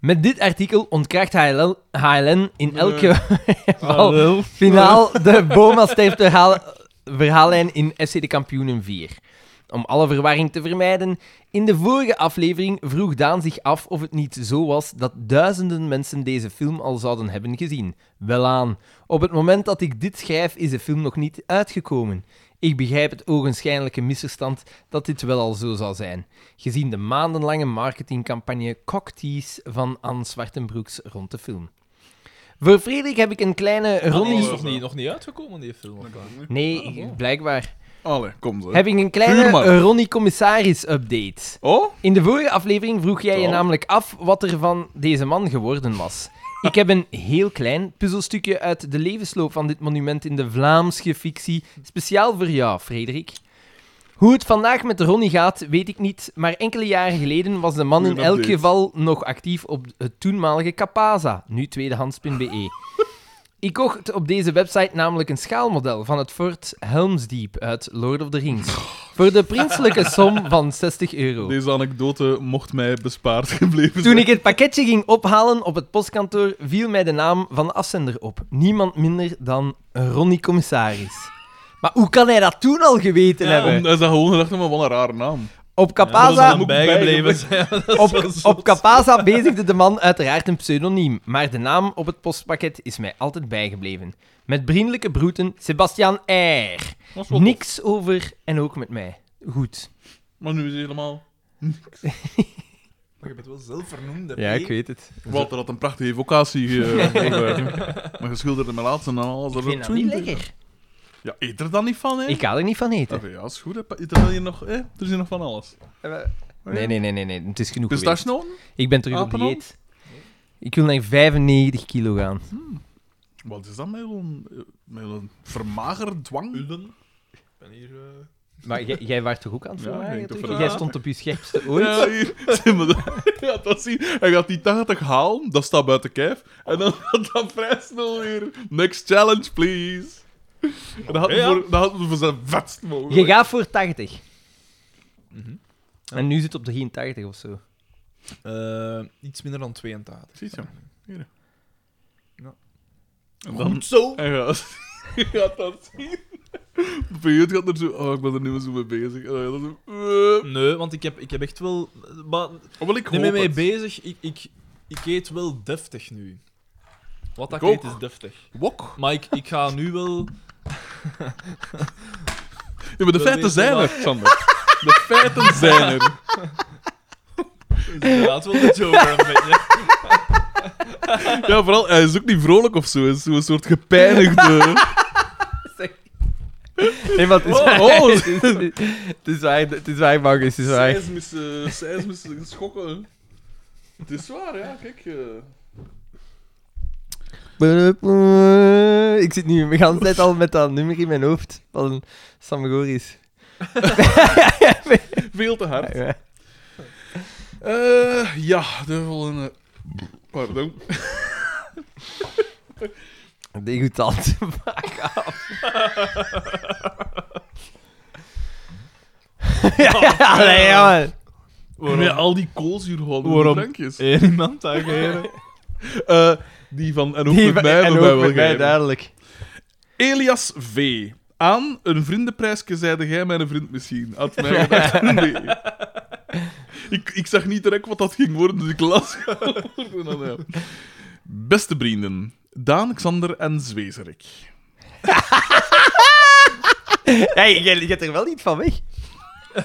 Speaker 2: Met dit artikel ontkracht HLL, HLN in elke [LAUGHS] geval finaal de Boma sterft verhaal, verhaallijn in FC de Kampioenen 4. Om alle verwarring te vermijden, in de vorige aflevering vroeg Daan zich af of het niet zo was dat duizenden mensen deze film al zouden hebben gezien. Welaan, op het moment dat ik dit schrijf is de film nog niet uitgekomen. Ik begrijp het ogenschijnlijke misverstand dat dit wel al zo zou zijn, gezien de maandenlange marketingcampagne Cocktease van Anne Zwartenbroeks rond de film. Voor Frederik heb ik een kleine
Speaker 3: Ronnie
Speaker 1: die
Speaker 2: Ronnie...
Speaker 3: is nog niet, nog niet uitgekomen, die film. of wat?
Speaker 2: Nee, blijkbaar.
Speaker 1: Allee, kom zo.
Speaker 2: Heb ik een
Speaker 1: Vuur maar.
Speaker 2: kleine Ronnie Commissaris-update.
Speaker 1: Oh?
Speaker 2: In de vorige aflevering vroeg jij je
Speaker 1: Ja.
Speaker 2: namelijk af wat er van deze man geworden was. Ik heb een heel klein puzzelstukje uit de levensloop van dit monument in de Vlaamse fictie, speciaal voor jou, Frederik. Hoe het vandaag met Ronnie gaat, weet ik niet, maar enkele jaren geleden was de man
Speaker 1: Goeie
Speaker 2: in elk
Speaker 1: update.
Speaker 2: geval nog actief op het toenmalige Capaza, nu tweedehands.be. E. Ik kocht op deze website namelijk een schaalmodel van het fort Helm's Deep uit Lord of the Rings voor de prinselijke som van 60 euro.
Speaker 1: Deze anekdote mocht mij bespaard [LAUGHS] gebleven
Speaker 2: Toen
Speaker 1: zijn.
Speaker 2: ik het pakketje ging ophalen op het postkantoor, viel mij de naam van de afzender op. Niemand minder dan Ronnie Commissaris. Maar hoe kan hij dat toen al geweten
Speaker 1: Ja,
Speaker 2: hebben?
Speaker 1: om- Hij zag gewoon gedacht, maar wat een rare naam.
Speaker 2: Op
Speaker 3: Dat is
Speaker 2: Capaza,
Speaker 3: dan bijgebleven. [LAUGHS] zijn. Dat is wel
Speaker 2: [LAUGHS] op,
Speaker 3: zot.
Speaker 2: op Capaza bezigde de man uiteraard een pseudoniem, maar de naam op het postpakket is mij altijd bijgebleven. Met vriendelijke groeten, Sebastian R. Niks over en ook met mij. Goed.
Speaker 1: Maar nu is het helemaal...
Speaker 6: Maar je bent wel zelf vernoemde.
Speaker 2: weet het.
Speaker 1: Walter had een prachtige vocatie. [LAUGHS] eh, voor- maar je schilderde mijn laatste naam alles.
Speaker 2: Ik vind dat niet lekker.
Speaker 1: Ja, eet er dan niet van, hè?
Speaker 2: Ik ga er niet van
Speaker 1: Oké,
Speaker 2: eten.
Speaker 1: ja, is goed. Hè. Pa- Eet er dan hier nog... Hè? Er is hier nog van alles.
Speaker 2: Nee, nee, nee, nee, nee. het Dus is genoeg geweest.
Speaker 1: Pistachenoten?
Speaker 2: Ik ben terug op
Speaker 1: Apenhand?
Speaker 2: dieet. Ik wil naar 95 kilo gaan.
Speaker 1: Wat is dat met een, met een vermagerdwang?
Speaker 6: Ik ben hier... eh,
Speaker 2: Maar jij- jij was toch ook aan het
Speaker 1: Ja,
Speaker 2: verlagen,
Speaker 1: ik denk
Speaker 2: toch?
Speaker 1: toch wel.
Speaker 2: Jij stond op je scherpste ooit.
Speaker 1: Ja, hier. [LAUGHS] Zie maar dat- ja, dat zie je. Hij gaat die 80 halen, dat staat buiten kijf. En dan [LAUGHS] gaat dat vrij snel weer. Next challenge, please. En dat had hij voor, dat had hij voor zijn vetst mogen.
Speaker 2: Je gaat voor 80.
Speaker 1: Mhm.
Speaker 2: En nu zit het op 83 of zo.
Speaker 6: eh, iets minder dan 82.
Speaker 1: Ziet je? Hier.
Speaker 6: Ja.
Speaker 1: En dan...
Speaker 6: zo!
Speaker 1: En gaat, [LAUGHS] je gaat dat zien. De periode gaat er zo... Oh, ik ben er niet meer zo mee bezig. En dan gaat dat zo... eh.
Speaker 3: Nee, want ik heb, ik heb echt wel... Maar,
Speaker 1: Oh, wel, ik hoop
Speaker 3: neem me mee
Speaker 1: het.
Speaker 3: bezig. Ik, ik, ik eet wel deftig nu. Wat dat
Speaker 1: Ik
Speaker 3: ik eet
Speaker 1: ook.
Speaker 3: is deftig.
Speaker 1: Wok?
Speaker 3: Maar ik, ik ga nu wel...
Speaker 1: Ja, maar de
Speaker 3: Wel
Speaker 1: feiten
Speaker 3: deze
Speaker 1: zijn er,
Speaker 3: dag.
Speaker 1: Sander. De [LAUGHS] feiten zijn er.
Speaker 3: Inderdaad wel de joker een
Speaker 2: [LAUGHS]
Speaker 3: beetje.
Speaker 1: Ja, vooral, hij is ook niet vrolijk of zo. Hij is zo'n soort gepijnigde... [LAUGHS]
Speaker 2: Nee, want het is waar.
Speaker 1: oh.
Speaker 2: [LAUGHS] het, is, het is waar, het is waar, Marcus, het is waar.
Speaker 1: Seismische, seismische schokken. Het is waar, ja, kijk. eh.
Speaker 2: Ik zit nu de hele tijd al met dat nummer in mijn hoofd van Sam Goris.
Speaker 1: Veel te hard.
Speaker 2: Ja.
Speaker 1: Eh, ja, de volgende. Pardon.
Speaker 2: [LAUGHS] Degoutant. [LAUGHS] ja, nee, jongen.
Speaker 1: Met al die koolzuurhoudende
Speaker 3: Waarom?
Speaker 1: drankjes.
Speaker 3: Eén iemand ageren.
Speaker 1: [LAUGHS] Eh, die van en ook
Speaker 2: Die
Speaker 1: met
Speaker 2: van-
Speaker 1: mij
Speaker 2: en
Speaker 1: hebben
Speaker 2: ook
Speaker 1: wij wel
Speaker 2: met mij,
Speaker 1: gegeven.
Speaker 2: duidelijk.
Speaker 1: Elias V. Aan een vriendenprijsje zeide jij mijn vriend misschien. Had
Speaker 2: [LAUGHS]
Speaker 1: mij gedacht, nee. Ik, ik zag niet direct wat dat ging worden, dus ik las [LAUGHS] gewoon aan hem. Beste vrienden, Daan, Xander en Zwezerik.
Speaker 2: Hey, jij gaat er wel niet van weg. Eh,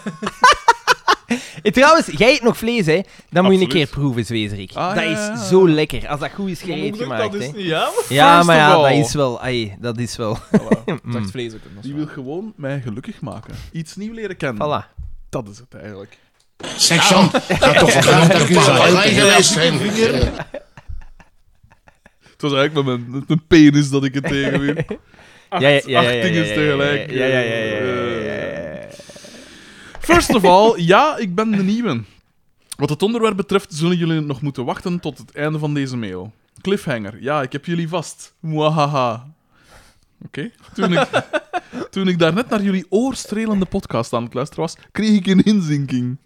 Speaker 2: Trouwens, jij eet nog vlees, hè? Dan moet je een
Speaker 1: Absoluut.
Speaker 2: keer proeven, Zwezerik.
Speaker 1: Ah,
Speaker 2: dat
Speaker 1: ja, ja, ja.
Speaker 2: is zo lekker. Als dat goed is gereed gemaakt,
Speaker 3: dat
Speaker 2: hè?
Speaker 3: is niet ja.
Speaker 2: Ja, maar ja,
Speaker 1: First of
Speaker 2: dat
Speaker 1: all.
Speaker 2: is wel. ai, dat is wel. Mm.
Speaker 3: Zacht vlees ook.
Speaker 1: Die wil gewoon mij gelukkig maken. Iets nieuw leren kennen.
Speaker 2: Voilà.
Speaker 1: Dat is het eigenlijk.
Speaker 5: Zeg, Sam, ga toch vergaan dat ik u zal helpen. hè, als het hem-
Speaker 1: Het was eigenlijk met mijn, met mijn penis dat ik het tegenwierp. Acht,
Speaker 2: Ja, ja, ja, ja,
Speaker 1: acht
Speaker 2: ja,
Speaker 1: dingen
Speaker 2: ja, ja,
Speaker 1: tegelijk.
Speaker 2: Ja, ja, ja, ja,
Speaker 1: Eh,
Speaker 2: ja, ja, ja.
Speaker 1: First of all, ja, ik ben de nieuwe. Wat het onderwerp betreft, zullen jullie nog moeten wachten tot het einde van deze mail. Cliffhanger, ja, ik heb jullie vast. Mwahaha. Oké. Toen ik Toen ik daarnet naar jullie oorstrelende podcast aan het luisteren was, kreeg ik een inzinking.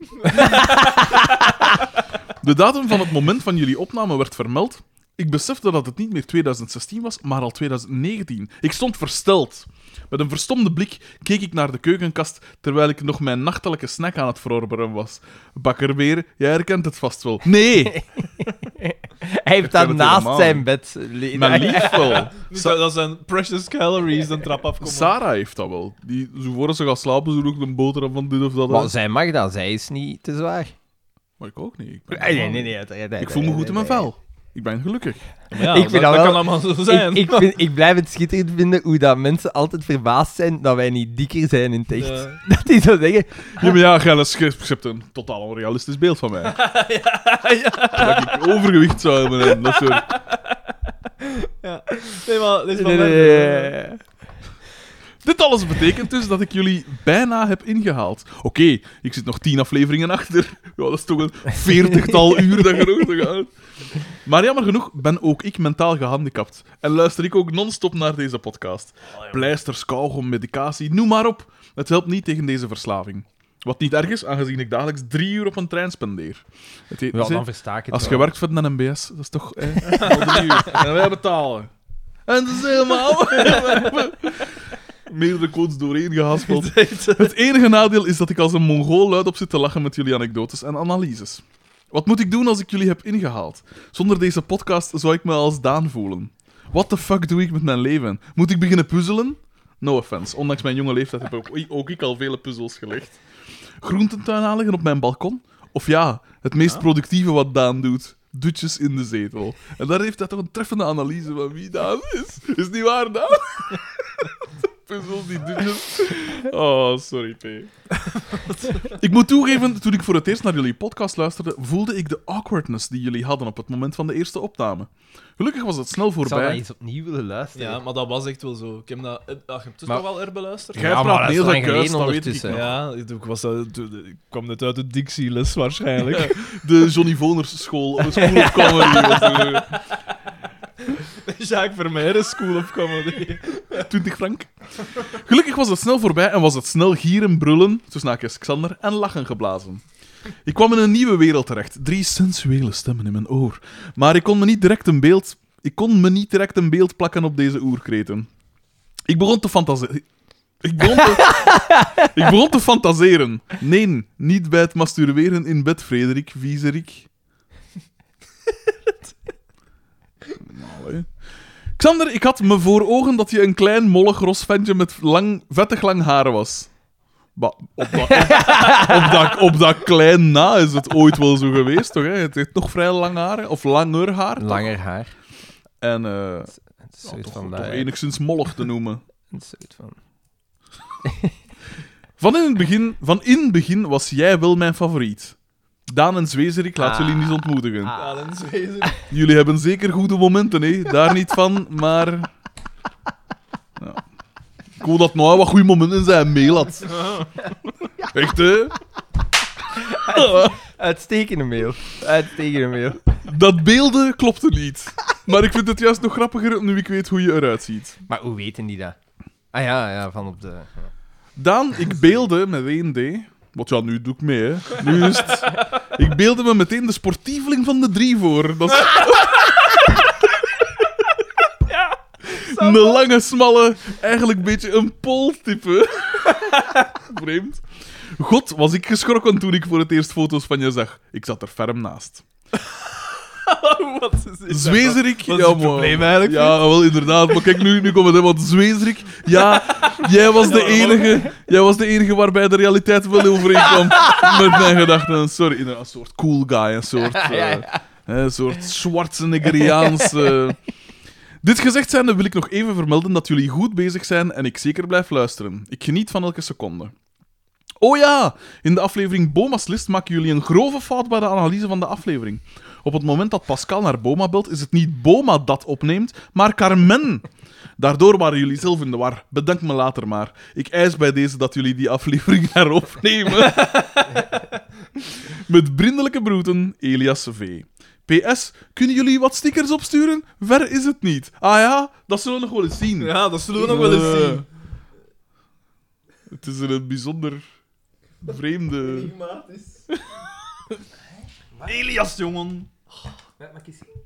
Speaker 1: De datum van het moment van jullie opname werd vermeld. Ik besefte dat het niet meer 2016 was, maar al 2019. Ik stond versteld. Met een verstomde blik keek ik naar de keukenkast terwijl ik nog mijn nachtelijke snack aan het verorberen was. Bakkerbeer, jij herkent het vast wel.
Speaker 2: [LAUGHS]
Speaker 1: Nee,
Speaker 2: Hij heeft dat
Speaker 1: het
Speaker 2: naast
Speaker 1: helemaal
Speaker 2: zijn
Speaker 1: niet.
Speaker 2: bed. li-
Speaker 1: mijn lief wel.
Speaker 3: Dus dat zijn precious calories, een trap afkomen.
Speaker 1: Sarah heeft dat wel. Die, zo voor ze gaat slapen, zo ook een boterham van dit of dat.
Speaker 2: Maar
Speaker 1: uit.
Speaker 2: zij mag dat, zij is niet te zwaar.
Speaker 1: Maar ik ook niet. Ik ben
Speaker 2: Nee, nee, nee. nee, uiteraard,
Speaker 1: Ik voel me goed in mijn
Speaker 2: uiteraard.
Speaker 1: vel. Ik ben gelukkig.
Speaker 3: Ja,
Speaker 2: Ik vind
Speaker 3: dat,
Speaker 2: dat wel-
Speaker 3: kan allemaal zo zijn.
Speaker 2: Ik, ik, vind, ik blijf het schitterend vinden hoe dat mensen altijd verbaasd zijn dat wij niet dikker zijn in het echt.
Speaker 3: [LAUGHS] Ja.
Speaker 2: [LAUGHS] Dat die zo zeggen,
Speaker 1: Ja, maar ja, Gilles, je je hebt een totaal onrealistisch beeld
Speaker 2: [LAUGHS]
Speaker 1: van mij. Dat ik overgewicht zou hebben en dat soort...
Speaker 3: Nee, maar... dit is wel
Speaker 2: Nee, nee,
Speaker 3: waar.
Speaker 2: nee, nee.
Speaker 1: Dit alles betekent dus dat ik jullie bijna heb ingehaald. Oké, ik zit nog tien afleveringen achter. Ja, dat is toch een veertigtal uur dat genoeg te gaan. Maar jammer genoeg ben ook ik mentaal gehandicapt. En luister ik ook non-stop naar deze podcast. Pleisters, kauwgom, medicatie, noem maar op. Het helpt niet tegen deze verslaving. Wat niet erg is, aangezien ik dagelijks drie uur op een trein spendeer. Het heet-
Speaker 2: Ja,
Speaker 1: ze-
Speaker 2: dan versta ik het
Speaker 1: als je
Speaker 2: wel.
Speaker 1: werkt voor de NMBS, dat is toch...
Speaker 2: [LAUGHS]
Speaker 1: Eh, al drie uur. en wij betalen. En dat is helemaal...
Speaker 2: [LAUGHS]
Speaker 1: [LAUGHS] Meerdere codes doorheen gehaspeld. Het enige nadeel is dat ik als een mongool luid op zit te lachen met jullie anekdotes en analyses. Wat moet ik doen als ik jullie heb ingehaald? Zonder deze podcast zou ik me als Daan voelen. What the fuck doe ik met mijn leven? Moet ik beginnen puzzelen? No offense, ondanks mijn jonge leeftijd heb ook, ook ik al vele puzzels gelegd. Groententuin aanleggen op mijn balkon? Of ja, het meest productieve wat Daan doet. Dutjes in de zetel. En daar heeft hij toch een treffende analyse van wie Daan is. Is niet waar, Daan? [LAUGHS] Puzzels, die dutjes. Oh, sorry,
Speaker 2: [LAUGHS]
Speaker 1: P. ik moet toegeven, toen ik voor het eerst naar jullie podcast luisterde, voelde ik de awkwardness die jullie hadden op het moment van de eerste opname. Gelukkig was dat snel
Speaker 2: Ik zou dat
Speaker 1: voorbij.
Speaker 2: eens opnieuw willen luisteren.
Speaker 6: Ja, maar dat was echt wel zo. Ik heb dat... eh, ah, je hebt dus
Speaker 2: Maar-
Speaker 6: toch wel herbeluisterd?
Speaker 1: Jij
Speaker 2: Ja, maar dat
Speaker 1: praat
Speaker 2: is
Speaker 1: meer
Speaker 2: lang
Speaker 1: dan kuis,
Speaker 2: geleden
Speaker 1: dat weet ik
Speaker 2: ondertussen.
Speaker 1: nog.
Speaker 6: Ja, ik, was dat, ik kwam net uit de dictieles waarschijnlijk.
Speaker 1: De Johnny Voners school, of een school of comedy. was er, eh,
Speaker 6: Jacques Vermeijden, [LAUGHS] School of Comedy.
Speaker 1: 20 frank. Gelukkig was het snel voorbij en was het snel gieren, brullen, tussen haakjes Xander, en lachen geblazen. Ik kwam in een nieuwe wereld terecht. Drie sensuele stemmen in mijn oor. Maar ik kon me niet direct een beeld, ik kon me niet direct een beeld plakken op deze oerkreten. Ik begon te fantaseren. Ik begon te... ik begon te fantaseren. Nee, niet bij het masturberen in bed, Frederik Vieserik. Allee. Xander, ik had me voor ogen dat je een klein, mollig, ros ventje met lang, vettig lang haar was. Ba- op, dat, op, op dat, op dat klein na is het ooit wel zo geweest, toch? Hè? Het heeft nog vrij lang haar, hè? of langer haar. toch?
Speaker 2: Langer haar.
Speaker 1: En eh,
Speaker 2: Het is
Speaker 1: ja,
Speaker 2: zoiets
Speaker 1: toch,
Speaker 2: van...
Speaker 1: toch
Speaker 2: eh,
Speaker 1: enigszins mollig te noemen.
Speaker 2: het is zoiets van...
Speaker 1: Van in het begin, van in het begin was jij wel mijn favoriet. Daan en Zwezerik, laat jullie niet ontmoedigen.
Speaker 3: Ah.
Speaker 6: Ja, dan zwezen.
Speaker 1: Jullie hebben zeker goede momenten, hè? Daar niet van, maar. Ja. Ik hoop dat nou wat goede momenten zijn, meelat. Echt, hè?
Speaker 2: Uitstekende mail. Uitstekende mail.
Speaker 1: Dat beelden klopte niet. Maar ik vind het juist nog grappiger nu ik weet hoe je eruit ziet.
Speaker 2: [LAUGHS] Maar hoe weten die dat? Ah ja, ja, van op de...
Speaker 1: Daan, ik beelde met 1D. Wat ja, nu doe ik mee, hè? Nu is het. Ik beelde me meteen de sportieveling van de drie voor.
Speaker 6: [LAUGHS]
Speaker 1: Dat is... Een lange, smalle, eigenlijk een beetje een poltype. [LAUGHS] Vreemd. God, was ik geschrokken toen ik voor het eerst foto's van je zag. Ik zat er ferm naast.
Speaker 6: [LAUGHS] Wat is dit?
Speaker 1: Zwezerik.
Speaker 6: Wat is het probleem eigenlijk?
Speaker 1: Ja, wel inderdaad. Maar kijk, nu, nu komt het, hè, want Zwezerik... Ja, jij was, de enige, jij was de enige waarbij de realiteit wel overeenkwam met mijn gedachten. Sorry, een soort cool guy, een soort... eh, hè, een soort Schwarzeneggeriaans... eh. Dit gezegd zijnde wil ik nog even vermelden dat jullie goed bezig zijn en ik zeker blijf luisteren. Ik geniet van elke seconde. Oh ja, in de aflevering Boma's List maken jullie een grove fout bij de analyse van de aflevering. Op het moment dat Pascal naar Boma belt, is het niet Boma dat opneemt, maar Carmen. Daardoor waren jullie zelf in de war. Bedank me later maar. Ik eis bij deze dat jullie die aflevering [LAUGHS] heropnemen. Met brindelijke broeten, Elias V. PS, kunnen jullie wat stickers opsturen? Ver is het niet. Ah ja, dat zullen we nog wel eens zien.
Speaker 6: Ja, dat zullen we nog wel eens zien.
Speaker 1: Eh, Het is een bijzonder vreemde.
Speaker 6: Elias, jongen.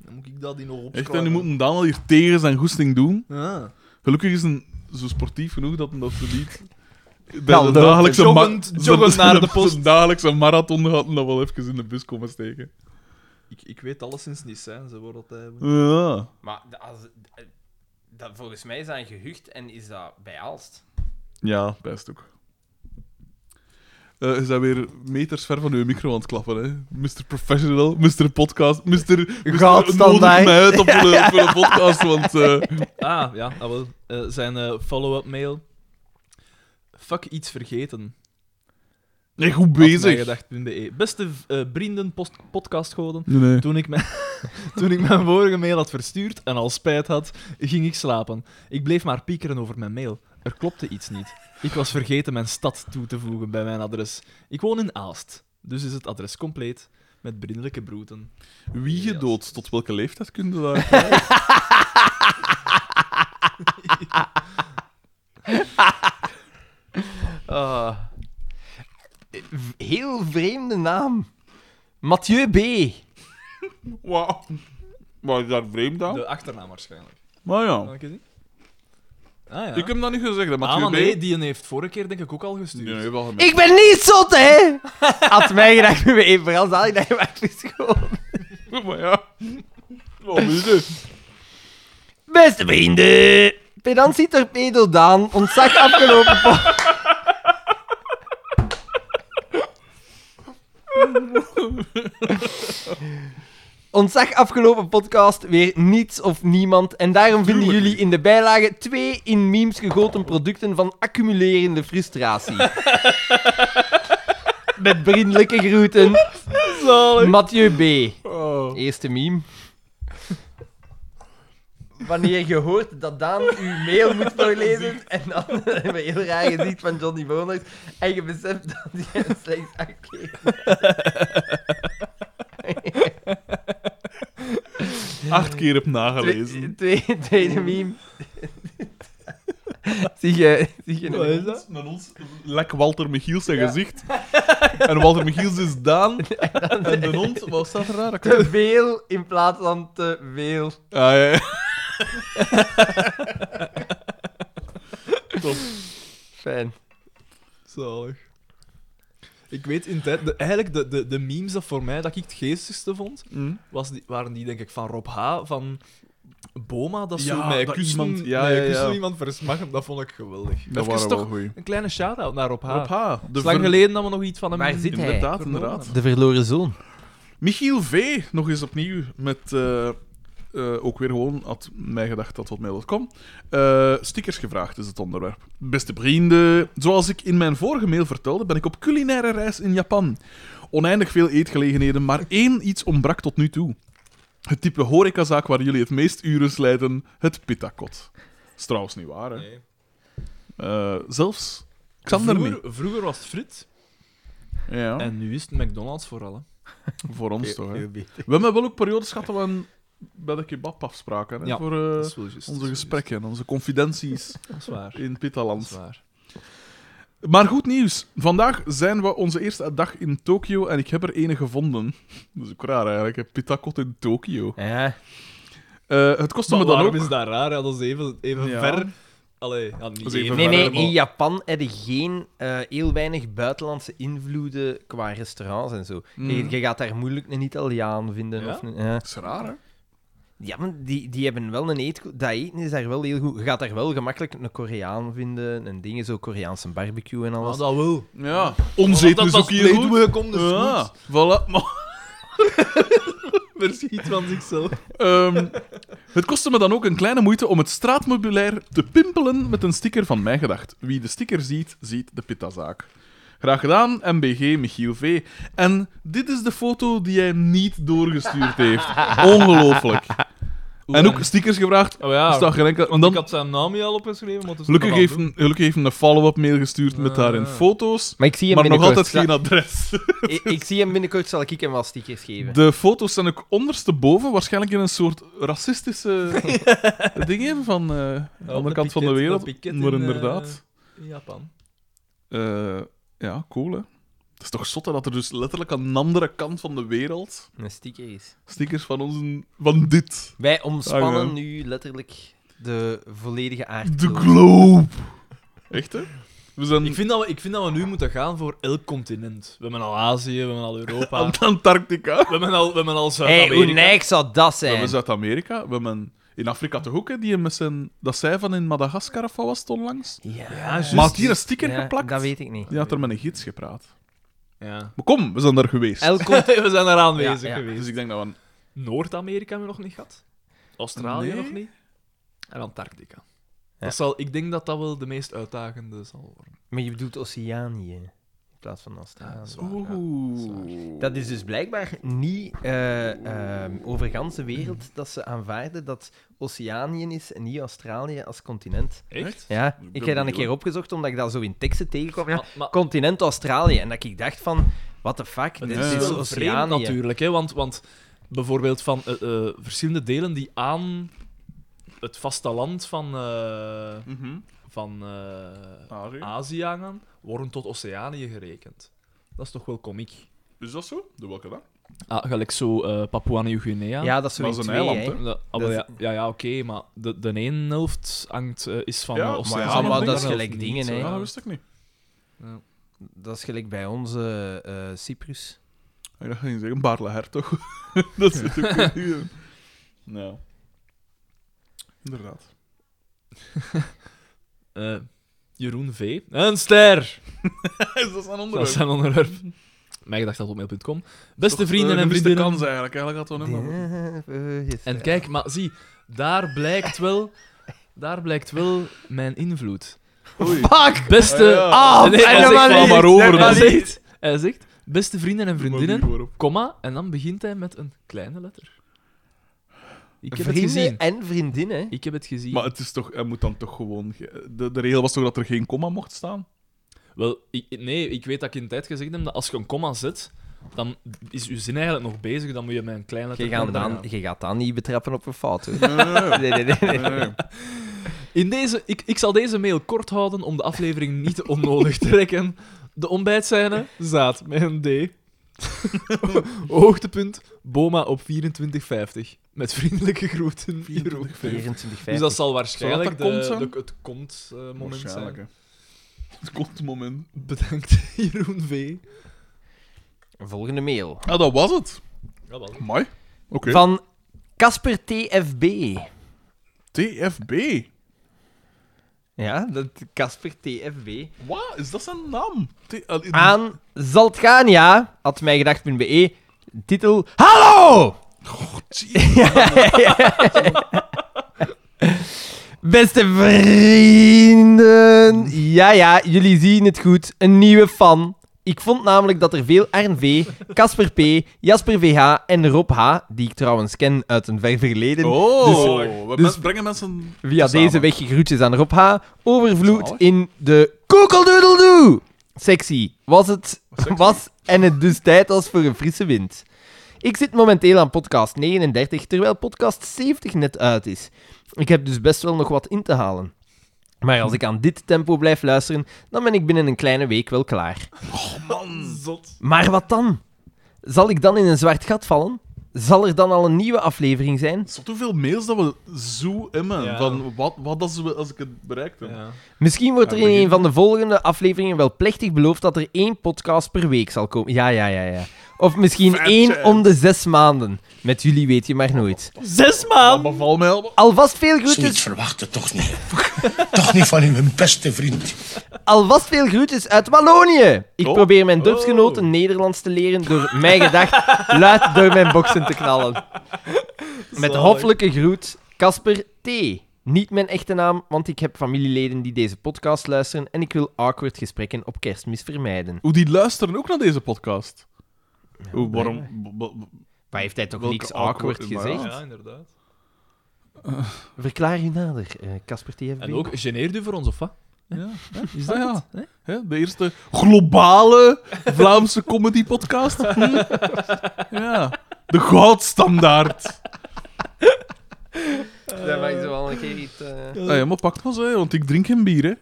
Speaker 6: Dan moet ik dat in nog
Speaker 1: Echt,
Speaker 6: opschrijven.
Speaker 1: en nu moet een Daniel hier tegen zijn goesting doen.
Speaker 6: Ah.
Speaker 1: Gelukkig is hij zo sportief genoeg dat hij dat zo niet. Bij
Speaker 2: Nou,
Speaker 1: zijn
Speaker 2: de-
Speaker 1: dagelijkse ma-
Speaker 6: joggend-
Speaker 1: [LAUGHS]
Speaker 6: joggend
Speaker 1: zijn-
Speaker 6: naar de
Speaker 1: zijn dagelijkse marathon gaat hij dat wel even in de bus komen steken.
Speaker 6: Ik, ik weet alleszins niet zijn, ze worden altijd...
Speaker 1: Ja.
Speaker 2: Maar de- als, eh, dat, volgens mij is dat een gehucht en is dat bij Aalst.
Speaker 1: Ja, best ook. Eh, Ze zijn weer meters ver van uw micro aan het klappen, hè? Mr. Professional, Mr. Podcast, Mr.
Speaker 2: Gaat
Speaker 1: Mr. Nodig
Speaker 2: standaard.
Speaker 1: mij uit op
Speaker 6: [LAUGHS]
Speaker 1: de, voor de podcast, want... eh,
Speaker 6: Ah, ja, ah, wel. Eh, zijn eh, follow-up mail. Fuck iets vergeten.
Speaker 1: nee, goed
Speaker 6: Had
Speaker 1: bezig.
Speaker 6: e- mijgedacht.be. Beste eh, vrienden, post- podcastgoden.
Speaker 1: Nee, nee.
Speaker 6: Toen ik mijn...
Speaker 3: [LAUGHS] Toen ik mijn vorige mail had verstuurd en al spijt had, ging ik slapen. Ik bleef maar piekeren over mijn mail. Er klopte iets niet. Ik was vergeten mijn stad toe te voegen bij mijn adres. Ik woon in Aalst, dus is het adres compleet met vriendelijke broeten.
Speaker 1: Wie
Speaker 3: Ja.
Speaker 1: gedood? Tot welke leeftijd kun je dat? krijgen?
Speaker 2: Ah. Heel vreemde naam. Mathieu B.
Speaker 1: [LAUGHS] Wauw. Maar is dat vreemd aan?
Speaker 3: De achternaam waarschijnlijk.
Speaker 1: Maar ja.
Speaker 3: Kan ik het zien? Ah ja.
Speaker 1: Ik heb hem dat niet gezegd, hè,
Speaker 3: ah,
Speaker 1: Mathieu
Speaker 3: maar
Speaker 1: B.
Speaker 3: nee, die heeft vorige keer denk ik ook al gestuurd.
Speaker 1: Nee, nee, wel gemeen.
Speaker 2: Ik ben niet zot, [LAUGHS] hè? Had mij gedacht, we even Frans aan. Ik dacht, maar het is gewoon.
Speaker 1: Maar ja. [LAUGHS] Wat is dit?
Speaker 2: Beste vrienden. Pedantie Torpedo Daan, ontzag afgelopen po- Ontzag afgelopen podcast weer niets of niemand. En daarom vinden jullie in de bijlage twee in memes gegoten producten van accumulerende [LAUGHS] frustratie. Met vriendelijke groeten, Mathieu B.
Speaker 1: Oh.
Speaker 2: Eerste meme. [LAUGHS] Wanneer je hoort dat Daan uw mail moet [LAUGHS] voorlezen en dan hebben we heel raar gezicht van Johnny Boners en je beseft dat je hem slechts acht keer...
Speaker 1: Acht keer heb nagelezen.
Speaker 2: Twee, twee- tweede meme. [LAUGHS] zie je, zie je
Speaker 1: Wat is
Speaker 2: een
Speaker 1: dat? Met ons lek Walter Michiel zijn gezicht. En Walter Michiels is Daan. En de hond, wat staat er daar? Ah,
Speaker 2: Te veel in plaats van te veel.
Speaker 1: ja, ja. Top.
Speaker 2: Fijn.
Speaker 3: Zalig. Ik weet in tijd... de- eigenlijk de, de, de memes dat voor mij dat ik het geestigste vond,
Speaker 1: Mm.
Speaker 3: was die, waren die denk ik van Rob H., van Boma, dat
Speaker 1: Ja,
Speaker 3: zo mij
Speaker 1: dat
Speaker 3: kussen,
Speaker 1: iemand- ja,
Speaker 3: mij
Speaker 1: ja, ja.
Speaker 3: kussen iemand versmachen, dat vond ik geweldig.
Speaker 1: Dat Ah. waren
Speaker 3: Even toch
Speaker 1: wel goeie.
Speaker 3: een kleine shout-out naar Rob H.
Speaker 1: Rob H. De
Speaker 3: Het is lang
Speaker 1: ver-
Speaker 3: geleden dat we nog iets van hem...
Speaker 2: Waar zit hij?
Speaker 1: Inderdaad,
Speaker 3: vernomen
Speaker 1: inderdaad.
Speaker 2: De verloren zoon.
Speaker 1: Michiel V. nog eens opnieuw met... eh, eh, ook weer gewoon had mij gedacht dat hotmail.com. Eh stickers gevraagd is het onderwerp. Beste vrienden, zoals ik in mijn vorige mail vertelde, ben ik op culinaire reis in Japan. Oneindig veel eetgelegenheden, maar één iets ontbrak tot nu toe. Het type horecazaak waar jullie het meest uren slijten, het pittakot. Is trouwens niet waar, hè?
Speaker 3: Nee.
Speaker 1: Eh, zelfs Xander niet.
Speaker 3: Vroeger, vroeger was het Frit,
Speaker 1: Ja,
Speaker 3: en nu is het McDonald's vooral. Hè.
Speaker 1: voor ons toch, hè?
Speaker 3: Eh,
Speaker 1: We hebben wel ook periodes gehad dat we een- bij de kebab afspraken, hè?
Speaker 3: Ja,
Speaker 1: Voor, eh,
Speaker 3: dat is wel juist.
Speaker 1: Onze gesprekken, onze
Speaker 3: [LAUGHS]
Speaker 1: confidenties
Speaker 3: Dat is waar.
Speaker 1: in
Speaker 3: Dat is
Speaker 1: Pitaland.
Speaker 3: waar.
Speaker 1: Maar goed nieuws. Vandaag zijn we onze eerste dag in Tokio en ik heb er ene gevonden. Dat is ook raar eigenlijk, hè. Pitakot in Tokio.
Speaker 2: Ja.
Speaker 1: Eh, het kostte me
Speaker 3: Maar
Speaker 1: dan
Speaker 3: waarom
Speaker 1: ook...
Speaker 3: is dat raar? Ja, dat is even, even
Speaker 1: Ja.
Speaker 3: ver. Allee, ja, niet
Speaker 1: Dat is even
Speaker 3: even ver,
Speaker 2: Nee, nee,
Speaker 3: maar-
Speaker 2: in Japan heb je geen, eh, heel weinig buitenlandse invloeden qua restaurants en zo.
Speaker 1: Mm.
Speaker 2: Je, je gaat daar moeilijk een Italiaan vinden.
Speaker 3: Ja?
Speaker 2: Of een, Hmm. ja.
Speaker 1: Dat is raar, hè?
Speaker 2: Ja, maar die, die hebben wel een eetcultuur. Dat eten is daar wel heel goed. Je gaat daar wel gemakkelijk een Koreaan vinden en dingen, zo Koreaanse barbecue en alles.
Speaker 3: Ah, dat wel.
Speaker 1: Ja. Ons eten is ook hier goed.
Speaker 3: komt
Speaker 1: Ja, voilà. Maar
Speaker 3: Er schiet van zichzelf.
Speaker 1: Ehm, het kostte me dan ook een kleine moeite om het straatmeubilair te pimpelen met een sticker van mij gedacht. Wie de sticker ziet, ziet de pitazaak. Graag gedaan, MBG Michiel V. En dit is de foto die hij niet doorgestuurd
Speaker 3: [LAUGHS]
Speaker 1: heeft. Ongelooflijk. En ook stickers gevraagd.
Speaker 3: [LAUGHS] Oh ja,
Speaker 1: Er staat geen enkele- en
Speaker 3: want
Speaker 1: dan-
Speaker 3: ik had zijn naam niet al opgeschreven. Maar het is
Speaker 1: Gelukkig
Speaker 3: nog
Speaker 1: heeft,
Speaker 3: aan
Speaker 1: een, gelukkig heeft hij een follow-up mail gestuurd met daarin
Speaker 3: Ah.
Speaker 1: foto's.
Speaker 2: Maar ik zie hem
Speaker 1: Maar nog
Speaker 2: binnenkort.
Speaker 1: altijd geen adres.
Speaker 2: Zal- ik, ik zie hem binnenkort, zal ik hem wel stickers geven.
Speaker 1: De foto's zijn ook ondersteboven, waarschijnlijk in een soort
Speaker 3: [LAUGHS]
Speaker 1: racistische dingen van eh, de andere
Speaker 3: dat
Speaker 1: kant van de
Speaker 3: piket-
Speaker 1: wereld.
Speaker 3: dat piket
Speaker 1: maar
Speaker 3: in, eh,
Speaker 1: inderdaad.
Speaker 3: doen. In Japan.
Speaker 1: Eh, ja, cool hè. Het is toch zot hè, dat er dus letterlijk aan de andere kant van de wereld
Speaker 2: Een sticker is.
Speaker 1: stickers van ons, van dit.
Speaker 2: Wij omspannen
Speaker 1: Ah, ja.
Speaker 2: nu letterlijk de volledige
Speaker 1: De
Speaker 2: aardkloot.
Speaker 1: globe. Echt hè? We zijn [LAUGHS]
Speaker 3: Ik vind, dat we, ik vind dat we nu moeten gaan voor elk continent. We hebben al Azië, we hebben al Europa.
Speaker 1: aan
Speaker 3: we,
Speaker 1: Antarctica.
Speaker 3: hebben al, we hebben al
Speaker 2: Hé,
Speaker 3: Zuid-Amerika.
Speaker 2: hoe neig zou dat
Speaker 1: We hebben
Speaker 2: zijn?
Speaker 1: Zuid-Amerika, we hebben in Afrika toch ook hè, die met zijn, dat zij van in Madagaskar of wat was het onlangs.
Speaker 2: Ja,
Speaker 1: maar had hier een sticker
Speaker 2: Ja,
Speaker 1: geplakt.
Speaker 2: Dat weet ik niet.
Speaker 1: Die had er met een gids gepraat.
Speaker 3: [LAUGHS] Ja.
Speaker 1: Maar kom, we zijn daar geweest.
Speaker 2: Elk [LAUGHS] cont-
Speaker 3: we zijn daar aanwezig
Speaker 2: Ja, ja.
Speaker 1: Dus
Speaker 3: geweest.
Speaker 1: ik denk dat we...
Speaker 3: Noord-Amerika hebben we nog niet gehad. Australië
Speaker 1: Nee.
Speaker 3: nog niet. En Antarctica. Dat zal, ik denk dat dat wel de meest uitdagende zal worden.
Speaker 2: Maar je bedoelt Oceanië. plaats van Astana.
Speaker 6: Ah,
Speaker 2: Ja.
Speaker 1: Oeh.
Speaker 2: Dat is dus blijkbaar niet eh, ehm, over gans de wereld dat ze aanvaarden dat Oceanië is en niet Australië als continent.
Speaker 1: Echt?
Speaker 2: Ja,
Speaker 1: ben
Speaker 2: ik heb dat een
Speaker 1: benieuwd.
Speaker 2: keer opgezocht omdat ik dat zo in teksten tegenkwam. Ja,
Speaker 3: Maar, maar
Speaker 2: continent Australië. En dat ik dacht van, what the fuck,
Speaker 3: het
Speaker 2: dit
Speaker 1: is
Speaker 2: is
Speaker 3: is wel vreemd
Speaker 2: Oceanië.
Speaker 3: natuurlijk, hè, want, want bijvoorbeeld van eh, eh, verschillende delen die aan het vasteland van, eh,
Speaker 1: Mhm. Ah.
Speaker 3: van eh,
Speaker 1: Azië.
Speaker 3: Azië hangen, worden tot Oceanië gerekend. Dat is toch wel komiek.
Speaker 1: Is dat zo? De welke dan?
Speaker 3: Ah, gelijk zo eh, Papua Nieuw-Guinea.
Speaker 2: Ja, dat is zo
Speaker 1: Maar
Speaker 2: in
Speaker 1: dat is een
Speaker 2: twee,
Speaker 1: eiland,
Speaker 2: hè.
Speaker 1: hè?
Speaker 3: Ja, ah, wel, ja, ja, ja oké, maar de, de ene helft hangt, eh, is van
Speaker 1: Ja,
Speaker 3: eh,
Speaker 1: maar ja,
Speaker 3: Oceanië.
Speaker 1: maar
Speaker 3: de
Speaker 1: dat
Speaker 3: andere
Speaker 1: is
Speaker 3: helft
Speaker 2: gelijk
Speaker 3: niet,
Speaker 2: dingen,
Speaker 3: zo,
Speaker 2: hè.
Speaker 1: Ja,
Speaker 3: ja.
Speaker 1: Ah, dat wist ik niet.
Speaker 2: Dat is gelijk bij onze eh, Cyprus.
Speaker 1: Ik dacht, ging zeggen, Barle Hertog. [LAUGHS] dat zit ook [LAUGHS] weer niet in. Nou. Inderdaad.
Speaker 3: Eh, Jeroen V. Een ster!
Speaker 1: is [LAUGHS] dat een
Speaker 3: Dat is
Speaker 1: onderwerp?
Speaker 3: zijn onderwerp. [LAUGHS] Mijgedacht.mail.com. Beste
Speaker 1: Toch,
Speaker 3: vrienden
Speaker 1: eh,
Speaker 3: en
Speaker 1: gemiste
Speaker 3: vriendinnen.
Speaker 1: kans eigenlijk. Eigenlijk had dat een nummer.
Speaker 3: En kijk, maar zie, daar blijkt wel, daar blijkt wel mijn invloed.
Speaker 1: Oei.
Speaker 3: Fuck! Beste...
Speaker 1: Ah,
Speaker 3: Ah, nee, hij
Speaker 1: en
Speaker 3: zegt,
Speaker 1: dan maar dus
Speaker 3: wel
Speaker 1: niet,
Speaker 3: maar
Speaker 1: en
Speaker 3: over. Hij
Speaker 1: dan
Speaker 3: zegt, hij zegt, beste vrienden en
Speaker 1: Maar
Speaker 3: vriendinnen,
Speaker 1: wie waarop?
Speaker 3: komma, en dan begint hij met een kleine letter. Ik heb het
Speaker 2: Vrienden
Speaker 3: gezien.
Speaker 2: en vriendinnen.
Speaker 3: Ik heb het gezien.
Speaker 1: Maar het is toch, hij moet dan toch gewoon. ge- De, de regel was toch dat er geen komma mocht staan?
Speaker 3: Wel, ik, nee, ik weet dat ik in tijd gezegd heb dat als je een komma zet, dan is je zin eigenlijk nog bezig, dan moet je met een kleine
Speaker 2: Je
Speaker 3: letter...
Speaker 2: gaat,
Speaker 3: verder
Speaker 2: dan,
Speaker 3: gaan.
Speaker 2: je gaat dan niet betrappen op een fout, hoor.
Speaker 1: Nee, nee, nee.
Speaker 2: Nee, nee, nee. nee.
Speaker 1: Nee, nee.
Speaker 3: In deze, ik, ik zal deze mail kort houden om de aflevering niet onnodig te rekken. De ontbijtscène, zaad met een D. [LAUGHS] Hoogtepunt, Boma op 24,50. Met vriendelijke groeten, Jeroen.
Speaker 2: 24,
Speaker 3: Dus dat
Speaker 2: 50.
Speaker 3: zal
Speaker 1: Zal dat
Speaker 3: waarschijnlijk
Speaker 1: dat
Speaker 3: de-
Speaker 1: komt zijn?
Speaker 3: de- het komt eh, moment
Speaker 1: Waarschijnlijk.
Speaker 3: zijn.
Speaker 1: hè. Het komt het moment.
Speaker 3: Bedankt, [LAUGHS] Jeroen V.
Speaker 2: Volgende mail.
Speaker 1: Ah, dat was het.
Speaker 3: Jawel.
Speaker 1: Mooi. Oké.
Speaker 2: Van Casper TFB.
Speaker 1: TFB.
Speaker 2: Ja, dat Casper TFB.
Speaker 1: Wat? Is dat zijn naam? T- al-
Speaker 2: Aan Zaltgania, had mijgedacht.be, E, titel Hallo! [LAUGHS]
Speaker 1: Jeez.
Speaker 2: Beste vrienden. Ja, ja, jullie zien het goed. Een nieuwe fan. Ik vond namelijk dat er veel Arn V, Casper P, Jasper VH en Rob H, die ik trouwens ken uit een ver verleden,
Speaker 1: Oh, we
Speaker 2: dus-
Speaker 1: men- brengen mensen.
Speaker 2: Via
Speaker 1: Samen.
Speaker 2: deze weg groetjes aan Rob H. Overvloed
Speaker 1: Zalig.
Speaker 2: in de koekeldoedeldoe. Sexy was het
Speaker 1: Sexy.
Speaker 2: was en het dus tijd was voor een frisse wind. Ik zit momenteel aan podcast 39, terwijl podcast 70 net uit is. Ik heb dus best wel nog wat in te halen. Maar als ik aan dit tempo blijf luisteren, dan ben ik binnen een kleine week wel klaar.
Speaker 3: Zot.
Speaker 2: Maar wat dan? Zal ik dan in een zwart gat vallen? Zal er dan al een nieuwe aflevering zijn?
Speaker 1: Zot hoeveel mails dat we zo emmen.
Speaker 3: Ja.
Speaker 1: Van wat, wat als, we, als ik het bereikt heb.
Speaker 3: Ja.
Speaker 2: Misschien wordt er
Speaker 1: Ja,
Speaker 2: in
Speaker 1: begin.
Speaker 2: een van de volgende afleveringen wel plechtig beloofd dat er één podcast per week zal komen. Ja, ja, ja, ja. Of misschien
Speaker 1: Fat
Speaker 2: één
Speaker 1: chance.
Speaker 2: om de zes maanden. Met jullie weet je maar nooit.
Speaker 3: Zes
Speaker 1: Dat
Speaker 3: maanden!
Speaker 1: beval Ah, mij al.
Speaker 2: Alvast veel
Speaker 5: Zoiets
Speaker 2: groetjes,
Speaker 5: verwachten toch niet. toch niet van uw beste vriend.
Speaker 2: alvast veel groetjes uit Wallonië. Ik
Speaker 1: Oh.
Speaker 2: probeer mijn dorpsgenoten Nederlands te leren door mijn gedacht [LAUGHS] luid door mijn boksen te knallen. Met hoffelijke groet, Casper T. Niet mijn echte naam, want ik heb familieleden die deze podcast luisteren en ik wil awkward gesprekken op kerstmis vermijden.
Speaker 1: Hoe die luisteren ook naar deze podcast. Hoe, waarom? b- b-
Speaker 2: Maar heeft hij toch
Speaker 1: Welke
Speaker 2: niks awkward,
Speaker 1: awkward- maar ja.
Speaker 2: gezegd?
Speaker 3: Ja, inderdaad.
Speaker 2: Verklaar je nader, eh, Casper TFB.
Speaker 3: En ook, geneert u voor ons, of wat?
Speaker 1: Ja.
Speaker 3: Is
Speaker 1: Ah, ja.
Speaker 3: het?
Speaker 1: Hè, de eerste globale Vlaamse comedy podcast.
Speaker 3: [LAUGHS]
Speaker 1: Hm? Ja. De goudstandaard.
Speaker 2: Daar mag je zo wel een keer iets... eh.
Speaker 1: Ah, ja, maar pak maar hè, want ik drink geen bier. Hè.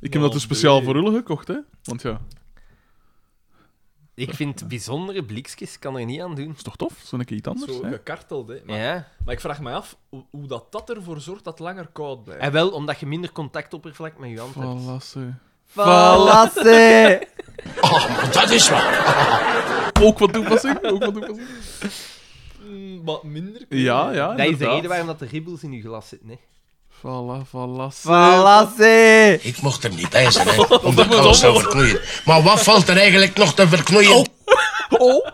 Speaker 1: Ik heb dat dus speciaal voor jullie gekocht. Hè. Want ja,
Speaker 2: Ik vind bijzondere blikjes, kan er niet aan doen.
Speaker 1: is toch tof? Zo'n keer iets anders.
Speaker 3: Zo
Speaker 1: hè.
Speaker 3: gekarteld, hè. Maar,
Speaker 2: Ja.
Speaker 3: maar ik vraag me af hoe, hoe dat, dat ervoor zorgt dat het langer koud blijft.
Speaker 2: En wel, omdat je minder contactoppervlak met je hand hebt.
Speaker 1: Valasse.
Speaker 2: Valasse!
Speaker 5: Oh, maar dat is waar.
Speaker 1: Ook wat toepassing. Ook wat toepassing.
Speaker 3: Mm, wat minder.
Speaker 1: Ja, ja.
Speaker 2: Dat is de
Speaker 1: inderdaad.
Speaker 2: reden waarom dat de ribbels in je glas zitten, hè. Eh,
Speaker 1: Vala, valasse.
Speaker 2: Valasse!
Speaker 5: Ik mocht er niet bij zijn, hè, omdat ik alles zou verknoeien. Maar wat valt er eigenlijk nog te verknoeien?
Speaker 1: Oh.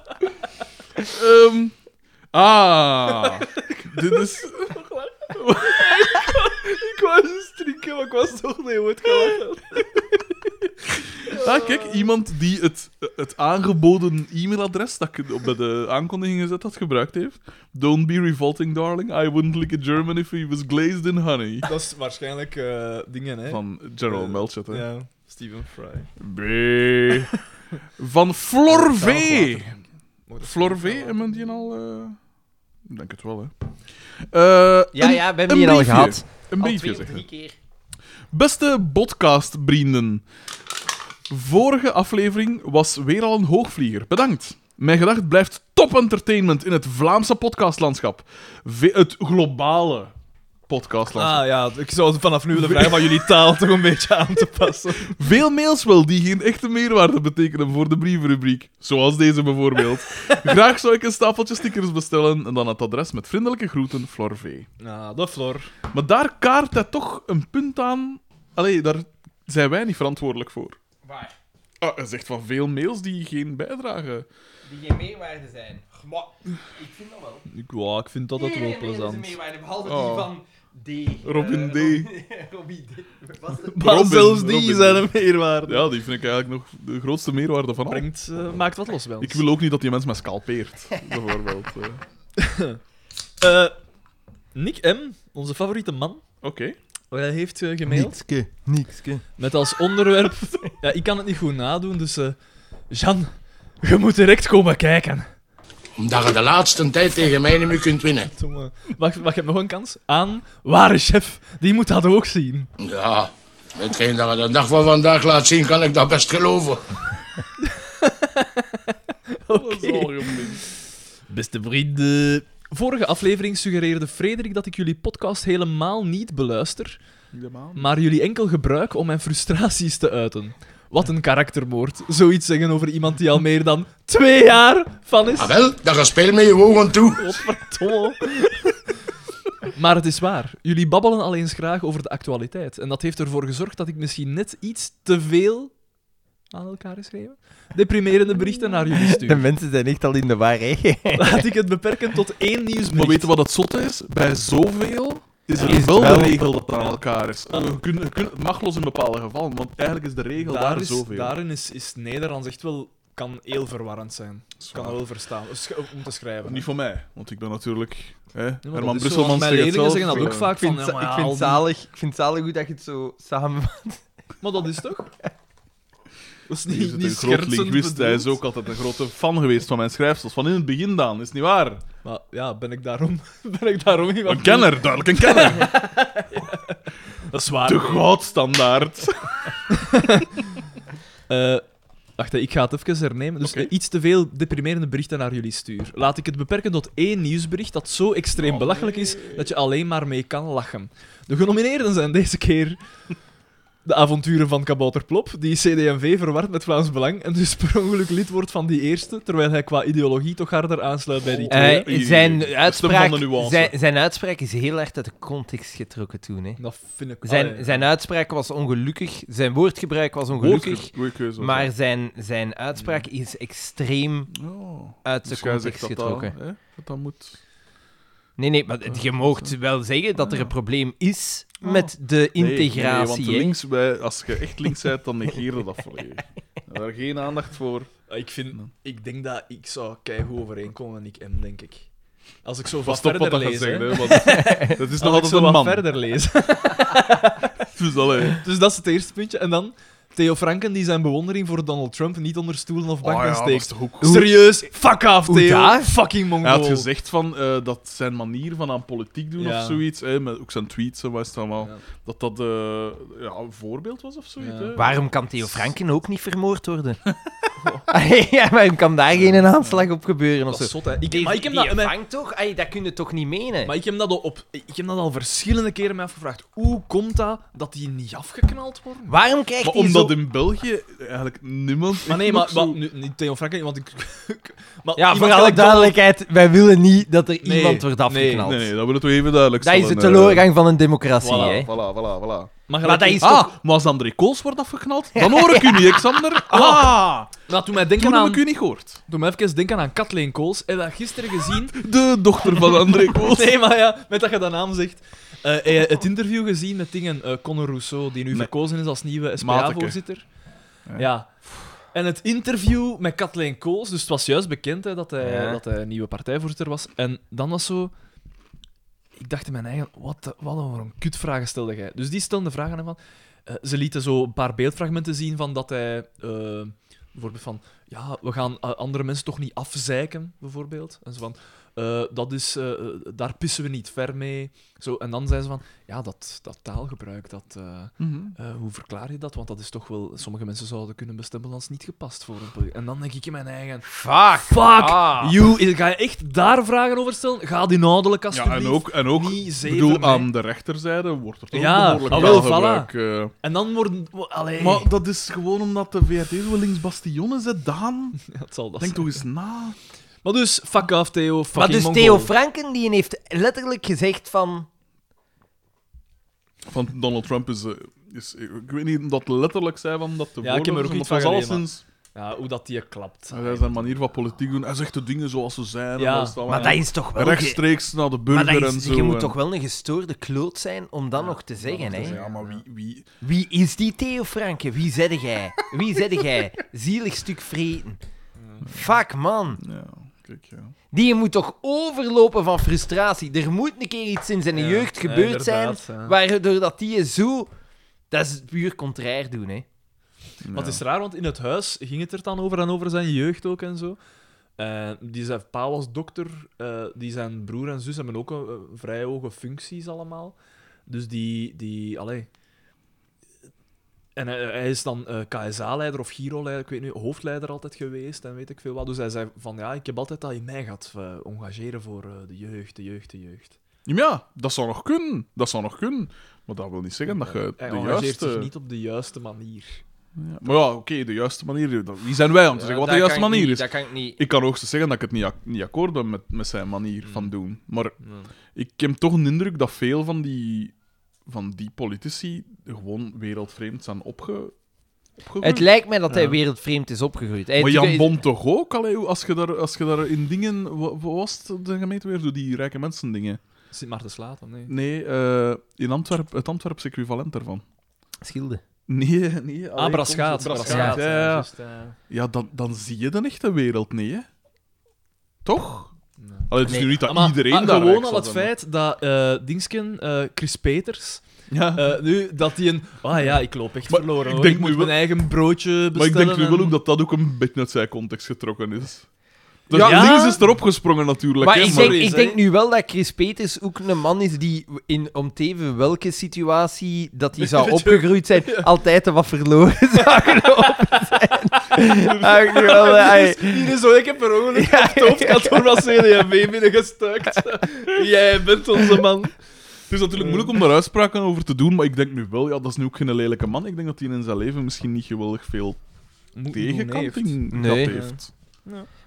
Speaker 1: Ehm, ah. Dit is...
Speaker 3: Ik wou ze strikken, maar ik was toch niet ooit gelachen.
Speaker 1: [LAUGHS] Ah, kijk, iemand die het, het aangeboden e-mailadres dat ik op bij de aankondiging gezet had gebruikt heeft. Don't be revolting, darling. I wouldn't lick a German if he was glazed in honey.
Speaker 3: Dat is waarschijnlijk eh, dingen, hè?
Speaker 1: Van General Melchett, hè.
Speaker 3: Ja, Stephen Fry.
Speaker 1: B. [LAUGHS] Van Flor V.
Speaker 3: Mocht dat-
Speaker 1: Flor V, hebben we die al... eh, Ik denk het wel, hè. Eh,
Speaker 2: Ja,
Speaker 1: een-
Speaker 2: ja, we
Speaker 1: een
Speaker 2: hebben die al
Speaker 1: briefje.
Speaker 2: gehad.
Speaker 1: Een
Speaker 2: Al
Speaker 1: briefje,
Speaker 2: twee of
Speaker 1: zeg
Speaker 2: drie
Speaker 1: ik.
Speaker 2: keer.
Speaker 1: Beste podcastvrienden. Vorige aflevering was weer al een hoogvlieger. Bedankt. Mijn gedacht blijft top entertainment in het Vlaamse podcastlandschap. Ve- het globale podcastlandschap.
Speaker 3: Ah ja, ik zou vanaf nu de vraag van jullie taal toch een beetje aan te passen.
Speaker 1: Veel mails wel die geen echte meerwaarde betekenen voor de brievenrubriek. Zoals deze
Speaker 3: [LAUGHS]
Speaker 1: bijvoorbeeld. Graag zou ik een stapeltje stickers bestellen en dan het adres met vriendelijke groeten, Flor V.
Speaker 3: [LAUGHS] Nou, dat Flor.
Speaker 1: Maar daar kaart hij toch een punt aan. Allee, daar zijn wij niet verantwoordelijk voor.
Speaker 2: Waar?
Speaker 1: Ah, hij zegt van veel mails die geen bijdrage.
Speaker 2: Die geen meerwaarde zijn. Maar, ik vind dat wel.
Speaker 3: Ik, ja, ik vind dat dat wel plezant.
Speaker 2: meerwaarde, behalve
Speaker 1: Oh.
Speaker 2: die van D.
Speaker 1: Robin
Speaker 2: Eh,
Speaker 1: D.
Speaker 2: Robin- Robin D. Wat was het?
Speaker 3: Maar
Speaker 1: Robin,
Speaker 3: zelfs die
Speaker 1: Robin.
Speaker 3: zijn een meerwaarde.
Speaker 1: Ja, die vind ik eigenlijk nog de grootste meerwaarde van al.
Speaker 3: Brengt, eh, maakt wat los bij ons.
Speaker 1: Ik wil ook niet dat die mens mij scalpeert, bijvoorbeeld. Eh, Oké.
Speaker 3: Eh, Nick M., onze favoriete man, eh, heeft eh, gemaild.
Speaker 2: Nikske, nikske.
Speaker 3: Met als [LAUGHS] onderwerp... ja, ik kan het niet goed nadoen, dus... eh Jan, je moet direct komen kijken.
Speaker 5: Omdat je de laatste tijd tegen mij niet meer kunt winnen.
Speaker 3: Jongen, Wacht, wacht, je hebt nog een kans? Aan ware chef. Die moet dat ook zien.
Speaker 5: Ja, hetgeen dat je de dag van vandaag laat zien, kan ik dat best geloven.
Speaker 1: Dat is al gemist.
Speaker 3: Beste vrienden. Vorige aflevering suggereerde Frederik dat ik jullie podcast helemaal niet beluister,
Speaker 1: Helemaal.
Speaker 3: maar jullie enkel gebruik om mijn frustraties te uiten. Wat een karaktermoord. Zoiets zeggen over iemand die al meer dan twee jaar van is.
Speaker 5: Ah wel, dan ga speel met je ogen toe.
Speaker 1: Oh,
Speaker 3: Godverdomme. [LAUGHS] Maar het is waar. Jullie babbelen alleen graag over de actualiteit. En dat heeft ervoor gezorgd dat ik misschien net iets te veel aan elkaar geschreven. Deprimerende berichten naar jullie
Speaker 2: De
Speaker 3: stuur.
Speaker 2: mensen zijn echt al in de war, hè?
Speaker 3: [LAUGHS] Laat ik het beperken tot één
Speaker 1: Maar
Speaker 3: nieuwsbericht.
Speaker 1: weet je wat het zotte is? Bij zoveel is er
Speaker 2: Is het
Speaker 1: wel de
Speaker 2: wel-
Speaker 1: regel dat het aan elkaar is. Eh, Je kunt, je kunt, het mag los in bepaalde gevallen, want eigenlijk is de regel daar,
Speaker 3: Daar is,
Speaker 1: zoveel.
Speaker 3: daarin is, is Nederlands echt wel... Kan heel verwarrend zijn.
Speaker 1: Zwaar.
Speaker 3: Kan wel verstaan. Sch- oh, Om te schrijven.
Speaker 1: Niet voor mij, want ik ben natuurlijk... Hè,
Speaker 3: dat
Speaker 1: Herman
Speaker 3: is zo,
Speaker 1: Brusselman
Speaker 3: want mijn
Speaker 1: zegt
Speaker 3: leerlingen
Speaker 1: zelf,
Speaker 3: zeggen dat ook
Speaker 1: eh,
Speaker 3: vaak.
Speaker 2: Ik vind,
Speaker 3: Van,
Speaker 2: za-
Speaker 3: ja, maar
Speaker 2: ik,
Speaker 3: ja,
Speaker 2: vind
Speaker 3: al-
Speaker 2: zalig, ik vind zalig hoe dat je het zo samen...
Speaker 3: Maar dat is
Speaker 1: [LAUGHS]
Speaker 3: toch? Dat is
Speaker 1: Hier
Speaker 3: niet,
Speaker 1: zit een
Speaker 3: niet
Speaker 1: groot
Speaker 3: schertsend
Speaker 1: linguist, hij is
Speaker 3: bedoeld.
Speaker 1: ook altijd een grote fan geweest van mijn schrijfsels. Van in het begin dan, is niet waar?
Speaker 3: Maar ja, ben ik daarom, [LAUGHS] ben ik daarom iemand...
Speaker 1: Een kenner, duidelijk een
Speaker 3: [LAUGHS]
Speaker 1: kenner.
Speaker 3: die- Dat is waar.
Speaker 1: De goudstandaard.
Speaker 3: Eh, wacht, hè, ik ga het even hernemen. Dus
Speaker 1: Oké.
Speaker 3: eh, iets te veel deprimerende berichten naar jullie stuur. Laat ik het beperken tot één nieuwsbericht dat zo
Speaker 1: Oh,
Speaker 3: extreem belachelijk is dat je alleen maar mee kan lachen. De genomineerden zijn deze
Speaker 1: [LAUGHS]
Speaker 3: keer de avonturen van Kabouter Plop, die CD&V verward met Vlaams Belang en dus per ongeluk lid wordt van die eerste, terwijl hij qua ideologie toch harder aansluit bij die tweede.
Speaker 1: Eh, Oei, oei,
Speaker 2: zijn,
Speaker 1: oei.
Speaker 2: uitspraak,
Speaker 1: Stem van de nuance.
Speaker 2: zijn, zijn uitspraak is heel erg uit de context getrokken toen,
Speaker 1: Ah,
Speaker 2: hè?
Speaker 3: Dat vind ik... Ah,
Speaker 2: Zijn,
Speaker 3: Allee.
Speaker 2: zijn uitspraak was ongelukkig, zijn woordgebruik was ongelukkig,
Speaker 1: Goeie keuze.
Speaker 2: maar zijn, zijn uitspraak is extreem
Speaker 1: Oh.
Speaker 2: uit de
Speaker 1: Dus jij
Speaker 2: context
Speaker 1: zegt dat dat,
Speaker 2: getrokken.
Speaker 1: hè, dat dat moet...
Speaker 2: Nee, nee, maar het- je moogt wel zeggen dat er een probleem is met de
Speaker 1: Nee, nee,
Speaker 2: integratie.
Speaker 1: want de
Speaker 2: hè.
Speaker 1: links, wij- als je echt links bent, dan negeer je dat volledig. Daar geen aandacht voor.
Speaker 3: Ik, vind, ik denk dat ik zou keigoed overeenkomen met Nick M, denk ik. Als ik zo
Speaker 1: Pas
Speaker 3: wat
Speaker 1: op wat
Speaker 3: verder
Speaker 1: dat gaat
Speaker 3: lees, hè.
Speaker 1: zeggen, hè, want het is nog
Speaker 3: [LAUGHS] Als
Speaker 1: altijd
Speaker 3: ik zo
Speaker 1: een
Speaker 3: wat
Speaker 1: man.
Speaker 3: verder lees.
Speaker 1: Dus allee.
Speaker 3: Dus dat is het eerste puntje. En dan Theo Franken die zijn bewondering voor Donald Trump niet onder stoelen of
Speaker 1: Oh
Speaker 3: banken steekt. Serieus, fuck af,
Speaker 2: Hoe
Speaker 3: Theo.
Speaker 2: daar?
Speaker 3: Fucking
Speaker 1: Hij
Speaker 3: mongool.
Speaker 1: had gezegd van, eh, dat zijn manier van aan politiek doen
Speaker 3: Ja.
Speaker 1: of zoiets, hè, met ook zijn tweets en wat is het allemaal,
Speaker 3: Ja.
Speaker 1: dat dat eh, ja, een voorbeeld was of zoiets.
Speaker 3: Ja.
Speaker 1: Hè?
Speaker 2: Waarom kan Theo Franken ook niet
Speaker 1: [LAUGHS]
Speaker 2: vermoord worden? [LAUGHS] Allee, ja, waarom kan daar geen aanslag op gebeuren? Of
Speaker 3: Dat
Speaker 2: zo?
Speaker 3: is zot, hè. Ik,
Speaker 2: Die-
Speaker 3: maar, ik heb
Speaker 2: die
Speaker 3: dat, maar,
Speaker 2: vangt toch? Ay, dat kun je toch niet menen?
Speaker 3: maar ik heb dat al op, ik heb dat al verschillende keren mij afgevraagd. Hoe komt dat dat die niet afgeknald worden?
Speaker 2: Waarom krijgt
Speaker 1: Maar
Speaker 2: hij
Speaker 1: omdat
Speaker 2: zo...
Speaker 1: in België eigenlijk niemand...
Speaker 3: Maar nee,
Speaker 1: echt
Speaker 3: maar,
Speaker 1: nog zo-
Speaker 3: maar nu, niet Theo Franken, want ik... [LAUGHS] maar
Speaker 2: Ja,
Speaker 3: iemand
Speaker 2: voor alle
Speaker 3: gelijk
Speaker 2: duidelijkheid, wij willen niet dat er
Speaker 3: Nee,
Speaker 2: iemand wordt afgeknald.
Speaker 1: Nee, nee, dat wil ik toch even duidelijk
Speaker 2: Dat
Speaker 1: stellen.
Speaker 2: is de
Speaker 1: eh.
Speaker 2: teleurgang van een democratie, hè.
Speaker 1: Voilà, voilà, voilà, voilà.
Speaker 3: Donald- Maar,
Speaker 2: Maar
Speaker 3: gelijk,
Speaker 2: dat is
Speaker 1: Ah,
Speaker 2: toch...
Speaker 1: maar als André Kools wordt afgeknald, dan hoor ik u niet, Xander. Ah,
Speaker 3: Nou, doe mij denken
Speaker 1: toen heb
Speaker 3: aan...
Speaker 1: ik u niet gehoord.
Speaker 3: Doe mij even denken aan Kathleen Kools. Heb je dat gisteren gezien?
Speaker 1: De dochter van André
Speaker 3: [LAUGHS]
Speaker 1: Kools.
Speaker 3: Nee, maar ja, met dat je dat naam zegt. Eh, heb je het interview gezien met dingen, eh Conor Rousseau, die nu verkozen is als nieuwe
Speaker 1: Mateke.
Speaker 3: SPA-voorzitter.
Speaker 1: Ja.
Speaker 3: Ja. En het interview met Kathleen Kools, dus het was juist bekend hè, dat, hij,
Speaker 2: Ja.
Speaker 3: dat hij nieuwe partijvoorzitter was. En dan was zo... Ik dacht in mijn eigen, wat, de- wat een, voor een kutvragen stelde jij? Dus die stelde de vraag aan hem van... eh, ze lieten zo een paar beeldfragmenten zien van dat hij... eh, bijvoorbeeld van, ja, we gaan eh, andere mensen toch niet afzeiken, bijvoorbeeld. En zo van, eh, dat is, eh, eh, daar pissen we niet ver mee. Zo, en dan zei ze van, ja, dat, dat taalgebruik, dat... eh, eh, hoe verklaar je dat? Want dat is toch wel... Sommige mensen zouden kunnen bestempelen als niet gepast voor een politie. En dan denk ik in mijn eigen...
Speaker 2: Fuck.
Speaker 3: Fuck
Speaker 2: Ah.
Speaker 3: you! Is- Ga je echt daar vragen over stellen? Ga die inhoudelijk
Speaker 1: Ja,
Speaker 3: alsjeblieft.
Speaker 1: en ook, en ook
Speaker 3: niet
Speaker 1: ik
Speaker 3: zeven
Speaker 1: bedoel,
Speaker 3: mij.
Speaker 1: aan de rechterzijde wordt er toch
Speaker 3: Ja,
Speaker 1: behoorlijk
Speaker 3: ah, wel,
Speaker 1: taalgebruik, eh.
Speaker 3: En dan worden... wo- Allee. [LAUGHS]
Speaker 1: Maar dat is gewoon omdat de VRT zo linksbastionen zet, Daan.
Speaker 3: Ja, het zal dat
Speaker 1: Denk
Speaker 3: zijn.
Speaker 1: toch eens na.
Speaker 3: Maar dus, fuck off, Theo. Fucking
Speaker 2: Maar dus
Speaker 3: Mongool.
Speaker 2: Theo Franken die heeft letterlijk gezegd van...
Speaker 1: Van Donald Trump is, eh, is... Ik weet niet of dat letterlijk zei van dat te
Speaker 3: Ja, ik heb er ook
Speaker 1: maar
Speaker 3: iets
Speaker 1: het was
Speaker 3: van
Speaker 1: alleszins...
Speaker 3: Ja, hoe dat die klapt.
Speaker 1: Hij zijn manier van politiek doen. Hij zegt de dingen zoals ze zijn. en
Speaker 3: Ja,
Speaker 1: alles dat
Speaker 2: Maar
Speaker 1: wel.
Speaker 2: dat is toch wel... ge-
Speaker 1: Rechtstreeks naar de
Speaker 2: Maar
Speaker 1: burger
Speaker 2: dat
Speaker 1: en
Speaker 2: is,
Speaker 1: zo.
Speaker 2: je moet
Speaker 1: en-
Speaker 2: toch wel een gestoorde kloot zijn om dat nog te zeggen, hè?
Speaker 1: Ja, maar wie... wie...
Speaker 2: Wie is die Theo Franken? Wie zette jij? Wie zette jij? Zielig stuk vreten. Fuck, man.
Speaker 1: Ja, kijk, ja.
Speaker 2: Die moet toch overlopen van frustratie. Er moet een keer iets in zijn jeugd gebeurd zijn, waardoor dat die zo... Dat is puur contrair doen, hè.
Speaker 3: Maar het is raar, want in het huis ging het er dan over en over zijn jeugd ook en zo. Eh, die zijn pa was dokter, eh, die zijn broer en zus hebben ook een, eh, vrij hoge functies allemaal. Dus die, die allee. En hij, hij is dan eh, KSA-leider of Giro-leider, ik weet niet, hoofdleider altijd geweest en weet ik veel wat. Dus hij zei van, ja, ik heb altijd dat in mij gehad, eh, engageren voor eh, de jeugd, de jeugd, de jeugd.
Speaker 1: Ja, dat zou nog kunnen. Dat zou nog kunnen. Maar dat wil niet zeggen dat je de
Speaker 3: Eh, Hij engageert
Speaker 1: juiste...
Speaker 3: zich niet op de juiste manier.
Speaker 1: Ja, Maar ja, oké, de juiste manier. dat- Wie zijn wij om te zeggen wat de juiste manier is?
Speaker 2: Dat Eh, kan ik niet...
Speaker 1: Ik kan hoogstens zeggen dat ik het niet, ak- niet akkoord ben met, met zijn manier
Speaker 3: Mm.
Speaker 1: van doen. Maar ik heb toch een indruk dat veel van die, van die politici gewoon wereldvreemd zijn opge, opgegroeid.
Speaker 2: Het lijkt mij dat hij wereldvreemd is opgegroeid. Hij
Speaker 1: maar
Speaker 2: heeft-
Speaker 1: Jan Bon toch ook? Allee, als, je daar, als je daar in dingen... wa- Wat was het de gemeente weer? Zo die rijke mensen dingen.
Speaker 3: Sint Maarten slaat dan, nee.
Speaker 1: Nee, eh, in Antwerp, het Antwerps equivalent daarvan.
Speaker 2: Schilde.
Speaker 1: Nee, nee.
Speaker 3: Ah,
Speaker 1: allee,
Speaker 3: Braschaat.
Speaker 1: kom,
Speaker 3: Braschaat,
Speaker 1: Ja,
Speaker 3: ja,
Speaker 1: ja.
Speaker 3: juist, eh.
Speaker 1: Ja, dan, dan zie je de echte wereld niet, hè? Toch?
Speaker 3: Nee. Ah,
Speaker 1: Allee, het is
Speaker 2: Nee.
Speaker 1: nu niet dat
Speaker 3: Maar-
Speaker 1: iedereen
Speaker 3: maar
Speaker 1: daar
Speaker 3: gewoon
Speaker 1: rijk
Speaker 3: al
Speaker 1: zal
Speaker 3: het
Speaker 1: zijn,
Speaker 3: feit dat eh Dingsken, eh, Chris Peters,
Speaker 1: maar- Ja.
Speaker 3: eh, nu dat hij een... Ah ja, ik loop echt
Speaker 1: Maar
Speaker 3: verloren.
Speaker 1: ik
Speaker 3: hoor.
Speaker 1: denk
Speaker 3: ik moet
Speaker 1: nu wel-
Speaker 3: mijn eigen broodje bestellen.
Speaker 1: Maar ik denk nu wel
Speaker 3: en-
Speaker 1: ook dat dat ook een beetje uit zijn context getrokken is. De
Speaker 3: Ja.
Speaker 1: links is erop gesprongen natuurlijk.
Speaker 2: Maar
Speaker 1: hè,
Speaker 2: ik
Speaker 1: maar-
Speaker 2: denk, ik
Speaker 3: hè?
Speaker 2: denk nu wel dat Chris Peters ook een man is die in om te even welke situatie dat
Speaker 3: [LAUGHS]
Speaker 2: hij zou opgegroeid zijn, altijd er wat verloren [LAUGHS] zou gelopen zijn. Ah, ik nu
Speaker 3: [LAUGHS]
Speaker 2: wel, eh,
Speaker 3: [LAUGHS] Hier is zo, ik heb per ongeluk
Speaker 1: [LAUGHS]
Speaker 3: het hoofdkantoor van CDMV E binnengestuikt. Jij bent onze man.
Speaker 1: Het is natuurlijk moeilijk om daar uitspraken over te doen, maar ik denk nu wel, ja, dat is nu ook geen lelijke man. Ik denk dat hij in zijn leven misschien niet geweldig veel tegenkanting gehad
Speaker 2: Nee.
Speaker 1: heeft.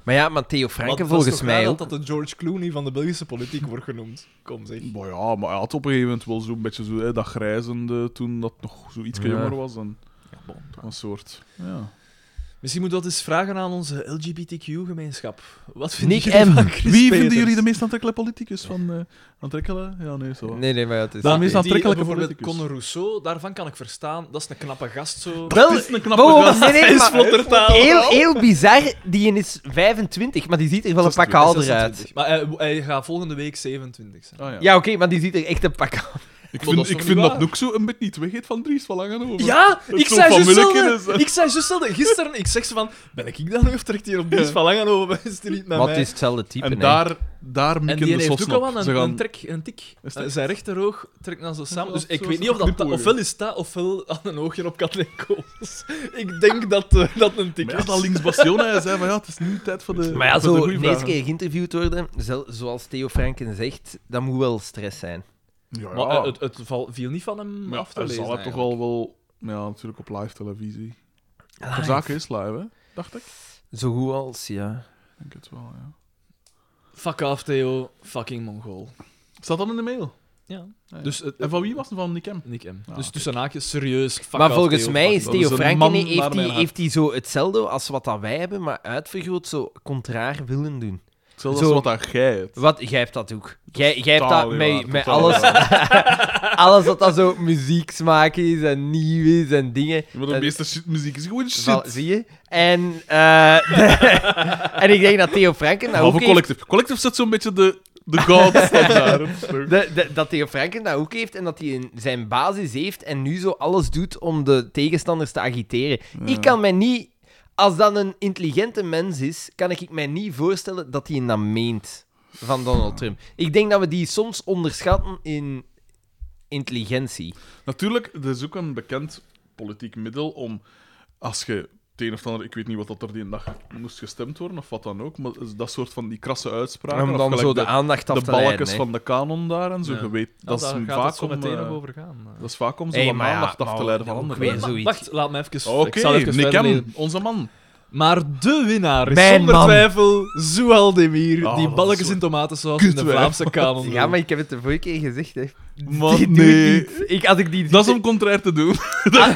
Speaker 2: Maar ja, maar Theo
Speaker 3: Maar
Speaker 2: Franken
Speaker 3: dat is
Speaker 2: volgens
Speaker 3: toch
Speaker 2: mij
Speaker 3: raar
Speaker 2: ook.
Speaker 3: dat dat de George Clooney van de Belgische politiek wordt genoemd. Kom zeg.
Speaker 1: Maar ja, maar hij had op een gegeven moment wel zo'n beetje zo, hè, dat grijzende toen dat nog zo iets
Speaker 2: Ja.
Speaker 1: jonger was. En
Speaker 3: Ja, bon.
Speaker 1: een soort. Ja.
Speaker 3: Misschien moeten we dat eens vragen aan onze LGBTQ-gemeenschap. Wat vinden
Speaker 2: Nick
Speaker 3: jullie
Speaker 2: M.
Speaker 3: van Chris
Speaker 1: Wie
Speaker 3: Peters?
Speaker 1: vinden jullie de meest aantrekkelijke politicus van eh aantrekkelijke? Ja, nee, zo.
Speaker 2: Nee, nee, maar ja, het is.
Speaker 1: Daarom is
Speaker 2: oké.
Speaker 1: dat-
Speaker 3: Die, eh,
Speaker 1: aantrekkelijke
Speaker 3: bijvoorbeeld
Speaker 1: politicus.
Speaker 3: Conor Rousseau, daarvan kan ik verstaan. Dat is een knappe gast zo.
Speaker 2: Wel,
Speaker 1: Het is een knappe
Speaker 2: wow,
Speaker 1: gast.
Speaker 2: nee, nee,
Speaker 1: Hij is
Speaker 2: maar-
Speaker 1: vlotter taal.
Speaker 2: Heel, heel bizar, die is 25, maar die ziet er wel een pak ouder uit.
Speaker 3: 26. Maar hij, hij gaat volgende week 27 zijn.
Speaker 1: Ah, ja.
Speaker 2: Ja, oké, maar die ziet er echt een pak ouder
Speaker 1: Ik
Speaker 3: Maar
Speaker 1: vind,
Speaker 3: dat is
Speaker 1: ik
Speaker 3: toch
Speaker 1: vind
Speaker 3: niet
Speaker 1: dat
Speaker 3: waar?
Speaker 1: ook zo een beetje niet weggeet van Dries van Langenhoven.
Speaker 3: Ja,
Speaker 1: Het
Speaker 3: ik
Speaker 1: zo'n
Speaker 3: zei juist
Speaker 1: familiekennis, hè.
Speaker 3: hetzelfde. Ik zei juist hetzelfde. Gisteren, ik zeg ze van, ben ik dan nog terecht hier op dienst van langen over? [LAUGHS] Is het niet met
Speaker 2: Maar
Speaker 3: mij?
Speaker 2: het is hetzelfde type.
Speaker 1: En
Speaker 2: hè.
Speaker 1: daar, daar
Speaker 3: en
Speaker 1: mikken
Speaker 3: die
Speaker 1: de
Speaker 3: heeft
Speaker 1: sossen
Speaker 3: ook al
Speaker 1: op.
Speaker 3: een,
Speaker 1: Ze
Speaker 3: een
Speaker 1: gaan...
Speaker 3: trek, een tik.
Speaker 1: Is dat-
Speaker 3: Eh, Zijn rechteroog trekt naar zo samen.
Speaker 1: dat
Speaker 3: Dus ik
Speaker 1: zo-
Speaker 3: weet niet
Speaker 1: zo'n
Speaker 3: of dat...
Speaker 1: knipoog,
Speaker 3: Ofwel is dat, ofwel aan een oogje op Kathleen Kools. ik denk dat eh, dat een tik
Speaker 1: Maar ja,
Speaker 3: is.
Speaker 1: dat links Bastion, hij zei van ja, het is nu tijd voor de
Speaker 2: Maar ja,
Speaker 1: voor de
Speaker 2: zo
Speaker 1: goeie
Speaker 2: ineens
Speaker 1: vragen.
Speaker 2: keer geïnterviewd worden, zel- zoals Theo Franken zegt, dat moet wel stress zijn.
Speaker 1: Ja,
Speaker 3: Maar
Speaker 1: ja.
Speaker 3: eh, het, het val- viel niet van hem
Speaker 1: Maar ja,
Speaker 3: af te
Speaker 1: hij
Speaker 3: lezen.
Speaker 1: zal het toch
Speaker 3: eigenlijk.
Speaker 1: al wel... Ja, natuurlijk op live televisie. De zaak is live, hè? Dacht ik.
Speaker 2: Zo goed als, ja.
Speaker 1: Ik denk het wel, ja.
Speaker 3: Fuck off, Theo. Fucking Mongool.
Speaker 1: Staat dat in de mail?
Speaker 3: Ja.
Speaker 1: Ah, ja.
Speaker 3: Dus, eh,
Speaker 1: en van wie was het? Van Nick M?
Speaker 3: Nick M.
Speaker 1: Ah,
Speaker 3: dus
Speaker 1: oké.
Speaker 3: tussen haakjes, serieus. fuck
Speaker 2: maar
Speaker 3: off,
Speaker 2: volgens
Speaker 3: Theo,
Speaker 2: mij
Speaker 3: fuck
Speaker 2: is
Speaker 1: Dat is
Speaker 2: Theo
Speaker 1: een
Speaker 2: Franken,
Speaker 1: man
Speaker 2: nee,
Speaker 1: naar
Speaker 2: heeft
Speaker 1: mijn
Speaker 2: die,
Speaker 1: hart.
Speaker 2: heeft die zo hetzelfde als wat dat wij hebben, maar uitvergroot, zo contrair willen doen.
Speaker 1: Hetzelfde
Speaker 2: Zo.
Speaker 1: als wat dat jij hebt.
Speaker 2: Wat, jij hebt dat ook. Jij, jij hebt
Speaker 1: Totaal
Speaker 2: dat
Speaker 1: niet
Speaker 2: met,
Speaker 1: waar,
Speaker 2: met
Speaker 1: totaal
Speaker 2: alles,
Speaker 1: niet [LAUGHS] waar.
Speaker 2: alles wat dat zo muzieksmaak is en nieuw is en dingen.
Speaker 1: Maar de
Speaker 2: Dat-
Speaker 1: meeste shit, muziek is gewoon shit.
Speaker 2: Wel, nou, zie je? En, eh, [LAUGHS] en ik denk dat Theo Franken dat
Speaker 1: Behalve
Speaker 2: ook heeft.
Speaker 1: Collective. Collective zet zo'n beetje de, de
Speaker 2: [LAUGHS]
Speaker 1: goudstap daar.
Speaker 2: de- de- dat Theo Franken dat ook heeft en dat hij een- zijn basis heeft en nu zo alles doet om de tegenstanders te agiteren. Ik kan mij niet... Als dat een intelligente mens is, kan ik mij niet voorstellen dat hij dat meent van Donald Trump. Ik denk dat we die soms onderschatten in intelligentie.
Speaker 1: Natuurlijk, het is ook een bekend politiek middel om, als je het een of ander, ik weet niet wat dat er die dag moest gestemd worden of wat dan ook, maar dat soort van die krasse uitspraken.
Speaker 2: Om
Speaker 1: of
Speaker 2: dan
Speaker 1: gelijk
Speaker 2: zo
Speaker 1: de,
Speaker 2: de aandacht af
Speaker 1: de
Speaker 2: te
Speaker 1: balkjes
Speaker 2: leiden. hè.
Speaker 1: van de kanon daar en zo.
Speaker 7: Ja.
Speaker 1: Je weet, dat,
Speaker 7: daar
Speaker 1: is
Speaker 7: gaat
Speaker 1: vaak
Speaker 7: het zo
Speaker 1: om,
Speaker 7: meteen
Speaker 1: eh,
Speaker 7: over gaan.
Speaker 1: dat is vaak om zo
Speaker 2: Hey,
Speaker 1: wat
Speaker 2: maar ja,
Speaker 1: aandacht af te
Speaker 2: nou,
Speaker 1: leiden van
Speaker 2: dan ook
Speaker 1: anderen. Ah,
Speaker 2: weer
Speaker 7: Wa-
Speaker 2: zoiets.
Speaker 7: Wacht, laat me even... ik
Speaker 1: Oké,
Speaker 7: zal even
Speaker 1: Nick
Speaker 7: verder
Speaker 1: M,
Speaker 7: lezen.
Speaker 1: onze man.
Speaker 3: Maar de winnaar is
Speaker 2: Mijn
Speaker 3: zonder
Speaker 2: man.
Speaker 3: twijfel Zoualdemir,
Speaker 1: Ah,
Speaker 3: die
Speaker 1: dat is
Speaker 3: balletjes
Speaker 1: wel-
Speaker 3: in tomatensaus in
Speaker 1: Kut,
Speaker 3: de
Speaker 1: hè. [LAUGHS]
Speaker 3: Vlaamse kanon.
Speaker 2: Ja, maar ik heb het de vorige keer gezegd, hè.
Speaker 1: Maar
Speaker 2: Die doet
Speaker 1: nee,
Speaker 2: iets. Ik, als ik die
Speaker 1: dat is om contrair te doen. [LAUGHS]
Speaker 3: Ah,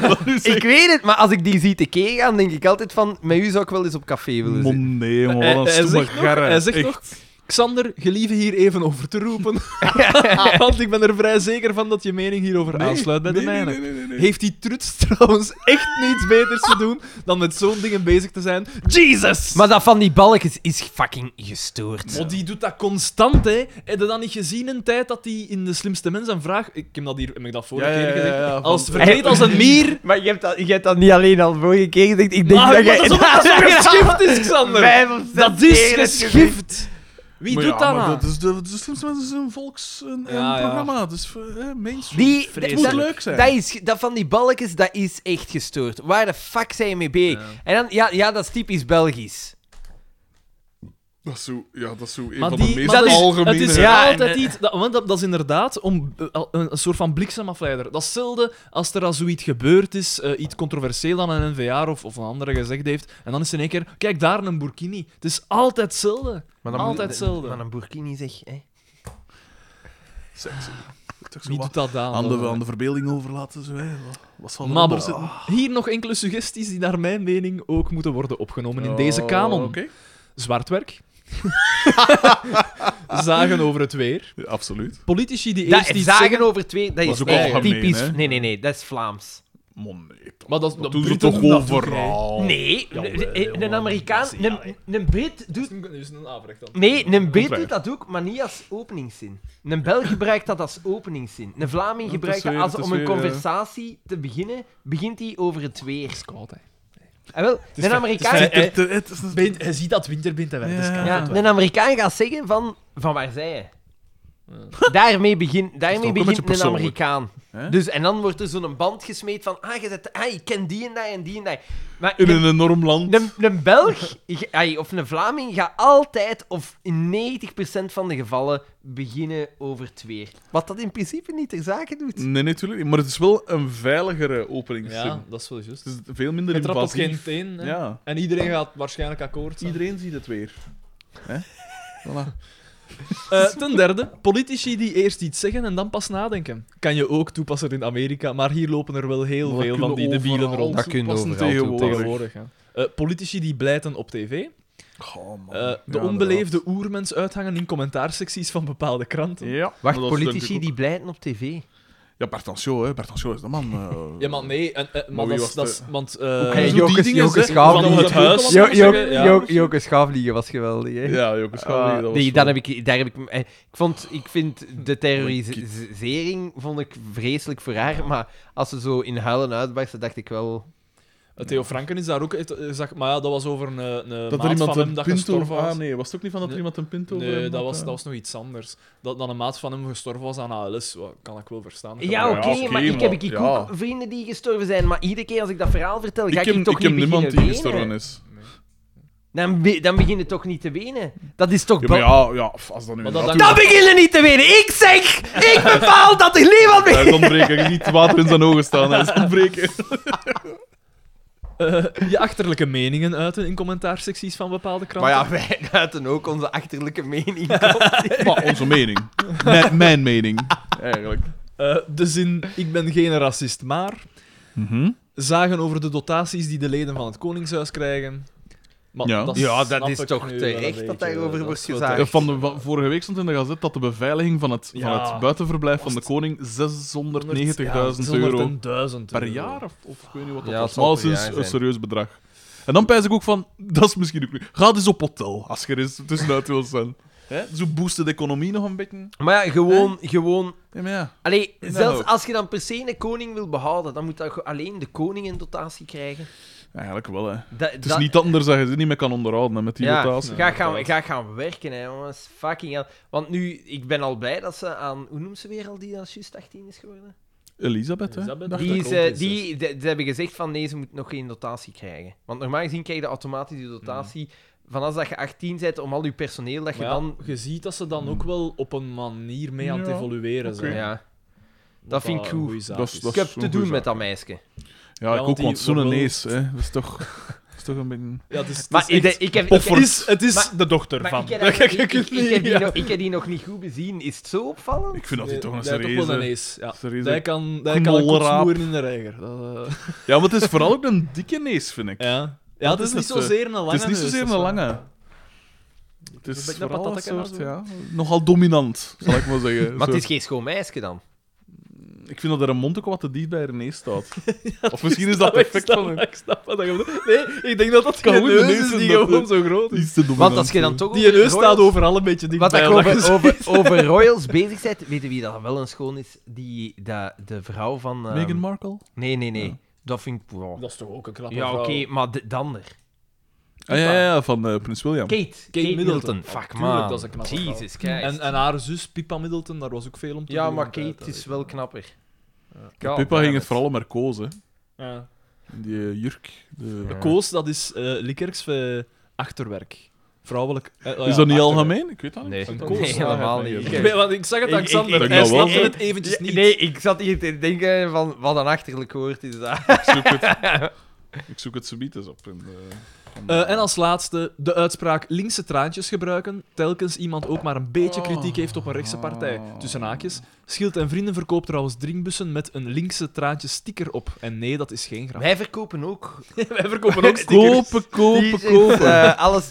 Speaker 1: dat wil ik
Speaker 2: Ik
Speaker 1: zeggen.
Speaker 2: weet het, maar als ik die zie te keer gaan, denk ik altijd van... Met u zou ik wel eens op café willen
Speaker 1: Mon
Speaker 2: zitten.
Speaker 1: nee, man,
Speaker 3: Hij-
Speaker 1: wat een
Speaker 3: hij
Speaker 1: stomme
Speaker 3: zegt nog-
Speaker 1: garre.
Speaker 3: hij zegt
Speaker 1: Echt.
Speaker 3: nog, Xander, gelieve hier even over te
Speaker 2: [LAUGHS]
Speaker 3: roepen. [LAUGHS] Want ik ben er vrij zeker van dat je mening hierover
Speaker 1: Nee,
Speaker 3: aansluit bij
Speaker 1: nee,
Speaker 3: de
Speaker 1: nee,
Speaker 3: mijne.
Speaker 1: nee, nee, nee, nee.
Speaker 3: Heeft die truts trouwens echt niets beters te doen dan met zo'n dingen bezig te zijn? Jesus!
Speaker 2: Maar dat van die balkjes is fucking gestoord.
Speaker 3: Oh, die doet dat constant, hè. Heb je dat niet gezien in tijd dat die in De Slimste Mens een vraag... Ik heb dat hier... Heb ik dat vorige
Speaker 1: Ja, ja,
Speaker 3: keer
Speaker 1: ja,
Speaker 3: gezegd?
Speaker 1: ja, van-
Speaker 3: Als verkleed als
Speaker 1: [LAUGHS]
Speaker 3: een mier...
Speaker 2: Maar je hebt, dat, je hebt dat niet alleen al vorige keer gezegd. Ik denk
Speaker 3: Ah,
Speaker 2: dat
Speaker 3: maar
Speaker 2: jij...
Speaker 3: dat
Speaker 1: [LAUGHS]
Speaker 2: [LAUGHS]
Speaker 3: is omdat dat zo'n geschift is, Xander.
Speaker 2: Vijf of zes
Speaker 3: Dat is
Speaker 2: keer het gezegd.
Speaker 3: geschift. Wie
Speaker 1: Maar
Speaker 3: doet
Speaker 1: ja,
Speaker 3: dat
Speaker 1: maar
Speaker 3: nou?
Speaker 1: Dat is de, de slimste mensen is een volks- een- een
Speaker 3: Ja, ja.
Speaker 1: programma. Dus eh, mainstream.
Speaker 2: Die,
Speaker 1: Het moet
Speaker 2: dat-
Speaker 1: leuk zijn.
Speaker 2: Dat, is, dat van die balkjes, dat is echt gestoord. Waar de fuck zijn je mee bezig? En dan, ja, ja, dat is typisch Belgisch.
Speaker 1: Dat is zo, ja, dat is zo een
Speaker 3: Maar
Speaker 1: van
Speaker 3: die-
Speaker 1: de meest
Speaker 3: maar dat is-
Speaker 1: algemene...
Speaker 3: Het is
Speaker 2: Ja, en,
Speaker 3: altijd
Speaker 2: eh,
Speaker 3: iets... Dat, want dat, dat is inderdaad om, eh, al- een, een soort van bliksemafleider. Dat is hetzelfde als er al zoiets gebeurd is, eh, iets controversieel aan een NVA of, of een andere gezegd heeft, en dan is in één keer, kijk daar een burkini. Het is altijd hetzelfde. altijd hetzelfde.
Speaker 2: Maar een burkini zeg, hè.
Speaker 1: Sexy. Toch zo
Speaker 3: Wie
Speaker 1: wat
Speaker 3: doet dat dan?
Speaker 1: aan, de, aan de verbeelding overlaten. Zo, hè. Wat- Wat zal
Speaker 3: Maar
Speaker 1: er
Speaker 3: bon,
Speaker 1: zitten?
Speaker 3: hier nog enkele suggesties die naar mijn mening ook moeten worden opgenomen in deze kanon.
Speaker 1: Oh, Oké.
Speaker 3: Zwartwerk. [LAUGHS] Zagen over het weer.
Speaker 1: Ja, absoluut.
Speaker 3: Politici die
Speaker 2: Dat,
Speaker 3: eerst iets
Speaker 2: zagen
Speaker 3: zeggen-
Speaker 2: over twee, dat
Speaker 1: Dat
Speaker 2: is
Speaker 1: is ook
Speaker 2: echt
Speaker 1: algemeen,
Speaker 2: typisch...
Speaker 1: hè?
Speaker 2: Nee, nee, nee, dat is Vlaams.
Speaker 1: Man, nee. toch.
Speaker 3: Maar dat,
Speaker 1: Dat
Speaker 3: dat
Speaker 1: doen ze
Speaker 3: Britten
Speaker 1: toch
Speaker 3: doen dat ook, hè.
Speaker 1: overal?
Speaker 2: Nee, een- een, een Amerikaan... Een, een Brit doet...
Speaker 3: Dat is een afrecht dan.
Speaker 2: Nee, een Brit
Speaker 1: Contrair.
Speaker 2: doet dat ook, maar niet als openingszin. Een Belg gebruikt dat als openingszin. Een Vlaming
Speaker 1: Ja, het
Speaker 2: gebruikt
Speaker 1: is weer-
Speaker 2: dat als
Speaker 1: het is
Speaker 2: om een
Speaker 1: weer, eh.
Speaker 2: conversatie te beginnen, begint hij over het weer.
Speaker 3: Koud, hè.
Speaker 2: En wel, een Amerikaan... Eh,
Speaker 3: ver-
Speaker 1: Het- het- het is-
Speaker 3: Been- Hij ziet dat winterbind en
Speaker 1: Ja.
Speaker 2: Ja, een Amerikaan gaat zeggen van, van waar zij je? [LAUGHS] Daarmee, begin, daarmee
Speaker 1: ook een beetje
Speaker 2: begint een
Speaker 1: persoonlijk.
Speaker 2: Amerikaan.
Speaker 1: Hè?
Speaker 2: Dus, en dan wordt er zo'n band gesmeed van, ah, je zet, ah, ik ken die en die en die en die. Maar
Speaker 1: In
Speaker 2: een,
Speaker 1: een enorm land.
Speaker 2: een, een Belg ge- ai, of een Vlaming gaat altijd, of in 90% van de gevallen, beginnen over het weer. Wat dat in principe niet ter zake doet.
Speaker 1: Nee, natuurlijk niet. Maar het is wel een veiligere openingszin.
Speaker 3: Ja, dat Dus is wel juist.
Speaker 1: Het is veel minder
Speaker 3: Je trapt op geen
Speaker 1: invasief.
Speaker 3: teen. hè.
Speaker 1: Ja.
Speaker 3: En iedereen gaat waarschijnlijk akkoord. zijn.
Speaker 1: Iedereen ziet het weer.
Speaker 2: [LAUGHS]
Speaker 1: Hè? Voilà.
Speaker 3: Eh, ten derde, politici die eerst iets zeggen en dan pas nadenken. Kan je ook toepassen in Amerika, maar hier lopen er wel heel
Speaker 1: Dat
Speaker 3: veel van
Speaker 1: kunnen
Speaker 3: die debielen
Speaker 1: overal
Speaker 3: rond.
Speaker 2: Dat kun je
Speaker 1: toepassen
Speaker 2: overal
Speaker 1: tegenwoordig.
Speaker 3: Tegenwoordig, hè. Eh, politici die blijten op tv.
Speaker 1: Goh, man.
Speaker 3: Eh,
Speaker 1: Ja,
Speaker 3: de
Speaker 1: inderdaad.
Speaker 3: onbeleefde oermens uithangen in commentaarsecties van bepaalde kranten.
Speaker 1: Ja, maar dat
Speaker 2: Wacht,
Speaker 1: is denk ik
Speaker 2: politici
Speaker 1: ook-
Speaker 2: die blijten op tv.
Speaker 1: Ja, Bert Anciot, hè. Bert Anciot is de man. eh.
Speaker 3: Ja, maar nee. En, eh, maar
Speaker 1: Maar wie
Speaker 3: dat
Speaker 1: was
Speaker 3: is- dat
Speaker 1: de-
Speaker 3: is... Want...
Speaker 1: Hey, Zo
Speaker 3: eh
Speaker 1: die Joke- dingen, Joke hè. Schaaf, Van die- het huis.
Speaker 3: Jo- Jo- Jo-
Speaker 2: Joke Schaafliegen was geweldig, hè?
Speaker 1: Ja, Joke Schouwing, Oh, dat was
Speaker 2: Eh,
Speaker 1: Oh
Speaker 2: nee,
Speaker 1: wel-
Speaker 2: dan heb ik, daar heb ik, eh, ik, vond, ik vind de terrorisering vond ik vreselijk voor haar, maar als ze zo in huilen uitbarstte, dacht ik wel...
Speaker 3: Eh, Theo Franken is daar ook... heeft, eh, zag- Maar ja, dat was over een, eh, een
Speaker 1: Dat er
Speaker 3: maat
Speaker 1: iemand
Speaker 3: van hem
Speaker 1: een
Speaker 3: dat
Speaker 1: pinto...
Speaker 3: gestorven was.
Speaker 1: Ah, nee, was het ook niet van dat er
Speaker 3: Nee.
Speaker 1: iemand een pinto... over
Speaker 3: Nee,
Speaker 1: hem eh?
Speaker 3: dat
Speaker 1: had,
Speaker 3: was,
Speaker 1: hè?
Speaker 3: dat was nog iets anders. Dat dan een maat van hem gestorven was aan ALS, wat kan ik wel verstaan.
Speaker 2: Ja, oké,
Speaker 1: oké,
Speaker 2: maar ik heb ik
Speaker 1: maar-
Speaker 2: ook
Speaker 1: ja.
Speaker 2: vrienden die gestorven zijn, maar iedere keer als ik dat verhaal vertel, ga ik,
Speaker 1: ik heb,
Speaker 2: toch
Speaker 1: ik heb
Speaker 2: niet
Speaker 1: niemand die
Speaker 2: beginnen
Speaker 1: gestorven
Speaker 2: wenen.
Speaker 1: is.
Speaker 2: Dan, be- dan begin je toch niet te wenen? Dat is toch...
Speaker 1: Ja, maar
Speaker 2: bel-
Speaker 1: ja, ja, pff, als dat nu...
Speaker 3: Maar dat
Speaker 1: inderdaad-
Speaker 2: Dan begin je niet te wenen! Ik zeg! Ik bepaal dat er niemand meer...
Speaker 1: Hij is eh, ontbreken. Je ziet water in zijn ogen staan.
Speaker 3: [LAUGHS]
Speaker 1: Hij is ontbreken.
Speaker 3: Eh, [LAUGHS] je achterlijke meningen uiten in commentaarsecties van bepaalde kranten.
Speaker 2: Maar ja, [LAUGHS] wij uiten ook onze achterlijke mening.
Speaker 1: Maar onze mening. Mijn, mijn mening. Eigenlijk.
Speaker 3: Eh, de zin, ik ben geen racist,
Speaker 1: Mhm.
Speaker 3: maar... Zagen over de dotaties die de leden van het Koningshuis krijgen. Maar
Speaker 1: Ja.
Speaker 2: Ja,
Speaker 3: snap
Speaker 2: dat is
Speaker 3: ik
Speaker 2: toch
Speaker 3: nu wel een
Speaker 2: terecht
Speaker 3: beetje,
Speaker 2: dat daarover
Speaker 3: dat
Speaker 2: wordt
Speaker 3: is wel
Speaker 1: Eh,
Speaker 2: gezaagd.
Speaker 1: Van de, wa- vorige week stond in de gazet dat de beveiliging van het, van
Speaker 3: Ja.
Speaker 1: het buitenverblijf van de koning 690.000 euro
Speaker 3: 600.000
Speaker 1: per jaar, of, of ik weet niet wat dat
Speaker 2: Ja,
Speaker 1: was.
Speaker 2: het zal
Speaker 1: Maar dat
Speaker 2: per
Speaker 1: is
Speaker 2: jaar
Speaker 1: een
Speaker 2: zijn.
Speaker 1: serieus bedrag. En dan pijs ik ook van, [LAUGHS] dat is misschien ook niet. Ga eens op hotel, als je er eens tussenuit wil zijn. Hè? Zo boosten de economie nog een beetje.
Speaker 2: Maar ja, gewoon... gewoon
Speaker 1: Ja, maar ja.
Speaker 2: Allee,
Speaker 1: Nou.
Speaker 2: zelfs als je dan per se een koning wil behouden, dan moet dat ge- alleen de koning in dotatie krijgen.
Speaker 1: Eigenlijk wel, hè.
Speaker 2: Dat,
Speaker 1: Het is niet anders dat je ze niet meer kan onderhouden hè, met die
Speaker 2: ja,
Speaker 1: rotatie.
Speaker 2: Ga gaan, ga gaan werken, hè, jongens. Fucking hell. Want nu, ik ben al blij dat ze aan... Hoe noemt ze weer al die dat juist 18 is geworden?
Speaker 1: Elisabeth, hè?
Speaker 3: Elisabeth,
Speaker 1: Dacht
Speaker 3: die
Speaker 1: ik.
Speaker 2: Die,
Speaker 3: dat
Speaker 2: is,
Speaker 3: klopt,
Speaker 2: eh,
Speaker 3: is
Speaker 2: die de- ze hebben gezegd van nee, ze moet nog geen dotatie krijgen. Want normaal gezien krijg je automatisch die dotatie van als dat je 18 bent om al je personeel dat je
Speaker 3: Maar ja,
Speaker 2: dan...
Speaker 3: je ziet dat ze dan ook wel op een manier mee aan het
Speaker 1: Ja,
Speaker 3: evolueren zijn.
Speaker 2: Ja. Dat vind ik goed.
Speaker 3: Dat,
Speaker 1: Dat is- dat
Speaker 2: Ik heb
Speaker 1: is
Speaker 2: te
Speaker 1: een
Speaker 2: doen
Speaker 1: goeie
Speaker 2: met
Speaker 1: zaak.
Speaker 2: dat meisje.
Speaker 1: Ja, ik
Speaker 3: want
Speaker 1: ook,
Speaker 3: die-
Speaker 1: want zo'n
Speaker 3: wel-
Speaker 1: nees, hè. Dat is toch, dat is toch een beetje...
Speaker 3: Ja, het is, het
Speaker 2: Maar
Speaker 3: is
Speaker 2: ik,
Speaker 3: echt-
Speaker 2: ik heb... ik heb-
Speaker 3: Het is, het is
Speaker 2: Maar-
Speaker 3: de dochter
Speaker 2: maar
Speaker 3: van.
Speaker 2: ik heb dat nog- ik-
Speaker 3: Kijk,
Speaker 2: ik- ik heb die
Speaker 3: ja.
Speaker 2: nog- ik heb die nog niet goed bezien. Is het zo opvallend?
Speaker 1: Ik vind dat hij toch een
Speaker 3: Hij heeft toch wel een
Speaker 1: serieuze...
Speaker 3: ace, ja.
Speaker 1: serieuze-
Speaker 3: Hij kan, hij kan een
Speaker 1: knolraap.
Speaker 3: kots moeren in de reiger. Dat, eh,
Speaker 1: Ja, maar het is vooral ook een dikke nees, vind ik.
Speaker 3: ja. ja, het
Speaker 1: is
Speaker 3: is niet
Speaker 1: het, eh,
Speaker 3: zozeer een lange
Speaker 1: Het is niet
Speaker 3: neus,
Speaker 1: zozeer
Speaker 3: dat
Speaker 1: een
Speaker 3: wel-
Speaker 1: lange. Het
Speaker 3: Een
Speaker 1: is
Speaker 3: beetje een
Speaker 1: vooral een
Speaker 3: patatekker
Speaker 1: soort,
Speaker 3: of
Speaker 1: ja, nogal dominant, zal ik maar zeggen.
Speaker 2: Maar het
Speaker 1: Zo-
Speaker 2: is geen schoon meisje dan.
Speaker 1: Ik vind dat er een mond ook wat te diep bij haar neus staat. of misschien is dat
Speaker 3: Ik
Speaker 1: het effect
Speaker 3: snap-
Speaker 1: van
Speaker 3: [LAUGHS]
Speaker 1: een...
Speaker 3: Ik snap wat je bedoelt. Nee, ik denk dat dat
Speaker 1: Kan
Speaker 3: geen
Speaker 1: goed, de
Speaker 3: neus
Speaker 1: neus
Speaker 3: is die
Speaker 1: en dat-
Speaker 3: gewoon zo groot is.
Speaker 1: Iets te dominant.
Speaker 2: Want als je dan toch
Speaker 3: Die neus
Speaker 2: Royals-
Speaker 3: staat overal een beetje dicht
Speaker 2: Wat
Speaker 3: bij
Speaker 2: ik
Speaker 3: elkaar.
Speaker 2: over,
Speaker 3: [LAUGHS]
Speaker 2: over, over Royals bezig bent, weet je wie dat wel een schoon is? Die, dat de vrouw van... ehm,
Speaker 1: Meghan Markle?
Speaker 2: Nee, nee, nee. Dat vind ik... wow.
Speaker 3: Dat is toch ook een knappe
Speaker 2: Ja, oké,
Speaker 3: vrouw.
Speaker 2: maar de, de ander.
Speaker 1: Ah, ja, ja, ja, van eh, Prins William.
Speaker 2: Kate. Kate,
Speaker 3: Middleton.
Speaker 2: Middleton. Fuck,
Speaker 3: Tuurlijk,
Speaker 2: man.
Speaker 3: dat is een knappe vrouw.
Speaker 2: Jesus Christ.
Speaker 3: En, en haar zus, Pippa Middleton, daar was ook veel om te
Speaker 2: ja,
Speaker 3: doen.
Speaker 2: maar
Speaker 3: altijd,
Speaker 2: Kate
Speaker 3: hè.
Speaker 2: is wel knapper.
Speaker 1: Pippa
Speaker 2: God damn
Speaker 1: ging
Speaker 2: it.
Speaker 1: het vooral om haar koos, hè.
Speaker 3: Ja.
Speaker 1: Die eh, jurk. De...
Speaker 2: Ja.
Speaker 3: Koos, dat is eh Likkerks eh, achterwerk. Vrouwelijk. eh, oh ja,
Speaker 1: Is dat niet
Speaker 3: achterwerk.
Speaker 1: algemeen? Ik weet dat niet.
Speaker 2: Nee,
Speaker 3: Een
Speaker 2: nee
Speaker 3: koos.
Speaker 2: [LAUGHS] helemaal niet.
Speaker 3: Ik, weet- want ik zag het aan
Speaker 2: Ik-
Speaker 3: Xander.
Speaker 1: ik- ik-
Speaker 3: hij
Speaker 1: ik-
Speaker 3: snapte
Speaker 1: ik-
Speaker 3: het eventjes niet.
Speaker 2: Nee, ik zat hier te denken van wat een achterlijk woord is dat.
Speaker 1: Ik zoek het, ik zoek het subiet eens op. in de- van-
Speaker 3: Eh, en als laatste de uitspraak linkse traantjes gebruiken, telkens iemand ook maar een
Speaker 1: Oh.
Speaker 3: beetje kritiek heeft op een rechtse partij. Tussen haakjes. Schild en Vrienden verkoopt trouwens drinkbussen met een linkse traantjes sticker op. En nee, dat is geen grap.
Speaker 2: [LAUGHS] Wij verkopen ook.
Speaker 3: Wij verkopen ook stickers.
Speaker 1: Kopen, kopen,
Speaker 2: Hier zit,
Speaker 1: kopen.
Speaker 2: eh, alles.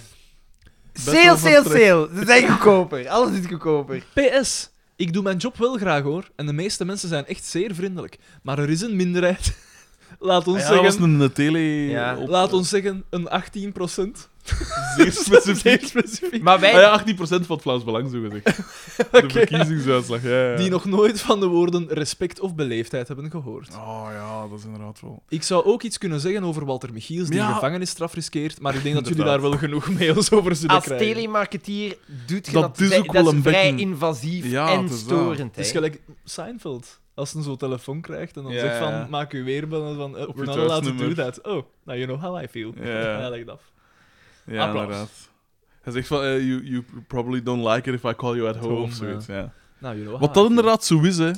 Speaker 2: Sale,
Speaker 1: wel
Speaker 2: sale,
Speaker 1: van
Speaker 2: sale. Ze zijn goedkoper. Alles is goedkoper.
Speaker 3: PS, ik doe mijn job wel graag hoor. En de meeste mensen zijn echt zeer vriendelijk. Maar er is een minderheid. [LAUGHS] Laat ons
Speaker 1: Ja, dat was
Speaker 3: zeggen...
Speaker 1: een eh, tele...
Speaker 2: Ja.
Speaker 1: op-
Speaker 3: Laat ons zeggen, een 18 procent.
Speaker 1: [LAUGHS] Zeer
Speaker 3: [LAUGHS]
Speaker 1: specifiek.
Speaker 3: specifiek.
Speaker 2: Maar wij,
Speaker 1: Ah ja, 18% van het Vlaams Belang, zo
Speaker 3: [LAUGHS]
Speaker 1: gezegd. De verkiezingsuitslag, ja, ja.
Speaker 3: Die nog nooit van de woorden respect of beleefdheid hebben gehoord.
Speaker 1: Oh ja, dat is inderdaad wel...
Speaker 3: Ik zou ook iets kunnen zeggen over Walter Michiels, die
Speaker 1: Ja.
Speaker 3: een gevangenisstraf riskeert, maar ik denk dat jullie daar
Speaker 1: Inderdaad.
Speaker 3: wel genoeg mails over zullen
Speaker 2: als
Speaker 3: krijgen.
Speaker 2: telemarketeer, doet je
Speaker 1: Dat
Speaker 2: dat,
Speaker 1: is
Speaker 2: vrij-
Speaker 1: ook wel
Speaker 2: dat
Speaker 1: een
Speaker 2: vrij
Speaker 1: beetje-
Speaker 2: invasief
Speaker 1: Ja,
Speaker 2: en
Speaker 1: het is dat.
Speaker 2: storend.
Speaker 3: Het is
Speaker 2: hè.
Speaker 3: gelijk Seinfeld. Als hij zo'n telefoon krijgt en dan
Speaker 1: Ja,
Speaker 3: zegt
Speaker 1: ja.
Speaker 3: van, maak u weer bellen van, eh, op
Speaker 1: je
Speaker 3: een laten do
Speaker 1: thuisnummer.
Speaker 3: that. Oh, now you know how I feel. [LAUGHS]
Speaker 1: Ja.
Speaker 3: Ja, like dat.
Speaker 1: Ja,
Speaker 3: Applaus.
Speaker 1: inderdaad. Hij zegt van, eh, you, you probably don't like it if I call you at home,
Speaker 3: home,
Speaker 1: of zoiets, ja.
Speaker 3: Nou, you
Speaker 1: Wat
Speaker 3: know how
Speaker 1: dat
Speaker 3: I feel.
Speaker 1: inderdaad zo is, hè.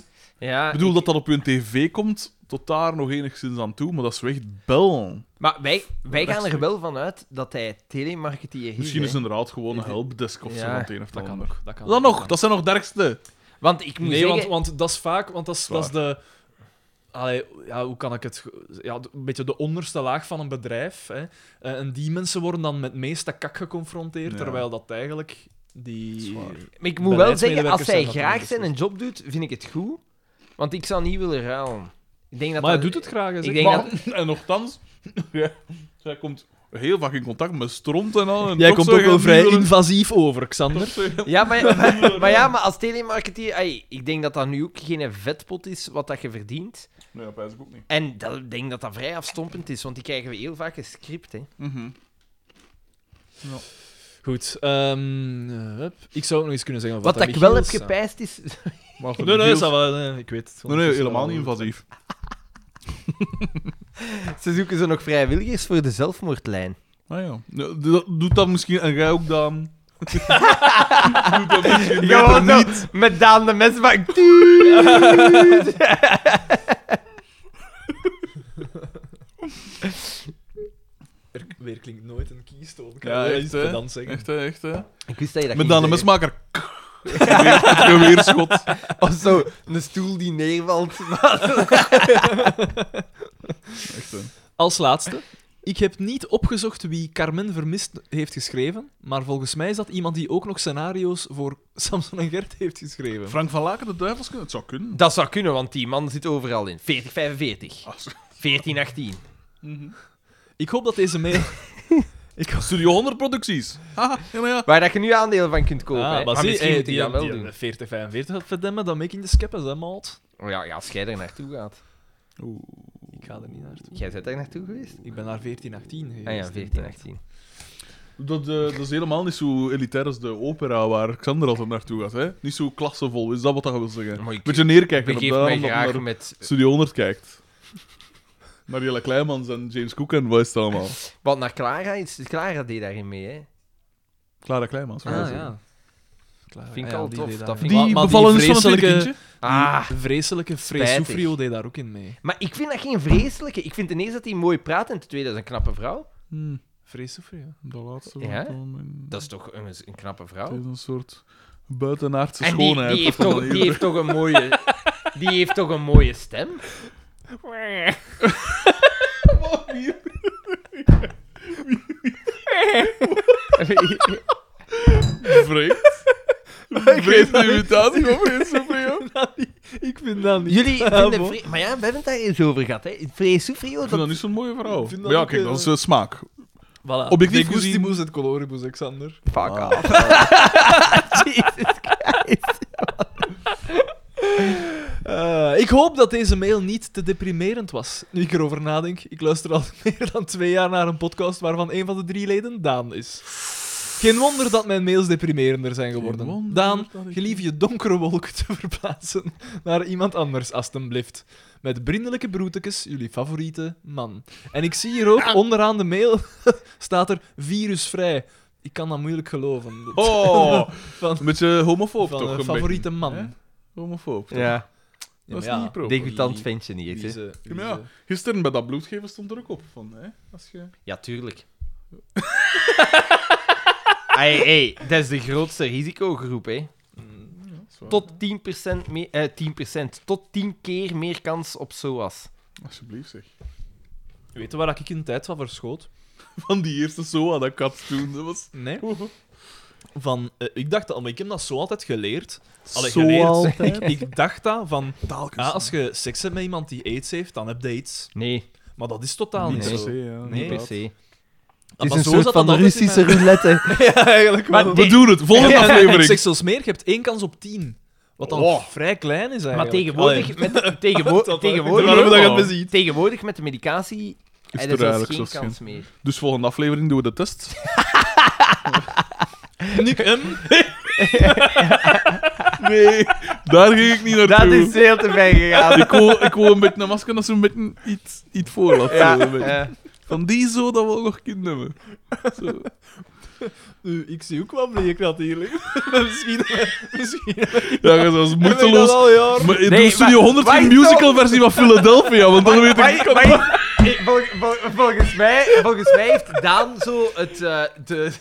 Speaker 2: Ja,
Speaker 1: Ik bedoel,
Speaker 2: ik-
Speaker 1: dat dat op hun tv komt, tot daar nog enigszins aan toe, maar dat is wel echt bel.
Speaker 2: Maar wij, wij gaan er
Speaker 1: Rechtstreeks.
Speaker 2: wel van uit dat hij telemarketeer is.
Speaker 1: Misschien
Speaker 2: hè.
Speaker 1: is het inderdaad gewoon een helpdesk of zo,
Speaker 2: Ja,
Speaker 1: van het een of het
Speaker 3: Dat kan
Speaker 1: ander.
Speaker 3: ook. Dat kan
Speaker 1: Dan
Speaker 3: ook.
Speaker 1: nog, dat zijn nog dergste.
Speaker 2: Want ik moet
Speaker 3: Nee,
Speaker 2: zeggen...
Speaker 3: want, want dat is vaak, want dat is, dat is
Speaker 1: Waar.
Speaker 3: de. Allee, ja, hoe kan ik het. ge- Ja, de- een beetje de onderste laag van een bedrijf. Hè. Eh, En die mensen worden dan met meeste kak geconfronteerd,
Speaker 1: Ja.
Speaker 3: terwijl dat eigenlijk.
Speaker 1: Dat is
Speaker 3: Die...
Speaker 1: waar.
Speaker 2: Maar ik moet wel zeggen, als
Speaker 3: Beleidsmedewerkers
Speaker 2: hij
Speaker 3: zijn dat
Speaker 2: graag
Speaker 3: anders,
Speaker 2: zijn een job doet, vind ik het goed. Want ik zou niet willen ruilen. Ik denk dat
Speaker 3: Maar hij
Speaker 2: dat...
Speaker 3: doet het graag. hè,
Speaker 2: ik
Speaker 3: zeg.
Speaker 2: denk
Speaker 3: Maar-
Speaker 2: dat-
Speaker 1: [LAUGHS] En nochtans, ja, zij komt heel vaak in contact met stront en al. En
Speaker 3: Jij
Speaker 1: toch
Speaker 3: komt
Speaker 1: zou
Speaker 3: ook
Speaker 1: je
Speaker 3: wel
Speaker 1: niet
Speaker 3: vrij
Speaker 1: willen-
Speaker 3: invasief over, Xander.
Speaker 2: Ja, maar, maar, maar ja, maar als telemarketeer... ai, ik denk dat dat nu ook geen vetpot is wat dat je verdient.
Speaker 1: Nee, dat pijs ik ook niet.
Speaker 2: En dat, ik denk dat dat vrij afstompend is, want die krijgen we heel vaak een script. Hè.
Speaker 1: Mhm.
Speaker 3: Goed. ehm, eh, hup. Ik zou ook nog eens kunnen zeggen.
Speaker 2: Wat
Speaker 3: dat
Speaker 2: dat ik wel heb
Speaker 3: Michiels-
Speaker 2: gepijst is... [LAUGHS]
Speaker 1: Maar voor
Speaker 3: Nee,
Speaker 1: de
Speaker 3: nee,
Speaker 1: deels-
Speaker 3: ça va, nee, ik weet het.
Speaker 1: Nee, nee, helemaal niet invasief.
Speaker 2: Ze zoeken ze nog vrijwilligers voor de zelfmoordlijn.
Speaker 1: Ah ja. Ja, dat- Doet dat misschien... En jij ook dan... Doet dat misschien
Speaker 2: Ja,
Speaker 1: beter
Speaker 2: want
Speaker 1: niet.
Speaker 2: zo, met Daan de mes, maar ik...
Speaker 3: Er weer klinkt nooit een keystone. Kan
Speaker 1: Ja,
Speaker 3: je
Speaker 1: echt,
Speaker 3: iets
Speaker 1: hè.
Speaker 3: pedants zeggen.
Speaker 1: Echt, hè, echt, hè.
Speaker 2: Ik wist dat je dat
Speaker 1: Met
Speaker 2: ging
Speaker 1: dan een
Speaker 2: zeggen.
Speaker 1: mesmaker. Het geweerschot.
Speaker 2: Of zo, een stoel die neervalt.
Speaker 1: Echt, hè.
Speaker 3: Als laatste. Ik heb niet opgezocht wie Carmen Vermist heeft geschreven, maar volgens mij is dat iemand die ook nog scenario's voor [LAUGHS] Samson en Gert heeft geschreven.
Speaker 1: Frank van Laken, de duivelskunde? Het zou kunnen.
Speaker 2: Dat zou kunnen, want die man zit overal in. 40, 45.
Speaker 1: Ah, zo.
Speaker 2: 14, 18.
Speaker 1: Mhm.
Speaker 3: Ik hoop dat deze mail... Ik hoop...
Speaker 1: Studio 100 producties. Haha, ja, maar ja.
Speaker 2: Waar dat je nu aandelen van kunt kopen.
Speaker 3: Ah,
Speaker 2: hè.
Speaker 3: maar zie,
Speaker 2: misschien
Speaker 3: hey,
Speaker 2: moet hij
Speaker 3: die-
Speaker 2: dat wel
Speaker 3: die-
Speaker 2: doen.
Speaker 3: 40, 45 had verdemmen, dan maak ik in de skeppers, hè, maat?
Speaker 2: Oh Ja, ja, als jij er naartoe gaat.
Speaker 3: Ik ga er niet naartoe.
Speaker 2: Jij bent daar naartoe geweest?
Speaker 3: Ik ben naar 14, 18 geweest.
Speaker 2: Ah ja, 14, 18.
Speaker 1: Dat, eh, dat is helemaal niet zo elitair als de opera waar Xander altijd naartoe gaat. Hè? Niet zo klassevol, is dat wat dat wil zeggen?
Speaker 2: Maar ik
Speaker 1: Beetje neerkijken op
Speaker 2: begeef
Speaker 1: dat,
Speaker 2: mij
Speaker 1: omdat
Speaker 2: graag
Speaker 1: naar
Speaker 2: met...
Speaker 1: Studio 100 kijkt. Naar Jelle Kleimans en James Cook en wat is het allemaal?
Speaker 2: Want naar Clara, is, Clara deed daarin mee, hè.
Speaker 1: Clara Kleimans.
Speaker 3: Ah,
Speaker 1: wou ik
Speaker 3: ja.
Speaker 1: zeggen.
Speaker 3: Klaar.
Speaker 2: Vind ik
Speaker 3: Ah, ja,
Speaker 2: al
Speaker 3: die
Speaker 2: tof,
Speaker 3: deed
Speaker 2: dat
Speaker 3: daar-
Speaker 2: vind ik-
Speaker 1: Die
Speaker 3: Maar- maar
Speaker 1: bevallen is van het
Speaker 3: vreselijke-
Speaker 1: kindje.
Speaker 2: Ah,
Speaker 3: Die vreselijke
Speaker 2: spijtig.
Speaker 3: Fresufrio deed daar ook in mee.
Speaker 2: maar ik vind dat geen vreselijke. Ik vind ten eerste dat hij mooi praat en ten tweede dat is een knappe vrouw.
Speaker 1: Hm,
Speaker 3: Fresufrio.
Speaker 1: de laatste.
Speaker 2: Ja?
Speaker 1: wat dan
Speaker 3: Oh.
Speaker 1: in-
Speaker 2: Dat is toch een, een knappe vrouw?
Speaker 1: Het is een soort buitenaardse
Speaker 2: En die,
Speaker 1: schoonheid.
Speaker 2: die, heeft
Speaker 1: of wat
Speaker 2: toch,
Speaker 1: dan
Speaker 2: die
Speaker 1: ook.
Speaker 2: heeft toch een mooie... Die heeft toch een mooie [LAUGHS] stem?
Speaker 3: [LAUGHS]
Speaker 1: Vreemd. Vreemde imitatie van Fresufrio.
Speaker 3: Ik vind dat niet.
Speaker 2: Jullie vinden...
Speaker 3: bon.
Speaker 2: Vre- maar ja, we hebben het daar eens over gehad, hè. Vree Soufrio,
Speaker 1: Ik vind dat
Speaker 2: dat...
Speaker 1: niet zo'n mooie vrouw.
Speaker 3: vind
Speaker 1: Maar
Speaker 3: dat
Speaker 1: ja,
Speaker 3: ook,
Speaker 1: kijk, dat
Speaker 3: eh,
Speaker 1: is eh, smaak.
Speaker 3: Voilà.
Speaker 1: Objectief
Speaker 3: De
Speaker 1: gezien-
Speaker 3: gustibus et coloribus, Alexander.
Speaker 2: Fuck
Speaker 1: Ah.
Speaker 2: off. Jesus Christ.
Speaker 3: Eh, ik hoop dat deze mail niet te deprimerend was. Nu ik erover nadenk, ik luister al [LAUGHS] meer dan twee jaar naar een podcast waarvan een van de drie leden Daan is. Geen wonder dat mijn mails deprimerender zijn geworden.
Speaker 1: wonder
Speaker 3: Daan,
Speaker 1: dat ik-
Speaker 3: gelief je donkere wolk te [LAUGHS] verplaatsen naar iemand anders, alstublieft. Met vriendelijke broetekes, jullie favoriete man. En ik zie hier ook onderaan de mail [LAUGHS] staat er virusvrij. Ik kan dat moeilijk geloven.
Speaker 1: Oh,
Speaker 3: [LAUGHS] Van-
Speaker 1: een beetje homofoob
Speaker 3: Van
Speaker 1: toch?
Speaker 3: een
Speaker 1: een
Speaker 3: favoriete
Speaker 1: beetje,
Speaker 3: man.
Speaker 1: hè? Homofoob. toch?
Speaker 2: [LAUGHS] Ja,
Speaker 1: Dat is
Speaker 3: Ja, maar
Speaker 1: niet
Speaker 2: Oh,
Speaker 1: pro.
Speaker 2: degoutant ventje niet, hè.
Speaker 3: Lize,
Speaker 1: Ja, maar
Speaker 3: Lize.
Speaker 1: ja, gisteren bij dat bloedgeven stond er ook op van, hè? Als je...
Speaker 2: Ja, [LAUGHS] tuurlijk. Hey, hey, dat is de grootste risicogroep, hè.
Speaker 1: Ja, dat is waar.
Speaker 2: Tot 10%, meer, eh, 10%, tot 10 keer meer kans op SOAS.
Speaker 1: Alsjeblieft, zeg.
Speaker 3: Weet je waar ik in de tijd van verschoot?
Speaker 1: Van die eerste SOA dat ik had toen, dat was...
Speaker 3: Nee. Van, eh, ik dacht dat, maar ik heb dat zo altijd geleerd. Allee,
Speaker 1: Zo
Speaker 3: geleerd.
Speaker 2: [LAUGHS]
Speaker 1: altijd?
Speaker 3: [LAUGHS] Ik dacht dat van,
Speaker 1: Taalkunst.
Speaker 3: ah, als je seks hebt met iemand die aids heeft, dan heb je aids.
Speaker 2: Nee,
Speaker 3: Maar dat is totaal
Speaker 2: Niet
Speaker 3: niet,
Speaker 2: per
Speaker 3: zo.
Speaker 1: se, ja,
Speaker 3: Nee.
Speaker 2: niet per
Speaker 1: inderdaad.
Speaker 2: se.
Speaker 3: Ah, maar zo zat dat altijd in mijn-
Speaker 2: roulette.
Speaker 3: Ja, eigenlijk wel.
Speaker 2: Maar
Speaker 1: We
Speaker 2: Nee.
Speaker 1: doen het,
Speaker 2: [LAUGHS]
Speaker 1: volgende
Speaker 3: Ja, en met
Speaker 1: aflevering.
Speaker 3: seks als meer, je hebt één kans op tien. Wat dan
Speaker 1: Oh.
Speaker 3: vrij klein is eigenlijk.
Speaker 2: Maar tegenwoordig,
Speaker 3: Allee,
Speaker 2: met, tegenwo
Speaker 3: [LAUGHS] Dat wel.
Speaker 2: tegenwoordig,
Speaker 1: Daarom dat je het
Speaker 2: tegenwoordig, met de medicatie
Speaker 1: Is
Speaker 2: eh, is
Speaker 1: er
Speaker 2: er zelfs
Speaker 1: eigenlijk
Speaker 2: geen
Speaker 1: zelfs
Speaker 2: kans meer.
Speaker 1: Dus volgende aflevering doen we de
Speaker 2: [LAUGHS]
Speaker 1: test.
Speaker 3: nu, ehm, [LAUGHS]
Speaker 1: Nee, daar ging ik niet naartoe.
Speaker 2: Dat is heel te ver
Speaker 3: [LAUGHS]
Speaker 2: gegaan.
Speaker 1: Ik wou, ik wou een beetje een masker als een beetje iets, iets voor laten.
Speaker 2: Ja,
Speaker 1: Een beetje.
Speaker 2: eh,
Speaker 1: Van die zo dat we nog kind hebben. Zo.
Speaker 3: nu, ik zie ook wat bleeknat hier liggen. misschien, misschien.
Speaker 1: Ja, je
Speaker 2: [LAUGHS]
Speaker 1: was
Speaker 3: heb ik dat
Speaker 1: moeiteloos.
Speaker 3: al jaren.
Speaker 1: Maar in
Speaker 2: Nee,
Speaker 1: doe Studio
Speaker 2: maar-
Speaker 1: 100
Speaker 2: wacht
Speaker 1: geen
Speaker 2: toch.
Speaker 1: musical versie van Philadelphia, want dan weet
Speaker 2: maar-
Speaker 1: ik...
Speaker 2: maar- eh, vol- vol- volgens, mij, volgens mij heeft Daan zo het, eh, de,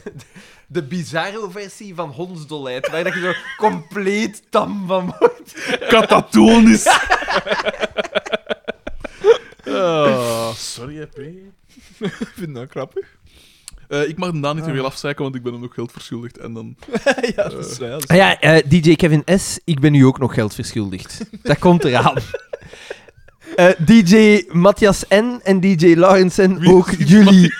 Speaker 2: de bizarre versie van hondsdolheid, waar dat je zo compleet tam van wordt.
Speaker 1: Catatonisch. Ah, sorry, hè, P.
Speaker 3: Ik vind dat grappig.
Speaker 1: Eh, ik mag hem daar niet te veel afzeiken, want ik ben hem ook geld verschuldigd. En dan...
Speaker 3: ja, dat is, ja, dat is-
Speaker 2: Ah Ja, DJ Kevin S, ik ben u ook nog geld verschuldigd. Dat komt eraan. DJ Matthias N en DJ Lawrence N,
Speaker 1: Wie [LAUGHS] ook is die jullie-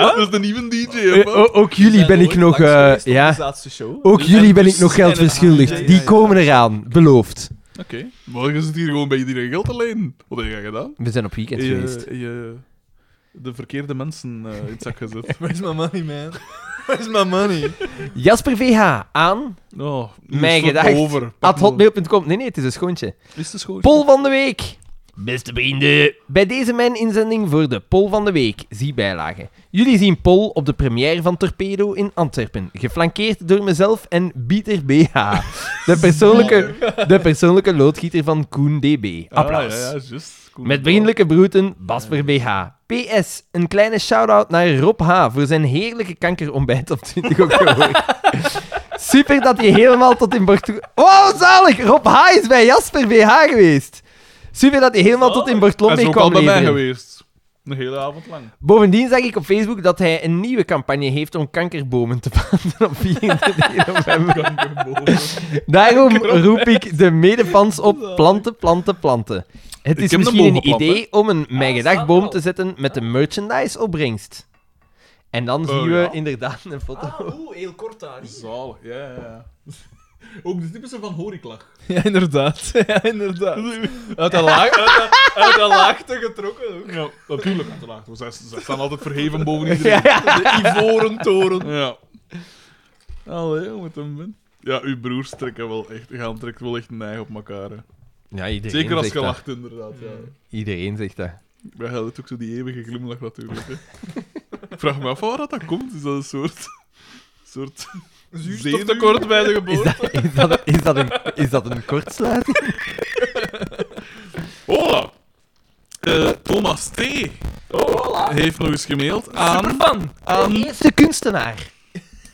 Speaker 1: [LAUGHS] Dat is de nieuwe DJ,
Speaker 2: Eh,
Speaker 1: hè, man.
Speaker 2: o- ook jullie
Speaker 3: Zijn
Speaker 2: ben ik
Speaker 3: ooit
Speaker 2: nog...
Speaker 3: langs
Speaker 2: eh,
Speaker 3: geweest op
Speaker 2: ja,
Speaker 3: de laatste show.
Speaker 2: ook
Speaker 3: En
Speaker 2: jullie ben ik
Speaker 3: dus-
Speaker 2: nog geld
Speaker 3: en het-
Speaker 2: verschuldigd.
Speaker 3: Ah, ja,
Speaker 2: Die
Speaker 3: ja, ja.
Speaker 2: komen eraan, beloofd.
Speaker 1: Oké. Maar je zit hier gewoon bij iedereen geld alleen. Wat heb jij gedaan?
Speaker 2: We zijn op weekend
Speaker 1: je,
Speaker 2: geweest.
Speaker 1: je de verkeerde mensen eh, in het zak gezet.
Speaker 3: Where's my money, man? Where's my money?
Speaker 2: Jasper VH aan
Speaker 1: Oh, nu
Speaker 2: Mijn
Speaker 1: is het
Speaker 2: gedacht.
Speaker 1: Over. Pak me-
Speaker 2: hotmail.com. Nee, nee, het is een schoontje.
Speaker 1: Is het schoon?
Speaker 2: Pol van de week. Beste vrienden, bij deze mijn inzending voor de Pol van de Week, zie bijlagen. Jullie zien Pol op de première van Torpedo in Antwerpen, geflankeerd door mezelf en Bieter BH, de
Speaker 1: [LAUGHS]
Speaker 2: persoonlijke, de persoonlijke loodgieter van Koen DB. Applaus.
Speaker 1: Ah, ja, ja, juist. Cool.
Speaker 2: Met vriendelijke broeten, Basper BH. PS, een kleine shout-out naar Rob H. voor zijn heerlijke kankerontbijt op
Speaker 1: [LAUGHS]
Speaker 2: 20 oktober. Super dat je helemaal tot in Bortlo... Wow, zalig! Rob H. is bij Jasper BH geweest. Super dat je helemaal tot
Speaker 1: Hij
Speaker 2: in
Speaker 1: is ook
Speaker 2: Bortlombe
Speaker 1: al
Speaker 2: kwam
Speaker 1: bij mij
Speaker 2: leveren.
Speaker 1: geweest. Een hele avond lang.
Speaker 2: Bovendien zag ik op Facebook dat hij een nieuwe campagne heeft om kankerbomen te [LAUGHS] planten op 24 november. Daarom roep ik de medefans op planten, planten, planten. Het
Speaker 1: Ik
Speaker 2: is
Speaker 1: heb een
Speaker 2: misschien een
Speaker 1: bovenplant,
Speaker 2: idee om een Mijn Gedag boom te zetten met de merchandise opbrengst. En dan zien we
Speaker 1: Oh, ja.
Speaker 2: inderdaad een foto.
Speaker 3: Oeh, heel kort daar.
Speaker 1: Zalig, ja, ja, ja. [LAUGHS] Ook de typische van Horiklach.
Speaker 6: Ja,
Speaker 3: [LAUGHS]
Speaker 6: inderdaad. Ja, inderdaad. Uit de, laag, uit, de, uit de laagte getrokken. ook.
Speaker 1: Ja, natuurlijk aan te laag. Zij, zij staan altijd verheven [LAUGHS] boven
Speaker 2: Ja,
Speaker 1: iedereen.
Speaker 2: ja.
Speaker 6: De ivoren toren.
Speaker 1: Ja. Allee, hoe het hem bent. Ja, uw broers trekken wel echt, gaan trekken wel echt een ei op elkaar. hè.
Speaker 2: iedereen
Speaker 1: Zeker als
Speaker 2: zegt
Speaker 1: je
Speaker 2: dat.
Speaker 1: lacht, inderdaad. Ja.
Speaker 2: Iedereen zegt dat.
Speaker 1: Wij hadden het ook zo die eeuwige glimlach natuurlijk. Hè. Ik vraag me af van waar dat komt. Is dat een soort... soort
Speaker 6: Zuurstoftekort bij de
Speaker 2: Is
Speaker 6: geboorte.
Speaker 2: dat, is dat, een, is dat, een, is dat een kortsluiting?
Speaker 1: Hola! Eh, Thomas T. Oh, Heeft nog eens gemaild aan...
Speaker 2: De
Speaker 1: Aan...
Speaker 2: eerste kunstenaar.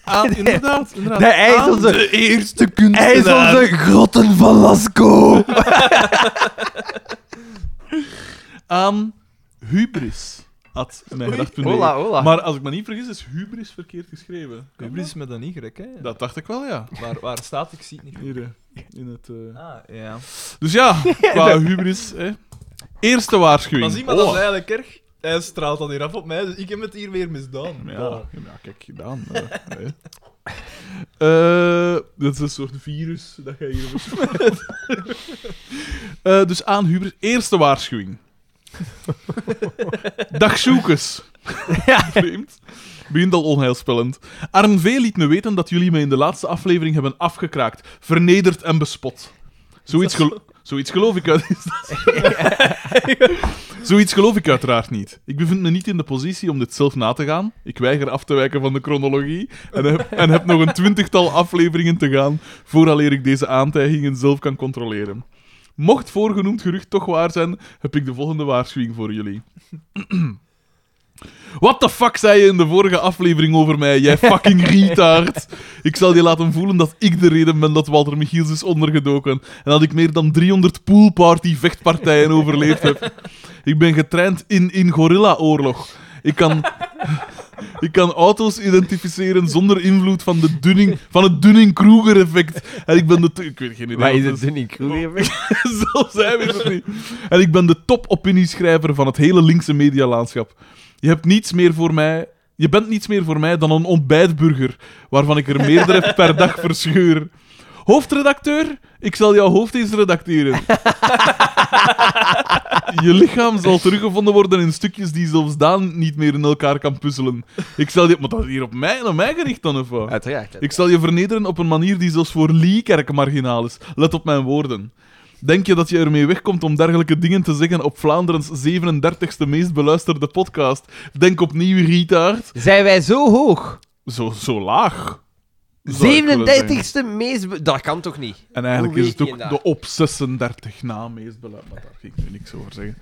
Speaker 1: aan inderdaad, inderdaad.
Speaker 2: De IJsselse-
Speaker 1: Aan de eerste
Speaker 2: Hij is
Speaker 1: kunstenaar.
Speaker 2: onze grotten van Lascaux.
Speaker 1: [LAUGHS] aan hubris. At mijngedacht.be.
Speaker 2: Hola, hola.
Speaker 1: Maar als ik me niet vergis, is hubris verkeerd geschreven. Kan
Speaker 6: Hubris met een Y, hè?
Speaker 1: dat? Dat dacht ik wel, ja.
Speaker 6: Waar, waar staat ik, zie het niet.
Speaker 1: Hier, eh, in het... eh.
Speaker 6: Ah, ja.
Speaker 1: Dus ja, qua hubris, hè. Eerste
Speaker 6: Maar
Speaker 1: waarschuwing.
Speaker 6: zie maar, dat is
Speaker 1: Hola.
Speaker 6: eigenlijk erg. Hij straalt dat hier af op mij, dus ik heb het hier weer misdaan.
Speaker 1: Ja,
Speaker 6: Voilà.
Speaker 1: ja, kijk, gedaan. eh, hè. [LAUGHS] Eh, dat is een soort virus dat jij hier verspreid. [LAUGHS] Eh, dus aan Hubert, eerste waarschuwing. Dag zoekers. [LAUGHS] Vreemd. Begint al onheilspellend. Arn V liet me weten dat jullie me in de laatste aflevering hebben afgekraakt, vernederd en bespot. Zoiets, gelo- Zoiets geloof ik uit. Is dat zo? Zoiets geloof ik uiteraard niet. Ik bevind me niet in de positie om dit zelf na te gaan. Ik weiger af te wijken van de chronologie en heb, en heb nog een twintigtal afleveringen te gaan vooraleer ik deze aantijgingen zelf kan controleren. Mocht voorgenoemd gerucht toch waar zijn, heb ik de volgende waarschuwing voor jullie. [CLEARS THROAT] What the fuck zei je in de vorige aflevering over mij,
Speaker 2: [LAUGHS]
Speaker 1: jij fucking retard? Ik zal je laten voelen dat ik de reden ben dat Walter Michiels is ondergedoken en dat ik meer dan 300 poolparty-vechtpartijen overleefd heb. Ik ben getraind in, in gorilla-oorlog. Ik kan, [LAUGHS] ik kan auto's identificeren zonder invloed van, de dunning, van het Dunning-Kruger-effect. En ik ben de... t- Ik weet geen idee
Speaker 2: Waar
Speaker 1: wat
Speaker 2: is
Speaker 1: dat
Speaker 2: het Dunning Kruger?
Speaker 1: [LAUGHS] zo zijn we het niet. En ik ben de top-opinieschrijver van het hele linkse medialandschap. Je hebt niets meer voor mij... Je bent niets meer voor mij dan een ontbijtburger, waarvan ik er meerdere per dag verscheur. Hoofdredacteur, ik zal jouw hoofd eens redacteren. Je lichaam zal teruggevonden worden in stukjes die zelfs Daan niet meer in elkaar kan puzzelen. Ik zal je... Maar dat is hier op mij, op mij gericht dan, of wat?
Speaker 2: Uiteraard.
Speaker 1: Ik zal je vernederen op een manier die zelfs voor Liekerk marginaal is. Let op mijn woorden. Denk je dat je ermee wegkomt om dergelijke dingen te zeggen op Vlaanderens 37ste meest beluisterde podcast? Denk opnieuw, Rietaard.
Speaker 2: Zijn wij zo hoog?
Speaker 1: Zo, zo laag. zou ik willen zeggen.
Speaker 2: 37ste meest... be- Dat kan toch niet?
Speaker 1: En eigenlijk
Speaker 2: Hoe
Speaker 1: is
Speaker 2: weet
Speaker 1: het
Speaker 2: je
Speaker 1: ook
Speaker 2: dat?
Speaker 1: de op 36 na meest beluisterd. Maar daar ging ik nu niks over zeggen.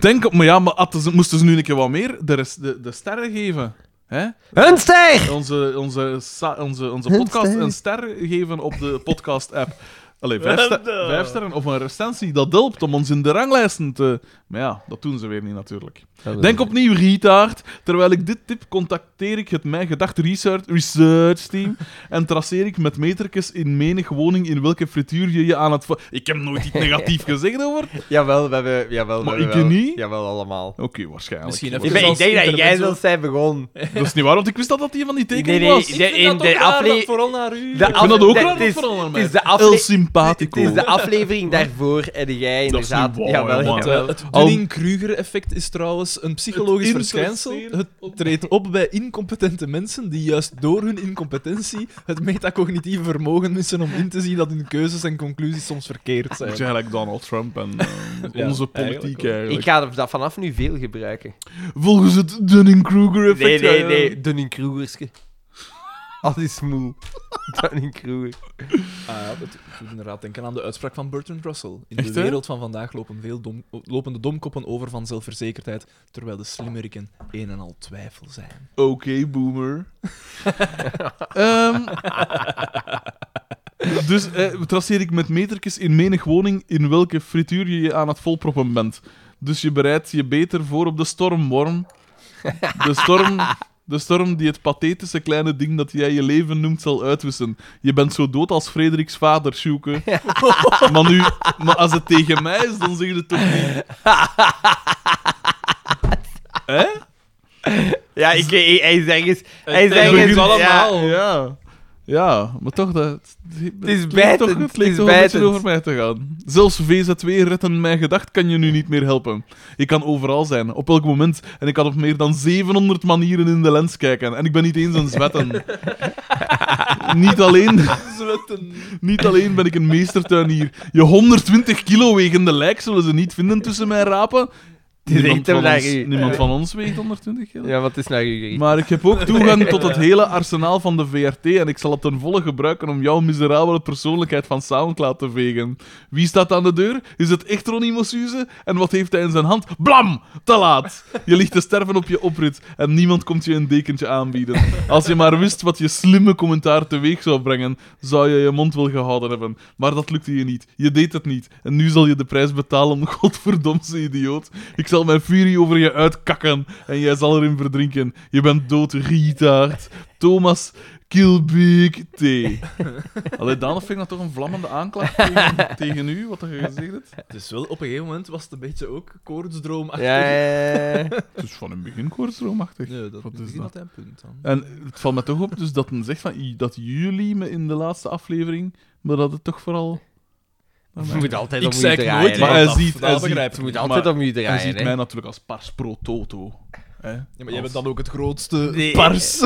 Speaker 1: Denk op... Maar ja, maar hadden ze- moesten ze nu een keer wat meer de, rest, de, de sterren geven? Hè?
Speaker 2: Een ster!
Speaker 1: onze, onze, sa- onze, onze
Speaker 2: Een
Speaker 1: podcast
Speaker 2: ster.
Speaker 1: een ster geven op de podcast-app. Allee, vijf, ster-
Speaker 2: nou.
Speaker 1: vijf sterren of een recensie, dat helpt om ons in de ranglijsten te... Maar ja, dat doen ze weer niet natuurlijk. Denk opnieuw, Rietaard. Terwijl ik dit tip, contacteer ik het Mijn Gedacht Research, research Team en traceer ik met metertjes in menig woning in welke frituur je je aan het... va- Ik heb nooit iets negatief gezegd over... Oké,
Speaker 2: Jawel, we hebben... Jawel,
Speaker 1: Maar ik niet.
Speaker 2: Jawel, allemaal.
Speaker 1: waarschijnlijk.
Speaker 3: Misschien
Speaker 2: Ik,
Speaker 3: even
Speaker 2: ben- ik denk dat jij
Speaker 3: intermezzo.
Speaker 2: zelfs zijn begonnen.
Speaker 1: Dat is niet waar, want ik wist al dat hij van die tekening
Speaker 2: Nee, nee,
Speaker 1: was.
Speaker 2: ik-
Speaker 1: Ik
Speaker 2: de- in de afle-
Speaker 6: vooral naar u.
Speaker 2: De
Speaker 1: vind dat
Speaker 2: afle-
Speaker 1: ook
Speaker 2: de-
Speaker 1: raar,
Speaker 2: het is-
Speaker 1: vooral naar
Speaker 2: het
Speaker 1: mij.
Speaker 2: is de
Speaker 1: El
Speaker 2: afle- Het
Speaker 1: Simpatico.
Speaker 2: is de aflevering daarvoor en jij
Speaker 1: Dat is niet
Speaker 2: inderdaad...
Speaker 1: waar,
Speaker 2: Jawel,
Speaker 1: man.
Speaker 2: jawel.
Speaker 1: Wel,
Speaker 6: het
Speaker 1: al-
Speaker 6: Dunning-Kruger-effect is trouwens een psychologisch
Speaker 1: Het
Speaker 6: verschijnsel. Het
Speaker 1: interesseren op-
Speaker 6: treedt op bij incompetente mensen die juist door hun incompetentie het metacognitieve vermogen missen om in te zien dat hun keuzes en conclusies soms verkeerd zijn.
Speaker 1: Beetje gelijk Donald Trump en eh,
Speaker 6: [LAUGHS] Ja,
Speaker 1: onze
Speaker 6: eigenlijk
Speaker 1: politiek
Speaker 6: wel.
Speaker 1: eigenlijk.
Speaker 2: Ik ga er dat vanaf nu veel gebruiken.
Speaker 1: Volgens het Dunning-Kruger-effect.
Speaker 2: Nee, nee,
Speaker 1: eh,
Speaker 2: nee. Dunning-Krugerske. Alles is [LAUGHS] moe. Dunning-Kruger.
Speaker 6: Ah, ja, het doet inderdaad denken aan de uitspraak van Bertrand Russell. In
Speaker 1: Echt, hè?
Speaker 6: de wereld van vandaag lopen, veel dom, lopen de domkoppen over van zelfverzekerdheid, terwijl de slimmeriken een en al twijfel zijn.
Speaker 1: Oké, boomer. Ehm, dus eh, traceer ik met metertjes in menig woning in welke frituur je je aan het volproppen bent. Dus je bereidt je beter voor op de stormworm. De storm, de storm die het pathetische kleine ding dat jij je leven noemt zal uitwissen. Je bent zo dood als Frederiks vader, Sjoeke. Maar nu, maar als het tegen mij is, dan zeg je het toch niet. Hè?
Speaker 2: Ja, ik, hij, hij zegt eens... Hij
Speaker 1: Het
Speaker 2: zegt eens...
Speaker 1: begint
Speaker 2: Ja,
Speaker 1: Ja. Ja, maar toch, dat, het
Speaker 2: is
Speaker 1: leek
Speaker 2: bijtend,
Speaker 1: Toch,
Speaker 2: het
Speaker 1: het leek
Speaker 2: is
Speaker 1: toch een beetje
Speaker 2: bijtend.
Speaker 1: over mij te gaan. Zelfs VZW retten mijn gedacht kan je nu niet meer helpen. Ik kan overal zijn, op elk moment. En ik kan op meer dan 700 manieren in de lens kijken. En ik ben niet eens een
Speaker 2: [LAUGHS]
Speaker 1: zwetten. niet, alleen, niet alleen ben ik een meestertuinier. Je 120 kilo wegende lijk zullen ze niet vinden tussen mijn rapen.
Speaker 2: is echt
Speaker 1: Niemand
Speaker 2: een
Speaker 1: van, ons,
Speaker 2: lagie.
Speaker 1: niemand van ons weegt 120 kilo.
Speaker 2: ja wat is nou jullie?
Speaker 1: Maar ik heb ook toegang tot het hele arsenaal van de VRT en ik zal het ten volle gebruiken om jouw miserabele persoonlijkheid van Soundcloud te vegen. Wie staat aan de deur? Is het echt Ronnie Mossuze? En wat heeft hij in zijn hand? Blam! Te laat! Je ligt te sterven op je oprit en niemand komt je een dekentje aanbieden. Als je maar wist wat je slimme commentaar teweeg zou brengen, zou je je mond wel gehouden hebben. Maar dat lukte je niet. Je deed het niet. En nu zal je de prijs betalen, [LAUGHS] godverdomse idioot. Ik zal mijn furie over je uitkakken en jij zal erin verdrinken. Je bent dood, Rietaard. Thomas Kilbeek T. Allee, Daan, vind ik dat toch een vlammende aanklacht tegen, tegen u, wat je gezegd hebt?
Speaker 3: [LAUGHS] Dus wel, op een gegeven moment was het een beetje ook koortsdroomachtig.
Speaker 2: Ja, ja,
Speaker 1: [LAUGHS]
Speaker 2: ja.
Speaker 1: Het is van een begin koortsroomachtig.
Speaker 3: Nee, dat
Speaker 1: Wat is
Speaker 3: is
Speaker 1: dat?
Speaker 3: niet altijd een punt dan.
Speaker 1: En het valt me toch op dus dat men zegt van, i- dat jullie me in de laatste aflevering, maar dat het toch vooral...
Speaker 2: Je moet altijd
Speaker 3: Ik
Speaker 2: opnieuw
Speaker 3: zei
Speaker 2: draaien.
Speaker 3: nooit
Speaker 2: hè.
Speaker 1: Maar hij
Speaker 3: dat-
Speaker 1: ziet,
Speaker 3: dat
Speaker 1: hij
Speaker 3: begrijp
Speaker 1: ziet,
Speaker 3: ik.
Speaker 2: Je moet
Speaker 1: maar
Speaker 2: altijd opnieuw
Speaker 1: hij
Speaker 2: draaien,
Speaker 1: ziet
Speaker 2: hè.
Speaker 1: mij natuurlijk als pars pro toto. Hè?
Speaker 3: Ja, maar jij bent dan ook het grootste
Speaker 2: Nee. [LAUGHS]
Speaker 3: pars.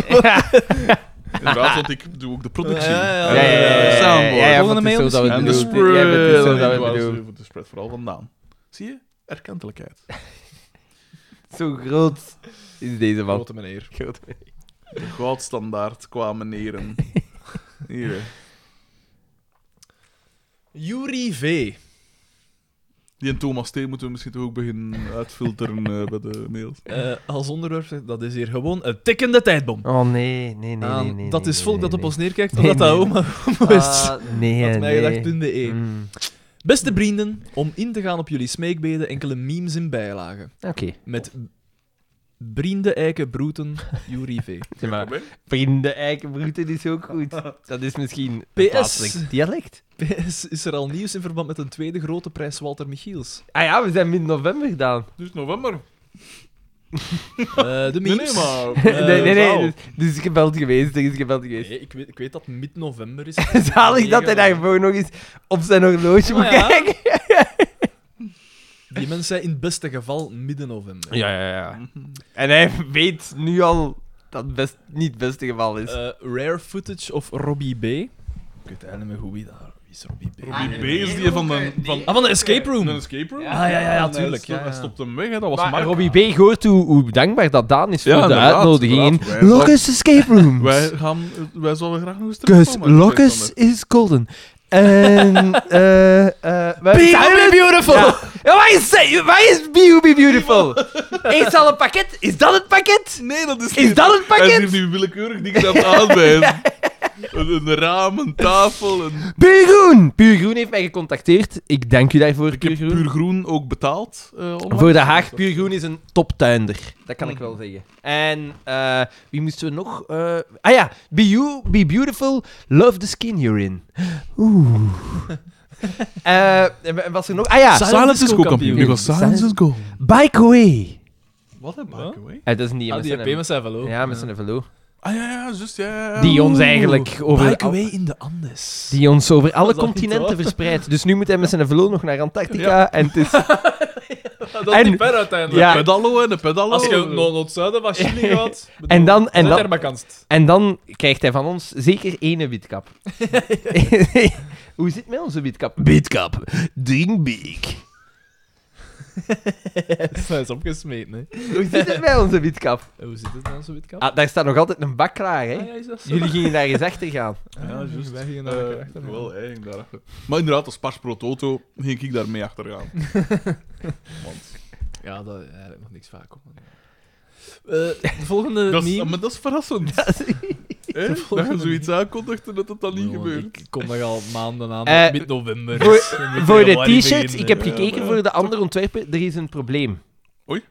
Speaker 1: Inderdaad, want ik doe ook de productie.
Speaker 3: Ja, ja,
Speaker 2: Ja, ja, ja, ja, ja, ja.
Speaker 1: Soundboard.
Speaker 2: Ja, ja,
Speaker 3: Volgende
Speaker 2: want het is
Speaker 3: mail
Speaker 2: zo dat we het
Speaker 1: En de
Speaker 2: doen.
Speaker 1: spread.
Speaker 2: Ja, het is zo dat we
Speaker 1: Ik
Speaker 2: het
Speaker 1: wou
Speaker 2: doen.
Speaker 1: eens even De spread vooral vandaan. Zie je? Erkentelijkheid.
Speaker 2: Zo groot is deze man.
Speaker 3: Grote meneer.
Speaker 1: De goudstandaard qua meneren. Hier. hè.
Speaker 3: Yuri V.
Speaker 1: Die en Thomas T moeten we misschien toch ook beginnen uitfilteren eh, bij de mails.
Speaker 3: Eh, als onderwerp, zegt, dat is hier gewoon een tikkende tijdbom.
Speaker 2: Oh nee, nee, nee,
Speaker 3: Aan
Speaker 2: nee, nee.
Speaker 3: dat
Speaker 2: nee,
Speaker 3: is volk
Speaker 2: nee,
Speaker 3: dat op
Speaker 2: nee.
Speaker 3: ons neerkijkt,
Speaker 2: Nee,
Speaker 3: omdat dat
Speaker 2: nee.
Speaker 3: oma moest.
Speaker 2: Ah, nee,
Speaker 3: Had mij
Speaker 2: nee.
Speaker 3: gedacht toen de E.
Speaker 2: Mm,
Speaker 3: Beste vrienden, om in te gaan op jullie smeekbeden, enkele memes in bijlagen.
Speaker 2: Oké.
Speaker 3: Met vrienden, eiken, broeten, Yuri [LAUGHS] V.
Speaker 2: Zeg maar, vrienden, eikenbroeten is ook goed. [LAUGHS] Dat is misschien een
Speaker 3: PS.
Speaker 2: plaatselijk dialect.
Speaker 3: PS, is er al nieuws in verband met een tweede grote prijs Walter Michiels?
Speaker 2: Ah ja, we zijn mid-november gedaan.
Speaker 1: Dus november.
Speaker 3: Eh, de
Speaker 1: Nee,
Speaker 3: memes.
Speaker 1: nee, maar...
Speaker 3: [LAUGHS]
Speaker 2: [LAUGHS]
Speaker 3: Eh,
Speaker 2: nee, nee,
Speaker 3: wauw.
Speaker 2: nee. Dus, dus gebeld geweest, er is gebeld geweest.
Speaker 3: Nee, ik, weet, ik weet dat mid-november [LAUGHS] is.
Speaker 2: [LAUGHS] Zalig dat hij daarvoor nog eens op zijn horloge moet
Speaker 3: Oh ja.
Speaker 2: kijken.
Speaker 3: Die mensen zei in het beste geval midden-november.
Speaker 2: Ja, ja, ja. En hij weet nu al dat het best, niet het beste geval is.
Speaker 3: Eh, rare footage of Robbie B. Ik weet eigenlijk niet meer hoe wie daar. Wie is Robbie B?
Speaker 1: Robbie B is die van de... Van
Speaker 3: Ah, van de escape room.
Speaker 1: een escape room?
Speaker 3: Ah, ja, ja, ja,
Speaker 1: En hij
Speaker 3: tuurlijk,
Speaker 1: stop-
Speaker 3: ja,
Speaker 1: Hij
Speaker 3: ja.
Speaker 1: stopt hem weg, hè. dat was
Speaker 2: maar
Speaker 1: Mark.
Speaker 2: Robbie B. hoort hoe, hoe dankbaar dat Daan is voor
Speaker 1: Ja,
Speaker 2: de
Speaker 1: inderdaad,
Speaker 2: uitnodiging.
Speaker 1: inderdaad. Wij-
Speaker 2: Locus Escape Rooms.
Speaker 1: [LAUGHS] Wij, gaan, wij zouden graag nog eens
Speaker 2: Kus,
Speaker 1: terugkomen.
Speaker 2: Locus is golden. [LAUGHS] En, eh, eh... Be
Speaker 3: beautiful!
Speaker 2: Ja, Ja, waar is, waar is Be Beautiful? Is al een pakket? Is dat het pakket?
Speaker 1: Nee, dat is
Speaker 2: Is dat het
Speaker 1: Hij is hier
Speaker 2: pakket?
Speaker 1: nu willekeurig dingen aan het aanwijzen. Een, een raam, een tafel, een...
Speaker 2: Puur Groen! Puur Groen heeft mij gecontacteerd. Ik dank u daarvoor,
Speaker 1: Ik heb
Speaker 2: Puur Groen.
Speaker 1: puur groen ook betaald. eh, online.
Speaker 2: Voor de Haag, Puur Groen is een toptuinder. Dat kan ik wel zeggen. En eh, wie moesten we nog? Eh, ah ja, be, you, be Beautiful, Love the Skin You're In. Oeh. Eh, en en was er nog? Ah ja,
Speaker 3: Silence Silence is is
Speaker 1: Co-kampioen.
Speaker 3: co-kampioen.
Speaker 1: Ik was Silence is goal.
Speaker 2: Bike Away.
Speaker 1: Wat een
Speaker 3: Mark
Speaker 2: Eh, dat is niet
Speaker 3: Ah, die
Speaker 2: MSNM.
Speaker 3: heb met zijn velo.
Speaker 2: Ja, met zijn velo.
Speaker 1: Ah ja, ja, juist, ja, ja, ja.
Speaker 2: Die ons eigenlijk over,
Speaker 3: Bike away in de Andes.
Speaker 2: die ons over alle
Speaker 3: dat niet
Speaker 2: continenten
Speaker 3: waar?
Speaker 2: verspreidt. Dus nu moet hij met zijn velo nog naar Antarctica. En
Speaker 3: [LAUGHS]
Speaker 2: het is...
Speaker 3: [LAUGHS] dat
Speaker 2: is en- niet
Speaker 3: ver uiteindelijk.
Speaker 2: ja.
Speaker 1: Pedalo en de pedalo.
Speaker 3: Als je naar het zuiden van Chili gaat,
Speaker 2: bedoel, En dan- en zet dan- er
Speaker 3: [LAUGHS] vakanst.
Speaker 2: En dan krijgt hij van ons zeker ene
Speaker 3: [LAUGHS]
Speaker 2: witkap. [LAUGHS] Hoe zit het met onze witkap? Witkap. Dingbeek.
Speaker 3: Hij is opgesmeten, hè.
Speaker 2: Hoe zit het met onze witkap?
Speaker 3: En Hoe zit het dan, zo'n witkap?
Speaker 2: Ah, daar staat nog altijd een bak klaar, hè?
Speaker 3: Ah, ja, is dat zo?
Speaker 2: Jullie gingen daar eens achter [LAUGHS] gaan.
Speaker 1: Ja, juist.
Speaker 3: Wij gingen daar lekker achter,
Speaker 1: Eh,
Speaker 3: man.
Speaker 1: Wel, eigenlijk daarachter. Maar inderdaad, als Pars Pro Toto ging ik daar mee achter gaan. Want
Speaker 3: Ja, dat eigenlijk nog niks vaak op. Eh, de volgende [LAUGHS]
Speaker 1: dat, is,
Speaker 3: meme.
Speaker 1: maar dat is verrassend. Hè? Dat je zoiets aankondigt en dat het dan niet gebeurt.
Speaker 3: Ik kom er al maanden aan.
Speaker 2: Eh,
Speaker 3: Mid-november.
Speaker 2: voor-
Speaker 3: is. [LAUGHS] Dan moet ik
Speaker 2: Voor de
Speaker 3: januari eh,
Speaker 2: t-shirts,
Speaker 3: beginnen.
Speaker 2: ik heb
Speaker 1: Ja,
Speaker 2: gekeken
Speaker 1: maar-
Speaker 2: voor de andere ontwerpen, er is een probleem.
Speaker 1: eh, Oei.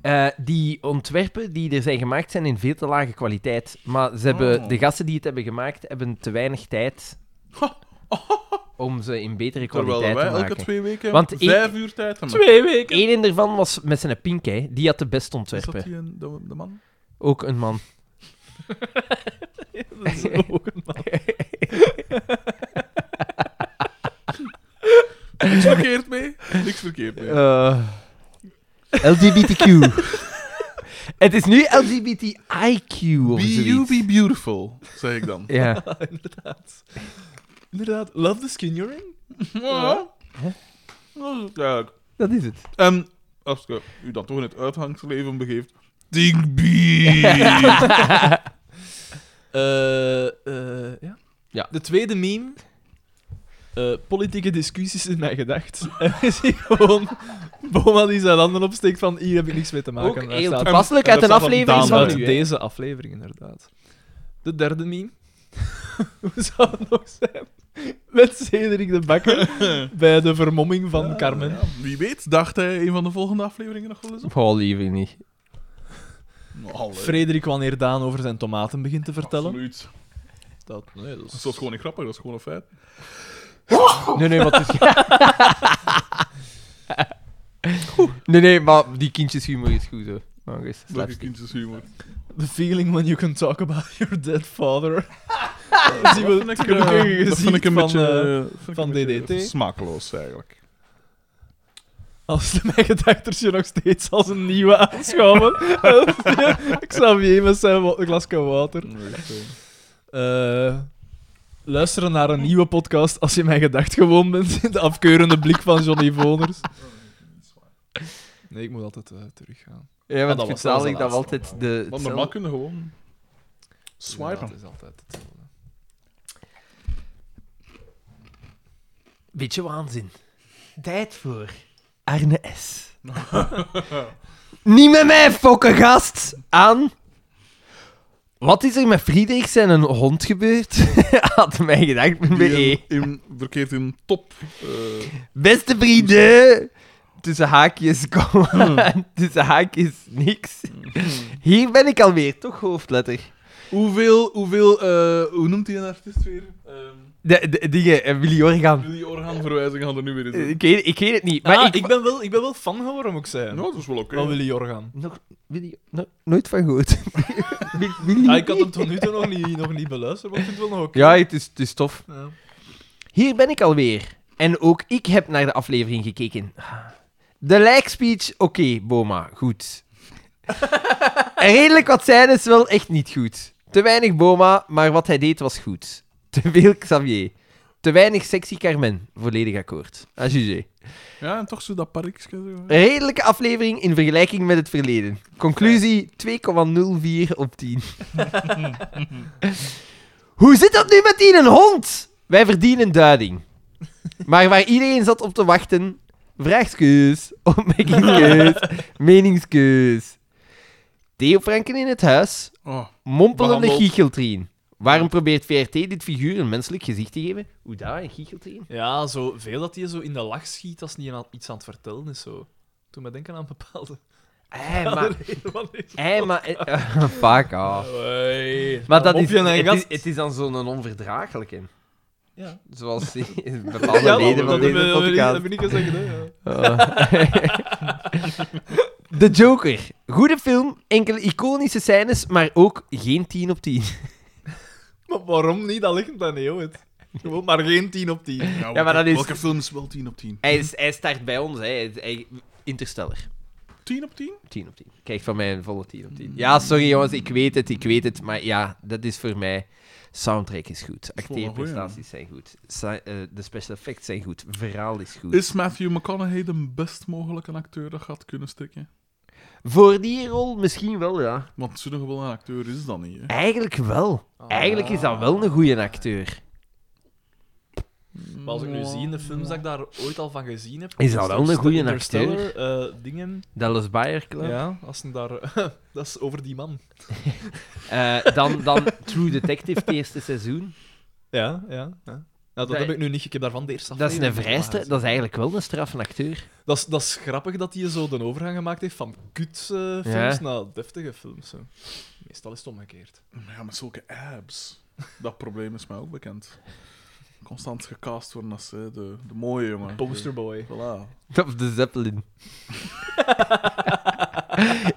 Speaker 2: Eh, die ontwerpen die er zijn gemaakt zijn in veel te lage kwaliteit. Maar ze hebben,
Speaker 1: Oh.
Speaker 2: de gasten die het hebben gemaakt, hebben te weinig tijd om ze in betere
Speaker 1: Terwijl
Speaker 2: kwaliteit
Speaker 1: wij
Speaker 2: te
Speaker 1: elke
Speaker 2: maken.
Speaker 1: twee weken
Speaker 2: Want
Speaker 1: hebben
Speaker 2: ik-
Speaker 1: vijf uur tijd hebben.
Speaker 3: Twee weken.
Speaker 2: Eén daarvan was met zijn pink, hè. die had de beste
Speaker 1: Is dat
Speaker 2: ontwerpen.
Speaker 1: die een, de, de man?
Speaker 2: Ook een
Speaker 1: [LAUGHS]
Speaker 2: man.
Speaker 1: Niks verkeerd mee. Niks verkeerd mee.
Speaker 2: Eh, LGBTQ. [LAUGHS] het is nu LGBTIQ of
Speaker 1: Be you,
Speaker 2: zoiets.
Speaker 1: be beautiful, zeg ik dan.
Speaker 2: Ja.
Speaker 3: [LAUGHS] Inderdaad. Love the skin you're in.
Speaker 1: Ja. Dat is duidelijk.
Speaker 2: [LAUGHS] Dat is het.
Speaker 1: En als je u dan toch in het uithangsleven begeeft. Digby!
Speaker 3: Eh, eh, ja.
Speaker 2: Ja.
Speaker 3: De tweede meme. eh, politieke discussies in mijn
Speaker 2: [LAUGHS]
Speaker 3: gedacht. en dan zie je gewoon Boma die zijn handen opsteekt van hier heb ik niks mee te maken.
Speaker 2: Ook
Speaker 3: Daar
Speaker 2: heel
Speaker 3: staat-
Speaker 2: toepasselijk
Speaker 1: en
Speaker 2: uit
Speaker 1: dat
Speaker 2: een
Speaker 1: staat op
Speaker 2: aflevering
Speaker 1: Daan
Speaker 2: van
Speaker 3: uit
Speaker 2: nu. hè.
Speaker 3: deze aflevering, inderdaad. De derde meme. [LAUGHS] Hoe zou het nog zijn? Met Cedric de
Speaker 2: [LAUGHS]
Speaker 3: Bakker bij de vermomming van Carmen.
Speaker 1: Ja, wie weet, dacht hij een van de volgende afleveringen nog wel eens op.
Speaker 2: Paul Oh, liever niet.
Speaker 1: Nou, allee,
Speaker 3: Frederik wanneer Daan over zijn tomaten begint te vertellen.
Speaker 1: Absoluut.
Speaker 3: Dat, nee, dat is-
Speaker 1: Dat is gewoon niet grappig, dat is gewoon een feit.
Speaker 2: Nee, nee, wat is... nee, nee, maar die kindjeshumor is goed, hoor. Maar is
Speaker 1: Welke
Speaker 2: slapstick.
Speaker 1: kindjeshumor.
Speaker 3: The feeling when you can talk about your dead father. Dat is wel het
Speaker 1: Eh,
Speaker 3: gelukkige
Speaker 1: Dat vind
Speaker 3: gezicht
Speaker 1: ik een
Speaker 3: van, eh,
Speaker 1: beetje, eh,
Speaker 3: van
Speaker 1: vind ik een beetje
Speaker 3: DDT.
Speaker 1: Smakeloos eigenlijk.
Speaker 3: Als de mijn gedachtertje nog steeds als een nieuwe aanschouwen. Xavier met zijn wa- glas koud water. Eh, luisteren naar een nieuwe podcast als je mijn gedacht gewoon bent. [LAUGHS] De afkeurende blik van Johnny Voners. Nee, ik moet altijd terug teruggaan.
Speaker 2: Ja,
Speaker 3: Ah,
Speaker 2: want
Speaker 3: dat was- dat was
Speaker 2: vertaal
Speaker 3: de
Speaker 2: ik dat
Speaker 3: laatste.
Speaker 2: altijd de...
Speaker 1: Want normaal kunnen gewoon swipen.
Speaker 3: Dat is altijd hetzelfde.
Speaker 2: Beetje waanzin. Tijd voor Arne S. [LAUGHS] Niet met mij fokken, gast! Aan... Wat is er met Friedrichs en een hond gebeurd? [LAUGHS] Had mij gedacht,
Speaker 1: Die
Speaker 2: bij E.
Speaker 1: in, in- verkeerd in top. eh,
Speaker 2: Beste vrienden! Tussen haakjes, [LAUGHS] komma. Tussen haakjes, niks. Hier ben ik alweer, toch hoofdletter.
Speaker 1: hoeveel, hoeveel eh, hoe noemt hij een artiest weer? Ehm
Speaker 2: De, de dingen, eh, Willy Orgaan.
Speaker 1: die orgaanverwijzingen hadden er nu weer
Speaker 2: Eh,
Speaker 1: in.
Speaker 2: Ik weet, ik weet het niet, maar
Speaker 3: Maar
Speaker 2: Ah, ik...
Speaker 3: Ah, ik, ben wel, ik ben wel fan geworden, moet ik
Speaker 1: Ja,
Speaker 3: zeggen.
Speaker 1: dat is wel oké.
Speaker 3: Van Willy Jorgan.
Speaker 2: Nog, Willy, no- nooit van [LAUGHS] gehoord. Wil- Willy-
Speaker 3: Ah, ik had hem tot nu toe nog niet, nog niet beluisterd, maar ik vind het wel nog oké.
Speaker 2: Ja, het is, het is tof.
Speaker 3: Ja.
Speaker 2: Hier ben ik alweer. En ook ik heb naar de aflevering gekeken. De lijkspeech, oké, Boma, goed. En redelijk wat zijn is wel echt niet goed. Te weinig Boma, maar wat hij deed was goed. Te veel Xavier. Te weinig sexy Carmen, volledig akkoord. A jugé.
Speaker 1: Ja, en toch zo dat parkje. zo.
Speaker 2: Een redelijke aflevering in vergelijking met het verleden. Conclusie 2,04 op 10. [LAUGHS] Hoe zit dat nu met die een hond? Wij verdienen duiding. Maar waar iedereen zat op te wachten, vraagskeus, opmerkingskeus, meningskeus. Theo Franken in het huis,
Speaker 1: Oh,
Speaker 2: mompelende
Speaker 1: Behandeld.
Speaker 2: giecheltrien. Waarom probeert VRT dit figuur een menselijk gezicht te geven? Hoe daar, een giecheltrien?
Speaker 3: Ja, zo veel dat hij zo in de lach schiet als hij aan- iets aan het vertellen is. Zo. Toen me denken aan bepaalde.
Speaker 2: Ei, maar...
Speaker 3: Van deze-
Speaker 2: Ei, maar... [LAUGHS] Fuck off.
Speaker 3: Hey.
Speaker 2: Maar dat
Speaker 3: Op
Speaker 2: is,
Speaker 3: je eigen
Speaker 2: het,
Speaker 3: gast.
Speaker 2: is, het is dan zo'n onverdraaglijke.
Speaker 3: Ja.
Speaker 2: Zoals die- bepaalde
Speaker 3: Ja,
Speaker 2: leden van
Speaker 3: dat
Speaker 2: deze
Speaker 3: heb ik-
Speaker 2: podcast.
Speaker 3: Dat heb ik niet gezegd, hè. ja.
Speaker 2: De Joker. Goede film, enkele iconische scènes, maar ook geen 10 op 10.
Speaker 3: Maar waarom niet? Dat ligt dan niet, joh. het. Gewoon maar geen 10 op 10.
Speaker 1: ja,
Speaker 2: maar dat is-
Speaker 1: Welke film is wel 10 op 10?
Speaker 2: [LAUGHS] Hij, is, hij start bij ons, hè. Hij, hij- Interstellar.
Speaker 1: 10 op 10?
Speaker 2: 10 op 10. Kijk, van mij een volle 10 op 10. Ja, sorry jongens, ik weet het, ik weet het. Maar ja, dat is voor mij... Soundtrack is goed,
Speaker 1: is wel een goeie,
Speaker 2: acteerprestaties zijn goed, sa- eh, de special effects zijn goed, verhaal is goed.
Speaker 1: Is Matthew McConaughey de best mogelijke acteur dat gaat kunnen stikken?
Speaker 2: Voor die rol misschien wel, ja.
Speaker 1: Want zo'n gewone acteur is dat niet. Hè?
Speaker 2: Ah. Eigenlijk wel. Eigenlijk is dat wel een goede acteur.
Speaker 3: Maar als ik nu zie in de
Speaker 1: Mm,
Speaker 3: films dat ik daar ooit al van gezien heb...
Speaker 8: Is dat wel een goeie
Speaker 3: Interstellar, eh, dingen...
Speaker 8: Dallas Bayer Club.
Speaker 3: Ja, als ze daar... [LAUGHS] dat is over die man.
Speaker 8: Eh, dan, dan True Detective, het eerste
Speaker 2: [LAUGHS]
Speaker 8: seizoen.
Speaker 3: Ja, ja. ja. Nou, dat
Speaker 8: Dat-
Speaker 3: heb ik nu niet. Ik heb daarvan de eerste
Speaker 8: Dat is een
Speaker 3: aflevering van
Speaker 8: vrijste,
Speaker 3: gehad.
Speaker 8: dat is eigenlijk wel een straffende
Speaker 2: [LAUGHS]
Speaker 8: acteur.
Speaker 3: Dat is, dat is grappig dat hij zo de overgang gemaakt heeft van kutfilms
Speaker 8: Ja.
Speaker 3: naar deftige films. hè. Meestal is het omgekeerd.
Speaker 1: Ja, met zulke abs. Dat probleem is mij ook bekend. Constant gecast worden als eh, de, de mooie jongen.
Speaker 3: Posterboy.
Speaker 1: Voilà.
Speaker 2: Of de
Speaker 8: [LAUGHS]
Speaker 2: Zeppelin.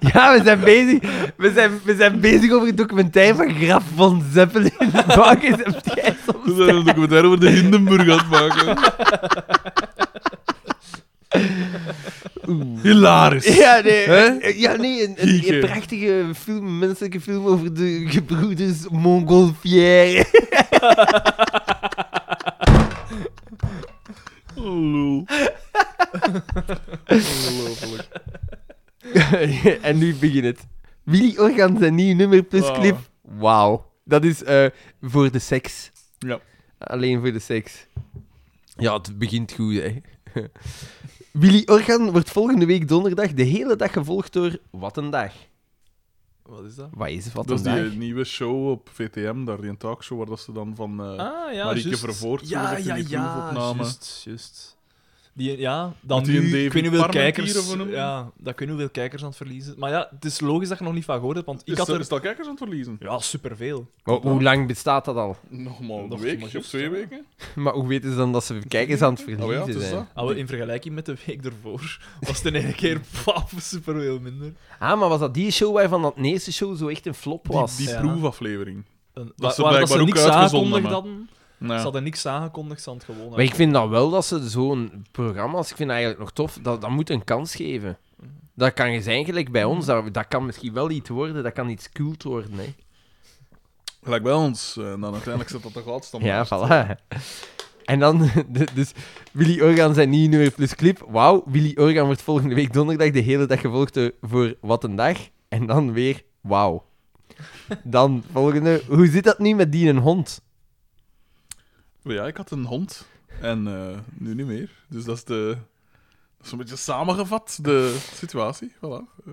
Speaker 2: ja, we zijn, bezig, we, zijn, we zijn bezig over een documentaire van Graf van [LAUGHS]
Speaker 8: [LAUGHS]
Speaker 2: Zeppelin. Waar is het jij soms?
Speaker 1: We zijn een documentaire over de Hindenburg aan het maken. Hilarisch.
Speaker 2: Ja, nee. Eh,
Speaker 1: Hè?
Speaker 2: Ja, nee een, een-
Speaker 1: Gieke.
Speaker 2: een prachtige film, menselijke film over de gebroeders Montgolfière.
Speaker 1: Ongelooflijk.
Speaker 2: [LAUGHS] en nu begint het. Willy Organ zijn nieuw nummer plus
Speaker 1: Ah.
Speaker 2: clip. Wauw. Dat is eh, voor de seks.
Speaker 1: Ja.
Speaker 2: Alleen voor de seks. Ja, het begint goed, hè. [LAUGHS] Willy Organ wordt volgende week donderdag de hele dag gevolgd door Wat een Dag.
Speaker 3: Wat is dat?
Speaker 2: Wat is Wat
Speaker 1: Dat is
Speaker 2: een
Speaker 1: die
Speaker 2: Dag?
Speaker 1: eh, nieuwe show op VTM, daar die talkshow, waar dat ze dan van... eh,
Speaker 3: Ah, ja,
Speaker 1: Marieke
Speaker 3: juist.
Speaker 1: Vervoort, zo
Speaker 3: Ja,
Speaker 1: gezegd in
Speaker 3: ja,
Speaker 1: die
Speaker 3: ja,
Speaker 1: proefopname.
Speaker 3: juist, juist. Die, ja, dan
Speaker 1: Met die
Speaker 3: nu,
Speaker 1: een
Speaker 3: ik weet niet hoeveel
Speaker 1: David
Speaker 3: kijkers...
Speaker 1: Parmentier of hoe noem je
Speaker 3: Ja, dat kunnen hoeveel kijkers aan het verliezen. Maar ja, het is logisch dat je nog niet van gehoord hebt, want ik
Speaker 1: is,
Speaker 3: had
Speaker 1: er,
Speaker 3: er...
Speaker 1: is dat kijkers aan het verliezen?
Speaker 3: Ja, superveel.
Speaker 2: Ho- hoe lang bestaat dat al? [LAUGHS]
Speaker 1: Nogmaals, een
Speaker 3: Nog
Speaker 1: week
Speaker 3: maar
Speaker 1: of
Speaker 3: juist,
Speaker 1: twee
Speaker 3: ja.
Speaker 1: weken?
Speaker 2: Maar hoe weten ze dan dat ze kijkers aan het verliezen
Speaker 1: Oh ja, het is
Speaker 2: zijn?
Speaker 1: dat.
Speaker 3: Ah, wel, in vergelijking met de week ervoor [LAUGHS] was het in één keer pap, superveel minder.
Speaker 2: Ah, maar was dat die show waarvan dat eerste show zo echt een flop was?
Speaker 1: Die, die
Speaker 3: Ja.
Speaker 1: proefaflevering.
Speaker 3: En,
Speaker 1: Dat ze
Speaker 3: waar- waar
Speaker 1: blijkbaar ook
Speaker 3: niks
Speaker 1: uitgezonden
Speaker 3: aangekondigd hadden. Ze
Speaker 1: Nou,
Speaker 3: hadden niks aangekondigd, ze hadden het gewoon
Speaker 2: Maar ik vind dan wel dat ze zo'n programma's, ik vind eigenlijk nog tof, dat, dat moet een kans geven. Dat kan je zijn, gelijk bij ons, dat, dat kan misschien wel iets worden, dat kan iets cult worden. Hè.
Speaker 1: gelijk bij ons. En dan uiteindelijk zit dat toch altijd standaard.
Speaker 2: Ja, voilà. En dan, [LAUGHS] de- dus Willy Organ zijn nieuw nummer plus clip. Wauw, Willy Organ wordt volgende week donderdag de hele dag gevolgd door- voor Wat een Dag. En dan weer, wauw. Dan volgende, hoe zit dat nu met die en hond?
Speaker 1: Ja, ik had een hond. En eh, nu niet meer. Dus dat is de... Dat is een beetje samengevat, de situatie. Voilà.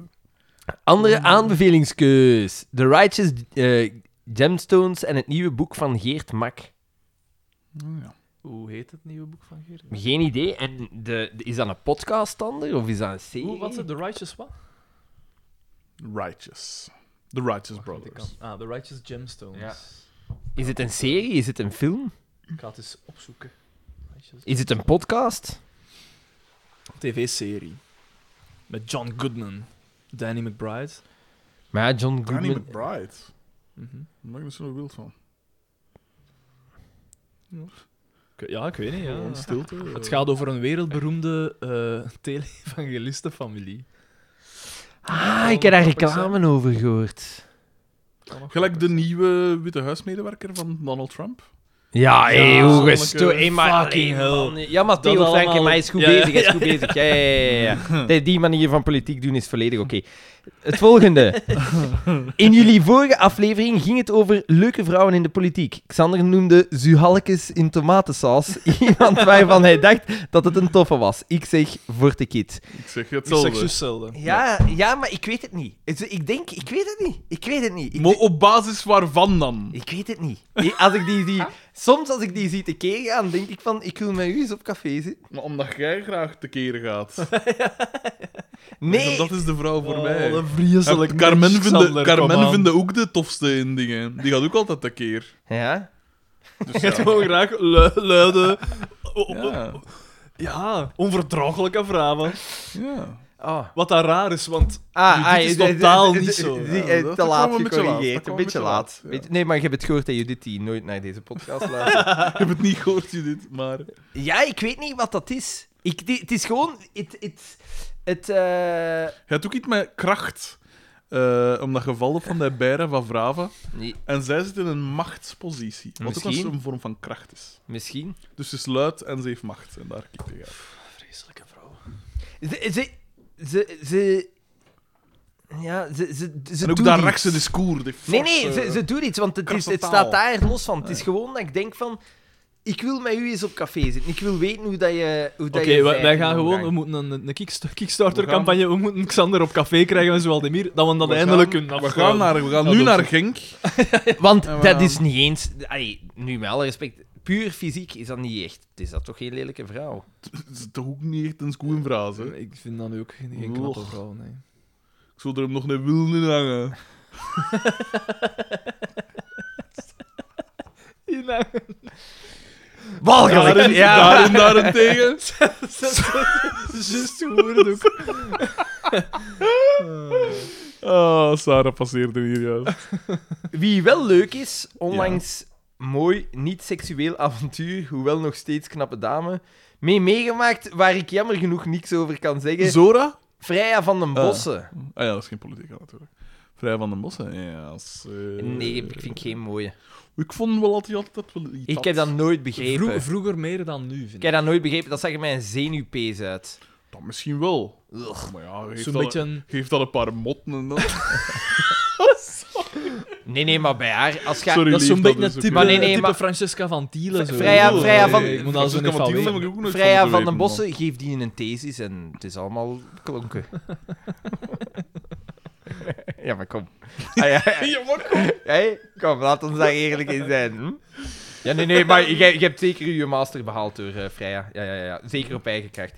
Speaker 2: Andere aanbevelingskeus. The Righteous eh, Gemstones en het nieuwe boek van Geert Mak.
Speaker 1: Ja.
Speaker 3: Hoe heet het nieuwe boek van Geert?
Speaker 2: Geen idee. En de, de- is dat een podcast ander of is dat een serie?
Speaker 3: Hoe, wat? The Righteous wat?
Speaker 1: Righteous. The Righteous Brothers.
Speaker 3: Ah, The Righteous Gemstones.
Speaker 2: Is het een serie? Is het een film?
Speaker 3: Ik ga het eens opzoeken. Righteous-
Speaker 2: Is het een podcast?
Speaker 3: TV-serie. Met John Goodman. Danny McBride.
Speaker 2: Maar ja,
Speaker 1: Danny
Speaker 2: John Goodman...
Speaker 1: McBride.
Speaker 3: Mhm.
Speaker 1: Daar maak ik me zo nog wild van.
Speaker 3: Ik- Ja, ik weet niet. Ja.
Speaker 1: Gewoon stilte. eh,
Speaker 3: Het gaat over een wereldberoemde eh tele-evangelistenfamilie.
Speaker 2: Ah, ik heb daar reclame over gehoord.
Speaker 1: Gelijk de nieuwe Witte Huismedewerker van Donald Trump.
Speaker 2: Ja, hé,
Speaker 3: Ja,
Speaker 2: hoe
Speaker 3: zonneke,
Speaker 2: gesto... hé, maar-
Speaker 3: fucking
Speaker 2: hé, man,
Speaker 3: hell.
Speaker 2: hé. Ja, maar Theo
Speaker 3: Dat
Speaker 2: Frank, hé, maar hij is goed
Speaker 3: allemaal-
Speaker 2: bezig, hij is goed bezig. Ja, ja, ja, [LAUGHS] ja. Die- Die manier van politiek doen is volledig oké. Het volgende. [LAUGHS] In jullie vorige aflevering ging het over leuke vrouwen in de politiek. Xander noemde Zuhalkes in tomatensaus. [LAUGHS] Iemand waarvan hij dacht dat het een toffe was. Ik zeg Vortekit.
Speaker 1: Ik zeg
Speaker 3: Ik zeg
Speaker 1: hetzelfde.
Speaker 3: juist hetzelfde.
Speaker 2: Ja, ja, maar ik weet het niet. Ik denk, ik weet het niet. Ik weet het niet.
Speaker 1: Maar op basis waarvan dan?
Speaker 2: Ik weet het niet. Die- Als ik die zie, soms als ik die zie te keer gaan, denk ik van, ik wil met u eens op café zitten.
Speaker 1: Maar omdat jij graag te keren gaat.
Speaker 3: [LAUGHS]
Speaker 2: Nee,
Speaker 1: Dat is de vrouw voor mij.
Speaker 3: Oh, Wat een vreselijk
Speaker 1: En Carmen
Speaker 3: mens,
Speaker 1: vinden
Speaker 3: Xander, kom
Speaker 1: Carmen
Speaker 3: aan.
Speaker 1: vinden ook de tofste in dingen. Die gaat ook altijd tekeer.
Speaker 2: ja.
Speaker 3: [LAUGHS]
Speaker 1: Dus ja.
Speaker 3: Gewoon graag lu- luide... o- o-
Speaker 1: Ja,
Speaker 3: Ja, onverdraaglijke vragen.
Speaker 1: ja.
Speaker 2: Oh.
Speaker 3: Wat dat raar is, want
Speaker 2: Ah,
Speaker 3: Judith
Speaker 2: ah,
Speaker 3: is
Speaker 2: de- de-
Speaker 3: totaal
Speaker 2: de-
Speaker 3: niet
Speaker 2: de-
Speaker 3: zo.
Speaker 2: die-
Speaker 1: Ja,
Speaker 2: eh,
Speaker 1: dat
Speaker 2: te
Speaker 1: kwam
Speaker 2: laat
Speaker 1: een beetje laat. Dat
Speaker 2: gecorrigeerd,
Speaker 1: kwam
Speaker 2: een beetje laat.
Speaker 1: ja.
Speaker 2: Weet- Nee, maar je hebt het gehoord dat Judith die nooit naar deze podcast luistert.
Speaker 3: [LAUGHS]
Speaker 1: Ik heb het niet gehoord, Judith, maar...
Speaker 2: ja, ik weet niet wat dat is. Ik, die- het is gewoon... Het, het, het, eh,
Speaker 1: Je hebt ook iets met kracht. eh om dat geval van die bijren van Vrava.
Speaker 2: nee,
Speaker 1: En zij zit in een machtspositie. Wat ook
Speaker 2: Misschien.
Speaker 1: als een vorm van kracht is.
Speaker 2: misschien.
Speaker 1: Dus ze is luid en ze heeft macht. En daar kijk je uit.
Speaker 3: Vreselijke vrouw.
Speaker 2: Ze... ze, ze, ze ja, ze, ze, ze
Speaker 1: En ook
Speaker 2: doet
Speaker 1: dat
Speaker 2: iets.
Speaker 1: rechtse discours. die
Speaker 2: Nee,
Speaker 1: forse-
Speaker 2: nee, ze, ze doet iets, want het, is,
Speaker 1: krasse
Speaker 2: het
Speaker 1: taal.
Speaker 2: staat daar los van. Het is gewoon dat ik denk van... Ik wil met u eens op café zitten. Ik wil weten hoe dat je. Hoe dat
Speaker 3: Oké,
Speaker 2: je
Speaker 3: wij,
Speaker 2: zijt
Speaker 3: wij
Speaker 2: in
Speaker 3: gaan gewoon, we
Speaker 2: omgang.
Speaker 3: moeten een, een kicksta- Kickstarter-campagne, we, moeten Xander op café krijgen en Zoaldemir, dat we dat eindelijk kunnen
Speaker 1: Nou, We gaan,
Speaker 3: afsluiten.
Speaker 1: naar, we gaan
Speaker 3: Dat
Speaker 1: nu
Speaker 3: is-
Speaker 1: naar Genk.
Speaker 2: [LAUGHS] Want
Speaker 1: Ja, maar-
Speaker 2: dat is niet eens. Allee, nu met alle respect, puur fysiek is dat niet echt. Het is dat toch geen lelijke vrouw?
Speaker 1: Dat is toch ook niet echt een goede frase. hè?
Speaker 3: Ik vind dat nu ook geen, geen knappe
Speaker 1: Och.
Speaker 3: vrouw, nee.
Speaker 1: Ik zou er hem nog een wil in hangen.
Speaker 2: Walgelijk!
Speaker 1: Daarin,
Speaker 2: Oh, ja,
Speaker 1: daarin
Speaker 2: [LAUGHS]
Speaker 1: daarentegen.
Speaker 3: Just gehoord ook.
Speaker 1: [LAUGHS] Ah, Sarah passeerde hier juist.
Speaker 2: Wie wel leuk is, onlangs mooi niet-seksueel avontuur, hoewel nog steeds knappe dame, mee meegemaakt waar ik jammer genoeg niks over kan zeggen.
Speaker 1: Zora?
Speaker 2: Freya van den
Speaker 1: Ah.
Speaker 2: Bossen.
Speaker 1: Ah ja, dat is geen politica natuurlijk. Vrij van den Bossen? Ja, als, eh,
Speaker 2: Nee, ik vind geen mooie.
Speaker 1: Ik vond wel dat hij altijd wel iets
Speaker 2: Ik
Speaker 1: had.
Speaker 2: heb dat nooit begrepen.
Speaker 3: Vroeg- vroeger meer dan nu, vind
Speaker 2: Ik
Speaker 3: ik.
Speaker 2: heb dat nooit begrepen. Dat zag er mij een zenuwpees uit.
Speaker 1: Dat misschien wel. Maar ja, geeft
Speaker 3: Zo'n
Speaker 1: dat,
Speaker 3: beetje...
Speaker 1: een,
Speaker 3: een-
Speaker 1: geeft dat een paar motten en
Speaker 2: [LAUGHS]
Speaker 1: dat...
Speaker 2: Nee, nee, maar bij haar... Als je...
Speaker 1: Sorry,
Speaker 3: Dat is
Speaker 1: lief,
Speaker 3: zo'n beetje een
Speaker 1: ook
Speaker 3: type,
Speaker 1: weer-
Speaker 2: Maar nee, nee,
Speaker 3: type
Speaker 2: maar-
Speaker 3: Francesca van Thielen. zo.
Speaker 2: Freya-
Speaker 1: Oh,
Speaker 3: Nee,
Speaker 2: Freya van-
Speaker 3: nee, Ik moet dat zo
Speaker 1: Francesca
Speaker 3: niet van
Speaker 1: Mathiel
Speaker 3: weten.
Speaker 1: heb ik ook nooit
Speaker 2: Freya van
Speaker 1: geweten,
Speaker 2: den
Speaker 1: man.
Speaker 2: Bossen geeft die een thesis en het is allemaal klonken. [LAUGHS] ja, maar kom. Ah, ja, [LAUGHS] ja. Hey, kom, laat ons daar eerlijk in zijn. hm? Ja, nee, nee, maar je, je hebt zeker je master behaald door eh Freya. Ja, ja, ja, ja, zeker op eigen kracht.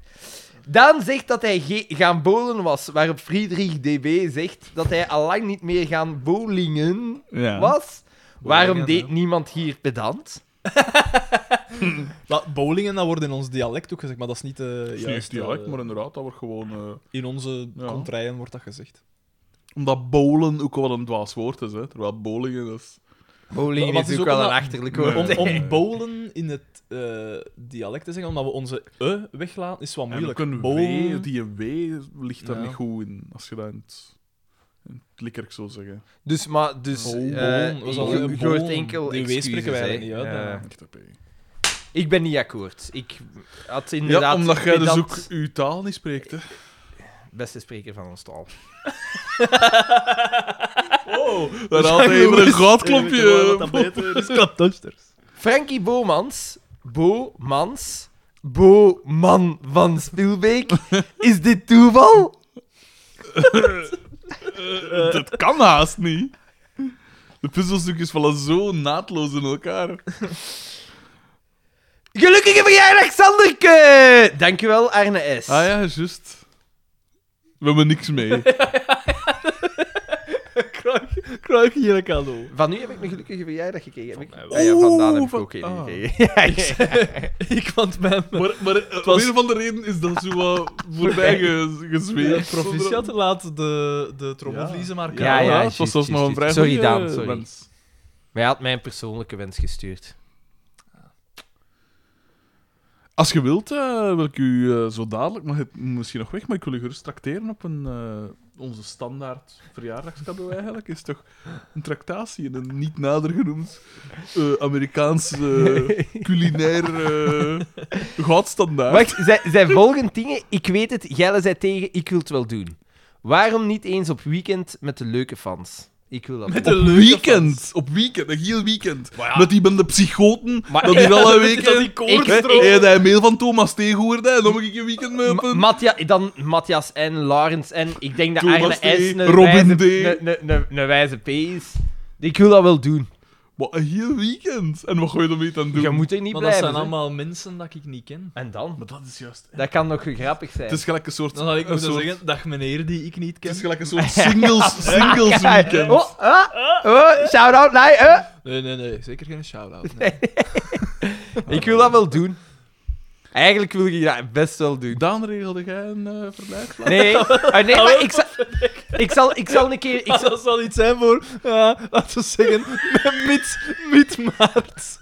Speaker 2: Daan zegt dat hij ge- gaan bowlen was, waarop Friedrich DB zegt dat hij allang niet meer gaan bowlingen
Speaker 1: Ja.
Speaker 2: was. Waarom
Speaker 3: Bowlingen,
Speaker 2: deed
Speaker 3: hè.
Speaker 2: niemand hier pedant?
Speaker 3: Maar bowlingen, dat wordt in ons dialect ook gezegd, maar dat is niet eh
Speaker 1: Dat is niet
Speaker 3: juist,
Speaker 1: echt dialect,
Speaker 3: eh,
Speaker 1: maar inderdaad, dat wordt gewoon... eh,
Speaker 3: In onze
Speaker 1: Ja.
Speaker 3: contraien wordt dat gezegd.
Speaker 1: Omdat bowlen ook wel een dwaas woord is, hè. Terwijl bowlingen is...
Speaker 2: Bowlingen
Speaker 3: Wat
Speaker 2: is,
Speaker 3: is
Speaker 2: ook
Speaker 3: ook
Speaker 2: wel een
Speaker 3: omdat-
Speaker 2: achterlijk
Speaker 1: Nee.
Speaker 2: woord.
Speaker 3: Om,
Speaker 2: hè.
Speaker 3: om bowlen in het eh, dialect te zeggen, omdat we onze e weglaten, is wat moeilijk.
Speaker 1: En ook een
Speaker 3: Bowlen-
Speaker 1: W, die een W ligt daar
Speaker 3: Ja.
Speaker 1: niet goed in, als je dat in het, in het likkerk zou zeggen.
Speaker 2: [LAUGHS] Dus, maar, dus...
Speaker 3: Oh,
Speaker 2: eh,
Speaker 3: bon, was
Speaker 2: je-
Speaker 3: al
Speaker 2: je
Speaker 3: een
Speaker 2: hoort
Speaker 3: bon.
Speaker 2: enkel
Speaker 3: Die W
Speaker 2: excuses,
Speaker 3: spreken wij
Speaker 2: hè.
Speaker 3: eigenlijk niet uit,
Speaker 2: Ja.
Speaker 3: hè.
Speaker 1: Echt een P.
Speaker 2: Ik ben niet akkoord. Ik had inderdaad...
Speaker 1: Ja, omdat jij dus
Speaker 2: pedant-
Speaker 1: ook uw taal niet spreekt, [LAUGHS] hè.
Speaker 2: Beste spreker van ons taal.
Speaker 1: Daar haalt hij even een
Speaker 3: Eh,
Speaker 1: eh, [LAUGHS] goudklompje.
Speaker 2: Frankie Bomans, Bomans, Boman van [LAUGHS] Spielbeek. Is dit toeval?
Speaker 1: Dat kan haast niet. De puzzelstukjes vallen zo naadloos in elkaar.
Speaker 2: Gelukkige verjaardag, Sanderke! Dankjewel, Arne S.
Speaker 1: Ah ja, juist. We hebben niks [LAUGHS] mee.
Speaker 3: Kruik hier een cadeau.
Speaker 2: Van nu heb ik een gelukkige verjaardag gekregen. Heb ik...
Speaker 3: mij
Speaker 2: Ah ja, vandaan heb ik
Speaker 1: van-
Speaker 2: ook een
Speaker 1: ah. [LAUGHS]
Speaker 2: gekregen. Ja, ja.
Speaker 3: Ik want mijn
Speaker 1: Maar, maar eh, om een of andere reden is dat zo wat [LAUGHS] voorbij ge- gezweefd.
Speaker 3: proficiat laat de, de trommelvliezen maar
Speaker 1: Ja, ja,
Speaker 2: ja,
Speaker 1: het was
Speaker 2: juist,
Speaker 1: zelfs nog een
Speaker 2: juist,
Speaker 1: vrij
Speaker 2: juist. Sorry,
Speaker 1: goeie,
Speaker 2: Daan,
Speaker 1: eh,
Speaker 2: sorry.
Speaker 1: wens.
Speaker 2: Maar hij had mij een persoonlijke wens gestuurd.
Speaker 1: Als je wilt, eh, wil ik u eh, zo dadelijk, maar het misschien nog weg, maar ik wil u gerust tracteren op een, eh, onze standaard verjaardagscadeau eigenlijk. Is toch een tractatie in een niet nader genoemd eh, Amerikaans
Speaker 2: [LAUGHS]
Speaker 1: eh, culinair eh, goudstandaard.
Speaker 2: [LAUGHS] Wacht, zij, zij volgen dingen. Ik weet het, Gelle zei tegen, ik wil het wel doen. Waarom niet eens op weekend met de leuke fans? Ik wil dat doen.
Speaker 1: op weekend, op weekend, een heel weekend. Met die ben de psychoten,
Speaker 2: Maar- [LAUGHS]
Speaker 1: dat die alle weken...
Speaker 3: dat die
Speaker 2: Ik-
Speaker 1: Hey, heb je eh, een mail van Thomas tegenhoorde en dan moet ik je weekend mee op
Speaker 2: Ma-
Speaker 1: een...
Speaker 2: Mattia, dan Matthias N, Laurens N. Ik denk dat Arne
Speaker 1: Thomas
Speaker 2: S.
Speaker 1: D,
Speaker 2: een
Speaker 1: Robin
Speaker 2: wijze-
Speaker 1: D.
Speaker 2: een- een- een- een wijze P is. Ik wil dat wel doen.
Speaker 1: Maar een heel weekend. En wat ga je ermee dan doen?
Speaker 2: Je moet er niet
Speaker 3: Maar dat
Speaker 2: blijven.
Speaker 3: zijn
Speaker 2: hè.
Speaker 3: allemaal mensen dat ik niet ken.
Speaker 2: En dan?
Speaker 1: Maar dat is juist...
Speaker 2: Dat kan nog grappig zijn.
Speaker 1: Het is gelijk een soort...
Speaker 3: Dan had ik
Speaker 1: een
Speaker 3: moeten
Speaker 1: soort-
Speaker 3: zeggen, dag meneer die ik niet
Speaker 1: Het
Speaker 3: ken.
Speaker 1: is gelijk een soort singles, singles
Speaker 2: Ja,
Speaker 1: weekend.
Speaker 2: Oh, ah, oh, shout-out, nee, eh.
Speaker 3: Nee, nee, nee, zeker geen shout-out. [LAUGHS] nee.
Speaker 2: Ik wil dat wel doen. Eigenlijk wil ik dat best wel doen.
Speaker 1: Daan, regelde jij een eh verblijfplaats? [LAUGHS]
Speaker 2: Nee, ah, nee maar ik zal, ik, zal, ik zal een keer... Ik zal,
Speaker 3: Dat zal iets zijn voor, ja, laten we zeggen, met mid, mid maart.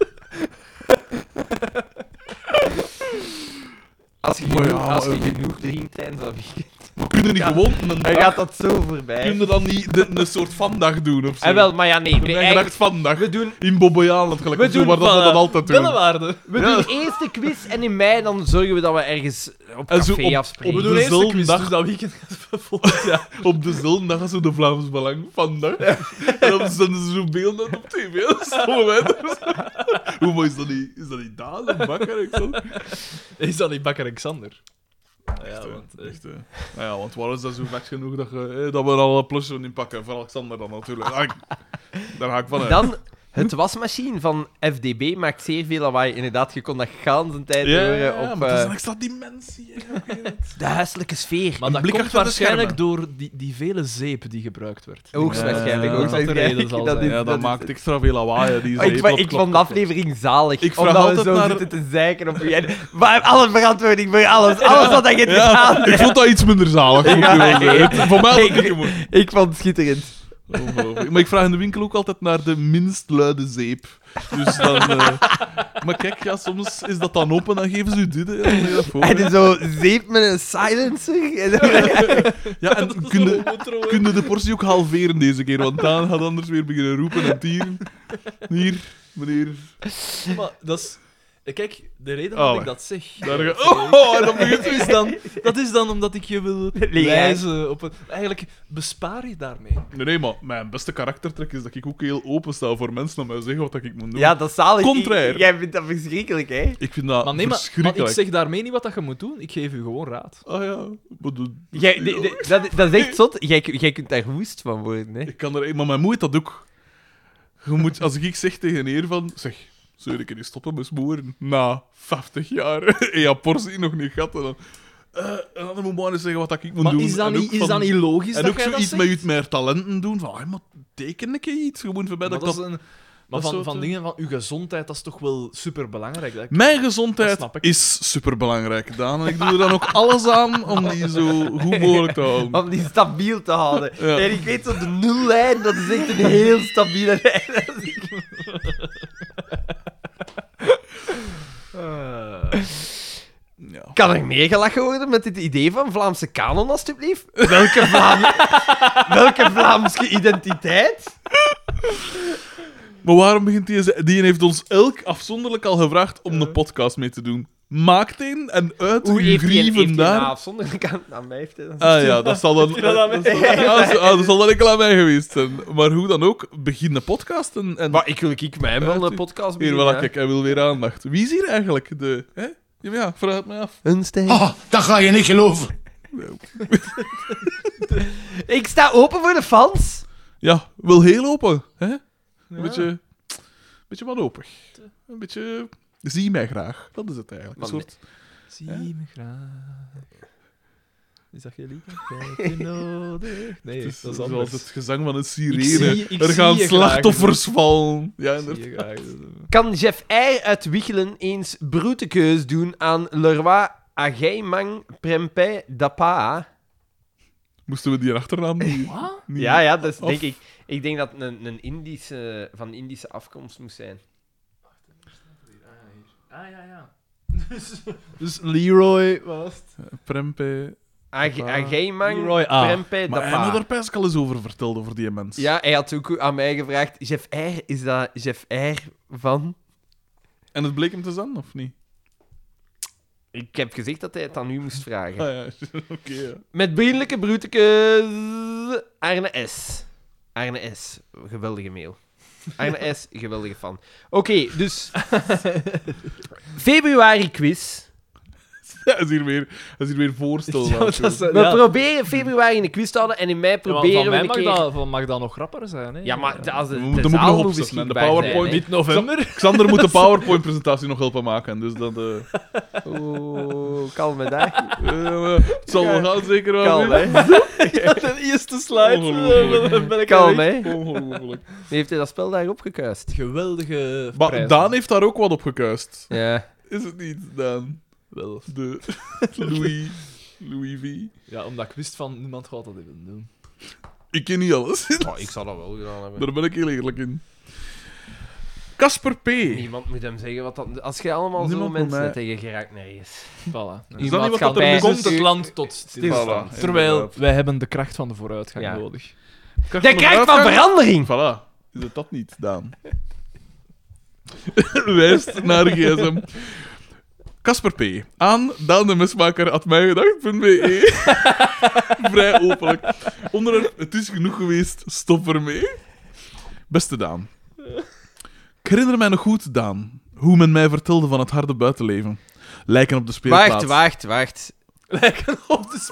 Speaker 2: als je
Speaker 1: Maar ja,
Speaker 2: genoeg, als je
Speaker 1: eh,
Speaker 2: [LAUGHS] genoeg drinkt tijdens dat weekend.
Speaker 1: Maar kun Kun je niet gewoon een
Speaker 2: Hij
Speaker 1: dag,
Speaker 2: gaat dat zo voorbij. Ah,
Speaker 1: kun je dan niet de- een soort vandag doen of zo?
Speaker 8: En wel, maar ja, nee.
Speaker 1: Een
Speaker 8: nee
Speaker 1: eigen
Speaker 8: eigenlijk-
Speaker 1: dag vandaag.
Speaker 8: we doen,
Speaker 1: In Bobbejaan, dat gelijk.
Speaker 8: We
Speaker 1: of zo,
Speaker 8: doen
Speaker 1: maar dat ze
Speaker 8: van,
Speaker 1: dat
Speaker 8: eh,
Speaker 1: altijd doen.
Speaker 6: Bellenwaarde.
Speaker 8: we
Speaker 1: Ja.
Speaker 8: doen eerst de quiz en in mei dan zorgen we dat we ergens op
Speaker 1: En zo
Speaker 8: café
Speaker 1: op-
Speaker 8: afspreken.
Speaker 1: op de eerste
Speaker 6: Dezelfde
Speaker 1: quiz,
Speaker 6: dag
Speaker 1: dus
Speaker 6: dat weekend.
Speaker 1: [LAUGHS] Op dezelfde dag als zo de Vlaams Belang vandaag. En dan zenden ze zo beelden op tv. hè, Stomme mensen. Hoe mooi is dat niet? Is dat niet Daan en Bakker? Ik zal-
Speaker 6: Is dat niet Bakker Alexander?
Speaker 1: Echt, hè, echt, hè. Nou ja, want waar is dat zo vet genoeg dat, je, eh, dat we er al een plusje in pakken? Voor Alexander dan natuurlijk. Ah, ik- daar ga ik van uit.
Speaker 2: Dan, het wasmachine van FDB maakt zeer veel lawaai. Inderdaad, je kon dat gans een tijd
Speaker 1: Ja, ja, ja,
Speaker 2: horen op
Speaker 1: maar dat is
Speaker 2: eh,
Speaker 1: een extra dimensie.
Speaker 2: [LAUGHS]
Speaker 1: hè.
Speaker 2: de huiselijke sfeer.
Speaker 6: Maar
Speaker 1: Een
Speaker 6: dat
Speaker 1: blik
Speaker 6: komt
Speaker 1: achter de
Speaker 6: waarschijnlijk
Speaker 1: schermen.
Speaker 6: door die, die vele zeep die gebruikt werd.
Speaker 2: Hoogstwaarschijnlijk,
Speaker 6: Ja, dat dat de
Speaker 2: hoogstwaarschijnlijk.
Speaker 6: reden zal
Speaker 2: Dat
Speaker 6: zijn.
Speaker 2: is-
Speaker 1: Ja, dat,
Speaker 2: is-
Speaker 1: maakt extra veel lawaai. hè, Die
Speaker 2: Oh, ik,
Speaker 1: zeep,
Speaker 2: va-
Speaker 1: dat
Speaker 2: ik
Speaker 1: klopt,
Speaker 2: vond de
Speaker 1: dat
Speaker 2: aflevering zalig.
Speaker 1: Ik vraag
Speaker 2: omdat we
Speaker 1: altijd
Speaker 2: zo
Speaker 1: naar-
Speaker 2: zitten te zeiken op
Speaker 1: [LAUGHS]
Speaker 2: u. En- Maar alle verantwoording voor alles. Alles wat hij heeft
Speaker 1: klopt.
Speaker 2: gedaan.
Speaker 1: Ja, [LAUGHS] ik vond dat iets minder zalig. moet ik
Speaker 2: Ja,
Speaker 1: wel zeggen.
Speaker 2: nee.
Speaker 1: Het- Voor mij had het
Speaker 2: Ik-
Speaker 1: niet gemoeid.
Speaker 2: Ik vond het schitterend.
Speaker 1: Ongelooflijk. Maar ik vraag in de winkel ook altijd naar de minst luide zeep. Dus dan... eh, [LAUGHS] Maar kijk, ja, soms is dat dan open, dan geven ze u dit. hè, dan heb je dat voor,
Speaker 2: [LAUGHS]
Speaker 1: hè.
Speaker 2: En dan zo zeep met een silencer. En dan-
Speaker 1: Ja, en kun je, kun je de portie ook halveren deze keer, want Daan gaat anders weer beginnen roepen en tieren. Hier, meneer.
Speaker 6: Maar dat is... eh, Kijk, de reden
Speaker 1: Oh,
Speaker 6: dat
Speaker 1: wacht.
Speaker 6: ik dat zeg...
Speaker 1: Daar ga- Oh, oh, en dan begint
Speaker 6: is dan, dat is dan omdat ik je [LAUGHS] wil wijzen op een... Eigenlijk bespaar je daarmee.
Speaker 1: Nee, nee, maar mijn beste karaktertrek is dat ik ook heel open sta voor mensen om mij te zeggen wat ik moet doen.
Speaker 2: Ja, dat is zalig.
Speaker 1: Contrair.
Speaker 2: Jij vindt dat verschrikkelijk, hè?
Speaker 1: Ik vind dat
Speaker 6: Maar nee, maar, maar ik
Speaker 1: verschrikkelijk.
Speaker 6: zeg daarmee niet wat dat je moet doen. Ik geef u gewoon raad.
Speaker 1: Ah ja, wat doe-
Speaker 2: Jij, de- de- dat, dat is echt zot. Jij, jij kunt daar woest van worden, hè?
Speaker 1: Ik kan er... Maar mijn moe heeft dat ook. Je moet, als ik zeg tegen een heer van... Zeg, zou ik niet stoppen met smoren? Na 50 jaar. [LAUGHS] en ja, portie nog niet gehad. En dan... eh, en dan moet maar eens zeggen wat dat ik moet
Speaker 6: Maar
Speaker 1: doen.
Speaker 6: is dat,
Speaker 1: En ook
Speaker 6: niet, is
Speaker 1: van-
Speaker 6: dat niet logisch
Speaker 1: En
Speaker 6: dat
Speaker 1: ook
Speaker 6: jij dat
Speaker 1: zoiets
Speaker 6: zegt?
Speaker 1: met je meer talenten doen. Van, hey, maar teken ik iets? Gewoon voor mij
Speaker 6: Maar
Speaker 1: dat ik
Speaker 6: dat is een-
Speaker 1: dat...
Speaker 6: maar
Speaker 1: dat
Speaker 6: van,
Speaker 1: soort,
Speaker 6: van
Speaker 1: eh,
Speaker 6: dingen van uw gezondheid, dat is toch wel superbelangrijk. Dat ik-
Speaker 1: Mijn
Speaker 6: Dat
Speaker 1: gezondheid
Speaker 6: snap ik.
Speaker 1: is superbelangrijk, Daan. En ik doe er dan ook alles aan om die zo goed mogelijk te houden.
Speaker 2: Om die stabiel te houden.
Speaker 1: Ja.
Speaker 2: En ik weet zo, de nullijn, dat is echt een heel stabiele lijn.
Speaker 1: Ja.
Speaker 2: Kan er meer gelachen worden met dit idee van Vlaamse kanon, alstublieft? Welke, Vlaam... [LAUGHS] Welke Vlaamse identiteit?
Speaker 1: Maar waarom begint die... Die heeft ons elk afzonderlijk al gevraagd om een podcast mee te doen. Maak een en uit uw grieven daar.
Speaker 2: zonder kant aan mij heeft hij dan-
Speaker 1: Ah [LAUGHS] ja, dat zal dan... [LAUGHS] dat zal- ah, zo- ah, dat zal dan enkel aan mij geweest zijn. Maar hoe dan ook, begin de podcast en... en
Speaker 2: Maar ik wil ik mij wel een podcast
Speaker 1: hier,
Speaker 2: beginnen,
Speaker 1: voilà,
Speaker 2: hè.
Speaker 1: kijk, hij wil weer aandacht. Wie is hier eigenlijk de... Hè? Ja, maar ja, vraag het mij af.
Speaker 2: Een steen.
Speaker 5: Ah, dat ga je niet geloven.
Speaker 2: Ik sta open voor de fans.
Speaker 1: Ja, wel heel open. Hè? Een beetje, een beetje wanhopig. Een beetje... Zie mij graag. Dat is het eigenlijk. Een
Speaker 2: Maar
Speaker 1: soort...
Speaker 6: Zie me graag. Is dat geen [LAUGHS] liedje? Ik heb je nodig. Nee,
Speaker 1: Het is
Speaker 6: dat is
Speaker 1: zoals
Speaker 6: anders.
Speaker 1: het gezang van een
Speaker 6: Ik
Speaker 1: sirene.
Speaker 6: zie- ik
Speaker 1: er
Speaker 6: zie
Speaker 1: gaan
Speaker 6: je
Speaker 1: slachtoffers vallen. Ja,
Speaker 6: graag. Ik zie
Speaker 1: inderdaad.
Speaker 6: je [LAUGHS] graag.
Speaker 2: Kan Jeff R. uit Wichelen eens broetekeus doen aan Leroy Agaimang Prempeh Dapa?
Speaker 1: Moesten we die achternaam niet... niet-
Speaker 2: Ja, ja, dat is, denk
Speaker 1: Of-
Speaker 2: ik. Ik denk dat het een, een Indische, van Indische afkomst moest zijn.
Speaker 6: Ah, ja, ja. Dus Leroy was het.
Speaker 1: Prempe...
Speaker 2: Ag-
Speaker 1: Dapa.
Speaker 2: Agaimang
Speaker 6: Leroy A.
Speaker 2: Prempeh
Speaker 1: Maar hij had
Speaker 2: Dapa.
Speaker 1: er best al eens over verteld, over die mens.
Speaker 2: Ja, hij had ook aan mij gevraagd: Jeff R. Is dat Jeff R. van?
Speaker 1: En het bleek hem te zijn, of niet?
Speaker 2: Ik heb gezegd dat hij het aan u moest vragen.
Speaker 6: Eh.
Speaker 1: Ah ja, [LAUGHS] oké. ja.
Speaker 2: Met vriendelijke broetekes, Arne S. Arne S. Geweldige mail. Arne S. Geweldige fan. Oké,
Speaker 6: [LAUGHS]
Speaker 2: dus... Februari quiz.
Speaker 1: Ja, hij is hier weer, hij is hier weer voorstel. aan het
Speaker 6: dat is,
Speaker 1: doen.
Speaker 6: [LAUGHS]
Speaker 2: We
Speaker 6: ja.
Speaker 2: proberen februari in de quiz te houden en in mei
Speaker 6: Ja, maar
Speaker 2: proberen
Speaker 6: van
Speaker 2: we
Speaker 6: mij
Speaker 2: een
Speaker 6: mag,
Speaker 2: keer...
Speaker 6: dat, van mag dat nog grapper zijn. Hè?
Speaker 2: Ja, maar de- als de,
Speaker 1: We
Speaker 2: de
Speaker 1: moeten hem ook
Speaker 2: zaal
Speaker 1: nog
Speaker 2: moet
Speaker 1: opzetten, hè. De
Speaker 2: beschikbaar
Speaker 1: PowerPoint
Speaker 2: zijn,
Speaker 1: niet.
Speaker 2: hè.
Speaker 6: november.
Speaker 1: Xander moet de PowerPoint-presentatie nog helpen maken, dus dat... eh, [LAUGHS]
Speaker 2: Oeh, kalme dag.
Speaker 1: eh, het zal wel gaan, zeker wel.
Speaker 2: Kalm,
Speaker 1: weer. [LAUGHS]
Speaker 2: hè.
Speaker 6: de eerste slide.
Speaker 1: Ongelooflijk.
Speaker 6: eh, ben ik
Speaker 2: Kalm,
Speaker 6: alweer.
Speaker 2: hè. Wie
Speaker 1: Ongelooflijk.
Speaker 2: heeft hij dat spel daar opgekuist?
Speaker 6: Geweldige
Speaker 1: Maar
Speaker 6: prijzen.
Speaker 1: Daan heeft daar ook wat op gekuist.
Speaker 2: Ja.
Speaker 1: Is het niet, Daan?
Speaker 6: Wel.
Speaker 1: De Louis, Louis V.
Speaker 6: Ja, omdat ik wist van niemand gaat dat even doen.
Speaker 1: Ik ken niet alles.
Speaker 6: Oh,
Speaker 2: ik zou dat wel gedaan hebben.
Speaker 1: Daar ben ik heel eerlijk in. Casper P. Is
Speaker 9: Niemand moet hem zeggen wat dat... Als je allemaal
Speaker 1: Niemand
Speaker 9: zo
Speaker 1: moet
Speaker 9: mensen
Speaker 1: mij-
Speaker 9: tegen geraakt naar is.
Speaker 3: Voilà.
Speaker 1: dat niet wat dat er
Speaker 9: maatschappij-
Speaker 1: nu
Speaker 3: Komt
Speaker 1: komt?
Speaker 3: het land tot stilstand.
Speaker 1: Voilà,
Speaker 3: Terwijl
Speaker 1: inderdaad.
Speaker 3: wij hebben de kracht van de vooruitgang
Speaker 9: Ja.
Speaker 3: nodig.
Speaker 9: De kracht van verandering!
Speaker 1: Voilà. Is het dat niet, Daan? [LAUGHS] Wijst naar gsm. Casper P. Aan Daan de Mesmaker at mijgedacht.be. E. [LAUGHS] Vrij openlijk. Onderwerp, het is genoeg geweest, stop ermee. Beste Daan. Ik herinner mij nog goed, Daan, hoe men mij vertelde van het harde buitenleven. Lijken op de speelplaats.
Speaker 2: Wacht, wacht, wacht. [LAUGHS]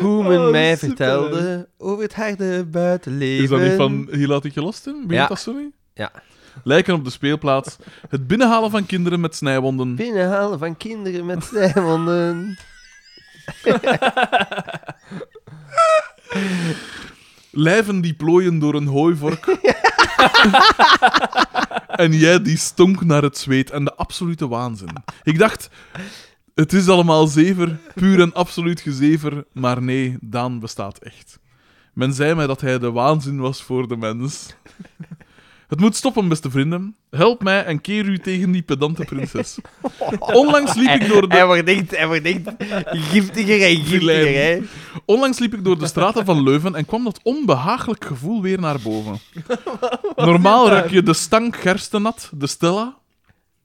Speaker 2: Hoe men
Speaker 1: Oh,
Speaker 2: mij vertelde over het harde buitenleven.
Speaker 1: Is dat niet van hier laat ik je last in? Begint
Speaker 2: Ja.
Speaker 1: dat zo niet?
Speaker 2: Ja.
Speaker 1: Lijken op de speelplaats. Het binnenhalen van kinderen met snijwonden.
Speaker 2: Binnenhalen van kinderen met [LAUGHS] snijwonden.
Speaker 1: Lijven die plooien door een hooivork. en jij die stonk naar het zweet en de absolute waanzin. Ik dacht, het is allemaal zever, puur en absoluut gezever, maar nee, Daan bestaat echt. Men zei mij dat hij de waanzin was voor de mens. Het moet stoppen, beste vrienden. Help mij en keer u tegen die pedante prinses. Onlangs liep ik door de...
Speaker 2: Hij wordt echt, hij wordt echt giftiger en giftiger, hè.
Speaker 1: Onlangs liep ik door de straten van Leuven en kwam dat onbehagelijk gevoel weer naar boven. Normaal ruik je de stank gerstenat, de Stella.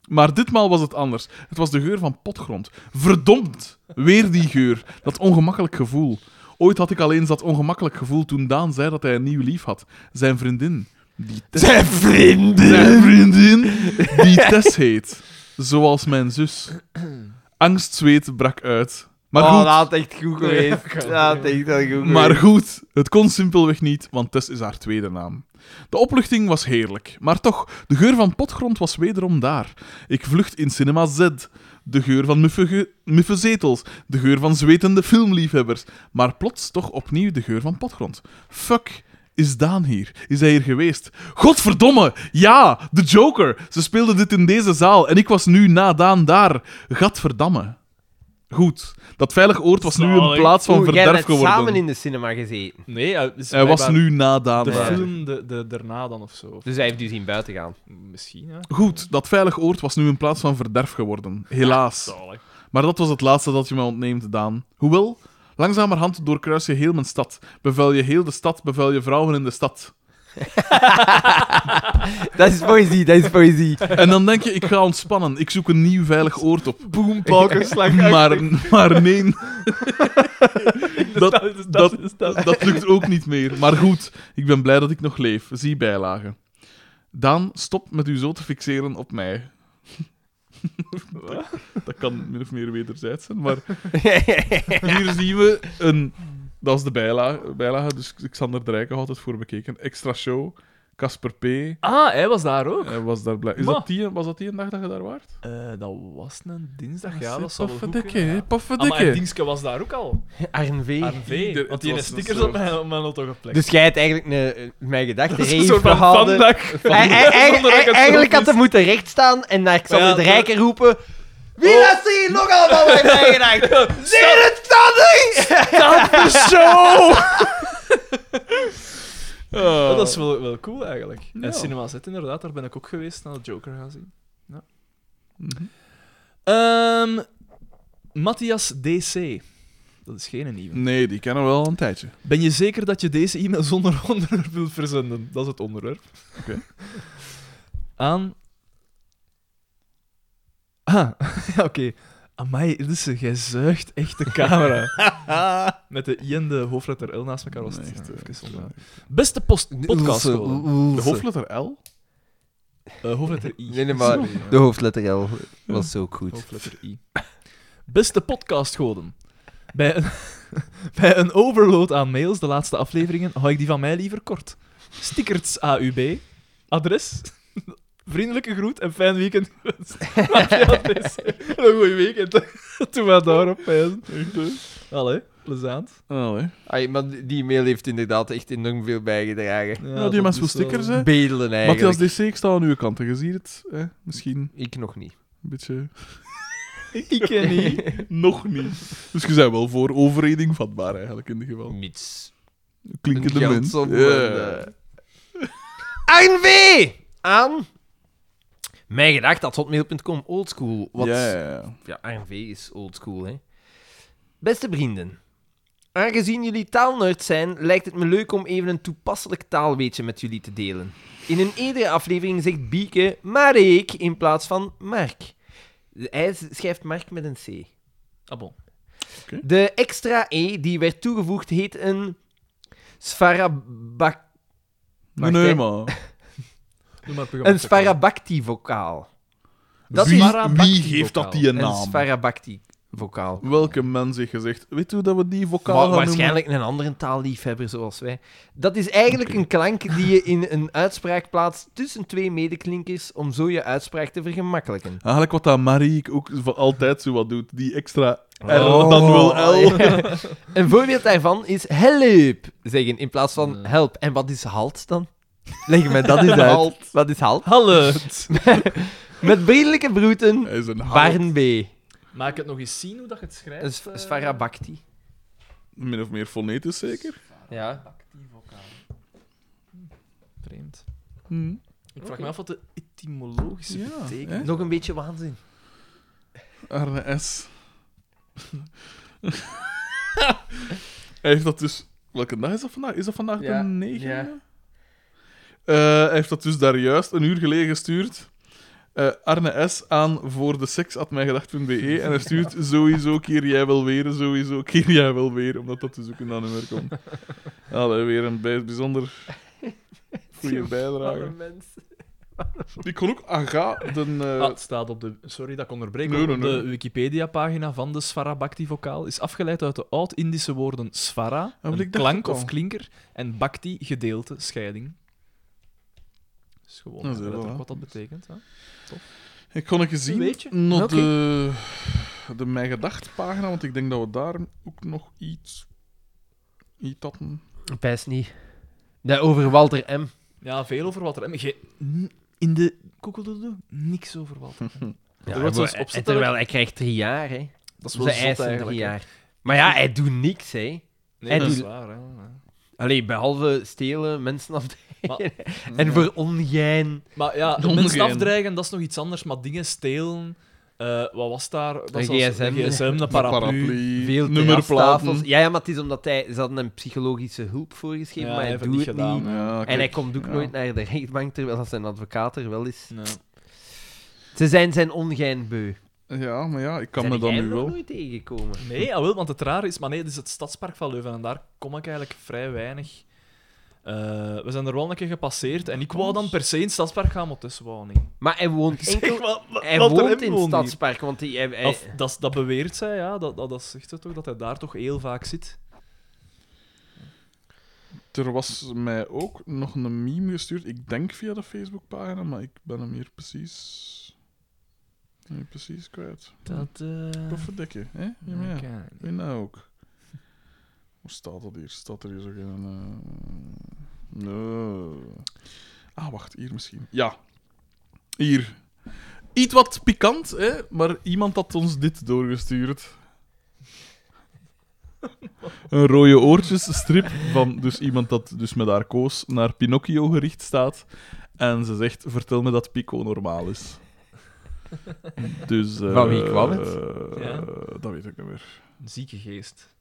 Speaker 1: Maar ditmaal was het anders. Het was de geur van potgrond. Verdomd! Weer die geur. Dat ongemakkelijk gevoel. Ooit had ik al eens dat ongemakkelijk gevoel toen Daan zei dat hij een nieuw lief had. Zijn vriendin. Die Tess. Zijn vriendin! Zijn vriendin! Die Tess heet. Zoals mijn zus. Angstzweet brak uit. Maar
Speaker 2: Oh,
Speaker 1: goed,
Speaker 2: dat had echt goed geweest. Dat had echt wel goed geweest.
Speaker 1: maar goed, het kon simpelweg niet, want Tess is haar tweede naam. De opluchting was heerlijk, maar toch, de geur van potgrond was wederom daar. Ik vlucht in Cinema Z. De geur van muffe, ge- muffe zetels, de geur van zwetende filmliefhebbers, maar plots toch opnieuw de geur van potgrond. Fuck, is Daan hier? Is hij hier geweest? Godverdomme! Ja, de Joker! Ze speelden dit in deze zaal en ik was nu na Daan daar. Gadverdamme. Goed, dat veilig oord was nu een
Speaker 3: Zalig.
Speaker 1: plaats van
Speaker 2: Oeh, jij
Speaker 1: verderf
Speaker 2: hebt
Speaker 1: geworden.
Speaker 2: samen in de cinema gezeten.
Speaker 3: Nee, hij, is
Speaker 1: Hij Eh, was
Speaker 3: blijkbaar
Speaker 1: nu na Daan. eh,
Speaker 3: De
Speaker 1: daar.
Speaker 3: film de, de, daarna dan of zo. Of
Speaker 2: Dus hij heeft u zien buiten gaan.
Speaker 3: Misschien, ja.
Speaker 1: Goed, dat veilig oord was nu een plaats van verderf geworden. Helaas.
Speaker 3: Zalig.
Speaker 1: Maar dat was het laatste dat je mij ontneemt, Daan. Hoewel, langzamerhand doorkruis je heel mijn stad. Bevuil je heel de stad, bevuil je vrouwen in de [LAUGHS] stad.
Speaker 2: Dat is poëzie, dat is poëzie.
Speaker 1: En dan denk je, ik ga ontspannen. Ik zoek een nieuw veilig oord op. [LAUGHS]
Speaker 3: Boom, pauken, slag.
Speaker 1: Maar, maar [LAUGHS] nee, dat,
Speaker 3: Dus is
Speaker 1: dat, dat lukt ook niet meer. Maar goed, ik ben blij dat ik nog leef. Zie bijlagen. Daan, stop met u zo te fixeren op mij. dat, dat kan min of meer wederzijds zijn, maar hier zien we een... Dat is de bijlage, bijlage dus Xander de Rijken had het voor bekeken. Extra show, Casper P.
Speaker 3: Ah, hij was daar ook.
Speaker 1: Hij was daar blij. Is
Speaker 3: Ma.
Speaker 1: dat die, was dat die een dag dat je daar waart?
Speaker 3: Eh, dat was een dinsdag, ja. Dat zal wel goed
Speaker 1: Paffedikke,
Speaker 3: kunnen,
Speaker 1: hè,
Speaker 3: ja.
Speaker 1: paffedikke.
Speaker 3: Ah, maar Dingske was daar ook al.
Speaker 2: RNV.
Speaker 3: RV.
Speaker 1: Ieder-
Speaker 3: Want
Speaker 1: het
Speaker 3: die
Speaker 1: was een
Speaker 3: stickers
Speaker 1: soort-
Speaker 3: op mijn, op mijn autogeplek.
Speaker 2: Dus jij hebt eigenlijk een, eh, mijn gedachten
Speaker 3: een soort van
Speaker 2: verhaalde-
Speaker 3: vandaag.
Speaker 2: Ei- ei- ei-
Speaker 3: [LAUGHS] Zonder dat ik het
Speaker 2: Eigenlijk
Speaker 3: zelf
Speaker 2: had hij moeten rechtstaan en naar Xander
Speaker 3: Maar ja,
Speaker 2: de
Speaker 3: dat-
Speaker 2: Rijker roepen... Wie was er hier nog allemaal bij mij gedacht? Zeer het
Speaker 3: Ja, dat is eh. wel, wel cool eigenlijk.
Speaker 1: Ja.
Speaker 3: En Cinema Z, inderdaad, daar ben ik ook geweest naar de Joker gaan zien. Ja.
Speaker 1: Mhm.
Speaker 3: Ehm, Matthias DC. Dat is geen nieuwe.
Speaker 1: Nee, die kennen we wel een tijdje.
Speaker 3: Ben je zeker dat je deze e-mail zonder [LAUGHS] onderwerp wilt verzenden? Dat is het onderwerp.
Speaker 1: Oké.
Speaker 3: [LAUGHS] Aan. Ah, [LAUGHS] ja, oké. Amai, Ilse, jij zuigt echt de camera. Met de I en de hoofdletter L naast elkaar was het
Speaker 1: Nee,
Speaker 3: echt
Speaker 1: ja,
Speaker 3: even
Speaker 1: ik-
Speaker 3: zonde. Beste post podcast.
Speaker 2: eh,
Speaker 3: Eh,
Speaker 1: De hoofdletter L?
Speaker 3: hoofdletter I.
Speaker 2: Nee, nee, maar de hoofdletter L was ook goed.
Speaker 3: Hoofdletter I. Beste podcastgoden. Bij een, [LAUGHS] bij een overload aan mails, de laatste afleveringen, hou ik die van mij liever kort. Stickerts AUB. Adres. [LAUGHS] Vriendelijke groet en fijn weekend [LAUGHS] gewenst. Matthias DC. En Een goeie weekend. Doe maar daarop, pijzen. Allee, plezant.
Speaker 1: Oh, hè.
Speaker 2: Ai, maar die die mail heeft inderdaad echt enorm veel bijgedragen.
Speaker 1: Ja, die mensen wil stickers,
Speaker 3: eh,
Speaker 1: hè.
Speaker 2: Bedelen eigenlijk.
Speaker 1: Eh, Matthias DC, ik sta aan uw kant. Je ziet het, hè? misschien een
Speaker 2: Ik nog niet.
Speaker 1: beetje...
Speaker 3: Ik ken niet.
Speaker 1: [LAUGHS] Nog niet. Dus je bent wel voor overreding vatbaar, eigenlijk, in dit geval.
Speaker 2: Mits.
Speaker 1: Klinkende
Speaker 2: Een
Speaker 1: munt.
Speaker 2: geldsom
Speaker 1: Ja.
Speaker 2: en, eh, Arn V. Aan mijngedacht.hotmail.com. Oldschool. Wat...
Speaker 1: Ja, ja, ja.
Speaker 2: Ja, ANV is oldschool, hè. Beste vrienden, aangezien jullie taalnerds zijn, lijkt het me leuk om even een toepasselijk taalweetje met jullie te delen. In een eerdere aflevering zegt Bieke Marek in plaats van Mark. Hij schrijft Mark met een C.
Speaker 3: Ah, bon.
Speaker 1: Oké.
Speaker 2: De extra E die werd toegevoegd heet een Sfarabak...
Speaker 1: Nee,
Speaker 2: Wacht,
Speaker 1: nee,
Speaker 2: hè.
Speaker 1: maar...
Speaker 2: Een Sfarabakti-vokaal. Dat
Speaker 1: wie,
Speaker 2: is
Speaker 1: wie geeft dat die een
Speaker 2: een
Speaker 1: naam?
Speaker 2: Sfarabakti-vokaal.
Speaker 1: Welke mens heeft gezegd, weet je hoe dat we die vocaal
Speaker 2: Wa-
Speaker 1: gaan noemen?
Speaker 2: waarschijnlijk een andere taalliefhebber zoals wij. Dat is eigenlijk een klank die je in een uitspraak plaatst tussen twee medeklinkers om zo je uitspraak te vergemakkelijken.
Speaker 1: Eigenlijk wat dat Marie ook voor altijd zo wat doet. Die extra R
Speaker 2: Oh.
Speaker 1: dan
Speaker 2: [LAUGHS]
Speaker 1: wel L.
Speaker 2: Een voorbeeld daarvan is help zeggen in plaats van help. En wat is halt dan? Leg me [LAUGHS] dat eens uit.
Speaker 1: Halt.
Speaker 2: Wat is halt?
Speaker 3: Hallo.
Speaker 2: Met vriendelijke broeten,
Speaker 1: Hij is een haar.
Speaker 2: Barn B.
Speaker 3: Maak het nog eens zien hoe dat je het schrijft. Eh,
Speaker 2: Een Svarabakti.
Speaker 1: Min of meer fonetisch zeker.
Speaker 2: Ja.
Speaker 3: Vreemd.
Speaker 1: Hm.
Speaker 2: Hmm.
Speaker 3: Ik vraag me af wat de etymologische
Speaker 1: Ja,
Speaker 3: betekenis
Speaker 2: Nog een beetje waanzin.
Speaker 1: RS. [LAUGHS] hij heeft dat dus... Welke dag is dat vandaag? Is dat vandaag
Speaker 2: Ja,
Speaker 1: de negende?
Speaker 2: ja.
Speaker 1: Eh, hij heeft dat dus daar juist een uur geleden gestuurd. eh, Arne S. aan voor de seks.mijgedacht.be E. en hij
Speaker 2: [LAUGHS]
Speaker 1: stuurt sowieso keer jij wel weer, sowieso keer jij wel weer, omdat dat dus ook in dat nummer komt. Allee, weer een bij-
Speaker 2: [LAUGHS]
Speaker 1: bijzonder goede bijdrage. Ik kon ook Aga, de... eh,
Speaker 3: Ah, het staat op de. Sorry dat ik onderbreek.
Speaker 1: Nee,
Speaker 3: hoor.
Speaker 1: nee,
Speaker 3: Op
Speaker 1: nee.
Speaker 3: De Wikipedia-pagina van de Svarabhakti-vokaal is afgeleid uit de oud-Indische woorden Svara,
Speaker 1: maar
Speaker 3: een
Speaker 1: Ah, ik dacht
Speaker 3: klank
Speaker 1: ook al.
Speaker 3: of klinker, en Bhakti, gedeelte, scheiding. Dus gewoon
Speaker 1: Dat is wel,
Speaker 3: letterlijk
Speaker 1: hè.
Speaker 3: wat dat betekent. Hè?
Speaker 1: Ik kon het gezien
Speaker 3: Weet je?
Speaker 1: nog
Speaker 2: Oké.
Speaker 1: de, de Mijn Gedacht pagina, want ik denk dat we daar ook nog iets, iets hadden.
Speaker 2: Pijs niet. Nee, over Walter M.
Speaker 3: Ja, veel over wat er. Ge- n- In de koekeldoedoe, niks over
Speaker 1: Hm.
Speaker 3: wat.
Speaker 2: Ja,
Speaker 3: Er wordt
Speaker 2: maar-
Speaker 3: zelfs opzettelijk-
Speaker 2: terwijl hij krijgt drie jaar, hè.
Speaker 3: Dat is
Speaker 2: Ze
Speaker 3: wel zot
Speaker 2: eisen
Speaker 3: eigenlijk.
Speaker 2: drie
Speaker 3: hè.
Speaker 2: jaar. Maar ja, hij doet niks, hè.
Speaker 3: Nee,
Speaker 2: Hij
Speaker 3: dat is
Speaker 2: doet-
Speaker 3: waar. Hè.
Speaker 2: Allee, behalve stelen, mensen afdreigen. en
Speaker 1: Ja.
Speaker 2: voor ongein.
Speaker 3: Maar ja,
Speaker 1: Dondergein.
Speaker 3: mensen afdreigen, dat is nog iets anders. Maar dingen stelen, eh, wat was daar? Dat
Speaker 2: Een
Speaker 3: is als-
Speaker 2: GSM.
Speaker 3: Een gsm, een
Speaker 1: De
Speaker 3: paraplu.
Speaker 2: Veel terrastafels.
Speaker 1: nummerplaten.
Speaker 2: Ja, ja, maar het is omdat hij... Ze hadden hem psychologische hulp voorgeschreven,
Speaker 3: Ja,
Speaker 2: maar
Speaker 3: hij
Speaker 2: hij
Speaker 3: heeft
Speaker 2: doet
Speaker 3: het
Speaker 2: het
Speaker 3: niet gedaan,
Speaker 2: niet.
Speaker 3: hè.
Speaker 1: Ja,
Speaker 2: En hij
Speaker 1: kijk.
Speaker 2: komt ook
Speaker 1: Ja.
Speaker 2: nooit naar de rechtbank, terwijl dat zijn advocaat er wel is.
Speaker 3: Nee.
Speaker 2: Ze zijn zijn ongein beu.
Speaker 1: Ja, maar ja, ik kan
Speaker 2: Zijn
Speaker 1: me dat
Speaker 2: jij
Speaker 1: nu
Speaker 2: nog
Speaker 1: wel.
Speaker 2: nooit tegengekomen.
Speaker 3: Nee, jawel, want het raar is, maar nee, het is het stadspark van Leuven en daar kom ik eigenlijk vrij weinig. Eh, we zijn er wel een keer gepasseerd en ik wou dan per se in het stadspark gaan, maar het is wou niet.
Speaker 2: Maar hij woont enkel... Hij
Speaker 3: Walter
Speaker 2: woont
Speaker 3: M.
Speaker 2: in het
Speaker 3: woont hier.
Speaker 2: stadspark, want hij... hij- hij-
Speaker 3: Of, dat, dat beweert zij, ja, dat, dat, dat zegt ze toch, dat hij daar toch heel vaak zit.
Speaker 1: Er was mij ook nog een meme gestuurd. Ik denk via de Facebookpagina, maar ik ben hem hier precies. Hier precies kwijt.
Speaker 3: Dat, eh
Speaker 1: Toffe dikke, hè? Ja, maar ja.
Speaker 3: oké.
Speaker 1: Wie nou ook? Hoe staat dat hier? Staat er hier zo geen... eh, Nee. Ah, wacht. Hier misschien. Ja. Hier. Iets wat pikant, hè? Maar iemand had ons dit doorgestuurd. Een rode oortjesstrip van dus iemand dat dus met haar koos naar Pinocchio gericht staat. En ze zegt, vertel me dat Pico normaal is. Dus, eh,
Speaker 2: Van wie kwam het?
Speaker 1: eh,
Speaker 3: Ja.
Speaker 1: Dat weet ik niet meer.
Speaker 3: Een zieke geest.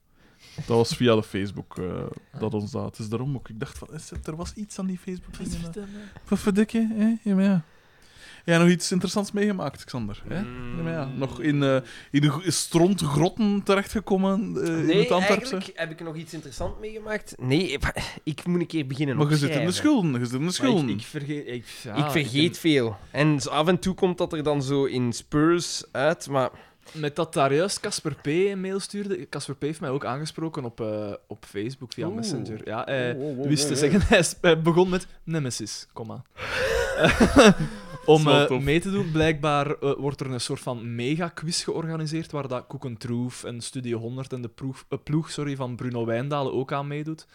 Speaker 1: Dat was via de Facebook eh,
Speaker 3: Ah.
Speaker 1: dat ons dat. Het is daarom ook. Ik dacht van, is het- er was iets aan die Facebook. eh. Wat verdikke, hè? Ja, maar ja. Jij nog iets interessants meegemaakt, Xander? Hè? Ja, maar ja.
Speaker 3: Mm.
Speaker 1: Nog in, eh in de gro- strontgrotten terechtgekomen eh in
Speaker 2: Nee,
Speaker 1: het Antwerpse.
Speaker 2: eigenlijk heb ik nog iets interessants meegemaakt. Nee, [LAUGHS] ik- ik moet een keer beginnen
Speaker 1: Maar je zit in de
Speaker 2: opschrijven.
Speaker 1: schulden. Je zit in de schulden.
Speaker 3: ik, ik vergeet... Ik, ja,
Speaker 2: ik vergeet veel. En zo af en toe komt dat er dan zo in Spurs uit, maar...
Speaker 3: Met dat daar juist Casper P. een mail stuurde. Casper P. heeft mij ook aangesproken op, eh, op Facebook via
Speaker 1: Oeh.
Speaker 3: Messenger. Ja, hij
Speaker 1: Wow, wow, wow,
Speaker 3: wist te
Speaker 1: wow,
Speaker 3: zeggen, [LAUGHS] hij sp- hij begon met
Speaker 1: [LAUGHS]
Speaker 3: Nemesis, komma. Om
Speaker 1: wel
Speaker 3: eh,
Speaker 1: tof.
Speaker 3: mee te doen, blijkbaar eh, wordt er een soort van mega-quiz georganiseerd, waar dat Koek en Troef en Studio 100 en de proef, eh, ploeg sorry, van Bruno Wijndalen ook aan meedoet.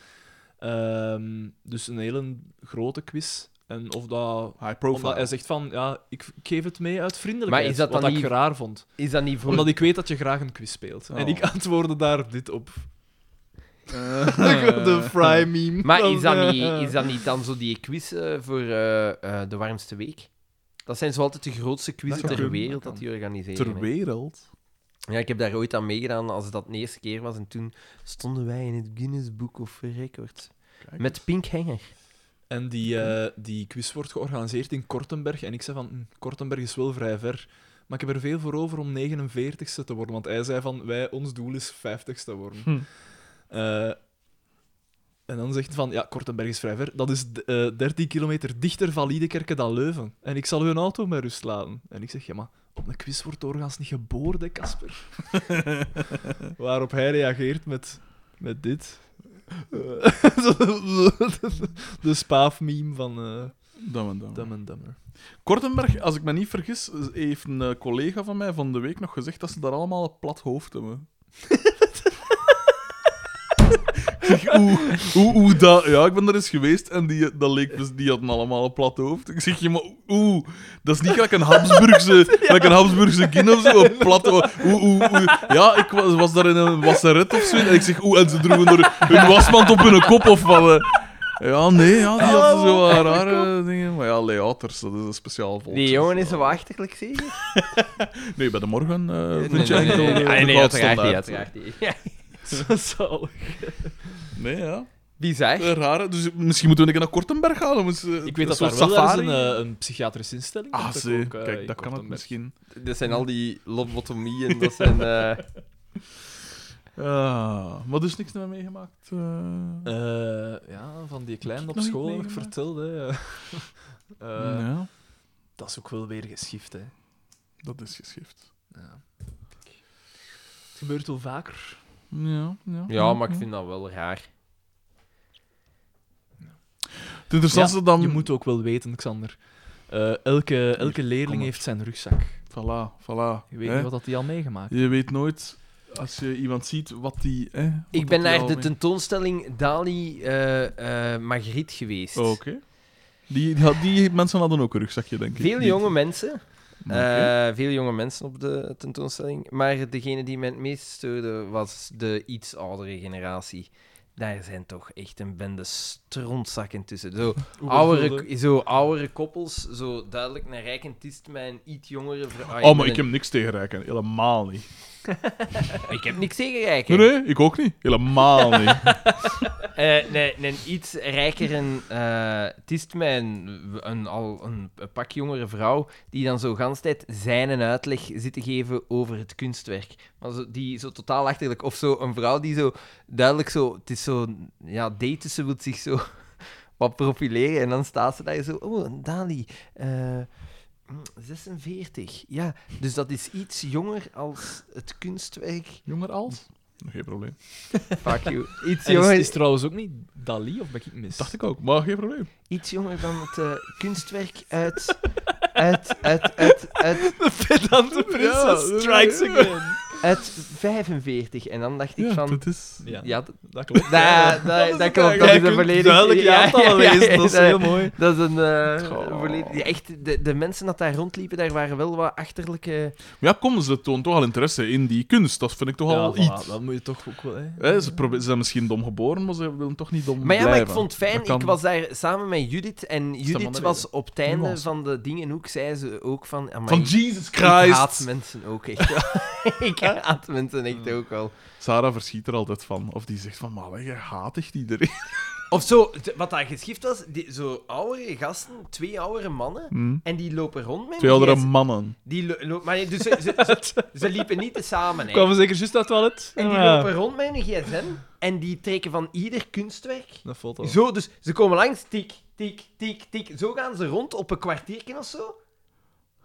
Speaker 3: Ehm, dus een hele grote quiz. En of dat...
Speaker 1: High
Speaker 3: Omdat
Speaker 1: [LAUGHS]
Speaker 3: hij
Speaker 1: profile.
Speaker 3: zegt van, ja, ik, ik geef het mee uit vriendelijkheid,
Speaker 2: Maar is dat
Speaker 3: wat
Speaker 2: dan
Speaker 3: ik
Speaker 2: niet-
Speaker 3: raar vond.
Speaker 2: Is dat niet voor...
Speaker 3: Omdat ik weet dat je graag een quiz speelt.
Speaker 1: Oh.
Speaker 3: En ik antwoordde daar dit op. de eh, fry meme.
Speaker 2: Maar
Speaker 3: van,
Speaker 2: is dat,
Speaker 3: eh,
Speaker 2: niet, is dat niet dan zo die quiz eh, voor eh, eh, de warmste week? Dat zijn zo altijd de grootste quizzen
Speaker 1: Dat
Speaker 2: ter
Speaker 1: kan.
Speaker 2: wereld dat die organiseren.
Speaker 1: Ter
Speaker 2: hè.
Speaker 1: wereld.
Speaker 2: Ja, ik heb daar ooit aan meegedaan als dat de eerste keer was. En toen stonden wij in het Guinness Book of Records.
Speaker 1: Kijk
Speaker 2: Met Pink Hanger.
Speaker 3: En die, eh, die quiz wordt georganiseerd in Kortenberg. En ik zei van, hm, Kortenberg is wel vrij ver. Maar ik heb er veel voor over om 49ste te worden. Want hij zei van, wij, ons doel is 50ste worden.
Speaker 1: Hm.
Speaker 3: Eh, en dan zegt hij van, ja, Kortenberg is vrij ver. Dat is d- eh, 13 kilometer dichter van Liedekerke dan Leuven. En ik zal hun auto met rust laten. En ik zeg, ja, maar op een quiz wordt doorgaans niet geboren, hè, Casper. Waarop hij reageert met, met dit. [LAUGHS] de spaafmeme van eh
Speaker 1: Dam en dam.
Speaker 3: Dumb
Speaker 1: [LAUGHS]
Speaker 3: and Dumber.
Speaker 1: Kortenberg, als ik me niet vergis, heeft een eh, collega van mij van de week nog gezegd dat ze daar allemaal een plat hoofd hebben. Ik zeg, Oeh, oeh, oeh, dat... Ja, ik ben er eens geweest en die, dat leek dus, die hadden allemaal een plat hoofd. Ik zeg je, maar oeh, dat is niet gelijk een Habsburgse, gelijk een Habsburgse kin of zo, een plat hoofd. Oeh, oeh, oeh. Ja, ik was, was daar in een wasseret of zo en ik zeg oeh, en ze droegen er hun wasmand op hun kop of wat. eh. Ja, nee, ja, die hadden zo wat rare dingen. Maar ja, layouters, dat is een speciaal volk.
Speaker 2: Die jongen is wel achterlijk,
Speaker 1: [LAUGHS]
Speaker 2: zeker?
Speaker 1: Nee, bij de morgen eh vind je
Speaker 2: nee,
Speaker 1: enkel...
Speaker 2: nee, nee.
Speaker 1: eh,
Speaker 2: Ah,
Speaker 1: de
Speaker 2: nee,
Speaker 1: goud
Speaker 2: uiteraard niet,
Speaker 1: standaard.
Speaker 2: uiteraard niet. Ja.
Speaker 3: Zalig.
Speaker 1: Nee, ja.
Speaker 2: Bizar.
Speaker 1: Eh, Rare. Dus misschien moeten we een keer naar Kortenberg gaan. om eens, eh,
Speaker 3: Ik weet dat
Speaker 1: een soort
Speaker 3: daar wel daar is
Speaker 1: safari.
Speaker 3: een, eh, een psychiatrische instelling.
Speaker 1: Ah,
Speaker 3: Dat is
Speaker 1: zie.
Speaker 3: ook, eh,
Speaker 1: Kijk,
Speaker 3: in
Speaker 1: dat kan het
Speaker 3: Kortenberg.
Speaker 1: misschien.
Speaker 2: Dat zijn al die lobotomieën, dat [LAUGHS] zijn... eh,
Speaker 1: Ah, maar dus niks meer meegemaakt. eh.
Speaker 3: Eh, ja, van die kleine
Speaker 1: nog
Speaker 3: op
Speaker 1: niet
Speaker 3: school, dat ik
Speaker 1: meegemaakt?
Speaker 3: vertelde.
Speaker 1: [LAUGHS]
Speaker 3: eh. Eh,
Speaker 1: ja,
Speaker 3: Dat is ook wel weer geschift, hè.
Speaker 1: dat is geschift.
Speaker 3: Ja. Kijk. Het gebeurt wel vaker.
Speaker 1: Ja, ja.
Speaker 2: Ja, maar ik vind dat wel raar.
Speaker 1: Het interessantste dan...
Speaker 3: Je moet ook wel weten, Xander. Eh, elke, elke leerling
Speaker 1: maar.
Speaker 3: heeft zijn rugzak.
Speaker 1: Voilà, voilà.
Speaker 3: Je weet
Speaker 1: hè.
Speaker 3: niet wat dat die al meegemaakt
Speaker 1: Je weet nooit, als je iemand ziet, wat die... Hè, wat
Speaker 2: Ik
Speaker 1: dat
Speaker 2: ben
Speaker 1: die
Speaker 2: naar
Speaker 1: al
Speaker 2: de
Speaker 1: mee-
Speaker 2: tentoonstelling Dali eh, eh, Margriet geweest.
Speaker 1: Oh, Oké. Die, die, die mensen hadden ook een rugzakje, denk ik.
Speaker 2: Veel
Speaker 1: Die-
Speaker 2: jonge mensen.
Speaker 1: Oké.
Speaker 2: Eh, veel jonge mensen op de tentoonstelling. Maar degene die mij het meest steurde was de iets oudere generatie. Daar zijn toch echt een bende strontzakken tussen.
Speaker 1: [LAUGHS]
Speaker 2: Zo oudere, zo oudere koppels, zo duidelijk naar rijk en tist met een iets jongere vrouw. Ah,
Speaker 1: Oh, maar
Speaker 2: ben
Speaker 1: ik
Speaker 2: een-
Speaker 1: heb niks tegen rijken. Helemaal niet.
Speaker 2: ik heb niks tegen rijk. hè.
Speaker 1: Nee, nee, ik ook niet.
Speaker 2: [LAUGHS]
Speaker 1: Helemaal niet.
Speaker 2: Eh, nee, nee, een iets rijkere eh tist mij een, een, al een, een pak jongere vrouw die dan zo gans tijd zijn en uitleg zit te geven over het kunstwerk. Maar zo, die zo totaal achterlijk. Of zo een vrouw die zo duidelijk zo... Het is zo... Ja, daten, ze wil zich zo [LAUGHS] wat profileren. En dan staat ze daar zo... Oh, een Dali. eh, mm, 46. Ja, dus dat is iets jonger als het kunstwerk.
Speaker 1: Jonger als? Geen probleem.
Speaker 2: Fuck you. [LAUGHS] Iets
Speaker 3: En is,
Speaker 2: jonger
Speaker 3: is trouwens ook niet Dali, of ben ik mis?
Speaker 1: Dacht ik ook, maar geen probleem.
Speaker 2: iets jonger dan het eh, kunstwerk uit, uit, uit, uit, uit,
Speaker 3: Pedante
Speaker 1: prinses strikes
Speaker 3: again.
Speaker 2: uit 45. En dan dacht ik
Speaker 1: Ja,
Speaker 2: van...
Speaker 1: dat is...
Speaker 3: Ja,
Speaker 2: Ja, dat,
Speaker 3: dat klopt.
Speaker 2: dat, dat, dat klopt. Dat
Speaker 3: Jij
Speaker 2: is een
Speaker 3: kunt
Speaker 2: volledig...
Speaker 3: duidelijk je
Speaker 2: ja,
Speaker 3: aantallen
Speaker 2: ja, ja,
Speaker 3: lezen, dat is
Speaker 2: ja,
Speaker 3: heel mooi.
Speaker 2: Dat is een... eh,
Speaker 1: Goh.
Speaker 2: volledig, ja, echt, de, de mensen dat daar rondliepen, daar waren wel wat achterlijke...
Speaker 1: Maar ja, kom, ze toont toch al interesse in die kunst. Dat vind ik toch al iets.
Speaker 3: dat moet je toch ook wel, hè.
Speaker 1: Hè, ze, probe- ze zijn misschien dom geboren, maar ze willen toch niet dom
Speaker 2: Maar ja, maar
Speaker 1: blijven.
Speaker 2: ik vond het fijn.
Speaker 1: Dat kan.
Speaker 2: Ik was daar samen met Judith. En Judith
Speaker 1: andere
Speaker 2: was op het einde
Speaker 1: Nuance.
Speaker 2: van de dingen ook, zei ze ook van... amai,
Speaker 1: Van Jesus
Speaker 2: Ik haat
Speaker 1: Christ!
Speaker 2: mensen ook echt wel. [LAUGHS] ik haat mensen echt ook wel.
Speaker 1: Sarah verschiet er altijd van. Of die zegt van, maar jij haat echt
Speaker 2: [LAUGHS]
Speaker 1: iedereen.
Speaker 2: Of zo, t- wat daar geschift was, die, zo oudere gasten, twee oudere mannen,
Speaker 1: Hm.
Speaker 2: en die lopen rond met
Speaker 1: Twee
Speaker 2: een
Speaker 1: andere
Speaker 2: gsm.
Speaker 1: mannen.
Speaker 2: Die lo- lo- maar nee, dus ze, ze, ze- ze liepen niet te samen, hè.
Speaker 3: Kwamen zeker juist uit het toilet?
Speaker 2: En die
Speaker 3: Ja.
Speaker 2: lopen rond met een gsm, en die trekken van ieder kunstwerk.
Speaker 3: Dat foto.
Speaker 2: Zo, dus ze komen langs, tik, tik, tik, tik. Zo gaan ze rond op een kwartiertje of zo.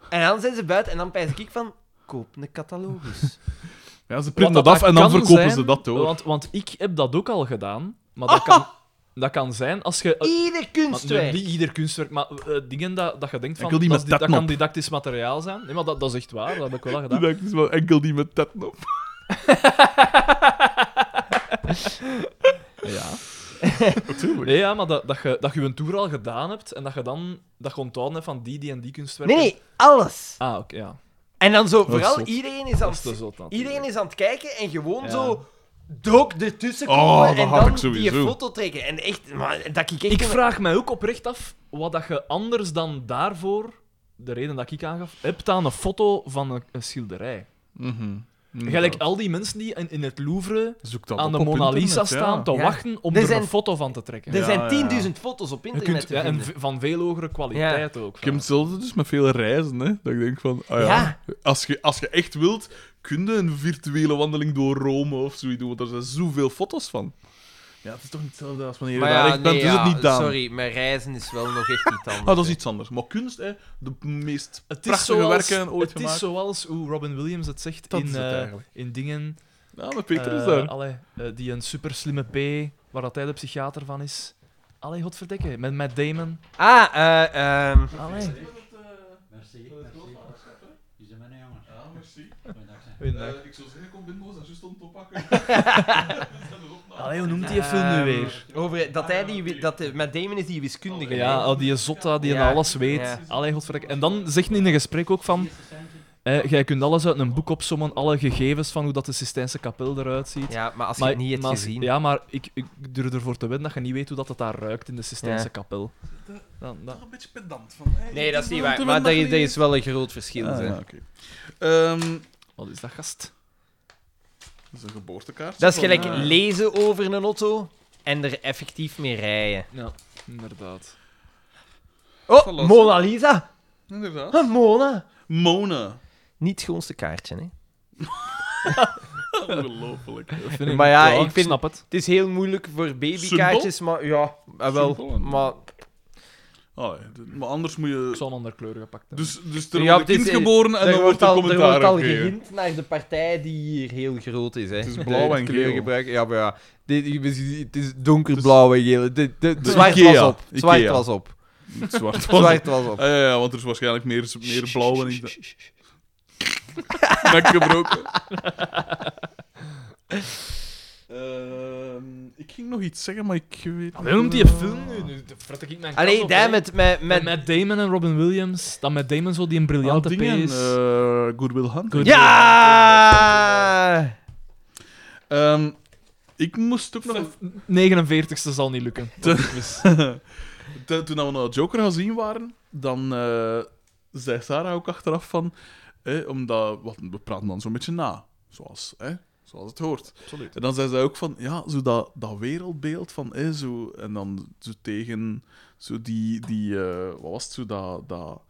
Speaker 2: En dan zijn ze buiten, en dan pijs ik van, koop een catalogus.
Speaker 1: Ja, ze
Speaker 3: Wat
Speaker 1: printen dat af en dan
Speaker 3: kan
Speaker 1: verkopen
Speaker 3: zijn,
Speaker 1: ze dat door.
Speaker 3: Want, want ik heb dat ook al gedaan, maar
Speaker 2: Ah.
Speaker 3: dat, kan, dat kan zijn als je... eh,
Speaker 2: Ieder
Speaker 3: maar nu
Speaker 2: kunstwerk.
Speaker 3: niet ieder kunstwerk, maar eh, dingen dat, dat je denkt van,
Speaker 1: wil die
Speaker 3: dat,
Speaker 1: met
Speaker 3: is di- dat
Speaker 1: tatnop.
Speaker 3: kan didactisch materiaal zijn. Nee, maar dat, dat is echt waar, dat heb ik wel al
Speaker 1: Die [LAUGHS]
Speaker 3: gedaan.
Speaker 1: dacht, is wel enkel die met tetten op.
Speaker 3: Ja.
Speaker 1: Natuurlijk.
Speaker 3: Nee, ja, maar dat, dat, je, dat je een tour al gedaan hebt en dat je dan dat je onthouden hebt van die, die en die kunstwerken.
Speaker 2: Nee, nee, alles.
Speaker 3: Ah, oké, ja.
Speaker 2: En dan zo, vooral
Speaker 1: zot.
Speaker 2: iedereen is aan
Speaker 3: Dat is
Speaker 2: het
Speaker 3: te zot, natuurlijk.
Speaker 2: Iedereen is aan het kijken en gewoon
Speaker 3: Ja.
Speaker 2: zo dook ertussen
Speaker 1: Oh,
Speaker 2: komen
Speaker 1: dat
Speaker 2: en
Speaker 1: had
Speaker 2: dan
Speaker 1: ik
Speaker 2: die
Speaker 1: sowieso.
Speaker 2: foto trekken. En echt, maar, dat ik echt...
Speaker 3: Ik vraag mij ook oprecht af wat dat je anders dan daarvoor, de reden dat ik aangaf, hebt aan een foto van een, een schilderij.
Speaker 1: Mhm.
Speaker 3: Gelijk al die mensen die in, in het Louvre
Speaker 1: Zoek dat
Speaker 3: aan de
Speaker 1: op op
Speaker 3: Mona Lisa
Speaker 1: internet, ja.
Speaker 3: staan te
Speaker 2: Ja.
Speaker 3: wachten om
Speaker 2: Er
Speaker 3: er,
Speaker 2: zijn-
Speaker 3: een foto van te trekken.
Speaker 2: er
Speaker 1: Ja, ja, ja.
Speaker 2: zijn 10.000 foto's op
Speaker 3: Je
Speaker 2: internet
Speaker 3: kunt,
Speaker 2: te
Speaker 3: ja, en
Speaker 2: vinden.
Speaker 3: v- van veel hogere kwaliteit ook.
Speaker 1: Ik heb
Speaker 3: vaak.
Speaker 1: hetzelfde dus met veel reizen, hè. Dat ik denk van, ah ja,
Speaker 2: Ja.
Speaker 1: Als, je, als je echt wilt, kun je een virtuele wandeling door Rome of zoiets doen, want er zijn zoveel foto's van. Ja, het is toch niet hetzelfde als wanneer je
Speaker 2: Maar
Speaker 1: daar
Speaker 2: ja,
Speaker 1: echt bent,
Speaker 2: nee,
Speaker 1: is
Speaker 2: ja,
Speaker 1: het dus niet dan.
Speaker 2: Sorry, mijn reizen is wel nog echt niet anders.
Speaker 1: [LAUGHS] Ah, dat is
Speaker 2: hè.
Speaker 1: iets anders. Maar kunst, hè, de meest
Speaker 3: Het is,
Speaker 1: prachtige
Speaker 3: zoals,
Speaker 1: werken ooit
Speaker 3: het is
Speaker 1: gemaakt.
Speaker 3: zoals hoe Robin Williams het zegt
Speaker 1: Dat
Speaker 3: in,
Speaker 1: is het
Speaker 3: eh,
Speaker 1: eigenlijk.
Speaker 3: in dingen.
Speaker 1: Ja, maar Peter is
Speaker 3: eh,
Speaker 1: daar.
Speaker 3: allee, eh, die een super slimme P, waar dat hij de psychiater van is. Allee, godverdikke, met Matt Damon.
Speaker 2: Ah, eh... ehm,
Speaker 3: Allee.
Speaker 1: Eh, ik zou zeggen, kom binnen, dat is juist om te [LAUGHS]
Speaker 2: [LAUGHS]
Speaker 1: pakken.
Speaker 3: Allee, hoe noemt die film nu
Speaker 2: ehm,
Speaker 3: weer?
Speaker 2: Over dat hij die... wi- Dat de, met Damon is die wiskundige. hè.
Speaker 3: Ja, oh, die zotta die
Speaker 2: Ja,
Speaker 3: alles weet.
Speaker 2: ja.
Speaker 3: Allee, godverdikke. En dan zegt hij in een gesprek ook van... eh, jij kunt alles uit een boek opsommen, alle gegevens van hoe dat de Sistijnse kapel eruit ziet.
Speaker 2: Ja, maar als je het niet hebt
Speaker 3: maar als-
Speaker 2: gezien...
Speaker 3: Ja, maar ik, ik durf ervoor te wedden dat je niet weet hoe dat het daar ruikt in de Sistijnse
Speaker 2: Ja.
Speaker 3: kapel. Dan, dan.
Speaker 1: Een beetje pedant van, hey,
Speaker 2: Nee, dat is niet waar.
Speaker 1: Toen we
Speaker 2: Maar dat
Speaker 1: nog
Speaker 2: is, dat
Speaker 1: niet-
Speaker 2: is wel een groot verschil.
Speaker 1: Ah,
Speaker 2: zeg.
Speaker 1: ja, oké. Ehm,
Speaker 3: Wat is dat, gast?
Speaker 1: dat is een geboortekaart.
Speaker 2: Dat is
Speaker 1: Van,
Speaker 2: gelijk
Speaker 1: eh,
Speaker 2: lezen over een auto en er effectief mee rijden.
Speaker 3: Ja, inderdaad.
Speaker 2: Oh,
Speaker 1: Verlossen.
Speaker 2: Mona Lisa!
Speaker 1: Inderdaad.
Speaker 2: Ah, Mona!
Speaker 1: Mona.
Speaker 2: Niet het schoonste kaartje, hè.
Speaker 1: Ongelooflijk.
Speaker 2: Maar ja, ik vind-
Speaker 3: snap het.
Speaker 2: Het is heel moeilijk voor babykaartjes, maar ja, ah,
Speaker 1: Simpel
Speaker 2: wel.
Speaker 1: en-
Speaker 2: Maar
Speaker 1: Allee, d- Ah, maar anders moet
Speaker 3: Ik
Speaker 1: je...
Speaker 3: zal een andere kleur gepakt hebben.
Speaker 1: Dus, dus er
Speaker 2: Ja,
Speaker 1: wordt
Speaker 2: het is-
Speaker 1: een kind geboren en
Speaker 2: er
Speaker 1: dan wordt
Speaker 2: wordt
Speaker 1: er
Speaker 2: al, er
Speaker 1: commentaar
Speaker 2: wordt al
Speaker 1: gegeven.
Speaker 2: gehind naar de partij die hier heel groot is, hè.
Speaker 1: Het is blauw en geel.
Speaker 2: Kleurgebruik, ja, maar ja. Dit, het is donkerblauw en geel. Dit- dit-
Speaker 1: De
Speaker 2: zwart was
Speaker 1: Ikea.
Speaker 2: op. Zwart
Speaker 1: Ikea.
Speaker 2: was op.
Speaker 1: Het zwart was
Speaker 2: [LAUGHS] Zwart was op.
Speaker 1: Ah, ja, ja, want er is waarschijnlijk meer, Dus meer blauw en ik nek
Speaker 2: [LAUGHS]
Speaker 1: gebroken. Ehm, ik ging nog iets zeggen, maar ik weet Ah,
Speaker 3: Allee, hoe Ah, noemt die film nu? Nu fret ik mijn
Speaker 2: Allee, Ah, daar met... met, met,
Speaker 3: Met, Matt Damon en Robin Williams. Dan met Damon zo die een
Speaker 1: Ah,
Speaker 3: briljante P
Speaker 1: dingen,
Speaker 3: is.
Speaker 1: eh, Goodwill Hunting.
Speaker 3: Good-
Speaker 2: ja!
Speaker 1: Ehm, ik moest ook nog...
Speaker 3: Vijf- 49ste zal niet lukken.
Speaker 1: [LAUGHS] Toen- Toen we naar Joker gaan zien waren, dan eh, zei Sarah ook achteraf van... eh, omdat, wat, we praten dan zo'n beetje na. Zoals, eh, zoals het hoort.
Speaker 3: Absoluut.
Speaker 1: En dan zei zij ook van, ja, zo dat, dat wereldbeeld van, eh, zo, en dan zo tegen, zo die, die eh, wat was het, zo dat, dat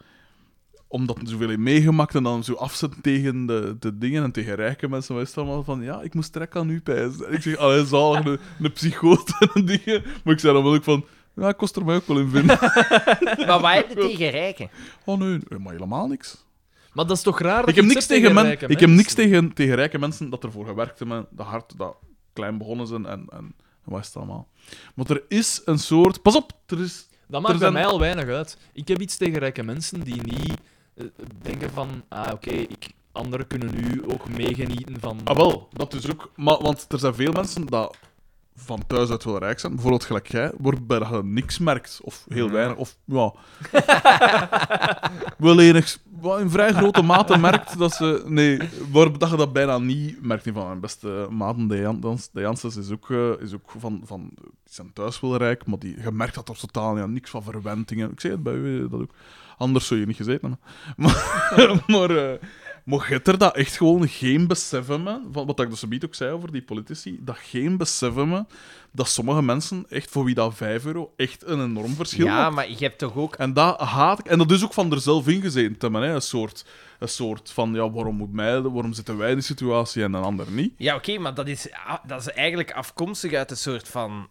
Speaker 1: omdat er zoveel heeft meegemaakt en dan zo afzetten tegen de, de dingen en tegen rijke mensen, was het allemaal van, ja, ik moest trek aan u pijzen. En ik zeg, allee, zalig, een, een psychoot en dingen. Maar ik zei dan wel ook van, ja, ik kost er mij ook wel in vinden.
Speaker 2: Maar wat heb je tegen rijken?
Speaker 1: Oh nee, nee, maar helemaal niks.
Speaker 3: Maar dat is toch raar dat
Speaker 1: Ik heb
Speaker 3: je
Speaker 1: niks
Speaker 3: iets zegt
Speaker 1: tegen, men,
Speaker 3: rijke
Speaker 1: ik heb niks
Speaker 3: mensen?
Speaker 1: tegen, tegen rijke mensen dat ervoor gewerkt hebben, dat hard, dat klein begonnen zijn en, en, en wat is het allemaal. Maar er is een soort. Pas op, er is.
Speaker 3: Dat maakt
Speaker 1: Er
Speaker 3: bij
Speaker 1: zijn-
Speaker 3: mij al weinig uit. Ik heb iets tegen rijke mensen die niet eh, denken van... Ah, oké, ik- anderen kunnen nu ook meegenieten van...
Speaker 1: Ah, wel, dat is ook. Maar, want er zijn veel mensen dat van thuis uit wel rijk zijn, bijvoorbeeld gelijk jij, waarbij dat je niks merkt, of heel weinig, of ja. [LAUGHS] wel enig, wel in vrij grote mate merkt dat ze. Nee, waar dat je dat bijna niet merkt. Niet van mijn beste maten, de, Jan, Dans- de Janssens, is ook, eh, is ook van, van. Die zijn thuis wel rijk, maar die, je merkt dat op totaal ja, niks van verwentingen. Ik zeg het bij u eh, dat ook. Anders zou je niet gezeten hebben. [LAUGHS] Maar, maar, eh, maar je hebt er dat echt gewoon geen besef hebben, van wat ik dus zometeen ook zei over die politici, dat geen besef hebben dat sommige mensen, echt voor wie dat 5 euro, echt een enorm verschil
Speaker 2: Ja,
Speaker 1: maakt.
Speaker 2: maar je hebt toch ook...
Speaker 1: En dat haat ik. En dat is ook van er zelf ingezeten te hebben, hè. Een soort, een soort van, ja, waarom moet mij, waarom zitten wij in die situatie en een ander niet?
Speaker 2: Ja, oké, maar dat is, ah, dat is eigenlijk afkomstig uit een soort van...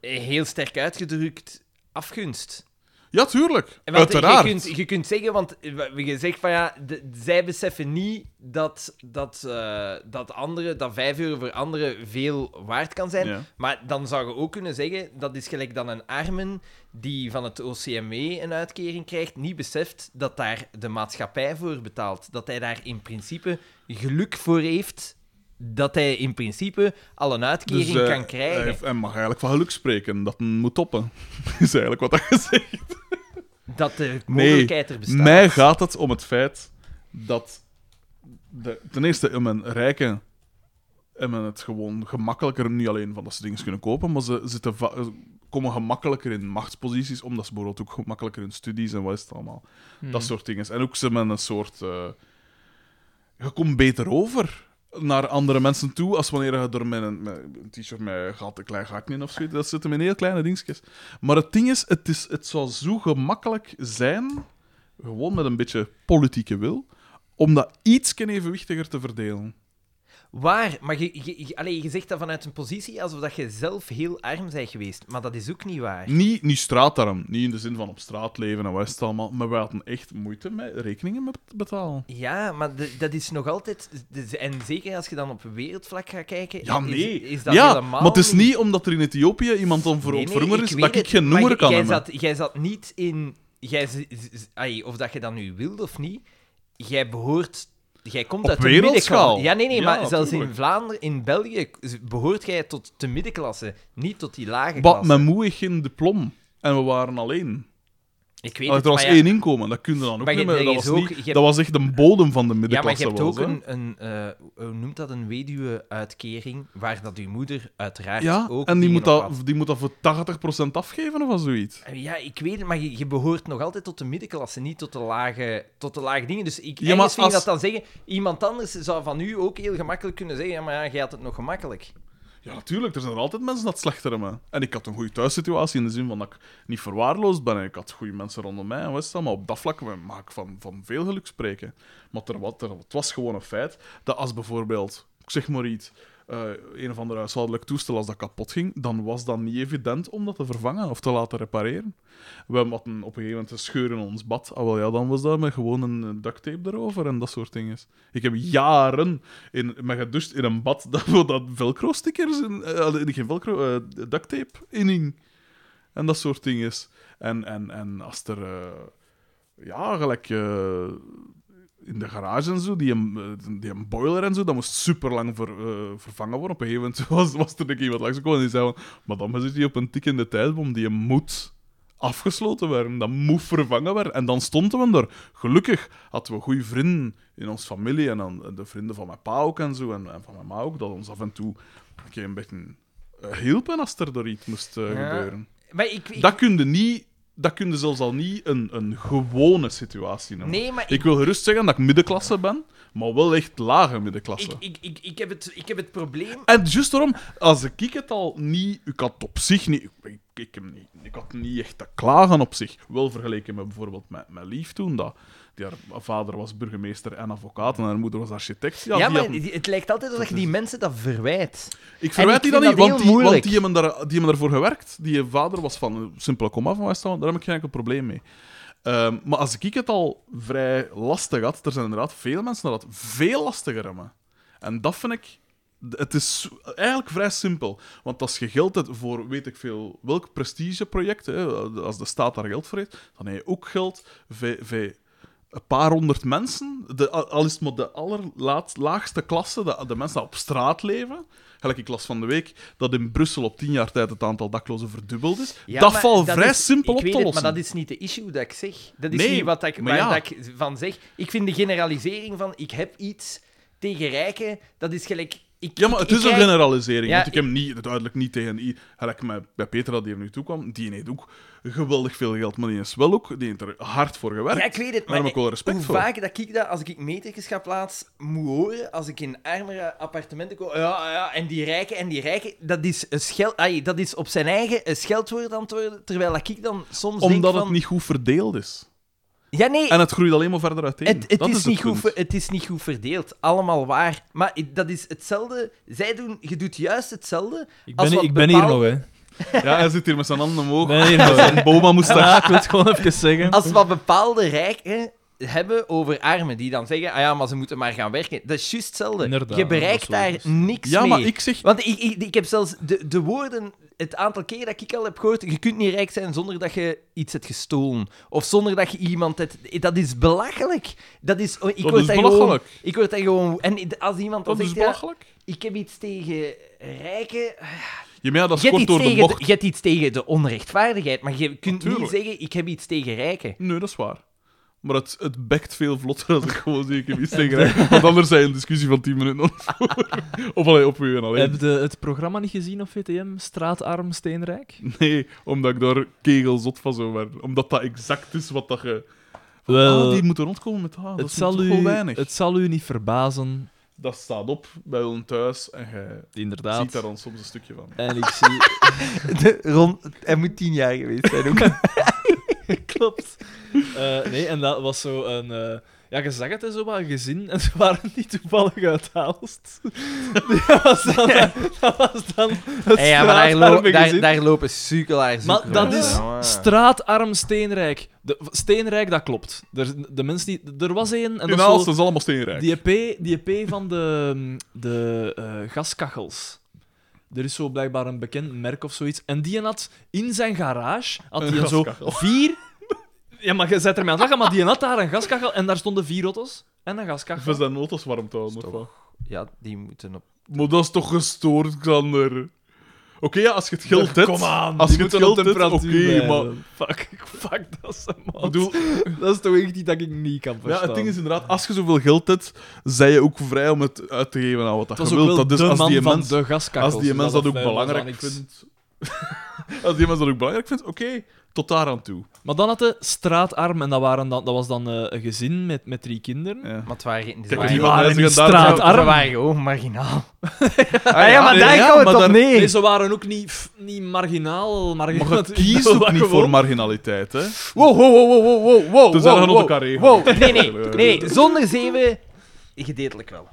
Speaker 2: eh, Heel sterk uitgedrukt afgunst.
Speaker 1: Ja, tuurlijk.
Speaker 2: En want
Speaker 1: Uiteraard.
Speaker 2: Je kunt, je kunt zeggen, want eh, wa- je zegt van ja, de- zij beseffen niet dat, dat, eh, dat, anderen, dat 5 euro voor anderen veel waard kan zijn.
Speaker 1: Ja.
Speaker 2: Maar dan zou je ook kunnen zeggen, dat is gelijk dan een armen die van het OCMW E een uitkering krijgt, niet beseft dat daar de maatschappij voor betaalt. Dat hij daar in principe geluk voor heeft, dat hij in principe al een uitkering
Speaker 1: eh,
Speaker 2: kan
Speaker 1: hij
Speaker 2: krijgen.
Speaker 1: heeft- hij mag eigenlijk van geluk spreken, dat een moet toppen. [LAUGHS] is eigenlijk wat dat gezegd
Speaker 2: Dat de mogelijkheid er bestaat.
Speaker 1: Mij gaat het om het feit dat de, ten eerste om een rijke En men het gewoon gemakkelijker, niet alleen van dat ze dingen kunnen kopen, maar ze zitten va- eh, komen gemakkelijker in machtsposities, omdat ze bijvoorbeeld ook gemakkelijker in studies en wat is het allemaal. Dat soort dingen. En ook ze met een soort... eh, je komt beter over naar andere mensen toe als wanneer je door met een, met een t-shirt met een gat, een klein gatje in of zoiets. Dat zitten in heel kleine dingetjes. Maar het ding is, het, is, het zou zo gemakkelijk zijn, gewoon met een beetje politieke wil, om dat iets evenwichtiger te verdelen.
Speaker 2: Waar? Maar je, je, je- allee, je zegt dat vanuit een positie alsof dat je zelf heel arm bent geweest. Maar dat is ook niet waar.
Speaker 1: Niet, niet straatarm, niet in de zin van op straat leven en wat is het allemaal, maar we hadden echt moeite met rekeningen met te betalen.
Speaker 2: Ja, maar de- dat is nog altijd... de- en zeker als je dan op wereldvlak gaat kijken...
Speaker 1: Ja,
Speaker 2: is-
Speaker 1: nee.
Speaker 2: Is, dat
Speaker 1: ja,
Speaker 2: helemaal
Speaker 1: maar het is niet omdat er in Ethiopië iemand dan voor
Speaker 2: Nee, nee,
Speaker 1: verhonger is,
Speaker 2: weet
Speaker 1: dat ik
Speaker 2: het,
Speaker 1: geen
Speaker 2: maar
Speaker 1: nummer
Speaker 2: j-
Speaker 1: kan
Speaker 2: jij
Speaker 1: hebben.
Speaker 2: zat, jij zat niet in... Jij, z- z- z- ai, of dat je dat nu wilt of niet, jij behoort... Jij komt
Speaker 1: Op
Speaker 2: uit de
Speaker 1: wereldschaal.
Speaker 2: middenklasse. Ja, nee, nee,
Speaker 1: Ja,
Speaker 2: maar zelfs in
Speaker 1: tuurlijk.
Speaker 2: Vlaanderen, in België, z- behoort jij tot de middenklasse, niet tot die lage
Speaker 1: Wat,
Speaker 2: klasse.
Speaker 1: mijn moe heeft geen diploma en we waren alleen.
Speaker 2: Ik weet
Speaker 1: Allee,
Speaker 2: het,
Speaker 1: er was
Speaker 2: maar ja,
Speaker 1: één inkomen, dat kun je dan ook
Speaker 2: Maar je-
Speaker 1: niet meer.
Speaker 2: er
Speaker 1: Dat
Speaker 2: is
Speaker 1: was,
Speaker 2: ook-
Speaker 1: niet-
Speaker 2: je hebt-
Speaker 1: dat was echt een bodem van de
Speaker 2: Ja, maar je
Speaker 1: middenklasse.
Speaker 2: hebt
Speaker 1: wel,
Speaker 2: ook
Speaker 1: hè.
Speaker 2: een, een eh, hoe noemt dat, een weduwe-uitkering, waar dat uw moeder uiteraard
Speaker 1: Ja,
Speaker 2: ook
Speaker 1: en die
Speaker 2: dingen
Speaker 1: moet,
Speaker 2: op had.
Speaker 1: dat, die moet dat voor 80% afgeven of zoiets.
Speaker 2: Eh, Ja, ik weet het, maar je, je behoort nog altijd tot de middenklasse, niet tot de lage, tot de lage dingen. Dus ik
Speaker 1: Ja,
Speaker 2: ja,
Speaker 1: maar
Speaker 2: vind je
Speaker 1: als-
Speaker 2: dat dan zeggen. Iemand anders zou van u ook heel gemakkelijk kunnen zeggen, ja, maar ja, jij had het nog gemakkelijk.
Speaker 1: Ja, natuurlijk, er zijn er altijd mensen dat slechter hebben. En ik had een goede thuissituatie in de zin van dat ik niet verwaarloosd ben en ik had goede mensen rondom mij en wat is dat, maar op dat vlak mag ik van, van veel geluk spreken. Maar er, wat, er, het was gewoon een feit dat als bijvoorbeeld, ik zeg maar iets, eh, een of ander huishoudelijk toestel als dat kapot ging, dan was dat niet evident om dat te vervangen of te laten repareren. We hadden op een gegeven moment een scheur in ons bad. Ah, wel ja, dan was dat met gewoon een eh, duct tape erover en dat soort dingen. Ik heb jaren in, met gedoucht in een bad [LAUGHS] dat we dat velcro-stickers, in, eh, hadden- geen velcro, eh, duct tape in hing. En dat soort dingen. En, en, en als er, eh, ja, gelijk eh, in de garage en zo, die een, eh, die een boiler en zo, dat moest super lang ver, eh, vervangen worden. Op een gegeven moment [LAUGHS] was, was er een iemand langsgekomen en die zei van, madame, zit hier op een tikkende tijdbom, die moet afgesloten werden, dat moet vervangen werden. En dan stonden we er. Gelukkig hadden we goede vrienden in onze familie en dan eh, de vrienden van mijn pa ook en zo, en, en van mijn ma ook, dat ons af en toe een keer een beetje eh, hielpen als er door iets moest eh,
Speaker 2: Ja.
Speaker 1: gebeuren.
Speaker 2: Maar ik, ik-
Speaker 1: Dat kun je niet... Dat kun je zelfs al niet een, een gewone situatie noemen.
Speaker 2: nee, maar ik,
Speaker 1: Ik wil gerust zeggen dat ik middenklasse ben, maar wel echt lage middenklasse.
Speaker 2: ik, ik, ik, ik, heb, het, ik heb het probleem.
Speaker 1: En juist daarom, als ik het al niet... Ik had op zich niet... Ik, ik, ik heb niet ik had niet echt te klagen op zich. Wel vergeleken met bijvoorbeeld met mijn lief toen. Dat, die haar vader was burgemeester en advocaat en haar moeder was architect. Ja,
Speaker 2: Ja,
Speaker 1: die
Speaker 2: maar
Speaker 1: hadden-
Speaker 2: het lijkt altijd alsof je die mensen dat verwijt.
Speaker 1: ik verwijt
Speaker 2: ik
Speaker 1: die dat
Speaker 2: vind
Speaker 1: niet,
Speaker 2: dat
Speaker 1: want
Speaker 2: heel
Speaker 1: die, want
Speaker 2: moeilijk.
Speaker 1: die hebben, daar, die hebben daarvoor gewerkt. Die vader was van een simpele komma van Westland, daar heb ik geen enkel probleem mee. Ehm, maar als ik het al vrij lastig had, er zijn inderdaad veel mensen dat het veel lastiger hebben. En dat vind ik... Het is eigenlijk vrij simpel. Want als je geld hebt voor weet ik veel welk prestigeproject, hè, als de staat daar geld voor heeft, dan heb je ook geld voor- voor een paar honderd mensen, de, al is het maar de allerlaagste klasse, de, de mensen die op straat leven. Gelijk ik las van de week dat in Brussel op tien jaar tijd het aantal daklozen verdubbeld is.
Speaker 2: Ja,
Speaker 1: dat
Speaker 2: maar
Speaker 1: valt vrij
Speaker 2: is-
Speaker 1: simpel
Speaker 2: ik
Speaker 1: op te
Speaker 2: weet
Speaker 1: lossen.
Speaker 2: het, maar dat is niet de issue dat ik zeg. Dat is
Speaker 1: Nee,
Speaker 2: niet wat ik,
Speaker 1: maar
Speaker 2: waar
Speaker 1: ja.
Speaker 2: dat ik van zeg. Ik vind de generalisering van ik heb iets tegen rijken, dat is gelijk... Ik,
Speaker 1: Ja, maar
Speaker 2: ik-
Speaker 1: het
Speaker 2: ik
Speaker 1: is een
Speaker 2: krijg-
Speaker 1: generalisering.
Speaker 2: Ja,
Speaker 1: want ik heb niet, duidelijk niet tegen... i- Gelijk met- bij Petra, die er nu toe kwam, die heeft ook geweldig veel geld, maar die is wel ook... Die heeft er hard voor gewerkt.
Speaker 2: Ja, ik weet het,
Speaker 1: Daar
Speaker 2: maar
Speaker 1: heb ik wel respect
Speaker 2: hoe
Speaker 1: voor.
Speaker 2: vaak dat ik dat, als ik metertjes ga plaats, moet horen, als ik in armere appartementen kom, ja, ja, en die rijken, en die rijken, dat is, een schel, ai, dat is op zijn eigen een scheldwoord aan het worden, terwijl dat ik dan soms denk
Speaker 1: Omdat
Speaker 2: van...
Speaker 1: het niet goed verdeeld is.
Speaker 2: Ja, nee,
Speaker 1: En het groeit alleen maar verder uiteen.
Speaker 2: Het, het,
Speaker 1: Hm, dat
Speaker 2: is
Speaker 1: is
Speaker 2: niet
Speaker 1: het
Speaker 2: goed,
Speaker 1: punt.
Speaker 2: ver- het is niet goed verdeeld. Allemaal waar. Maar i- dat is hetzelfde. Zij doen, je doet juist hetzelfde.
Speaker 3: Ik
Speaker 2: als
Speaker 3: ben,
Speaker 2: wat
Speaker 3: ik ben hier
Speaker 2: bepaal-
Speaker 3: nog, hè. Ik
Speaker 1: Ja, hij zit hier met zijn handen omhoog.
Speaker 3: ben hier nog, hè.
Speaker 1: Een boma moest daar...
Speaker 3: Ik wil het gewoon even [LAUGHS] zeggen.
Speaker 2: Als wat bepaalde rijken hebben over armen, die dan zeggen: ah ja, maar ze moeten maar gaan werken. Dat is juist hetzelfde.
Speaker 3: Inderdaad,
Speaker 2: je
Speaker 3: dat
Speaker 2: bereikt
Speaker 3: is wel
Speaker 2: daar
Speaker 3: juist.
Speaker 2: niks
Speaker 1: Ja,
Speaker 2: mee.
Speaker 1: maar ik zeg...
Speaker 2: Want ik, ik, ik heb zelfs de, de woorden, het aantal keer dat ik al heb gehoord, je kunt niet rijk zijn zonder dat je iets hebt gestolen. Of zonder dat je iemand hebt... Dat is belachelijk. Dat is... oh, Ik
Speaker 1: Dat
Speaker 2: word
Speaker 1: is
Speaker 2: daar gewoon-
Speaker 1: belachelijk.
Speaker 2: ik word daar gewoon... En als iemand dan
Speaker 1: Dat is
Speaker 2: zegt, ja,
Speaker 1: belachelijk.
Speaker 2: ik heb iets tegen rijken...
Speaker 1: Ja, maar ja, dat is
Speaker 2: Je hebt,
Speaker 1: kort
Speaker 2: iets
Speaker 1: door de
Speaker 2: tegen de,
Speaker 1: bocht.
Speaker 2: je hebt iets tegen de onrechtvaardigheid, maar je kunt
Speaker 1: Natuurlijk.
Speaker 2: niet zeggen, ik heb iets tegen rijken.
Speaker 1: Nee, dat is waar. Maar het, het bekt veel vlotter als ik gewoon zie ik hem iets tegen krijg. Want anders zijn een discussie van 10 minuten [LAUGHS] ontvoeren. Of alleen op u en alleen.
Speaker 3: Heb je het programma niet gezien op VTM? Straatarm Steenrijk?
Speaker 1: [LAUGHS] Nee, omdat ik daar kegelzot van zou werden. Omdat dat exact is wat dat je...
Speaker 3: [LAUGHS] Wel,
Speaker 1: Ah, die moeten rondkomen met... Ah, dat
Speaker 3: het,
Speaker 1: is toch
Speaker 3: zal
Speaker 1: wel
Speaker 3: u,
Speaker 1: weinig.
Speaker 3: het zal u niet verbazen,
Speaker 1: Dat staat op bij ons thuis en je ziet
Speaker 3: inderdaad.
Speaker 1: daar dan soms een stukje van.
Speaker 3: En ik zie...
Speaker 10: [LAUGHS] De- Rond, hij moet tien jaar geweest zijn
Speaker 2: [LAUGHS]
Speaker 10: ook.
Speaker 3: Klopt. [LAUGHS] Eh, nee, en dat was zo een... eh, ja, je zag het en zo wat, een gezin, en ze waren [LAUGHS] niet toevallig uit [LAUGHS] Aalst. dat, was dan, dat was dan het
Speaker 2: ja, maar daar, lo-
Speaker 3: straatarme
Speaker 2: daar,
Speaker 3: gezin.
Speaker 2: daar lopen suikelaars
Speaker 3: Maar
Speaker 2: zoeken,
Speaker 3: dat
Speaker 2: hoor.
Speaker 3: is
Speaker 2: Ja.
Speaker 3: straatarm Steenrijk. De, Steenrijk, dat klopt. Er, de mensen die, er was één...
Speaker 1: In
Speaker 3: En dat is zo-
Speaker 1: Aalst is allemaal steenrijk.
Speaker 3: Die EP, die EP van de, de eh, gaskachels. Er is zo blijkbaar een bekend merk of zoiets. En die had in zijn garage had
Speaker 1: Een
Speaker 3: die zo
Speaker 1: gaskachel.
Speaker 3: vier. Ja, maar je zet ermee aan het lachen, maar die had daar een gaskachel en daar stonden vier auto's en een gaskachel.
Speaker 1: We zijn auto's warm te houden, of wat?
Speaker 2: Ja, die moeten op.
Speaker 1: Maar dat is toch gestoord, Xander? Oké, ja, als je het geld hebt...
Speaker 3: Kom aan,
Speaker 1: als
Speaker 3: die
Speaker 1: je het
Speaker 3: moeten op
Speaker 1: geld hebt, oké,
Speaker 3: temperatuur blijven.
Speaker 1: maar...
Speaker 3: Fuck, fuck, dat is een
Speaker 1: Ik
Speaker 3: man.
Speaker 1: bedoel,
Speaker 3: Dat is toch echt iets dat ik niet kan verstaan.
Speaker 1: ja, het ding is inderdaad, als je zoveel geld hebt, zij je ook vrij om het uit te geven aan wat dat
Speaker 3: het was
Speaker 1: je
Speaker 3: ook
Speaker 1: wilt.
Speaker 3: wel
Speaker 1: Dat is
Speaker 3: de
Speaker 1: als
Speaker 3: man
Speaker 1: die
Speaker 3: van
Speaker 1: mens,
Speaker 3: de gaskachels.
Speaker 1: als die mens dat ook
Speaker 3: eh,
Speaker 1: belangrijk
Speaker 3: was dan niks.
Speaker 1: vindt... [LAUGHS] als die mens dat ook belangrijk vindt, oké, tot daar aan toe.
Speaker 3: Maar dan had de straatarm en dat, waren dan, dat was dan eh, een gezin met, met drie kinderen.
Speaker 1: Ja.
Speaker 2: Maar het waren,
Speaker 1: Kijk,
Speaker 3: die
Speaker 1: die
Speaker 3: waren
Speaker 1: mensen
Speaker 3: niet
Speaker 1: gaan daar-
Speaker 3: straatarm.
Speaker 2: Ze waren gewoon marginaal.
Speaker 1: Ah,
Speaker 10: ja, maar daar gaan we
Speaker 1: maar
Speaker 10: toch
Speaker 1: daar-
Speaker 10: neer.
Speaker 3: Nee, ze waren ook niet, pff, niet marginaal.
Speaker 1: Maar
Speaker 3: [LAUGHS]
Speaker 1: [LAUGHS]
Speaker 3: marginaal.
Speaker 1: je kiest ook niet
Speaker 3: [LAUGHS]
Speaker 1: voor marginaliteit, hè?
Speaker 10: Wow, wow, wow, wow, wow, wow.
Speaker 1: Tenzij
Speaker 10: wow,
Speaker 1: dat je op
Speaker 10: wow.
Speaker 1: elkaar regelt.
Speaker 10: Wow.
Speaker 2: Nee, nee, nee. Zonder zeven, gedeeltelijk wel.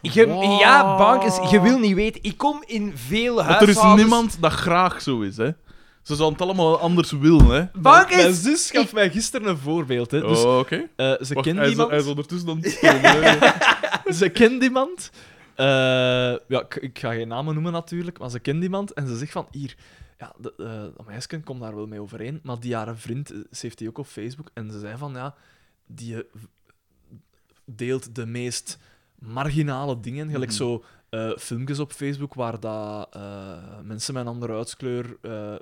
Speaker 2: Je, Ja, bankers, je wil niet weten. Ik kom in veel
Speaker 1: Want er is
Speaker 2: huishoudens...
Speaker 1: niemand dat graag zo is, hè? Ze zouden het allemaal anders willen, hè?
Speaker 3: Mijn
Speaker 10: Bankers!
Speaker 3: zus gaf mij gisteren een voorbeeld. Hè. Dus,
Speaker 1: oh, oké.
Speaker 3: eh, ze
Speaker 1: Wacht,
Speaker 3: kent
Speaker 1: hij, is,
Speaker 3: iemand.
Speaker 1: hij is ondertussen dan. [LAUGHS] Ja.
Speaker 3: [LAUGHS] ze kent iemand. Eh, ja, ik, ik ga geen namen noemen natuurlijk, maar ze kent iemand en ze zegt van hier. Ja, de, eh, dat meisje komt daar wel mee overeen, maar die haar vriend, eh, ze heeft die ook op Facebook, en ze zei van ja, die eh, deelt de meest marginale dingen, gelijk zo eh, filmpjes op Facebook waar dat, eh, mensen met een andere huidskleur eh, eh,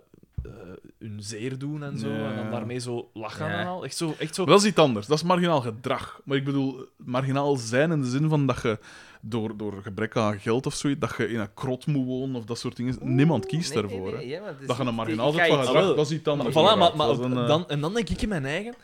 Speaker 3: hun zeer doen en zo, en dan
Speaker 1: Ja.
Speaker 3: daarmee zo lachen
Speaker 2: Ja.
Speaker 3: en al. Echt zo, echt zo
Speaker 1: Maar dat is iets anders. Dat is marginaal gedrag. Maar ik bedoel, marginaal zijn in de zin van dat je door, door gebrek aan geld of zoiets, dat je in een krot moet wonen of dat soort dingen. Niemand kiest
Speaker 2: Nee, nee,
Speaker 1: daarvoor.
Speaker 2: nee,
Speaker 1: hè.
Speaker 2: ja, maar het is
Speaker 1: Dat je een
Speaker 2: niet-
Speaker 1: marginaal
Speaker 2: Dus ik ga
Speaker 1: zet van
Speaker 2: iets-
Speaker 1: gedrag,
Speaker 3: Ah, wel.
Speaker 1: dat is iets
Speaker 3: Maar
Speaker 1: anders.
Speaker 3: voilà, maar, maar
Speaker 1: Dat is een, eh,
Speaker 3: dan, en dan denk ik in mijn eigen,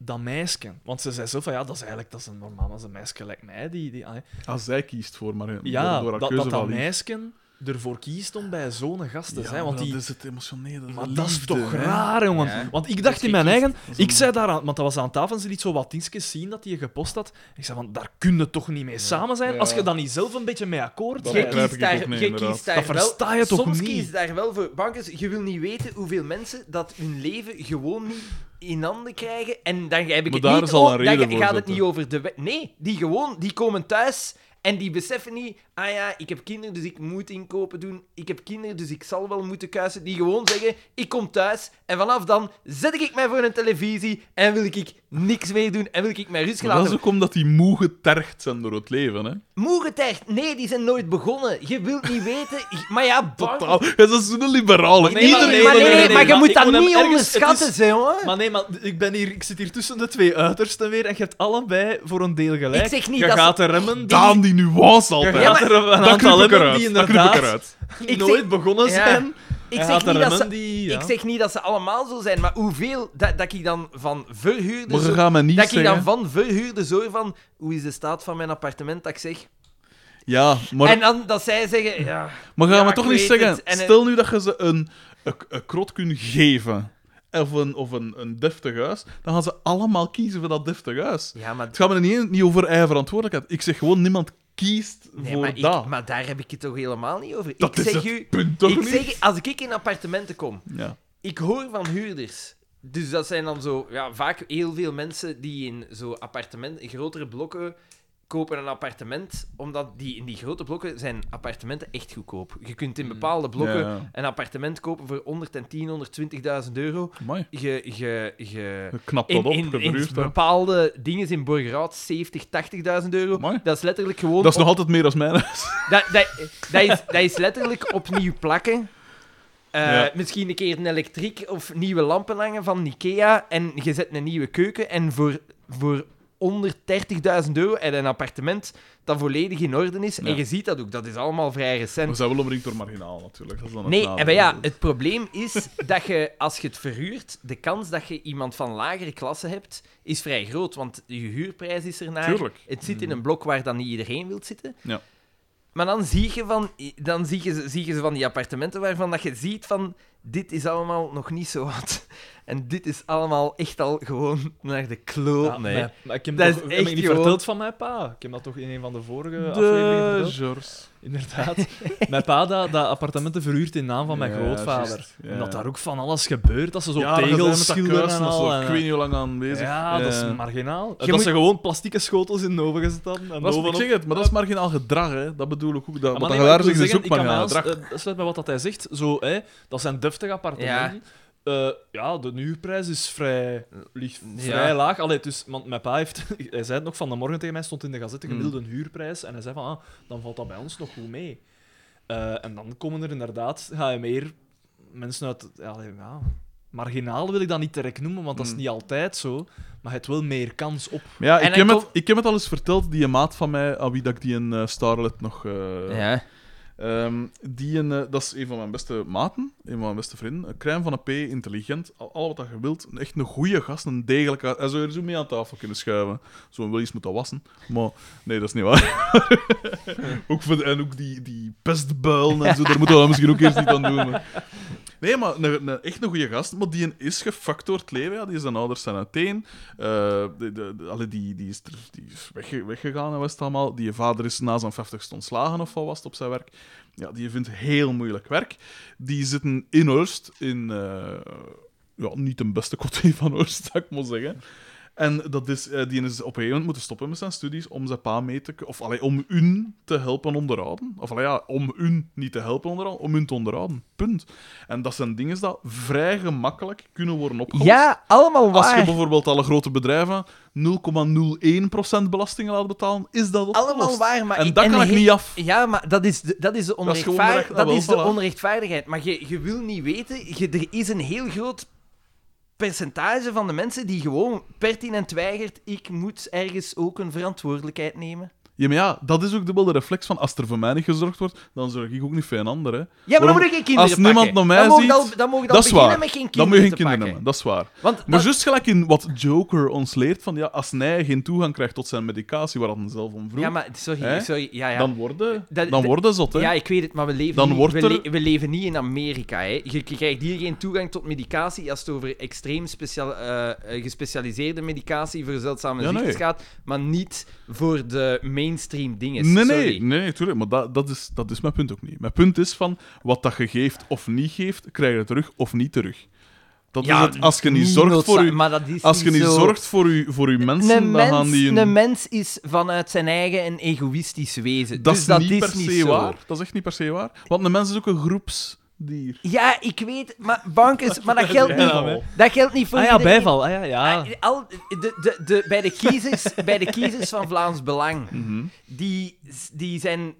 Speaker 3: dat meisje. Want ze zei zo van, ja, dat is eigenlijk dat is een normaal, dat is een meisje like mij. Die, die, ah, hè.
Speaker 1: Als zij kiest voor marginaal.
Speaker 3: ja,
Speaker 1: door haar
Speaker 3: dat
Speaker 1: keuze
Speaker 3: dat,
Speaker 1: van
Speaker 3: dat
Speaker 1: liefde.
Speaker 3: meisje ervoor kiest om bij zo'n gast te
Speaker 1: Ja,
Speaker 3: zijn. Want
Speaker 1: maar
Speaker 3: die,
Speaker 1: dat is het emotionele.
Speaker 3: maar
Speaker 1: de
Speaker 3: dat is
Speaker 1: liefde,
Speaker 3: toch
Speaker 1: hè.
Speaker 3: raar, jongen.
Speaker 2: Ja.
Speaker 3: Want ik
Speaker 2: Dat
Speaker 3: dacht
Speaker 2: is
Speaker 3: in mijn
Speaker 2: gekiest.
Speaker 3: eigen... Ik zei daar aan... Want dat was aan tafel en ze liet zo wat dingetjes zien dat hij gepost had. Ik zei van, daar kun je toch niet mee samen zijn?
Speaker 1: Ja.
Speaker 3: Als je dan niet zelf een beetje mee akkoord
Speaker 1: Dat
Speaker 2: Je
Speaker 3: bent.
Speaker 1: begrijp ik
Speaker 2: kiest
Speaker 1: ook
Speaker 2: daar,
Speaker 1: niet,
Speaker 2: je
Speaker 1: inderdaad.
Speaker 2: kiest daar
Speaker 3: Dat
Speaker 2: wel...
Speaker 3: versta je toch
Speaker 2: soms
Speaker 3: niet?
Speaker 2: kies je daar wel voor. Bankers, je wil niet weten hoeveel mensen dat hun leven gewoon niet in handen krijgen. En dan heb ik
Speaker 1: Maar
Speaker 2: het
Speaker 1: daar
Speaker 2: niet
Speaker 1: is al
Speaker 2: o-
Speaker 1: een
Speaker 2: dan
Speaker 1: reden voor
Speaker 2: gaat het
Speaker 1: zitten.
Speaker 2: niet over de... we- Nee, die gewoon, die komen thuis en die beseffen niet... Ah ja, ik heb kinderen, dus ik moet inkopen doen. Ik heb kinderen, dus ik zal wel moeten kuisen. Die gewoon zeggen, ik kom thuis en vanaf dan zet ik mij voor een televisie en wil ik niks meer doen en wil ik mij rust
Speaker 1: Maar dat
Speaker 2: laten.
Speaker 1: is ook omdat die moe getergd zijn door het leven, hè?
Speaker 2: Moerentecht, nee, die zijn nooit begonnen. Je wilt niet weten... Ik- Maar ja, bankers...
Speaker 1: Totaal. Ja, dat is een liberale.
Speaker 3: Nee,
Speaker 1: Iedereen
Speaker 3: maar nee,
Speaker 1: dat
Speaker 2: maar nee,
Speaker 1: er-
Speaker 3: nee,
Speaker 2: maar je
Speaker 3: maar
Speaker 2: moet
Speaker 3: ik
Speaker 2: dat
Speaker 3: moet hem
Speaker 2: niet
Speaker 3: ergens-
Speaker 2: onderschatten,
Speaker 3: het
Speaker 2: zeg, jongen.
Speaker 3: Maar nee, maar ik, ben hier, ik zit hier tussen de twee uitersten weer en je hebt allebei voor een deel gelijk.
Speaker 2: Ik zeg niet
Speaker 3: je
Speaker 2: dat ze-
Speaker 3: gaat de remmen.
Speaker 1: Daan die nuance
Speaker 3: Je
Speaker 1: altijd.
Speaker 3: gaat
Speaker 2: maar-
Speaker 3: er een
Speaker 1: dat
Speaker 3: aantal
Speaker 1: knip ik
Speaker 3: hebben die
Speaker 1: eruit. Dat knip ik
Speaker 3: inderdaad
Speaker 1: eruit.
Speaker 2: Ik
Speaker 3: nooit
Speaker 2: zeg-
Speaker 3: begonnen
Speaker 2: Ja.
Speaker 3: zijn.
Speaker 2: Ik zeg,
Speaker 3: Hij had
Speaker 2: niet
Speaker 3: de
Speaker 2: dat ze,
Speaker 3: remmen die, ja.
Speaker 2: ik zeg niet dat ze allemaal zo zijn, maar hoeveel dat, dat ik dan van verhuurders...
Speaker 1: Maar je gaat mij niet
Speaker 2: Dus dat ik dan
Speaker 1: zeggen-
Speaker 2: van verhuurders hoor van... Hoe is de staat van mijn appartement? Dat ik zeg...
Speaker 1: Ja, maar,
Speaker 2: en dan dat zij zeggen... Ja,
Speaker 1: maar ga
Speaker 2: ja,
Speaker 1: me
Speaker 2: ik
Speaker 1: toch niet
Speaker 2: weet
Speaker 1: zeggen...
Speaker 2: het, en-
Speaker 1: Stel nu dat je ze een, een, een krot kunt geven... Of, een, of een, een deftig huis, dan gaan ze allemaal kiezen voor dat deftig huis.
Speaker 2: ja maar,
Speaker 1: Het gaat me er niet, niet over eigen verantwoordelijkheid. Ik zeg gewoon, niemand kiest
Speaker 2: nee,
Speaker 1: voor
Speaker 2: maar, ik-
Speaker 1: dat.
Speaker 2: maar daar heb ik het toch helemaal niet over.
Speaker 1: dat
Speaker 2: ik
Speaker 1: is
Speaker 2: zeg
Speaker 1: het
Speaker 2: u...
Speaker 1: punt, toch
Speaker 2: Ik
Speaker 1: niet?
Speaker 2: zeg, als ik in appartementen kom,
Speaker 1: Ja.
Speaker 2: ik hoor van huurders. Dus dat zijn dan zo, ja, vaak heel veel mensen die in zo appartementen, in grotere blokken, kopen een appartement. Omdat die, in die grote blokken zijn appartementen echt goedkoop. Je kunt in bepaalde blokken
Speaker 1: Ja.
Speaker 2: een appartement kopen voor 110, 120.000 euro.
Speaker 1: Amai.
Speaker 2: Je, je, je,
Speaker 1: Je knapt dat
Speaker 2: in,
Speaker 1: op,
Speaker 2: in, in
Speaker 1: gedruurd, hè.
Speaker 2: bepaalde dingen in Borgerhout 70, 80.000 euro.
Speaker 1: Amai.
Speaker 2: Dat is letterlijk gewoon...
Speaker 1: Dat is
Speaker 2: op-
Speaker 1: nog altijd meer dan mijn huis.
Speaker 2: dat, dat, dat, is, dat is letterlijk opnieuw plakken. Eh,
Speaker 1: Ja.
Speaker 2: Misschien een keer een elektriek of nieuwe lampen hangen van Ikea. En je zet een nieuwe keuken. En voor, voor onder 30.000 euro en een appartement dat volledig in orde is.
Speaker 1: Ja.
Speaker 2: En je ziet dat ook. Dat is allemaal vrij recent.
Speaker 1: We zijn wel omringd door marginaal, natuurlijk. Dat is dan het
Speaker 2: Nee,
Speaker 1: nadeel.
Speaker 2: en maar ja, het probleem is dat je, als je het verhuurt, de kans dat je iemand van lagere klasse hebt, is vrij groot. Want je huurprijs is ernaar.
Speaker 1: Tuurlijk. Mm.
Speaker 2: Het zit in een blok waar dan niet iedereen wil zitten.
Speaker 1: Ja.
Speaker 2: Maar dan zie je, van, dan zie je, ze- zie je ze van die appartementen waarvan dat je ziet van... Dit is allemaal nog niet zo wat. En dit is allemaal echt al gewoon naar de kloot.
Speaker 3: Ja,
Speaker 2: Oh, nee.
Speaker 3: Oh, maar- maar ik heb
Speaker 2: Dat
Speaker 3: dat
Speaker 2: is
Speaker 3: toch, heb
Speaker 2: echt
Speaker 3: ik niet
Speaker 2: gewoon-
Speaker 3: verteld van mijn pa. Ik heb dat toch in een van de vorige afleveringen
Speaker 1: De
Speaker 3: verteld.
Speaker 1: Jors.
Speaker 3: Inderdaad. mijn pa dat, dat appartementen verhuurd in naam van mijn
Speaker 1: Ja,
Speaker 3: grootvader.
Speaker 1: juist, ja.
Speaker 3: En dat daar ook van alles gebeurt. Dat ze zo
Speaker 1: Ja, dat zijn
Speaker 3: tegels
Speaker 1: met dat
Speaker 3: schilderen
Speaker 1: kuis
Speaker 3: en
Speaker 1: dat ze
Speaker 3: al.
Speaker 1: er
Speaker 3: en- eh,
Speaker 1: Ik
Speaker 2: eh.
Speaker 1: weet niet hoe lang aanwezig.
Speaker 3: ja, dat
Speaker 1: Eh,
Speaker 3: is marginaal.
Speaker 2: Je
Speaker 3: dat
Speaker 2: moet-
Speaker 3: ze gewoon plastieke schotels in de oven gezet hadden. En
Speaker 1: dat is, ik
Speaker 3: bovenop-
Speaker 1: zeg het, maar dat is marginaal gedrag, hè. Dat bedoel ik ook. Dat,
Speaker 3: Maar
Speaker 1: wat
Speaker 3: nee,
Speaker 1: je daar
Speaker 3: maar ik wil
Speaker 1: zegt, is
Speaker 3: zeggen,
Speaker 1: ook
Speaker 3: ik kan
Speaker 1: marginaal
Speaker 3: mij
Speaker 1: gedrag.
Speaker 3: als- eh, Dat sluit bij wat dat hij zegt. Zo, hè, dat zijn deftige appartementen. Eh, ja, de huurprijs is vrij, ligt
Speaker 2: Ja.
Speaker 3: vrij laag. Allee, dus, want mijn pa heeft, [LAUGHS] hij zei het nog van de morgen tegen mij, stond in de gazette
Speaker 2: Hmm.
Speaker 3: gemiddelde huurprijs. En hij zei van, ah, dan valt dat bij ons nog goed mee. Eh, en dan komen er inderdaad ga je meer mensen uit... Ja, allee, ja, marginaal wil ik dat niet direct noemen, want dat is
Speaker 2: Hmm.
Speaker 1: Mm.
Speaker 3: niet altijd zo. Maar het wel meer kans op.
Speaker 1: Maar ja, ik
Speaker 2: En dan
Speaker 1: heb, het,
Speaker 2: kom-
Speaker 1: ik heb het al eens verteld, die maat van mij, aan wie dat ik die een Starlet nog... eh,
Speaker 2: Ja.
Speaker 1: Ehm, die een, eh, dat is een van mijn beste maten, een van mijn beste vrienden. Een crème van een P, intelligent, al, al wat dat je wilt. Een- Echt een goede gast, een degelijke... Hij zou er zo mee aan tafel kunnen schuiven. Zo'n Willy's moet dat wassen. Maar nee, dat is niet waar. [LAUGHS] ook voor de- en ook die, die pestbuilen en zo, daar moeten we dan misschien ook eerst niet aan doen. maar- Nee, maar een, een- echt een goede gast. Maar die een is gefakt door het leven. Ja. Die zijn ouders zijn uiteen. Eh, de, de, de- allee, die, die is, er- die is wegge- weggegaan en was het allemaal. Die vader is na zijn 50ste ontslagen of wat was het op zijn werk. Ja, die vindt heel moeilijk werk. Die zitten in Oost, in... eh, ja, niet de beste kotee van Oost, zou ik maar zeggen. En dat is, eh, die is op een gegeven moment moeten stoppen met zijn studies om zijn pa mee te... k- Of allee, om hun te helpen onderhouden. Of allee, ja, om hun niet te helpen onderhouden, om hun te onderhouden. Punt. En dat zijn dingen dat vrij gemakkelijk kunnen worden opgelost.
Speaker 2: ja, allemaal
Speaker 1: Als je
Speaker 2: waar.
Speaker 1: bijvoorbeeld alle grote bedrijven 0,01% belastingen laat betalen, is dat opgelost.
Speaker 2: Allemaal waar, maar
Speaker 1: En dat kan ik
Speaker 2: he-
Speaker 1: niet af.
Speaker 2: Ja, maar dat is de, dat is de,
Speaker 1: Dat is gewoon
Speaker 2: onrechtvaar-
Speaker 1: recht-
Speaker 2: dat
Speaker 1: ah,
Speaker 2: is de
Speaker 1: wel, voilà.
Speaker 2: onrechtvaardigheid. Maar je, je wil niet weten, je, er is een heel groot percentage van de mensen die gewoon pertinent weigert, ik moet ergens ook een verantwoordelijkheid nemen.
Speaker 1: Ja, maar ja, dat is ook dubbel de reflex van als er voor mij niet gezorgd wordt, dan zorg ik ook niet voor een ander. Hè.
Speaker 2: Ja, maar
Speaker 1: Waarom-
Speaker 2: dan moet ik geen kinderen
Speaker 1: als niemand
Speaker 2: pakken.
Speaker 1: naar mij
Speaker 2: dan mogen
Speaker 1: ziet,
Speaker 2: al, dan mogen we al
Speaker 1: dat is
Speaker 2: beginnen
Speaker 1: waar.
Speaker 2: met geen kinderen
Speaker 1: Dan moet je geen
Speaker 2: te
Speaker 1: kinderen
Speaker 2: pakken.
Speaker 1: hebben, dat is waar.
Speaker 2: Want
Speaker 1: Maar
Speaker 2: dat-
Speaker 1: juist gelijk in wat Joker ons leert, van ja, als hij geen toegang krijgt tot zijn medicatie, waar hij dan zelf om vroeg,
Speaker 2: Ja, maar sorry,
Speaker 1: Hè?
Speaker 2: sorry. Ja, ja.
Speaker 1: dan worden dan
Speaker 2: Dat- dat-
Speaker 1: worden zot, hè.
Speaker 2: Ja, ik weet het, maar we leven,
Speaker 1: Dan
Speaker 2: niet,
Speaker 1: wordt
Speaker 2: we,
Speaker 1: er-
Speaker 2: le- we leven niet in Amerika. Hè. Je krijgt hier geen toegang tot medicatie als het over extreem speciaal, eh, eh, gespecialiseerde medicatie voor zeldzame
Speaker 1: Ja,
Speaker 2: ziektes
Speaker 1: nee.
Speaker 2: gaat, maar niet voor de mainstream dingen.
Speaker 1: Nee, nee,
Speaker 2: Sorry.
Speaker 1: nee, nee, tuurlijk. Maar dat, dat, is, dat is mijn punt ook niet. Mijn punt is van, wat dat je geeft of niet geeft, krijg je terug of niet terug. Dat
Speaker 2: Ja,
Speaker 1: is het. Als je niet zorgt
Speaker 2: noodza-
Speaker 1: voor je,
Speaker 2: maar dat is
Speaker 1: als je niet
Speaker 2: zo.
Speaker 1: zorgt voor je, voor je mensen,
Speaker 2: een
Speaker 1: dan
Speaker 2: mens,
Speaker 1: gaan die...
Speaker 2: een
Speaker 1: Een,
Speaker 2: mens is vanuit zijn eigen een egoïstisch wezen.
Speaker 1: dat
Speaker 2: dus
Speaker 1: is
Speaker 2: dat
Speaker 1: niet
Speaker 2: is
Speaker 1: per se
Speaker 2: niet zo.
Speaker 1: waar. Dat is echt niet per se waar. Want een mens is ook een groepsdier.
Speaker 2: Ja, ik weet, maar
Speaker 1: [LAUGHS]
Speaker 2: bankers, maar dat geldt niet. Dat geldt niet voor
Speaker 3: Ah ja,
Speaker 2: iedereen.
Speaker 3: bijval. Ah ja, ja.
Speaker 2: Ah, Al, de, de, de, bij, de kiezers, bij de kiezers van Vlaams Belang, die, die zijn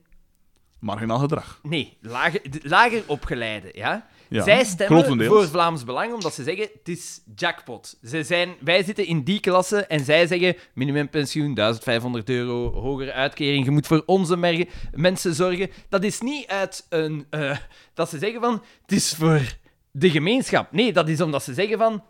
Speaker 1: Marginaal gedrag.
Speaker 2: nee, lager, de- lager opgeleide. Ja?
Speaker 1: Ja,
Speaker 2: Zij stemmen
Speaker 1: grotendeels.
Speaker 2: voor Vlaams Belang omdat ze zeggen: het is jackpot. Ze zijn, wij zitten in die klasse en zij zeggen: minimumpensioen 1500 euro, hogere uitkering, je moet voor onze mergen, mensen zorgen. Dat is niet uit een. eh, dat ze zeggen van: het is voor de gemeenschap. Nee, dat is omdat ze zeggen van: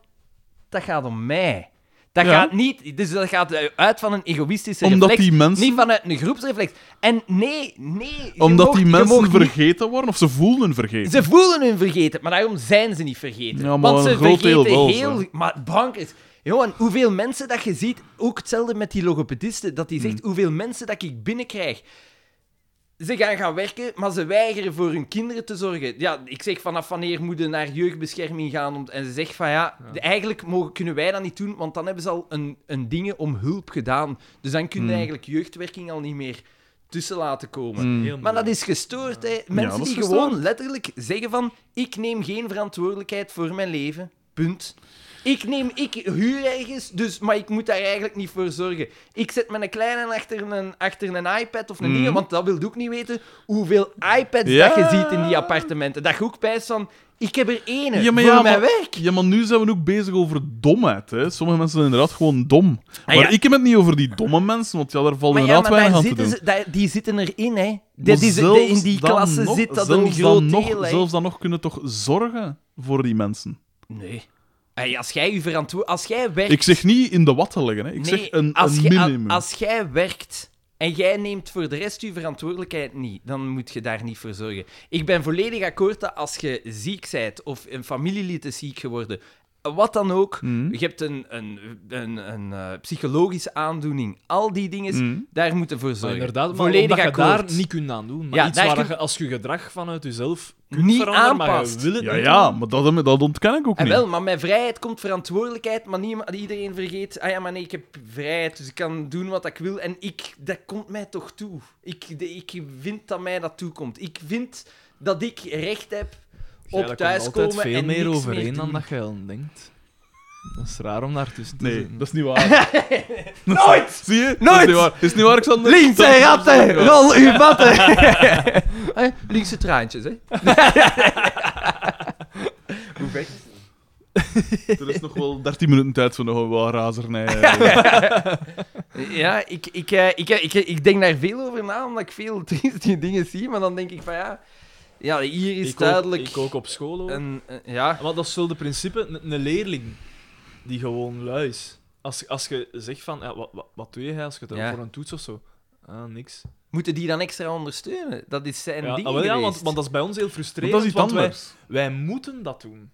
Speaker 2: dat gaat om mij. Dat
Speaker 1: Ja.
Speaker 2: gaat niet, dus dat gaat uit van een egoïstische
Speaker 1: Omdat
Speaker 2: reflex,
Speaker 1: die mensen-
Speaker 2: niet vanuit een groepsreflex. En nee, nee, je
Speaker 1: Omdat
Speaker 2: mocht-
Speaker 1: die
Speaker 2: je
Speaker 1: mensen
Speaker 2: mocht niet-
Speaker 1: vergeten worden, of ze voelen vergeten.
Speaker 2: Ze voelen hun vergeten, maar daarom zijn ze niet vergeten.
Speaker 1: Ja, maar
Speaker 2: Want ze
Speaker 1: een groot deel
Speaker 2: vergeten
Speaker 1: wel,
Speaker 2: heel...
Speaker 1: zeg.
Speaker 2: Maar bankers... Johan, hoeveel mensen dat je ziet, ook hetzelfde met die logopedisten, dat die
Speaker 1: Hmm.
Speaker 2: zegt hoeveel mensen dat ik binnenkrijg. Ze gaan gaan werken, maar ze weigeren voor hun kinderen te zorgen. Ja, ik zeg vanaf wanneer moeten je naar jeugdbescherming gaan? Om, en ze zegt van ja, eigenlijk mogen, kunnen wij dat niet doen, want dan hebben ze al een, een dingen om hulp gedaan. Dus dan kun je
Speaker 1: Hmm.
Speaker 2: eigenlijk jeugdwerking al niet meer tussen laten komen. Maar dat is gestoord, hè. Mensen
Speaker 1: dat is
Speaker 2: die
Speaker 1: gestoord.
Speaker 2: gewoon letterlijk zeggen van... Ik neem geen verantwoordelijkheid voor mijn leven. Punt. Ik neem... Ik huur ergens, dus, maar ik moet daar eigenlijk niet voor zorgen. Ik zet mijn kleine achter een, achter een iPad of een ding, want dat wil ik ook niet weten. Hoeveel iPads
Speaker 1: Mhm. Ja.
Speaker 2: dat je ziet in die appartementen. Dat je ook pijst van... Ik heb er ene
Speaker 1: Ja, maar
Speaker 2: voor
Speaker 1: ja,
Speaker 2: mijn
Speaker 1: maar-
Speaker 2: werk.
Speaker 1: Ja, maar nu zijn we ook bezig over domheid. Hè. Sommige mensen zijn inderdaad gewoon dom. Maar
Speaker 2: Ah, ja.
Speaker 1: ik heb het niet over die domme mensen, want ja, daar valt
Speaker 2: Maar ja,
Speaker 1: inderdaad
Speaker 2: maar
Speaker 1: weinig
Speaker 2: daar
Speaker 1: aan te doen.
Speaker 2: zitten ze, daar- die zitten erin, hè.
Speaker 1: Maar
Speaker 2: Dat is, de-
Speaker 1: zelfs
Speaker 2: in die
Speaker 1: dan
Speaker 2: klasse
Speaker 1: nog-
Speaker 2: zit dat een
Speaker 1: zelfs
Speaker 2: groot
Speaker 1: dan nog,
Speaker 2: deel, hè.
Speaker 1: Zelfs dan nog kunnen toch zorgen voor die mensen.
Speaker 2: Nee. Hey, als jij je verantwo- Als jij werkt...
Speaker 1: Ik zeg niet in de watten leggen, hè. ik
Speaker 2: Nee,
Speaker 1: zeg een,
Speaker 2: als
Speaker 1: een
Speaker 2: jij-
Speaker 1: minimum.
Speaker 2: Als jij werkt en jij neemt voor de rest je verantwoordelijkheid niet, dan moet je daar niet voor zorgen. Ik ben volledig akkoord dat als je ziek bent of een familielid is ziek geworden, wat dan ook,
Speaker 1: Mhm.
Speaker 2: je hebt een, een, een, een eh, psychologische aandoening, al die dingen,
Speaker 1: Mhm.
Speaker 2: daar moet je voor zorgen.
Speaker 3: inderdaad, maar
Speaker 2: volledig
Speaker 3: omdat je
Speaker 2: akkoord.
Speaker 3: daar niet kunt aan doen. Maar
Speaker 2: Ja,
Speaker 3: iets
Speaker 2: daar
Speaker 3: waar
Speaker 2: kun-
Speaker 3: je als je gedrag vanuit jezelf kunt
Speaker 2: Niet
Speaker 3: veranderen, maar
Speaker 2: aanpast.
Speaker 3: je wil het
Speaker 1: Ja,
Speaker 3: niet
Speaker 1: ja,
Speaker 3: doen.
Speaker 1: maar dat, dat ontken ik ook
Speaker 2: En
Speaker 1: niet.
Speaker 2: wel, maar met vrijheid komt verantwoordelijkheid, maar niet iedereen vergeet, ah ja, maar nee, ik heb vrijheid, dus ik kan doen wat ik wil. En ik, dat komt mij toch toe. Ik, de- ik vind dat mij dat toekomt. Ik vind dat ik recht heb
Speaker 3: Ja,
Speaker 2: op
Speaker 3: daar komt
Speaker 2: thuiskomen
Speaker 3: altijd veel
Speaker 2: en
Speaker 3: meer
Speaker 2: niks
Speaker 3: overeen
Speaker 2: meer
Speaker 3: dan
Speaker 2: doen.
Speaker 3: dat je al denkt. Dat is raar om daartussen te
Speaker 1: Nee,
Speaker 3: zitten.
Speaker 1: dat is niet waar. Nooit! [LAUGHS] Zie je? Dat is
Speaker 11: Nooit!
Speaker 1: niet waar. Is het niet waar, Xander?
Speaker 11: Links en ratten, rol uw batten.
Speaker 2: Ah, linkse traantjes, hè. Hoe weg?
Speaker 1: Er is nog wel 13 minuten tijd voor nog wel [LAUGHS] razernij. eh.
Speaker 2: Ja, ik, ik, eh, ik, eh, ik, eh, ik denk daar veel over na, omdat ik veel [LAUGHS] trieste dingen zie, maar dan denk ik van ja, ja hier is
Speaker 3: ik
Speaker 2: duidelijk...
Speaker 3: Ook, ik ook op school hoor.
Speaker 2: een, een- ja,
Speaker 3: Want dat is wel de principe, een, een leerling die gewoon lui is. Als, als je zegt van, ja, wat, wat, wat doe je hè, als je het
Speaker 2: Ja.
Speaker 3: voor een toets of zo? Ah, niks.
Speaker 2: moeten die dan extra ondersteunen? Dat is zijn
Speaker 3: ja,
Speaker 2: ding
Speaker 3: ah, wel ja, want,
Speaker 2: geweest.
Speaker 3: want dat is bij ons heel
Speaker 1: Want
Speaker 3: frustrerend,
Speaker 1: dat is iets
Speaker 3: want wij,
Speaker 1: anders.
Speaker 3: wij moeten dat doen.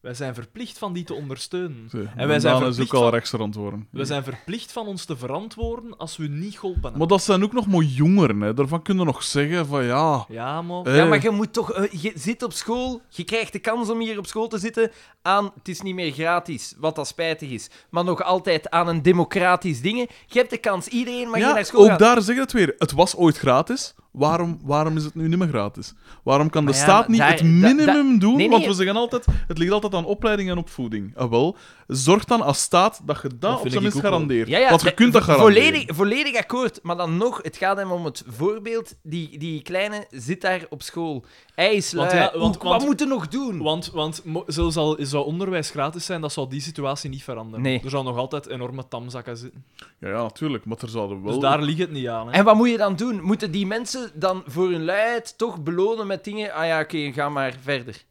Speaker 3: Wij zijn verplicht van die te ondersteunen.
Speaker 1: Zie je,
Speaker 3: En wij zijn
Speaker 1: Daan is ook
Speaker 3: verplicht
Speaker 1: al
Speaker 3: van-
Speaker 1: rechtser antwoorden.
Speaker 3: We zijn verplicht van ons te verantwoorden als we niet geholpen hebben.
Speaker 1: Maar dat zijn ook nog maar jongeren. Hè. Daarvan kunnen nog zeggen van ja...
Speaker 3: Ja, man.
Speaker 1: eh,
Speaker 2: Ja, maar je moet toch... eh, je zit op school, je krijgt de kans om hier op school te zitten aan... Het is niet meer gratis, wat dat spijtig is. Maar nog altijd aan een democratisch dingen. Je hebt de kans, iedereen mag hier
Speaker 1: ja,
Speaker 2: naar school
Speaker 1: ook
Speaker 2: gaan.
Speaker 1: daar zeggen we het weer. Het was ooit gratis. Waarom, waarom is het nu niet meer gratis? Waarom kan de
Speaker 2: Maar ja,
Speaker 1: staat niet
Speaker 2: daar-
Speaker 1: het
Speaker 2: da-
Speaker 1: minimum
Speaker 2: da-
Speaker 1: doen?
Speaker 2: nee,
Speaker 1: Want
Speaker 2: nee.
Speaker 1: we zeggen altijd, het ligt altijd aan opleiding en opvoeding. Ah, wel, zorg dan als staat dat je dat, op
Speaker 3: vind
Speaker 1: zijn
Speaker 3: ik
Speaker 1: minst
Speaker 3: ook wel.
Speaker 1: garandeert.
Speaker 2: Ja, ja,
Speaker 1: Want je
Speaker 2: de-
Speaker 1: kunt dat garanderen.
Speaker 2: volledig, volledig akkoord, maar dan nog, het gaat hem om het voorbeeld. Die, die kleine zit daar op school. Hij is lui.
Speaker 3: Want ja, want-
Speaker 2: Hoe-
Speaker 3: want-
Speaker 2: wat moet er nog doen?
Speaker 3: Want, want mo- zelfs al zou onderwijs gratis zijn, dat zou die situatie niet veranderen.
Speaker 2: Nee.
Speaker 3: Er zou nog altijd enorme tamzakken zitten.
Speaker 1: Ja, ja, natuurlijk. Maar er zouden wel...
Speaker 3: Dus daar ligt het niet aan. Hè.
Speaker 2: En wat moet je dan doen? Moeten die mensen dan voor hun luiheid toch belonen met dingen? Ah ja, oké, ga maar verder.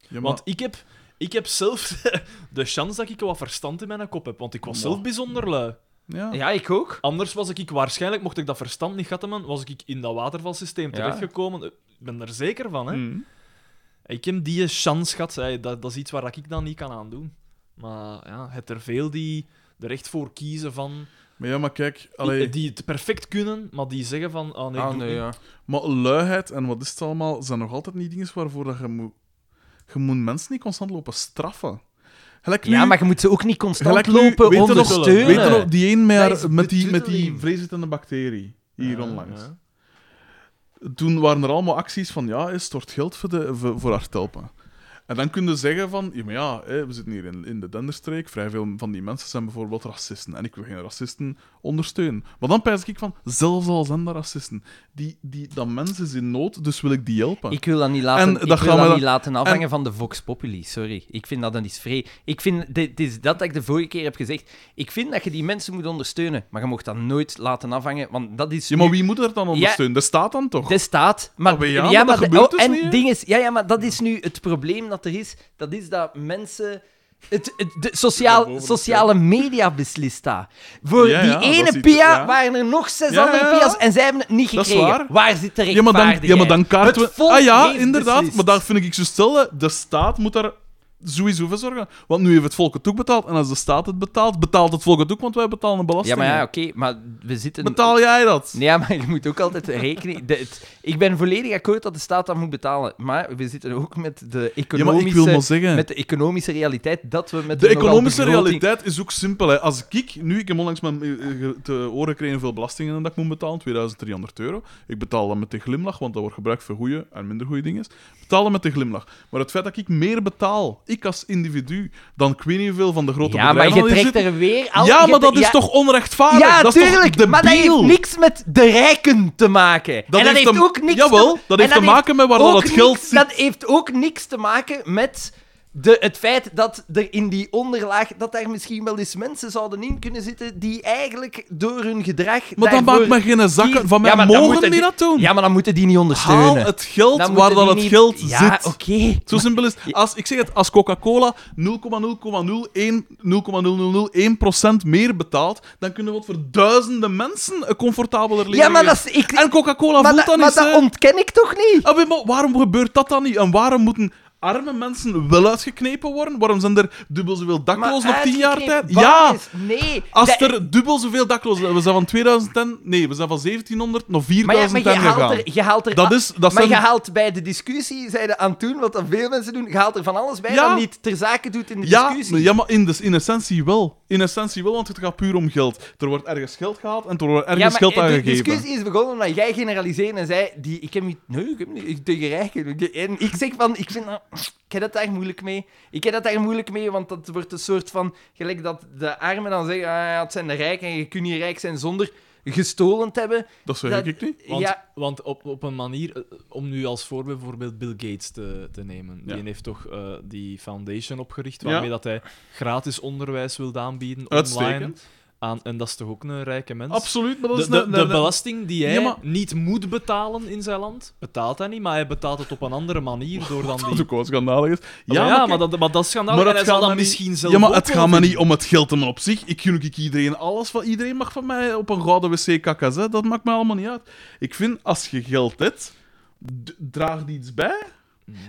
Speaker 1: Ja, maar-
Speaker 3: Want ik heb, ik heb zelf [LAUGHS] de chance dat ik wat verstand in mijn kop heb. Want ik was zelf
Speaker 1: Maar-
Speaker 3: bijzonder lui.
Speaker 1: ja.
Speaker 2: Ja, ik ook.
Speaker 3: Anders was ik, ik waarschijnlijk, mocht ik dat verstand niet gehad hebben, was ik in dat watervalsysteem
Speaker 2: Ja.
Speaker 3: terechtgekomen. Eh, Ik ben er zeker van. Hè.
Speaker 1: Mhm.
Speaker 2: Mm.
Speaker 3: Ik heb die chance gehad. hè. Dat, dat is iets waar ik dan niet kan aan doen. Maar ja, het er veel die er echt voor kiezen van...
Speaker 1: Maar ja, maar kijk... Allee, ah,
Speaker 3: Die het perfect kunnen, maar die zeggen van... Oh nee, ik doe het niet.
Speaker 1: Maar luiheid en wat is het allemaal, zijn nog altijd niet dingen waarvoor dat je moet... Je moet mensen niet constant lopen straffen. Gelijk nu,
Speaker 2: Ja, maar je moet ze ook niet constant
Speaker 1: Gelijk nu,
Speaker 2: lopen
Speaker 1: weet je nog-
Speaker 2: ondersteunen.
Speaker 1: Weet je nog, die één met, haar-
Speaker 2: Dat is
Speaker 1: met, die, met die
Speaker 2: betutteling.
Speaker 1: vreeszittende bacterie, hier
Speaker 3: Ja,
Speaker 1: onlangs.
Speaker 3: ja.
Speaker 1: Toen waren er allemaal acties van, ja, is stort geld voor, de, voor, voor haar telpen. En dan kun je zeggen van, ja, maar ja, hè, we zitten hier in, in de Denderstreek, vrij veel van die mensen zijn bijvoorbeeld racisten. En ik wil geen racisten ondersteunen. Maar dan pijs ik van, zelfs al zijn dat racisten, die, die, dat mens is in nood, dus wil ik die helpen.
Speaker 2: Ik wil dat niet laten,
Speaker 1: En
Speaker 2: ik
Speaker 1: dat
Speaker 2: wil
Speaker 1: gaan we
Speaker 2: dat
Speaker 1: dan-
Speaker 2: niet laten afhangen van de Vox Populi. Sorry, ik vind dat dan iets vrij. Ik vind, dit is dat dat ik de vorige keer heb gezegd. Ik vind dat je die mensen moet ondersteunen, maar je mocht dat nooit laten afhangen, want dat is
Speaker 1: Ja, maar wie moet er dan ondersteunen? Dat staat dan toch?
Speaker 2: De staat. Maar,
Speaker 1: maar ja, maar dat
Speaker 2: de- oh,
Speaker 1: gebeurt dus
Speaker 2: en
Speaker 1: niet, hè?
Speaker 2: ding is, ja, ja, maar dat is nu het probleem dat er is. Dat is dat mensen. Het, het- de
Speaker 1: Ja,
Speaker 2: sociaal,
Speaker 1: boven
Speaker 2: sociale media beslist dat. Voor
Speaker 1: Ja, ja,
Speaker 2: die
Speaker 1: dat is
Speaker 2: ene
Speaker 1: iets-
Speaker 2: pia
Speaker 1: ja.
Speaker 2: waren er nog zes
Speaker 1: Ja,
Speaker 2: andere
Speaker 1: ja, ja.
Speaker 2: pia's en zij hebben het niet
Speaker 1: Dat is
Speaker 2: gekregen.
Speaker 1: waar.
Speaker 2: zit de
Speaker 1: Ja, maar dan,
Speaker 2: rechtvaardigheid?
Speaker 1: ja, maar dan kaarten
Speaker 2: Het
Speaker 1: we...
Speaker 2: volk
Speaker 1: Ah ja,
Speaker 2: heeft
Speaker 1: inderdaad.
Speaker 2: beslist.
Speaker 1: Maar daar vind ik zo stil. De staat moet daar sowieso voor zorgen. Want nu heeft het volk het ook betaald. En als de staat het betaalt, betaalt het volk het ook, want wij betalen een
Speaker 2: Ja,
Speaker 1: belasting.
Speaker 2: maar ja, oké, maar we zitten.
Speaker 1: Betaal jij dat?
Speaker 2: Nee, ja, maar je moet ook altijd rekening. de- het- ik ben volledig akkoord dat de staat dat moet betalen. Maar we zitten ook met de
Speaker 1: ja, maar ik
Speaker 2: economische,
Speaker 1: wil maar zeggen...
Speaker 2: met de economische realiteit dat we met
Speaker 1: De
Speaker 2: een nogal
Speaker 1: economische
Speaker 2: begroting-
Speaker 1: realiteit is ook simpel. Hè. Als ik, nu, ik heb onlangs mijn, eh, eh, ge- te horen gekregen hoeveel belastingen dat ik moet betalen, 2300 euro. Ik betaal dat met de glimlach, want dat wordt gebruikt voor goede en minder goede dingen. Betaal dat met de glimlach. Maar het feit dat ik meer betaal ik als individu dan ik weet niet hoeveel van de grote
Speaker 2: Ja, maar
Speaker 1: bedrijven
Speaker 2: je
Speaker 1: al hier
Speaker 2: trekt
Speaker 1: zitten.
Speaker 2: er weer... Al,
Speaker 1: Ja,
Speaker 2: je
Speaker 1: maar dat
Speaker 2: tre-
Speaker 1: is
Speaker 2: ja,
Speaker 1: toch onrechtvaardig?
Speaker 2: Ja,
Speaker 1: dat is
Speaker 2: tuurlijk,
Speaker 1: toch
Speaker 2: maar dat heeft
Speaker 1: debiel?
Speaker 2: niks met de rijken te maken. en dat heeft
Speaker 1: te-
Speaker 2: ook niks
Speaker 1: Jawel,
Speaker 2: te...
Speaker 1: dat
Speaker 2: en
Speaker 1: heeft te maken met waar
Speaker 2: ook
Speaker 1: dat het geld
Speaker 2: niks-
Speaker 1: zit.
Speaker 2: Dat heeft ook niks te maken met de, het feit dat er in die onderlaag dat daar misschien wel eens mensen zouden in kunnen zitten die eigenlijk door hun gedrag.
Speaker 1: Maar dan maakt
Speaker 2: daarvoor
Speaker 1: me geen zakken.
Speaker 2: kiezen.
Speaker 1: Van mij
Speaker 2: Ja, maar dan
Speaker 1: mogen
Speaker 2: moeten
Speaker 1: die
Speaker 2: die-
Speaker 1: dat doen.
Speaker 2: Ja, maar dan moeten die niet ondersteunen.
Speaker 1: Haal het geld
Speaker 2: Dan
Speaker 1: waar dat
Speaker 2: moeten die
Speaker 1: het
Speaker 2: niet-
Speaker 1: geld
Speaker 2: ja,
Speaker 1: zit.
Speaker 2: oké.
Speaker 1: Zo simpel is het. Als, ik zeg het, als Coca-Cola 0,0,01 0,0001% meer betaalt, dan kunnen we wat voor duizenden mensen een comfortabeler leven
Speaker 2: Ja, maar
Speaker 1: geven.
Speaker 2: dat is... Ik,
Speaker 1: En Coca-Cola
Speaker 2: maar
Speaker 1: voelt
Speaker 2: dat,
Speaker 1: dat
Speaker 2: maar
Speaker 1: niet,
Speaker 2: dat
Speaker 1: hè?
Speaker 2: ontken ik toch niet?
Speaker 1: Ah, maar waarom gebeurt dat dan niet? En waarom moeten arme mensen wel uitgeknepen worden? Waarom zijn er dubbel zoveel daklozen op tien jaar tijd?
Speaker 2: uitgeknipt
Speaker 1: Ja!
Speaker 2: bakkes, Nee.
Speaker 1: Als
Speaker 2: Dat-
Speaker 1: er dubbel zoveel daklozen zijn, we zijn van 2010, nee, we zijn van 1700 naar
Speaker 2: Maar, ja, maar
Speaker 1: 4000
Speaker 2: je, haalt
Speaker 1: gegaan.
Speaker 2: er, je haalt er...
Speaker 1: Dat is, dat
Speaker 2: maar
Speaker 1: zijn,
Speaker 2: je haalt bij de discussie, zeiden aan toen, wat dan veel mensen doen, je haalt er van alles bij
Speaker 1: Ja.
Speaker 2: dat niet ter zake doet in de
Speaker 1: ja,
Speaker 2: discussie.
Speaker 1: ja, maar in, de, in essentie wel. In essentie wel, want het gaat puur om geld. Er wordt ergens geld gehaald en er wordt ergens
Speaker 2: maar eh,
Speaker 1: geld
Speaker 2: de
Speaker 1: aangegeven.
Speaker 2: discussie is begonnen omdat jij generaliseerde en zei: die, Ik heb niet. Nee, ik heb niet. Ik tegen rijken. Ik- En ik zeg van: Ik vind dat. Ik heb dat daar moeilijk mee. Ik heb dat daar moeilijk mee, want dat wordt een soort van. Gelijk dat de armen dan zeggen: ah, ja, Het zijn de rijken en je kunt niet rijk zijn zonder gestolen te hebben.
Speaker 1: Dat zeg
Speaker 2: dat-
Speaker 1: ik niet.
Speaker 3: Want,
Speaker 2: Ja,
Speaker 3: want op, op een manier, eh, om nu als voorbeeld bijvoorbeeld Bill Gates te, te nemen.
Speaker 1: Ja.
Speaker 3: Die heeft toch eh, die foundation opgericht
Speaker 1: Ja.
Speaker 3: waarmee dat hij gratis onderwijs wil aanbieden online.
Speaker 1: Uitstekend.
Speaker 3: Aan, en dat is toch ook een rijke mens?
Speaker 1: Absoluut, maar dat
Speaker 3: De,
Speaker 1: is
Speaker 3: de,
Speaker 1: een-
Speaker 3: de
Speaker 1: een-
Speaker 3: belasting die hij
Speaker 1: Ja, maar-
Speaker 3: niet moet betalen in zijn land, betaalt hij niet, maar hij betaalt het op een andere manier door dan
Speaker 1: Dat is
Speaker 3: die... Oh
Speaker 1: ook wel schandalig. is.
Speaker 3: Ja, maar,
Speaker 1: kijk,
Speaker 3: dat, maar dat is schandalig Nou, en
Speaker 1: het
Speaker 3: hij zal
Speaker 1: gaat
Speaker 3: dat
Speaker 1: me niet-
Speaker 3: misschien zelf
Speaker 1: Ja, maar
Speaker 3: ook
Speaker 1: het
Speaker 3: wel
Speaker 1: gaat me
Speaker 3: vinden.
Speaker 1: niet om het geld maar op zich. Ik gun ook iedereen alles van iedereen mag van mij op een gouden wc kakken. hè. Dat maakt mij allemaal niet uit. Ik vind, als je geld hebt, d- draag die iets bij.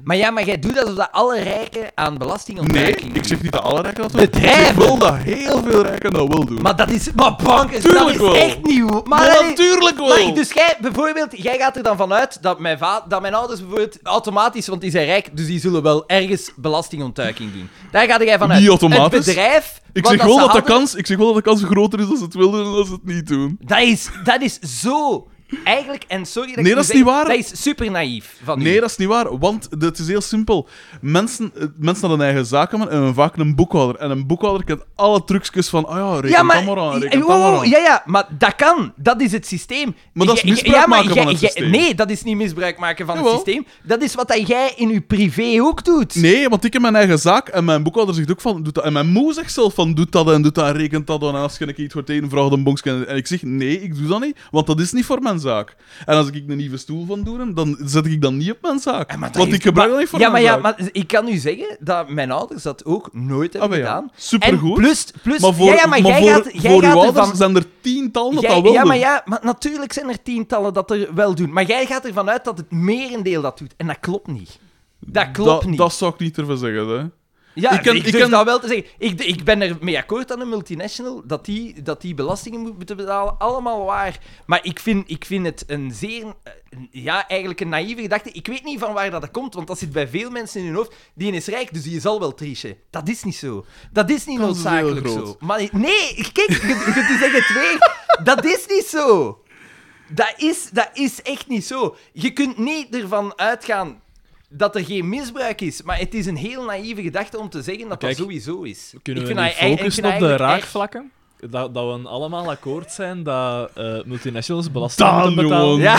Speaker 2: maar ja, maar jij doet alsof dat alle rijken aan belasting
Speaker 1: Nee,
Speaker 2: ontwijken.
Speaker 1: ik zeg niet dat alle rijken dat doen.
Speaker 2: Bedrijven.
Speaker 1: Ik wil dat heel veel rijken dat wel doen.
Speaker 2: Maar dat is. Maar banken, dat
Speaker 1: Tuurlijk
Speaker 2: is
Speaker 1: wel.
Speaker 2: echt nieuw. Maar
Speaker 1: Maar
Speaker 2: dat is-
Speaker 1: natuurlijk wel!
Speaker 2: Maar dus jij, bijvoorbeeld, jij gaat er dan vanuit dat mijn, va- dat mijn ouders bijvoorbeeld automatisch, want die zijn rijk, dus die zullen wel ergens belastingontduiking doen. Daar gaat jij vanuit.
Speaker 1: Niet automatisch.
Speaker 2: Het bedrijf.
Speaker 1: ik,
Speaker 2: wat
Speaker 1: zeg wel
Speaker 2: ze
Speaker 1: dat de
Speaker 2: hadden,
Speaker 1: kans, ik zeg wel dat de kans groter is als ze het willen dan als ze het niet doen.
Speaker 2: Dat is, dat is zo. Eigenlijk, en sorry dat
Speaker 1: Nee,
Speaker 2: ik
Speaker 1: dat
Speaker 2: moet
Speaker 1: is niet
Speaker 2: zeggen,
Speaker 1: waar.
Speaker 2: Dat is super naïef van u.
Speaker 1: Nee, dat is niet waar, want het is heel simpel. Mensen, eh, mensen hadden een eigen zakenman en vaak een boekhouder. En een boekhouder kent alle trucjes van, ah ja, reken
Speaker 2: ja, maar,
Speaker 1: dat maar aan, reken
Speaker 2: ja,
Speaker 1: dat maar
Speaker 2: wow,
Speaker 1: aan.
Speaker 2: ja, ja, maar dat kan. Dat is het systeem.
Speaker 1: Maar dat is
Speaker 2: Jij-
Speaker 1: misbruik
Speaker 2: maar
Speaker 1: maken van
Speaker 2: jij-
Speaker 1: het
Speaker 2: jij-
Speaker 1: systeem.
Speaker 2: Nee, dat is niet misbruik maken van het
Speaker 1: Jawel.
Speaker 2: systeem. Dat is wat dat jij in je privé ook doet.
Speaker 1: Nee, want ik heb mijn eigen zaak en mijn boekhouder zegt ook van, doet dat. En mijn moe zegt zelf van, doet dat en doet dat en rekent dat. En als ik iets wordt één vraag een bonksken. En ik zeg, nee, ik doe dat niet, want dat is niet voor mijn zaak. En als ik een nieuwe stoel van doe, dan zet ik dat niet op mijn zaak.
Speaker 2: Ja, maar dat
Speaker 1: want
Speaker 2: heeft-
Speaker 1: ik gebruik
Speaker 2: maar-
Speaker 1: dat niet voor
Speaker 2: ja,
Speaker 1: mijn
Speaker 2: maar, ja,
Speaker 1: zaak.
Speaker 2: maar ik kan u zeggen dat mijn ouders dat ook nooit hebben
Speaker 1: Ah, maar ja.
Speaker 2: gedaan.
Speaker 1: Supergoed.
Speaker 2: En plus, plus
Speaker 1: Maar voor,
Speaker 2: ja, ja, maar,
Speaker 1: maar
Speaker 2: jij
Speaker 1: voor,
Speaker 2: gaat, jij
Speaker 1: voor
Speaker 2: gaat
Speaker 1: uw
Speaker 2: ervan...
Speaker 1: ouders zijn er tientallen dat
Speaker 2: jij-
Speaker 1: dat wel
Speaker 2: ja, maar
Speaker 1: doen.
Speaker 2: ja, maar natuurlijk zijn er tientallen dat er wel doen. Maar jij gaat ervan uit dat het merendeel dat doet. En dat klopt niet. Dat klopt
Speaker 1: dat,
Speaker 2: niet.
Speaker 1: dat zou ik niet ervan zeggen. Hè.
Speaker 2: ja, ik,
Speaker 1: ik ken- ik
Speaker 2: durf
Speaker 1: ken-
Speaker 2: dat wel te zeggen. Ik, ik ben ermee akkoord aan een multinational, dat die, dat die belastingen moet- moeten betalen. Allemaal waar. Maar ik vind, ik vind het een zeer... eh, een- Ja, eigenlijk een naïeve gedachte. Ik weet niet van waar dat komt, want dat zit bij veel mensen in hun hoofd. Die is rijk, dus die zal wel trichen. Dat is niet zo. Dat is niet
Speaker 1: Kans is heel
Speaker 2: noodzakelijk
Speaker 1: groot.
Speaker 2: zo. Maar nee, kijk, je, je zegt het weer. Dat is niet zo. Dat is, dat is echt niet zo. Je kunt niet ervan uitgaan dat er geen misbruik is, maar het is een heel naïeve gedachte om te zeggen dat
Speaker 3: Kijk,
Speaker 2: dat sowieso is.
Speaker 3: Kunnen
Speaker 2: Ik
Speaker 3: we
Speaker 2: vind
Speaker 3: niet
Speaker 2: dat ei- ik
Speaker 3: focussen
Speaker 2: vind
Speaker 3: op
Speaker 2: dat
Speaker 3: de
Speaker 2: eigenlijk echt-
Speaker 3: raakvlakken? Dat, dat we allemaal akkoord zijn dat eh, multinationals belasting
Speaker 1: Daan,
Speaker 3: moeten betalen.
Speaker 1: jongen.
Speaker 2: Ja,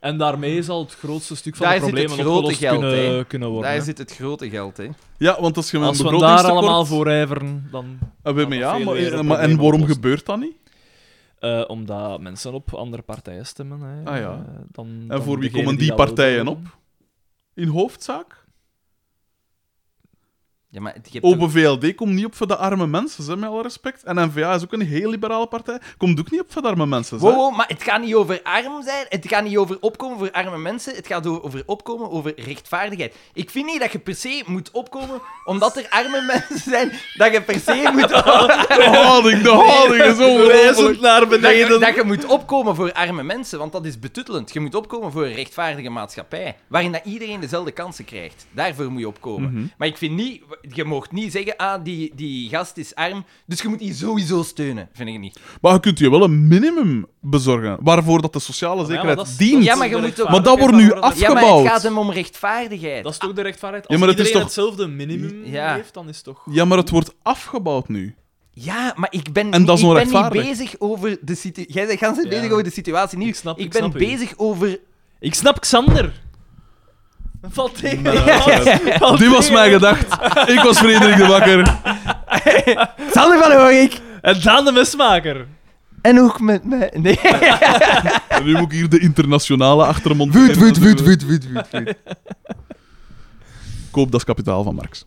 Speaker 3: En daarmee zal het grootste stuk van
Speaker 2: Daar
Speaker 3: de
Speaker 2: zit
Speaker 3: problemen
Speaker 2: het grote
Speaker 3: opgelost
Speaker 2: geld, hè.
Speaker 3: kunnen, kunnen worden.
Speaker 2: daar
Speaker 3: hè.
Speaker 2: zit het grote geld, hè.
Speaker 1: Ja, want als je met een
Speaker 3: Als we daar
Speaker 1: begrotingstekort...
Speaker 3: allemaal voor ijveren, dan...
Speaker 1: Ah, weet me,
Speaker 3: Ja,
Speaker 1: ja,
Speaker 3: veel
Speaker 1: maar,
Speaker 3: eerder
Speaker 1: eh, maar- en
Speaker 3: problemen
Speaker 1: waarom
Speaker 3: oplossen.
Speaker 1: gebeurt dat niet?
Speaker 3: eh, omdat mensen op andere partijen stemmen. Hè,
Speaker 1: Ah, ja.
Speaker 3: eh, dan,
Speaker 1: En
Speaker 3: dan
Speaker 1: voor wie
Speaker 3: degene
Speaker 1: komen die
Speaker 3: dat wel
Speaker 1: partijen
Speaker 3: doen.
Speaker 1: op? In hoofdzaak?
Speaker 2: Ja, maar je hebt
Speaker 1: Open VLD komt niet op voor de arme mensen, hè, met alle respect. En N-VA is ook een heel liberale partij. Komt ook niet op voor de arme mensen.
Speaker 2: toch-
Speaker 1: hè.
Speaker 2: Wow, wow, maar het gaat niet over arm zijn, het gaat niet over opkomen voor arme mensen, het gaat o- over opkomen over rechtvaardigheid. Ik vind niet dat je per se moet opkomen omdat er arme [LAUGHS] mensen zijn, dat je per se moet
Speaker 3: [LAUGHS]
Speaker 1: De houding, de houding is onwijzend naar
Speaker 2: dat je,
Speaker 1: beneden.
Speaker 2: dat je moet opkomen voor arme mensen, want dat is betuttelend. Je moet opkomen voor een
Speaker 1: Mhm.
Speaker 2: rechtvaardige maatschappij, waarin dat iedereen dezelfde kansen krijgt. Daarvoor moet je opkomen. Maar ik vind niet, je mag niet zeggen, ah, die, die gast is arm, dus je moet die sowieso steunen, vind ik niet.
Speaker 1: Maar je kunt je wel een minimum bezorgen, waarvoor dat de sociale zekerheid
Speaker 3: dat is-
Speaker 1: dient.
Speaker 2: Ja, maar je moet ook...
Speaker 1: Maar dat wordt nu
Speaker 2: Ja, maar het gaat
Speaker 1: afgebouwd.
Speaker 2: hem om rechtvaardigheid.
Speaker 3: Dat is toch de rechtvaardigheid?
Speaker 1: Ja,
Speaker 3: Als
Speaker 1: maar het is
Speaker 3: iedereen
Speaker 1: toch-
Speaker 3: hetzelfde minimum
Speaker 2: Ja.
Speaker 3: heeft, dan is het toch...
Speaker 1: Ja, maar het wordt afgebouwd nu.
Speaker 2: Ja, maar ik ben,
Speaker 1: En dat is
Speaker 2: ik ben niet
Speaker 1: onrechtvaardig.
Speaker 2: bezig over de situatie. Jij bent gans niet
Speaker 3: Ja.
Speaker 2: bezig over de situatie nu.
Speaker 3: Ik snap- ik
Speaker 2: ben
Speaker 3: snap u.
Speaker 2: bezig over.
Speaker 3: Ik snap Xander! Dat valt
Speaker 1: [LAUGHS]
Speaker 3: tegen.
Speaker 1: Dit was mijn gedacht. Ik was Frederik de Bakker.
Speaker 2: Sander van Hoorik!
Speaker 3: En Daan de mesmaker.
Speaker 2: En ook met mij. Nee.
Speaker 1: En nu moet ik hier de internationale achter hem
Speaker 12: Vuut,
Speaker 1: ontdekken.
Speaker 12: vuut, vuut, vuut, vuut, vuut, vuut.
Speaker 1: Koop dat is kapitaal van Marx.